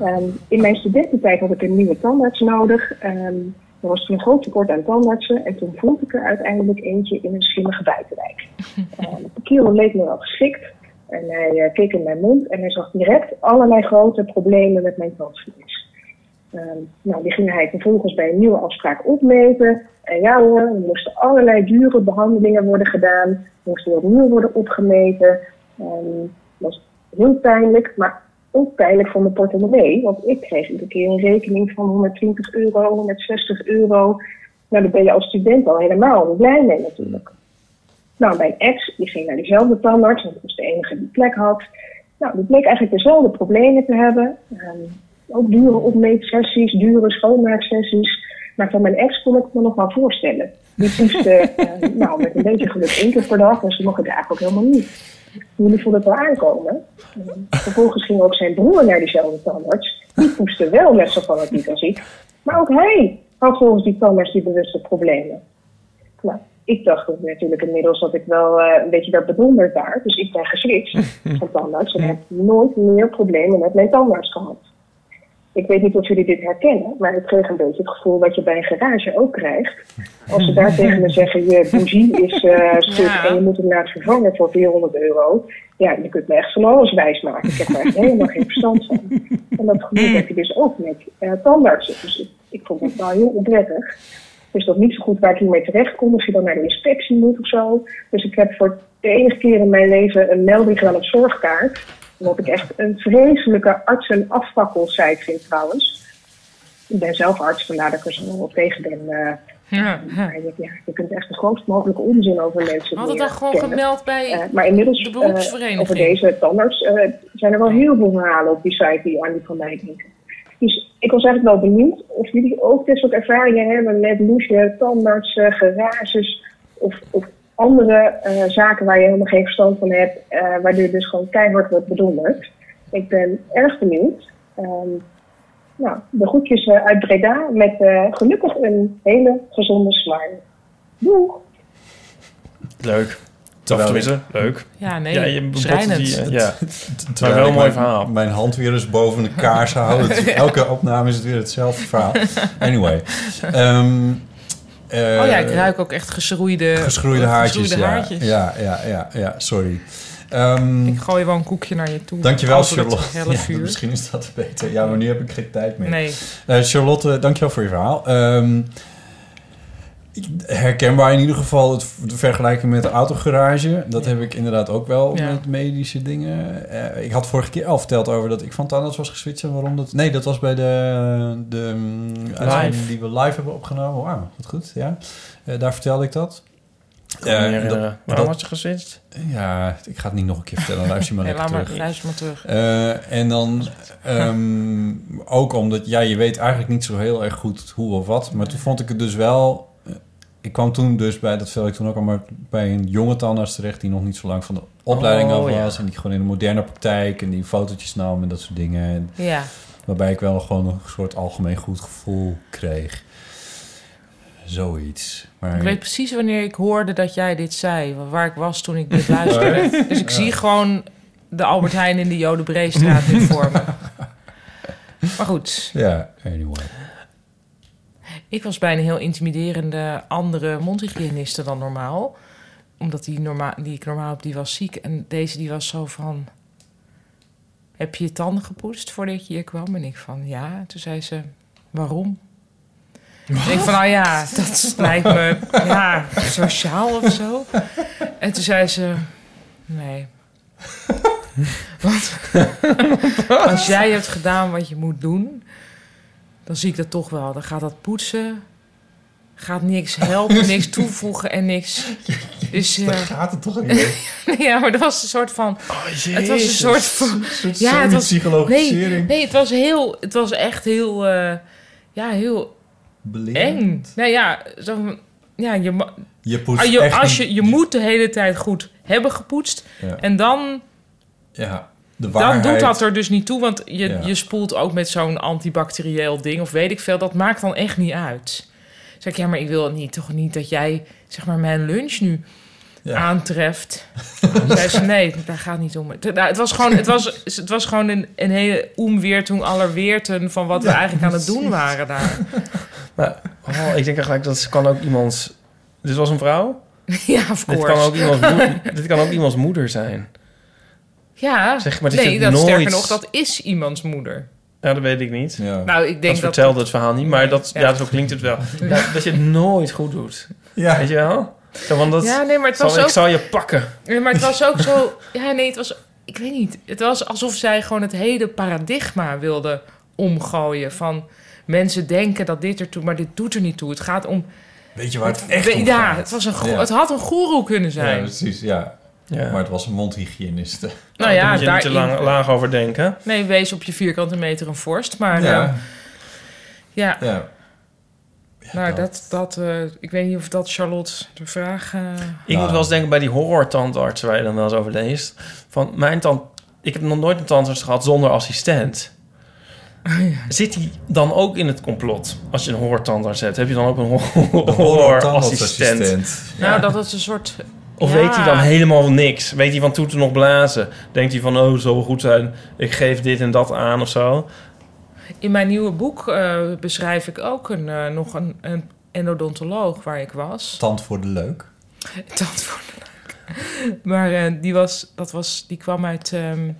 [SPEAKER 14] Ehm, in mijn studententijd had ik een nieuwe tandarts nodig. Ehm, er was toen een groot tekort aan tandartsen. En toen vond ik er uiteindelijk eentje in een slimmige buitenwijk. Ehm, de kerel leek me wel geschikt. En hij eh, keek in mijn mond en hij zag direct allerlei grote problemen met mijn tandvlees. Ehm, nou, die ging hij vervolgens bij een nieuwe afspraak opmeten. En ja hoor, er moesten allerlei dure behandelingen worden gedaan. Er moest weer opnieuw worden opgemeten. Ehm, dat was heel pijnlijk, maar ook pijnlijk voor mijn portemonnee. Want ik kreeg iedere keer een rekening van 120 euro, 160 euro. Nou, daar ben je als student al helemaal niet blij mee natuurlijk. Nou, mijn ex, die ging naar diezelfde tandarts, want dat was de enige die plek had. Nou, die bleek eigenlijk dezelfde problemen te hebben. Ehm, ook dure opmeetsessies, dure schoonmaaksessies. Maar van mijn ex kon ik me nog wel voorstellen. Die poeste, eh, nou, met een beetje geluk één keer per dag, en ze mocht het eigenlijk ook helemaal niet. Jullie voelden het wel aankomen. Ehm,
[SPEAKER 11] Mm-hmm.
[SPEAKER 14] vervolgens ging ook zijn broer naar diezelfde tandarts. Die poeste wel net zo fanatiek als ik. Maar ook hij had volgens die tandarts die bewuste problemen. Nou, ik dacht ook natuurlijk inmiddels dat ik wel eh, een beetje werd bedonderd daar. Dus ik ben geswitcht van tandarts en heb nooit meer problemen met mijn tandarts gehad. Ik weet niet of jullie dit herkennen, maar ik kreeg een beetje het gevoel wat je bij een garage ook krijgt. Als ze daar tegen me zeggen, je bougie is eh stuk en je moet hem laten vervangen voor 400 euro. Ja, je kunt me echt van alles wijs maken. Ik heb daar echt helemaal geen verstand van. En dat gevoel heb je dus ook met eh, tandartsen. Dus ik, ik vond dat wel heel onprettig. Dus dat niet zo goed waar ik hiermee terecht kon. Of je dan naar de inspectie moet of zo. Dus ik heb voor de enige keer in mijn leven een melding gedaan op zorgkaart. Omdat ik echt een vreselijke artsenafvakkelzijd vind trouwens. Ik ben zelf arts, vandaar dat ik er zo wel tegen ben. eh.
[SPEAKER 5] Ja.
[SPEAKER 14] Maar je, ja, je kunt echt de grootst mogelijke onzin over mensen
[SPEAKER 5] Had het dan
[SPEAKER 14] leren
[SPEAKER 5] gewoon
[SPEAKER 14] kennen.
[SPEAKER 5] gemeld bij
[SPEAKER 14] Eh, maar inmiddels
[SPEAKER 5] de
[SPEAKER 14] eh,
[SPEAKER 5] beroepsvereniging? Oh.
[SPEAKER 14] over deze tandarts eh, zijn er wel heel veel verhalen op die site die aan die van mij denken. Dus ik was eigenlijk wel benieuwd of jullie ook dit soort ervaringen hebben met douchen, tandartsen, garages of, of andere eh, zaken waar je helemaal geen verstand van hebt, eh, waardoor je dus gewoon keihard wordt bedonderd. Ik ben erg benieuwd. Ehm, nou, de groetjes eh, uit Breda met eh, gelukkig een hele gezonde slime. Doeg!
[SPEAKER 3] Leuk.
[SPEAKER 4] Terwijl-
[SPEAKER 3] Of tenminste, leuk.
[SPEAKER 5] Ja, nee,
[SPEAKER 3] je-
[SPEAKER 5] schrijnend.
[SPEAKER 3] die,
[SPEAKER 4] [laughs]
[SPEAKER 3] eh, ja.
[SPEAKER 4] Terwijl
[SPEAKER 3] wel een
[SPEAKER 4] ik
[SPEAKER 3] mooi
[SPEAKER 4] mijn- Mijn hand weer eens boven de kaars
[SPEAKER 5] [laughs]
[SPEAKER 3] [laughs]
[SPEAKER 4] houden. Het is-
[SPEAKER 5] Ja.
[SPEAKER 4] [laughs] Elke opname is het weer hetzelfde verhaal. Anyway. Ehm, eh,
[SPEAKER 5] oh ja, ik ruik ook echt geschroeide, eh,
[SPEAKER 4] Geschroeide haartjes.
[SPEAKER 5] geschroeide
[SPEAKER 4] ja.
[SPEAKER 5] haartjes.
[SPEAKER 4] Ja, ja, ja, ja, sorry. Ehm,
[SPEAKER 5] Ik gooi wel een koekje naar je toe.
[SPEAKER 4] dankjewel,
[SPEAKER 5] Antwoord op het
[SPEAKER 4] Charlotte.
[SPEAKER 5] helle
[SPEAKER 4] [laughs] Ja,
[SPEAKER 5] vuur.
[SPEAKER 4] misschien is dat beter. Ja, maar nu heb ik geen tijd meer.
[SPEAKER 5] Nee.
[SPEAKER 4] Eh, Charlotte, dankjewel voor je verhaal. Ehm, herkenbaar in ieder geval het v- de vergelijking met de autogarage. Dat heb ik inderdaad ook wel
[SPEAKER 5] Ja.
[SPEAKER 4] met medische dingen. Eh, ik had vorige keer al verteld over dat ik van tandarts was geswitcht en waarom dat... Nee, dat was bij de, de mm, uitzending
[SPEAKER 3] Live.
[SPEAKER 4] die we live hebben opgenomen. Wauw, wat goed, ja. Eh, daar vertelde ik dat.
[SPEAKER 3] Ja,
[SPEAKER 4] me herinneren.
[SPEAKER 3] dat-
[SPEAKER 4] Waarom
[SPEAKER 3] dat- gezwitst?
[SPEAKER 4] Ja, ik ga het niet nog een keer vertellen. Luister maar
[SPEAKER 5] Nee,
[SPEAKER 4] lekker
[SPEAKER 5] laat maar-
[SPEAKER 4] terug.
[SPEAKER 5] luister maar terug.
[SPEAKER 4] Eh, en dan ehm, ook omdat, ja, je weet eigenlijk niet zo heel erg goed hoe of wat. Maar toen vond ik het dus wel... eh, Ik kwam toen dus bij, dat vertelde ik toen ook al, maar bij een jonge tandarts terecht... die nog niet zo lang van de opleiding
[SPEAKER 5] Oh,
[SPEAKER 4] af
[SPEAKER 5] ja.
[SPEAKER 4] was. En die gewoon in de moderne praktijk en die fotootjes nam en dat soort dingen. En
[SPEAKER 5] Ja.
[SPEAKER 4] Waarbij ik wel gewoon een soort algemeen goed gevoel kreeg. Zoiets. Maar,
[SPEAKER 5] Ik weet precies wanneer ik hoorde dat jij dit zei, wa- waar ik was toen
[SPEAKER 4] [laughs]
[SPEAKER 5] ik dit luisterde.
[SPEAKER 4] Echt?
[SPEAKER 5] Dus ik
[SPEAKER 4] Ja.
[SPEAKER 5] zie gewoon de Albert Heijn in de Jodenbreestraat nu voor me.
[SPEAKER 4] [laughs]
[SPEAKER 5] Maar goed,
[SPEAKER 4] Ja, anyway.
[SPEAKER 5] ik was bij een heel intimiderende andere mondhygiëniste dan normaal. Omdat die, norma die ik normaal op die was ziek. En deze die was zo van... Heb je je tanden gepoetst voordat je hier kwam? En ik van ja. Toen zei ze, waarom? En ik van, nou ja, dat lijkt me ja, sociaal of zo. En toen zei ze, nee. Want
[SPEAKER 4] [laughs]
[SPEAKER 5] als jij hebt gedaan wat je moet doen, dan zie ik dat toch wel. Dan gaat dat poetsen, gaat niks
[SPEAKER 4] [laughs]
[SPEAKER 5] helpen, niks toevoegen en niks. Dus,
[SPEAKER 4] Daar
[SPEAKER 5] eh,
[SPEAKER 4] gaat het toch niet om?
[SPEAKER 5] [laughs] ja, maar dat was een soort van. het was een
[SPEAKER 4] jezus.
[SPEAKER 5] soort van.
[SPEAKER 4] soort semi-psychologisering.
[SPEAKER 5] Nee, nee, het was heel. Het was echt heel. eh, ja, heel eng. Nou ja, zo, van- ja je, ma-
[SPEAKER 4] Je poetst
[SPEAKER 5] Ah, je,
[SPEAKER 4] echt
[SPEAKER 5] als
[SPEAKER 4] niet-
[SPEAKER 5] je, je moet de hele tijd goed hebben gepoetst.
[SPEAKER 4] Ja.
[SPEAKER 5] En dan,
[SPEAKER 4] Ja, de
[SPEAKER 5] dan
[SPEAKER 4] waarheid.
[SPEAKER 5] doet dat er dus niet toe. Want je,
[SPEAKER 4] Ja.
[SPEAKER 5] je spoelt ook met zo'n antibacterieel ding of weet ik veel. Dat maakt dan echt niet uit. Zeg ik, ja, maar ik wil niet, toch niet dat jij zeg maar, mijn lunch nu
[SPEAKER 4] [laughs]
[SPEAKER 5] aantreft. Toen zei ze, nee, daar gaat niet om. Het, nou, het was gewoon, het was, het was gewoon een, een hele omweertung aller weerten... van wat we
[SPEAKER 3] Ja,
[SPEAKER 5] eigenlijk aan het doen
[SPEAKER 3] precies.
[SPEAKER 5] waren daar.
[SPEAKER 3] Maar oh, ik denk eigenlijk dat ze kan ook iemands... Dit was een vrouw?
[SPEAKER 5] [laughs] Ja, of
[SPEAKER 3] Dit kan
[SPEAKER 5] course.
[SPEAKER 3] ook iemands,
[SPEAKER 5] [laughs]
[SPEAKER 3] moeder, dit kan ook iemands moeder zijn.
[SPEAKER 5] Ja,
[SPEAKER 3] Zeg maar dat
[SPEAKER 5] nee,
[SPEAKER 3] je
[SPEAKER 5] dat, sterker
[SPEAKER 3] nooit-
[SPEAKER 5] nog, dat is iemands moeder.
[SPEAKER 3] Ja, dat weet ik niet.
[SPEAKER 5] Nou, ik denk
[SPEAKER 3] dat...
[SPEAKER 5] dat-
[SPEAKER 3] vertelde het verhaal niet, maar dat, ja. zo klinkt het wel. Ja, dat je het nooit goed doet.
[SPEAKER 4] Ja.
[SPEAKER 3] Weet je wel? Zo, want dat,
[SPEAKER 5] Ja, nee, maar het
[SPEAKER 3] zal-
[SPEAKER 5] was
[SPEAKER 3] Ik
[SPEAKER 5] ook-
[SPEAKER 3] zal je pakken.
[SPEAKER 5] Ja, maar het was ook
[SPEAKER 4] [laughs]
[SPEAKER 5] zo... Ja, nee, het was... Ik weet niet. Het was alsof zij gewoon het hele paradigma wilde omgooien. Van mensen denken dat dit ertoe... Maar dit doet er niet toe. Het gaat om...
[SPEAKER 4] Weet je waar het echt om
[SPEAKER 5] Ja,
[SPEAKER 4] gaat?
[SPEAKER 5] het, was een go-
[SPEAKER 4] Ja.
[SPEAKER 5] het had een goeroe kunnen zijn.
[SPEAKER 4] Ja, dus- precies, ja.
[SPEAKER 3] Ja.
[SPEAKER 4] Maar het was een mondhygiëniste.
[SPEAKER 5] Nou ja,
[SPEAKER 3] Oh, daar moet je niet te
[SPEAKER 5] daarin-
[SPEAKER 3] lang, laag over denken.
[SPEAKER 5] Nee, wees op je vierkante meter een vorst. Maar
[SPEAKER 3] Ja.
[SPEAKER 5] eh, ja.
[SPEAKER 4] Ja.
[SPEAKER 5] nou, dat... dat, eh, ik weet niet of dat Charlotte de vraag... eh,
[SPEAKER 3] Ik moet wel eens denken bij die horror-tandarts waar je dan wel eens over leest. Van mijn tand, ik heb nog nooit een tandarts gehad zonder assistent. Zit die dan ook in het complot? Als je een horror-tandarts hebt, heb je dan ook een horror-assistent?
[SPEAKER 4] horror-tandartsassistent.
[SPEAKER 5] Nou, dat het een soort...
[SPEAKER 3] Of
[SPEAKER 5] ja.
[SPEAKER 3] weet hij dan helemaal niks? Weet hij van toeten nog blazen? Denkt hij van, oh, het zal wel goed zijn. Ik geef dit en dat aan of zo.
[SPEAKER 5] In mijn nieuwe boek eh, beschrijf ik ook een, eh, nog een, een endodontoloog waar ik was.
[SPEAKER 4] Tand voor de leuk.
[SPEAKER 5] Dat vond ik leuk. Maar eh, die, was, dat was, die kwam uit ehm,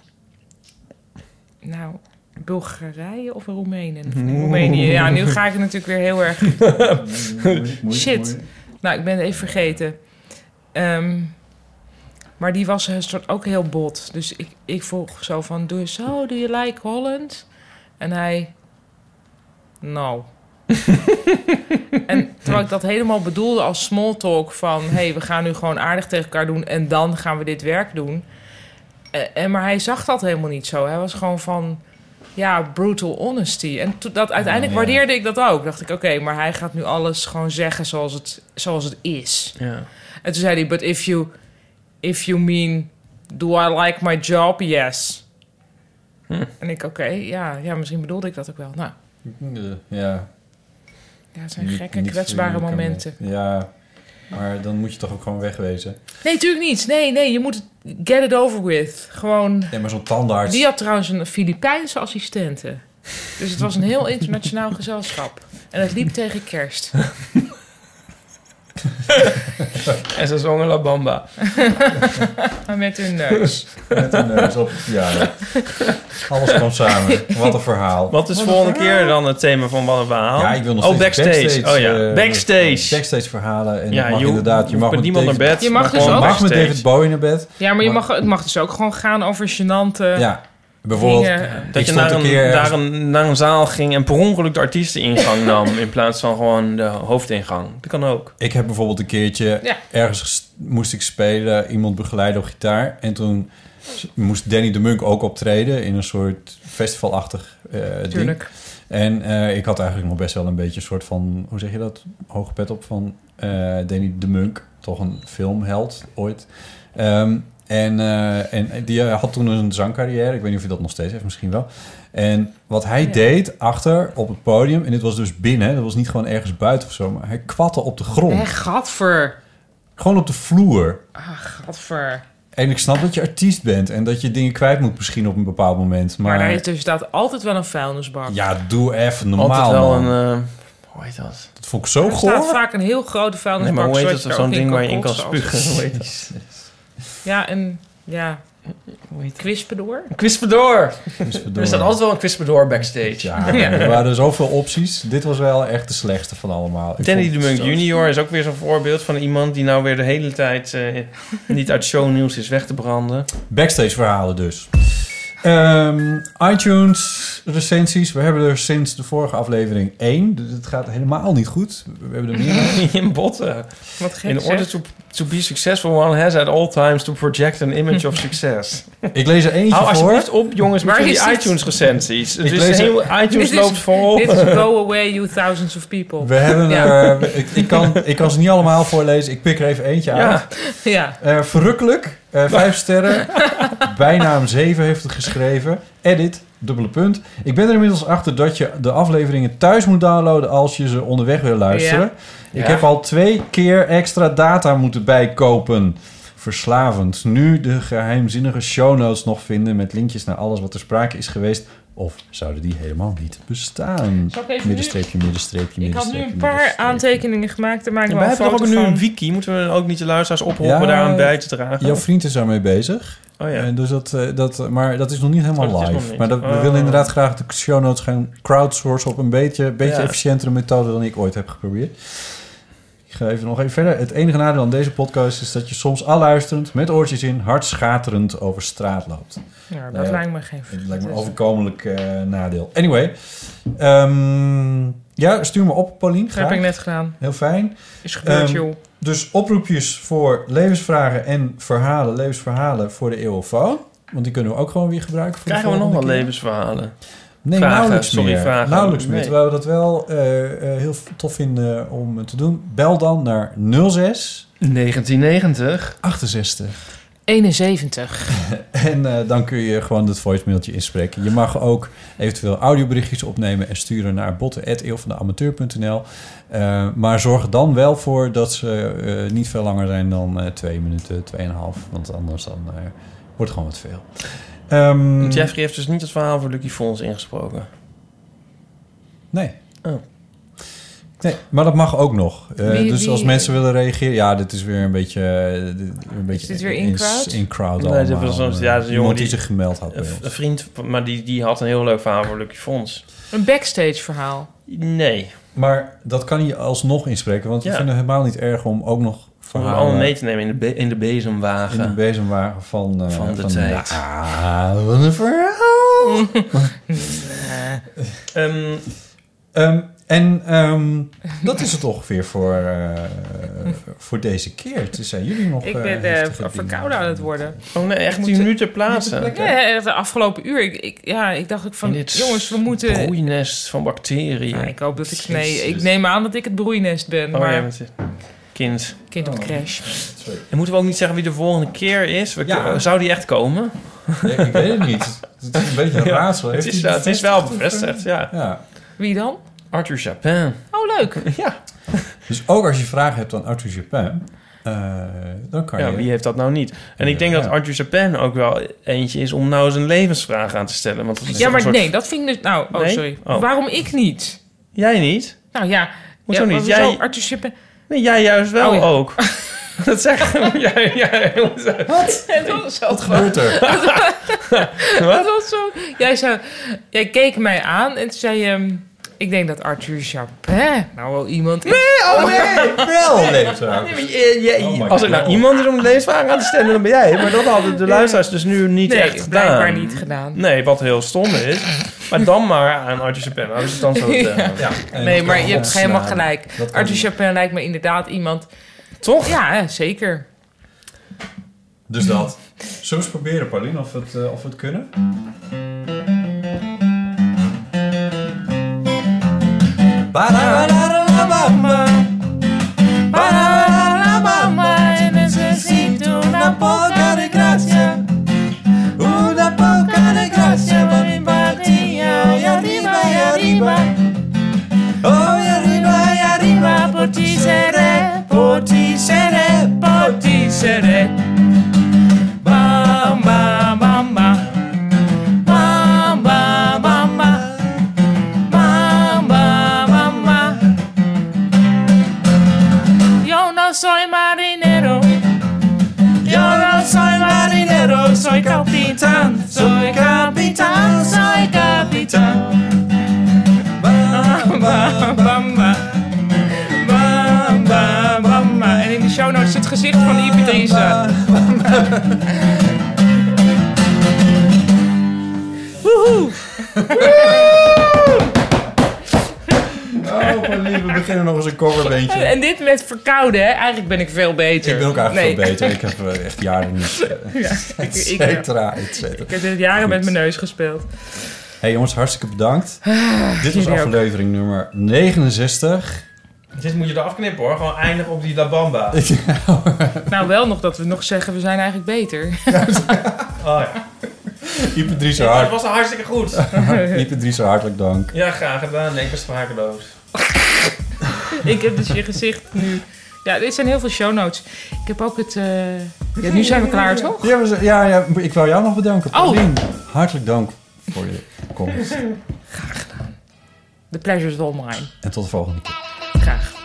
[SPEAKER 5] nou, Bulgarije of Roemenië. Roemenië. Ja, nu ga ik het natuurlijk weer heel erg... Shit. Nou, ik ben het even vergeten. Ehm, maar die was een soort ook heel bot. Dus ik, ik vroeg zo van, doe je zo, do you like Holland? En hij, no. en terwijl ik dat helemaal bedoelde als small talk van... hé, hey, we gaan nu gewoon aardig tegen elkaar doen en dan gaan we dit werk doen. Eh, en, maar hij zag dat helemaal niet zo. Hij was gewoon van, ja, brutal honesty. En to- dat, uiteindelijk
[SPEAKER 3] Ah, ja.
[SPEAKER 5] waardeerde ik dat ook. Dacht ik, oké, maar hij gaat nu alles gewoon zeggen zoals het, zoals het is.
[SPEAKER 3] Ja.
[SPEAKER 5] En toen zei hij, but if you, if you mean, do I like my job? Yes.
[SPEAKER 3] Hm.
[SPEAKER 5] En ik, oké, ja, ja, misschien bedoelde ik dat ook wel. Nou,
[SPEAKER 4] Eh, Ja.
[SPEAKER 5] ja, het zijn
[SPEAKER 4] Niet-
[SPEAKER 5] gekke,
[SPEAKER 4] niet
[SPEAKER 5] kwetsbare
[SPEAKER 4] voor je kan-
[SPEAKER 5] momenten.
[SPEAKER 4] Ja, maar dan moet je toch ook gewoon wegwezen.
[SPEAKER 5] Nee, natuurlijk niet. Nee, nee, je moet het get it over with. Gewoon.
[SPEAKER 4] Ja, maar zo'n tandarts...
[SPEAKER 5] Die had trouwens een Filipijnse assistente. Dus het was een heel internationaal gezelschap. En het liep tegen kerst.
[SPEAKER 3] [laughs] En ze zongen La Bamba. [laughs]
[SPEAKER 5] Met hun neus.
[SPEAKER 4] [laughs] Met een neus op het verjaardag. Alles kwam samen. Wat een verhaal.
[SPEAKER 3] Wat is
[SPEAKER 4] Wat een
[SPEAKER 3] volgende
[SPEAKER 4] verhaal.
[SPEAKER 3] keer dan het thema van wat een verhaal?
[SPEAKER 4] Ja, ik wil nog
[SPEAKER 3] Oh,
[SPEAKER 4] steeds
[SPEAKER 3] backstage. Oh ja,
[SPEAKER 4] eh,
[SPEAKER 3] backstage.
[SPEAKER 4] backstage verhalen. En
[SPEAKER 3] Ja,
[SPEAKER 4] ja, mag
[SPEAKER 3] je hoeft-
[SPEAKER 4] inderdaad, je
[SPEAKER 3] hoeft
[SPEAKER 4] mag
[SPEAKER 3] met
[SPEAKER 4] met
[SPEAKER 3] niemand
[SPEAKER 4] David-
[SPEAKER 3] naar bed,
[SPEAKER 5] Je mag maar dus
[SPEAKER 4] je
[SPEAKER 5] gewoon ook-
[SPEAKER 4] mag met David
[SPEAKER 5] backstage.
[SPEAKER 4] Bowie naar bed.
[SPEAKER 5] Ja, maar je mag, het mag dus ook gewoon gaan over gênante...
[SPEAKER 4] Ja. Bijvoorbeeld,
[SPEAKER 5] Dingen.
[SPEAKER 4] ik
[SPEAKER 3] Dat je
[SPEAKER 4] stond
[SPEAKER 3] naar een,
[SPEAKER 4] keer-
[SPEAKER 3] naar, een, naar een zaal ging en per ongeluk de artiesteningang [laughs] nam... in plaats van gewoon de hoofdingang. Dat kan ook.
[SPEAKER 4] Ik heb bijvoorbeeld een keertje
[SPEAKER 3] Ja.
[SPEAKER 4] ergens ges- moest ik spelen, iemand begeleiden op gitaar. En toen s- moest Danny de Munk ook optreden in een soort festivalachtig eh ding.
[SPEAKER 5] Tuurlijk.
[SPEAKER 4] En eh, ik had eigenlijk nog best wel een beetje een soort van, hoe zeg je dat, hoge pet op van eh, Danny de Munk. Toch een filmheld ooit. Ehm, en, eh, en die eh, had toen een zangcarrière. Ik weet niet of hij dat nog steeds heeft, misschien wel. En wat hij
[SPEAKER 5] Ja.
[SPEAKER 4] deed achter op het podium, en dit was dus binnen, dat was niet gewoon ergens buiten of zo, maar hij kwatte op de grond.
[SPEAKER 5] Hé, gadver.
[SPEAKER 4] Gewoon op de vloer.
[SPEAKER 5] Ah, gadver.
[SPEAKER 4] En ik snap dat je artiest bent en dat je dingen kwijt moet misschien op een bepaald moment. Maar,
[SPEAKER 5] Maar daar is dus dat altijd wel een vuilnisbak.
[SPEAKER 4] ja, doe even normaal.
[SPEAKER 3] Altijd wel
[SPEAKER 4] man.
[SPEAKER 3] een... eh, hoe heet dat?
[SPEAKER 4] Dat vond ik zo
[SPEAKER 5] er
[SPEAKER 4] goor.
[SPEAKER 5] staat vaak een heel grote
[SPEAKER 3] Nee,
[SPEAKER 5] vuilnisbak.
[SPEAKER 3] maar hoe heet
[SPEAKER 5] zodat
[SPEAKER 3] dat?
[SPEAKER 5] je er
[SPEAKER 3] Zo'n
[SPEAKER 5] ook
[SPEAKER 3] ding waar je in kan
[SPEAKER 5] kotsen als-
[SPEAKER 3] spugen. Hoe heet
[SPEAKER 4] [laughs]
[SPEAKER 3] dat?
[SPEAKER 5] Ja, en ja. Kwispedoor?
[SPEAKER 3] Een Kwispedoor.
[SPEAKER 4] Kwispedoor.
[SPEAKER 3] Er staat altijd wel een kwispedoor backstage.
[SPEAKER 4] Ja, er waren zoveel opties. Dit was wel echt de slechtste van allemaal. Ik
[SPEAKER 3] [laughs] Danny
[SPEAKER 4] vond
[SPEAKER 3] de
[SPEAKER 4] het
[SPEAKER 3] Munk
[SPEAKER 4] zo-
[SPEAKER 3] junior is ook weer zo'n voorbeeld van iemand... die nou weer de hele tijd eh, niet uit shownieuws is weg te
[SPEAKER 4] [laughs]
[SPEAKER 3] branden.
[SPEAKER 4] Backstage verhalen dus. Ehm, iTunes recensies. We hebben er sinds de vorige aflevering één. Dus het gaat helemaal niet goed. We hebben er meer.
[SPEAKER 3] [laughs] In botten.
[SPEAKER 5] Wat gek,
[SPEAKER 3] In order
[SPEAKER 5] zeg.
[SPEAKER 3] to, to be successful, one has at all times to project an image
[SPEAKER 5] [laughs]
[SPEAKER 3] of success.
[SPEAKER 4] Ik lees er eentje
[SPEAKER 3] Hou
[SPEAKER 4] voor.
[SPEAKER 3] alsjeblieft op, jongens, met
[SPEAKER 5] Waar
[SPEAKER 3] jullie
[SPEAKER 5] is dit?
[SPEAKER 3] iTunes recensies. Dus Het
[SPEAKER 4] Ik
[SPEAKER 3] is
[SPEAKER 4] lees er-
[SPEAKER 3] heel, iTunes
[SPEAKER 5] Dit is-
[SPEAKER 3] loopt vol.
[SPEAKER 5] Dit is go [laughs] away you thousands of people.
[SPEAKER 4] We hebben
[SPEAKER 5] ja.
[SPEAKER 4] er, ik, ik, kan, ik kan ze niet allemaal voorlezen. Ik pik er even eentje
[SPEAKER 5] Ja.
[SPEAKER 4] uit.
[SPEAKER 5] Ja.
[SPEAKER 4] Eh,
[SPEAKER 5] [laughs]
[SPEAKER 4] verrukkelijk, eh, vijf sterren. Bijnaam 7 heeft het geschreven. Edit, dubbele punt. Ik ben er inmiddels achter dat je de afleveringen thuis moet downloaden als je ze onderweg wil luisteren.
[SPEAKER 3] Ja.
[SPEAKER 4] Ik
[SPEAKER 3] Ja.
[SPEAKER 4] heb al twee keer extra data moeten bijkopen. Verslavend. Nu de geheimzinnige show notes nog vinden met linkjes naar alles wat er sprake is geweest. Of zouden die helemaal niet bestaan?
[SPEAKER 5] Zal ik even nu-
[SPEAKER 4] Middenstreepje, middenstreepje,
[SPEAKER 5] Ik had nu
[SPEAKER 4] middenstreepje.
[SPEAKER 5] een paar aantekeningen gemaakt. Daar maak ik
[SPEAKER 3] Ja,
[SPEAKER 5] wel
[SPEAKER 3] wij
[SPEAKER 5] een
[SPEAKER 3] hebben toch
[SPEAKER 5] foto
[SPEAKER 3] ook nu
[SPEAKER 5] van.
[SPEAKER 3] een wiki. Moeten we ook niet de luisteraars oproepen daaraan bij te dragen?
[SPEAKER 4] Jouw vriend is daarmee bezig.
[SPEAKER 3] Oh ja.
[SPEAKER 4] En dus dat, eh, dat, maar dat is nog niet helemaal
[SPEAKER 3] Oh, dat is nog
[SPEAKER 4] live.
[SPEAKER 3] niet.
[SPEAKER 4] Maar dat, we
[SPEAKER 3] Oh.
[SPEAKER 4] willen inderdaad graag de show notes gaan crowdsourcen op een beetje, beetje
[SPEAKER 3] Ja.
[SPEAKER 4] efficiëntere methode dan ik ooit heb geprobeerd. Ik ga even nog even verder. Het enige nadeel aan deze podcast is dat je soms al luisterend, met oortjes in, hard schaterend over straat loopt.
[SPEAKER 5] Ja, dat
[SPEAKER 4] Nou ja,
[SPEAKER 5] lijkt me geen
[SPEAKER 4] Het lijkt me een
[SPEAKER 5] dus-
[SPEAKER 4] overkomelijk eh, nadeel. Anyway, ehm, ja, stuur me op, Paulien.
[SPEAKER 5] Dat heb
[SPEAKER 4] graag.
[SPEAKER 5] ik net gedaan.
[SPEAKER 4] Heel fijn.
[SPEAKER 5] Is gebeurd,
[SPEAKER 4] Ehm,
[SPEAKER 5] joh.
[SPEAKER 4] Dus oproepjes voor levensvragen en verhalen, levensverhalen voor de EOFO. Want die kunnen we ook gewoon weer gebruiken. Voor de
[SPEAKER 3] Krijgen we nog wel
[SPEAKER 4] volgende keer.
[SPEAKER 3] levensverhalen?
[SPEAKER 4] Nee,
[SPEAKER 3] Vragen,
[SPEAKER 4] nauwelijks
[SPEAKER 3] sorry,
[SPEAKER 4] meer.
[SPEAKER 3] vragen.
[SPEAKER 4] Nauwelijks meer.
[SPEAKER 3] Nee.
[SPEAKER 4] Terwijl we dat wel eh, eh, heel tof vinden om te doen. Bel dan naar 06
[SPEAKER 3] 1990
[SPEAKER 4] 68.
[SPEAKER 5] 71.
[SPEAKER 4] [laughs] En eh, dan kun je gewoon het voicemailtje inspreken. Je mag ook eventueel audioberichtjes opnemen en sturen naar botten.eeuwvandeamateur.nl. Eh maar zorg er dan wel voor dat ze eh, niet veel langer zijn dan eh, twee minuten, tweeënhalf. Want anders dan, eh, wordt het gewoon wat veel. Ehm,
[SPEAKER 3] Jeffrey heeft dus niet het verhaal voor Lucky Fons ingesproken.
[SPEAKER 4] Nee. Nee, maar dat mag ook nog. Eh,
[SPEAKER 5] Wie-
[SPEAKER 4] dus
[SPEAKER 5] wie-
[SPEAKER 4] als mensen willen reageren, ja, dit is weer een beetje. eh, dit- een beetje
[SPEAKER 5] dit weer in crowd?
[SPEAKER 4] In crowd
[SPEAKER 3] Nee,
[SPEAKER 4] allemaal. eh,
[SPEAKER 3] dit was een, ja, dat is een jongen eh,
[SPEAKER 4] Iemand die, zich gemeld had. eh. bij
[SPEAKER 3] Een,
[SPEAKER 4] ons.
[SPEAKER 3] een vriend, maar die, die had een heel leuk verhaal voor Lucky Fons.
[SPEAKER 5] Een backstage verhaal.
[SPEAKER 3] Nee.
[SPEAKER 4] Maar dat kan je alsnog inspreken, want we
[SPEAKER 3] Ja.
[SPEAKER 4] vinden het helemaal niet erg om ook nog
[SPEAKER 3] Om
[SPEAKER 4] verhalen
[SPEAKER 3] hem allemaal
[SPEAKER 4] [laughs]
[SPEAKER 3] mee te nemen in de, be- in de bezemwagen.
[SPEAKER 4] eh, in de bezemwagen van, eh,
[SPEAKER 3] Van de tijd.
[SPEAKER 4] Ah, wat een
[SPEAKER 3] [laughs]
[SPEAKER 4] verhaal!
[SPEAKER 3] Ehm,
[SPEAKER 4] Ehm, en ehm, dat is het ongeveer voor, eh, voor deze keer. Het zijn jullie nog.
[SPEAKER 5] Ik
[SPEAKER 4] eh,
[SPEAKER 5] ben eh,
[SPEAKER 4] heftige dingen?
[SPEAKER 5] verkouden aan het worden.
[SPEAKER 3] Oh nee, echt
[SPEAKER 5] Ik
[SPEAKER 3] die
[SPEAKER 5] moet-
[SPEAKER 3] nu ter plaatse.
[SPEAKER 5] Ja, echt de afgelopen uur. Ik, ik- ja, ik dacht ook van,
[SPEAKER 3] In dit
[SPEAKER 5] jongens, we moeten...
[SPEAKER 3] Broeinest van bacteriën.
[SPEAKER 5] Nou, ik hoop dat ik... Nee,
[SPEAKER 3] Jezus.
[SPEAKER 5] ik neem aan dat ik het broeinest ben.
[SPEAKER 3] Oh,
[SPEAKER 5] maar
[SPEAKER 3] jij bent het kind.
[SPEAKER 5] kind
[SPEAKER 4] Oh,
[SPEAKER 5] op de crash.
[SPEAKER 3] En moeten we ook niet zeggen wie de volgende keer is? We-
[SPEAKER 5] Ja.
[SPEAKER 3] Zou die echt komen?
[SPEAKER 4] Nee, ik weet het niet. Het is een beetje
[SPEAKER 3] [laughs]
[SPEAKER 4] een raadsel.
[SPEAKER 3] het,
[SPEAKER 4] Heeft
[SPEAKER 3] is,
[SPEAKER 4] hij
[SPEAKER 3] het is wel bevestigd, ja.
[SPEAKER 5] Wie dan?
[SPEAKER 3] Arthur Chapin.
[SPEAKER 5] Oh, leuk.
[SPEAKER 3] [laughs] Ja.
[SPEAKER 4] Dus ook als je vragen hebt aan Arthur Japin, eh, dan kan
[SPEAKER 3] Ja,
[SPEAKER 4] je.
[SPEAKER 3] wie heeft dat nou niet? En ik denk dat Arthur Chapin ook wel eentje is om nou zijn levensvraag aan te stellen. Want dat is
[SPEAKER 5] Ja,
[SPEAKER 3] een
[SPEAKER 5] maar
[SPEAKER 3] soort-
[SPEAKER 5] nee, dat vind ik dus... Nou, oh,
[SPEAKER 3] Nee?
[SPEAKER 5] sorry.
[SPEAKER 3] Oh.
[SPEAKER 5] Waarom ik niet?
[SPEAKER 3] Jij niet?
[SPEAKER 5] Nou ja...
[SPEAKER 3] Hoezo
[SPEAKER 5] ja,
[SPEAKER 3] niet?
[SPEAKER 5] maar
[SPEAKER 3] Jij-
[SPEAKER 5] Arthur
[SPEAKER 3] [laughs]
[SPEAKER 5] Sippen...
[SPEAKER 3] Nee, jij juist wel
[SPEAKER 5] Oh, ja. [laughs]
[SPEAKER 3] ook. dat zegt hem. Jij, jij,
[SPEAKER 5] Wat? Wat [laughs]
[SPEAKER 3] gebeurt er?
[SPEAKER 5] Dat was zo... Jij, zou, jij keek mij aan en toen zei je... ehm, Ik denk dat Arthur Chapin nou wel iemand is.
[SPEAKER 3] oh nee, [laughs]
[SPEAKER 4] [laughs]
[SPEAKER 3] wel. Nee, maar je- je- je- [laughs] als er nou iemand is om de leesvraag aan te stellen, dan ben jij. Maar dat hadden de luisteraars dus nu niet
[SPEAKER 5] Nee,
[SPEAKER 3] echt gedaan.
[SPEAKER 5] blijkbaar niet gedaan.
[SPEAKER 3] Nee, wat heel stom is. Maar dan maar aan Artje Chapin. Als ik het dan
[SPEAKER 5] [laughs]
[SPEAKER 3] zo eh,
[SPEAKER 5] Ja.
[SPEAKER 3] zeggen.
[SPEAKER 5] Nee, maar je hebt helemaal
[SPEAKER 4] eh,
[SPEAKER 5] gelijk.
[SPEAKER 3] Dat kan
[SPEAKER 5] Arthur
[SPEAKER 3] niet.
[SPEAKER 5] Chapin lijkt me inderdaad iemand... Toch? Ja, hè, zeker.
[SPEAKER 4] Dus dat. Zullen we eens proberen, Paulien, of we het, eh, of we het kunnen?
[SPEAKER 11] la mamma e necessito una poca di grazia. Una poca di grazia per in partita e arriva e arriva. Oh, e arriva e arriva, potisere, potisere, potisere. Mamma, mamma. Mamma, mamma. Mamma, mamma. Yo no soy marinero. Yo no soy marinero, soy capitán, soy capitán, soy capitán. Bam, bam, bam, bam. Bam, bam, bam, bam. En in de show notes zit het gezicht van de Ibiza. Woehoe!
[SPEAKER 4] Oh, Paulien, we beginnen nog eens een coverbeentje.
[SPEAKER 5] En dit met verkouden, hè? Eigenlijk ben ik veel beter.
[SPEAKER 4] Ik ben ook eigenlijk
[SPEAKER 5] Nee.
[SPEAKER 4] veel beter.
[SPEAKER 5] [laughs]
[SPEAKER 4] Ik heb eh, echt jaren niet... eh,
[SPEAKER 5] Ja, [laughs] ik-
[SPEAKER 4] [laughs] et
[SPEAKER 5] ik-
[SPEAKER 4] cetera, et cetera.
[SPEAKER 5] Ik heb dit jaren met mijn neus gespeeld.
[SPEAKER 4] hey jongens, hartstikke bedankt.
[SPEAKER 5] Ah,
[SPEAKER 4] Dit was
[SPEAKER 5] jullie ook.
[SPEAKER 4] aflevering nummer 69.
[SPEAKER 3] Dit moet je eraf knippen hoor. Gewoon eindig op die La
[SPEAKER 4] [laughs]
[SPEAKER 3] Bamba.
[SPEAKER 5] Nou, wel nog dat we nog zeggen, we zijn eigenlijk beter. [laughs]
[SPEAKER 4] [laughs]
[SPEAKER 3] Oh ja.
[SPEAKER 4] Ipe Driessen
[SPEAKER 3] Ja, dat
[SPEAKER 4] hart.
[SPEAKER 3] was hartstikke
[SPEAKER 4] [laughs]
[SPEAKER 3] goed.
[SPEAKER 4] Ipe Driessen, hartelijk dank.
[SPEAKER 3] Ja, graag gedaan. Nee, ik ben sprakeloos.
[SPEAKER 5] [laughs] ik heb dus je gezicht nu. Ja, dit zijn heel veel show notes. Ik heb ook het. eh, Ja, nu zijn we klaar, toch?
[SPEAKER 4] Ja, we zijn- ja, ja, ik wou jou nog bedanken.
[SPEAKER 5] Oh.
[SPEAKER 4] Paulien, hartelijk dank voor je komst.
[SPEAKER 5] Graag gedaan. The pleasure is all mine.
[SPEAKER 4] En tot de volgende keer.
[SPEAKER 5] Graag.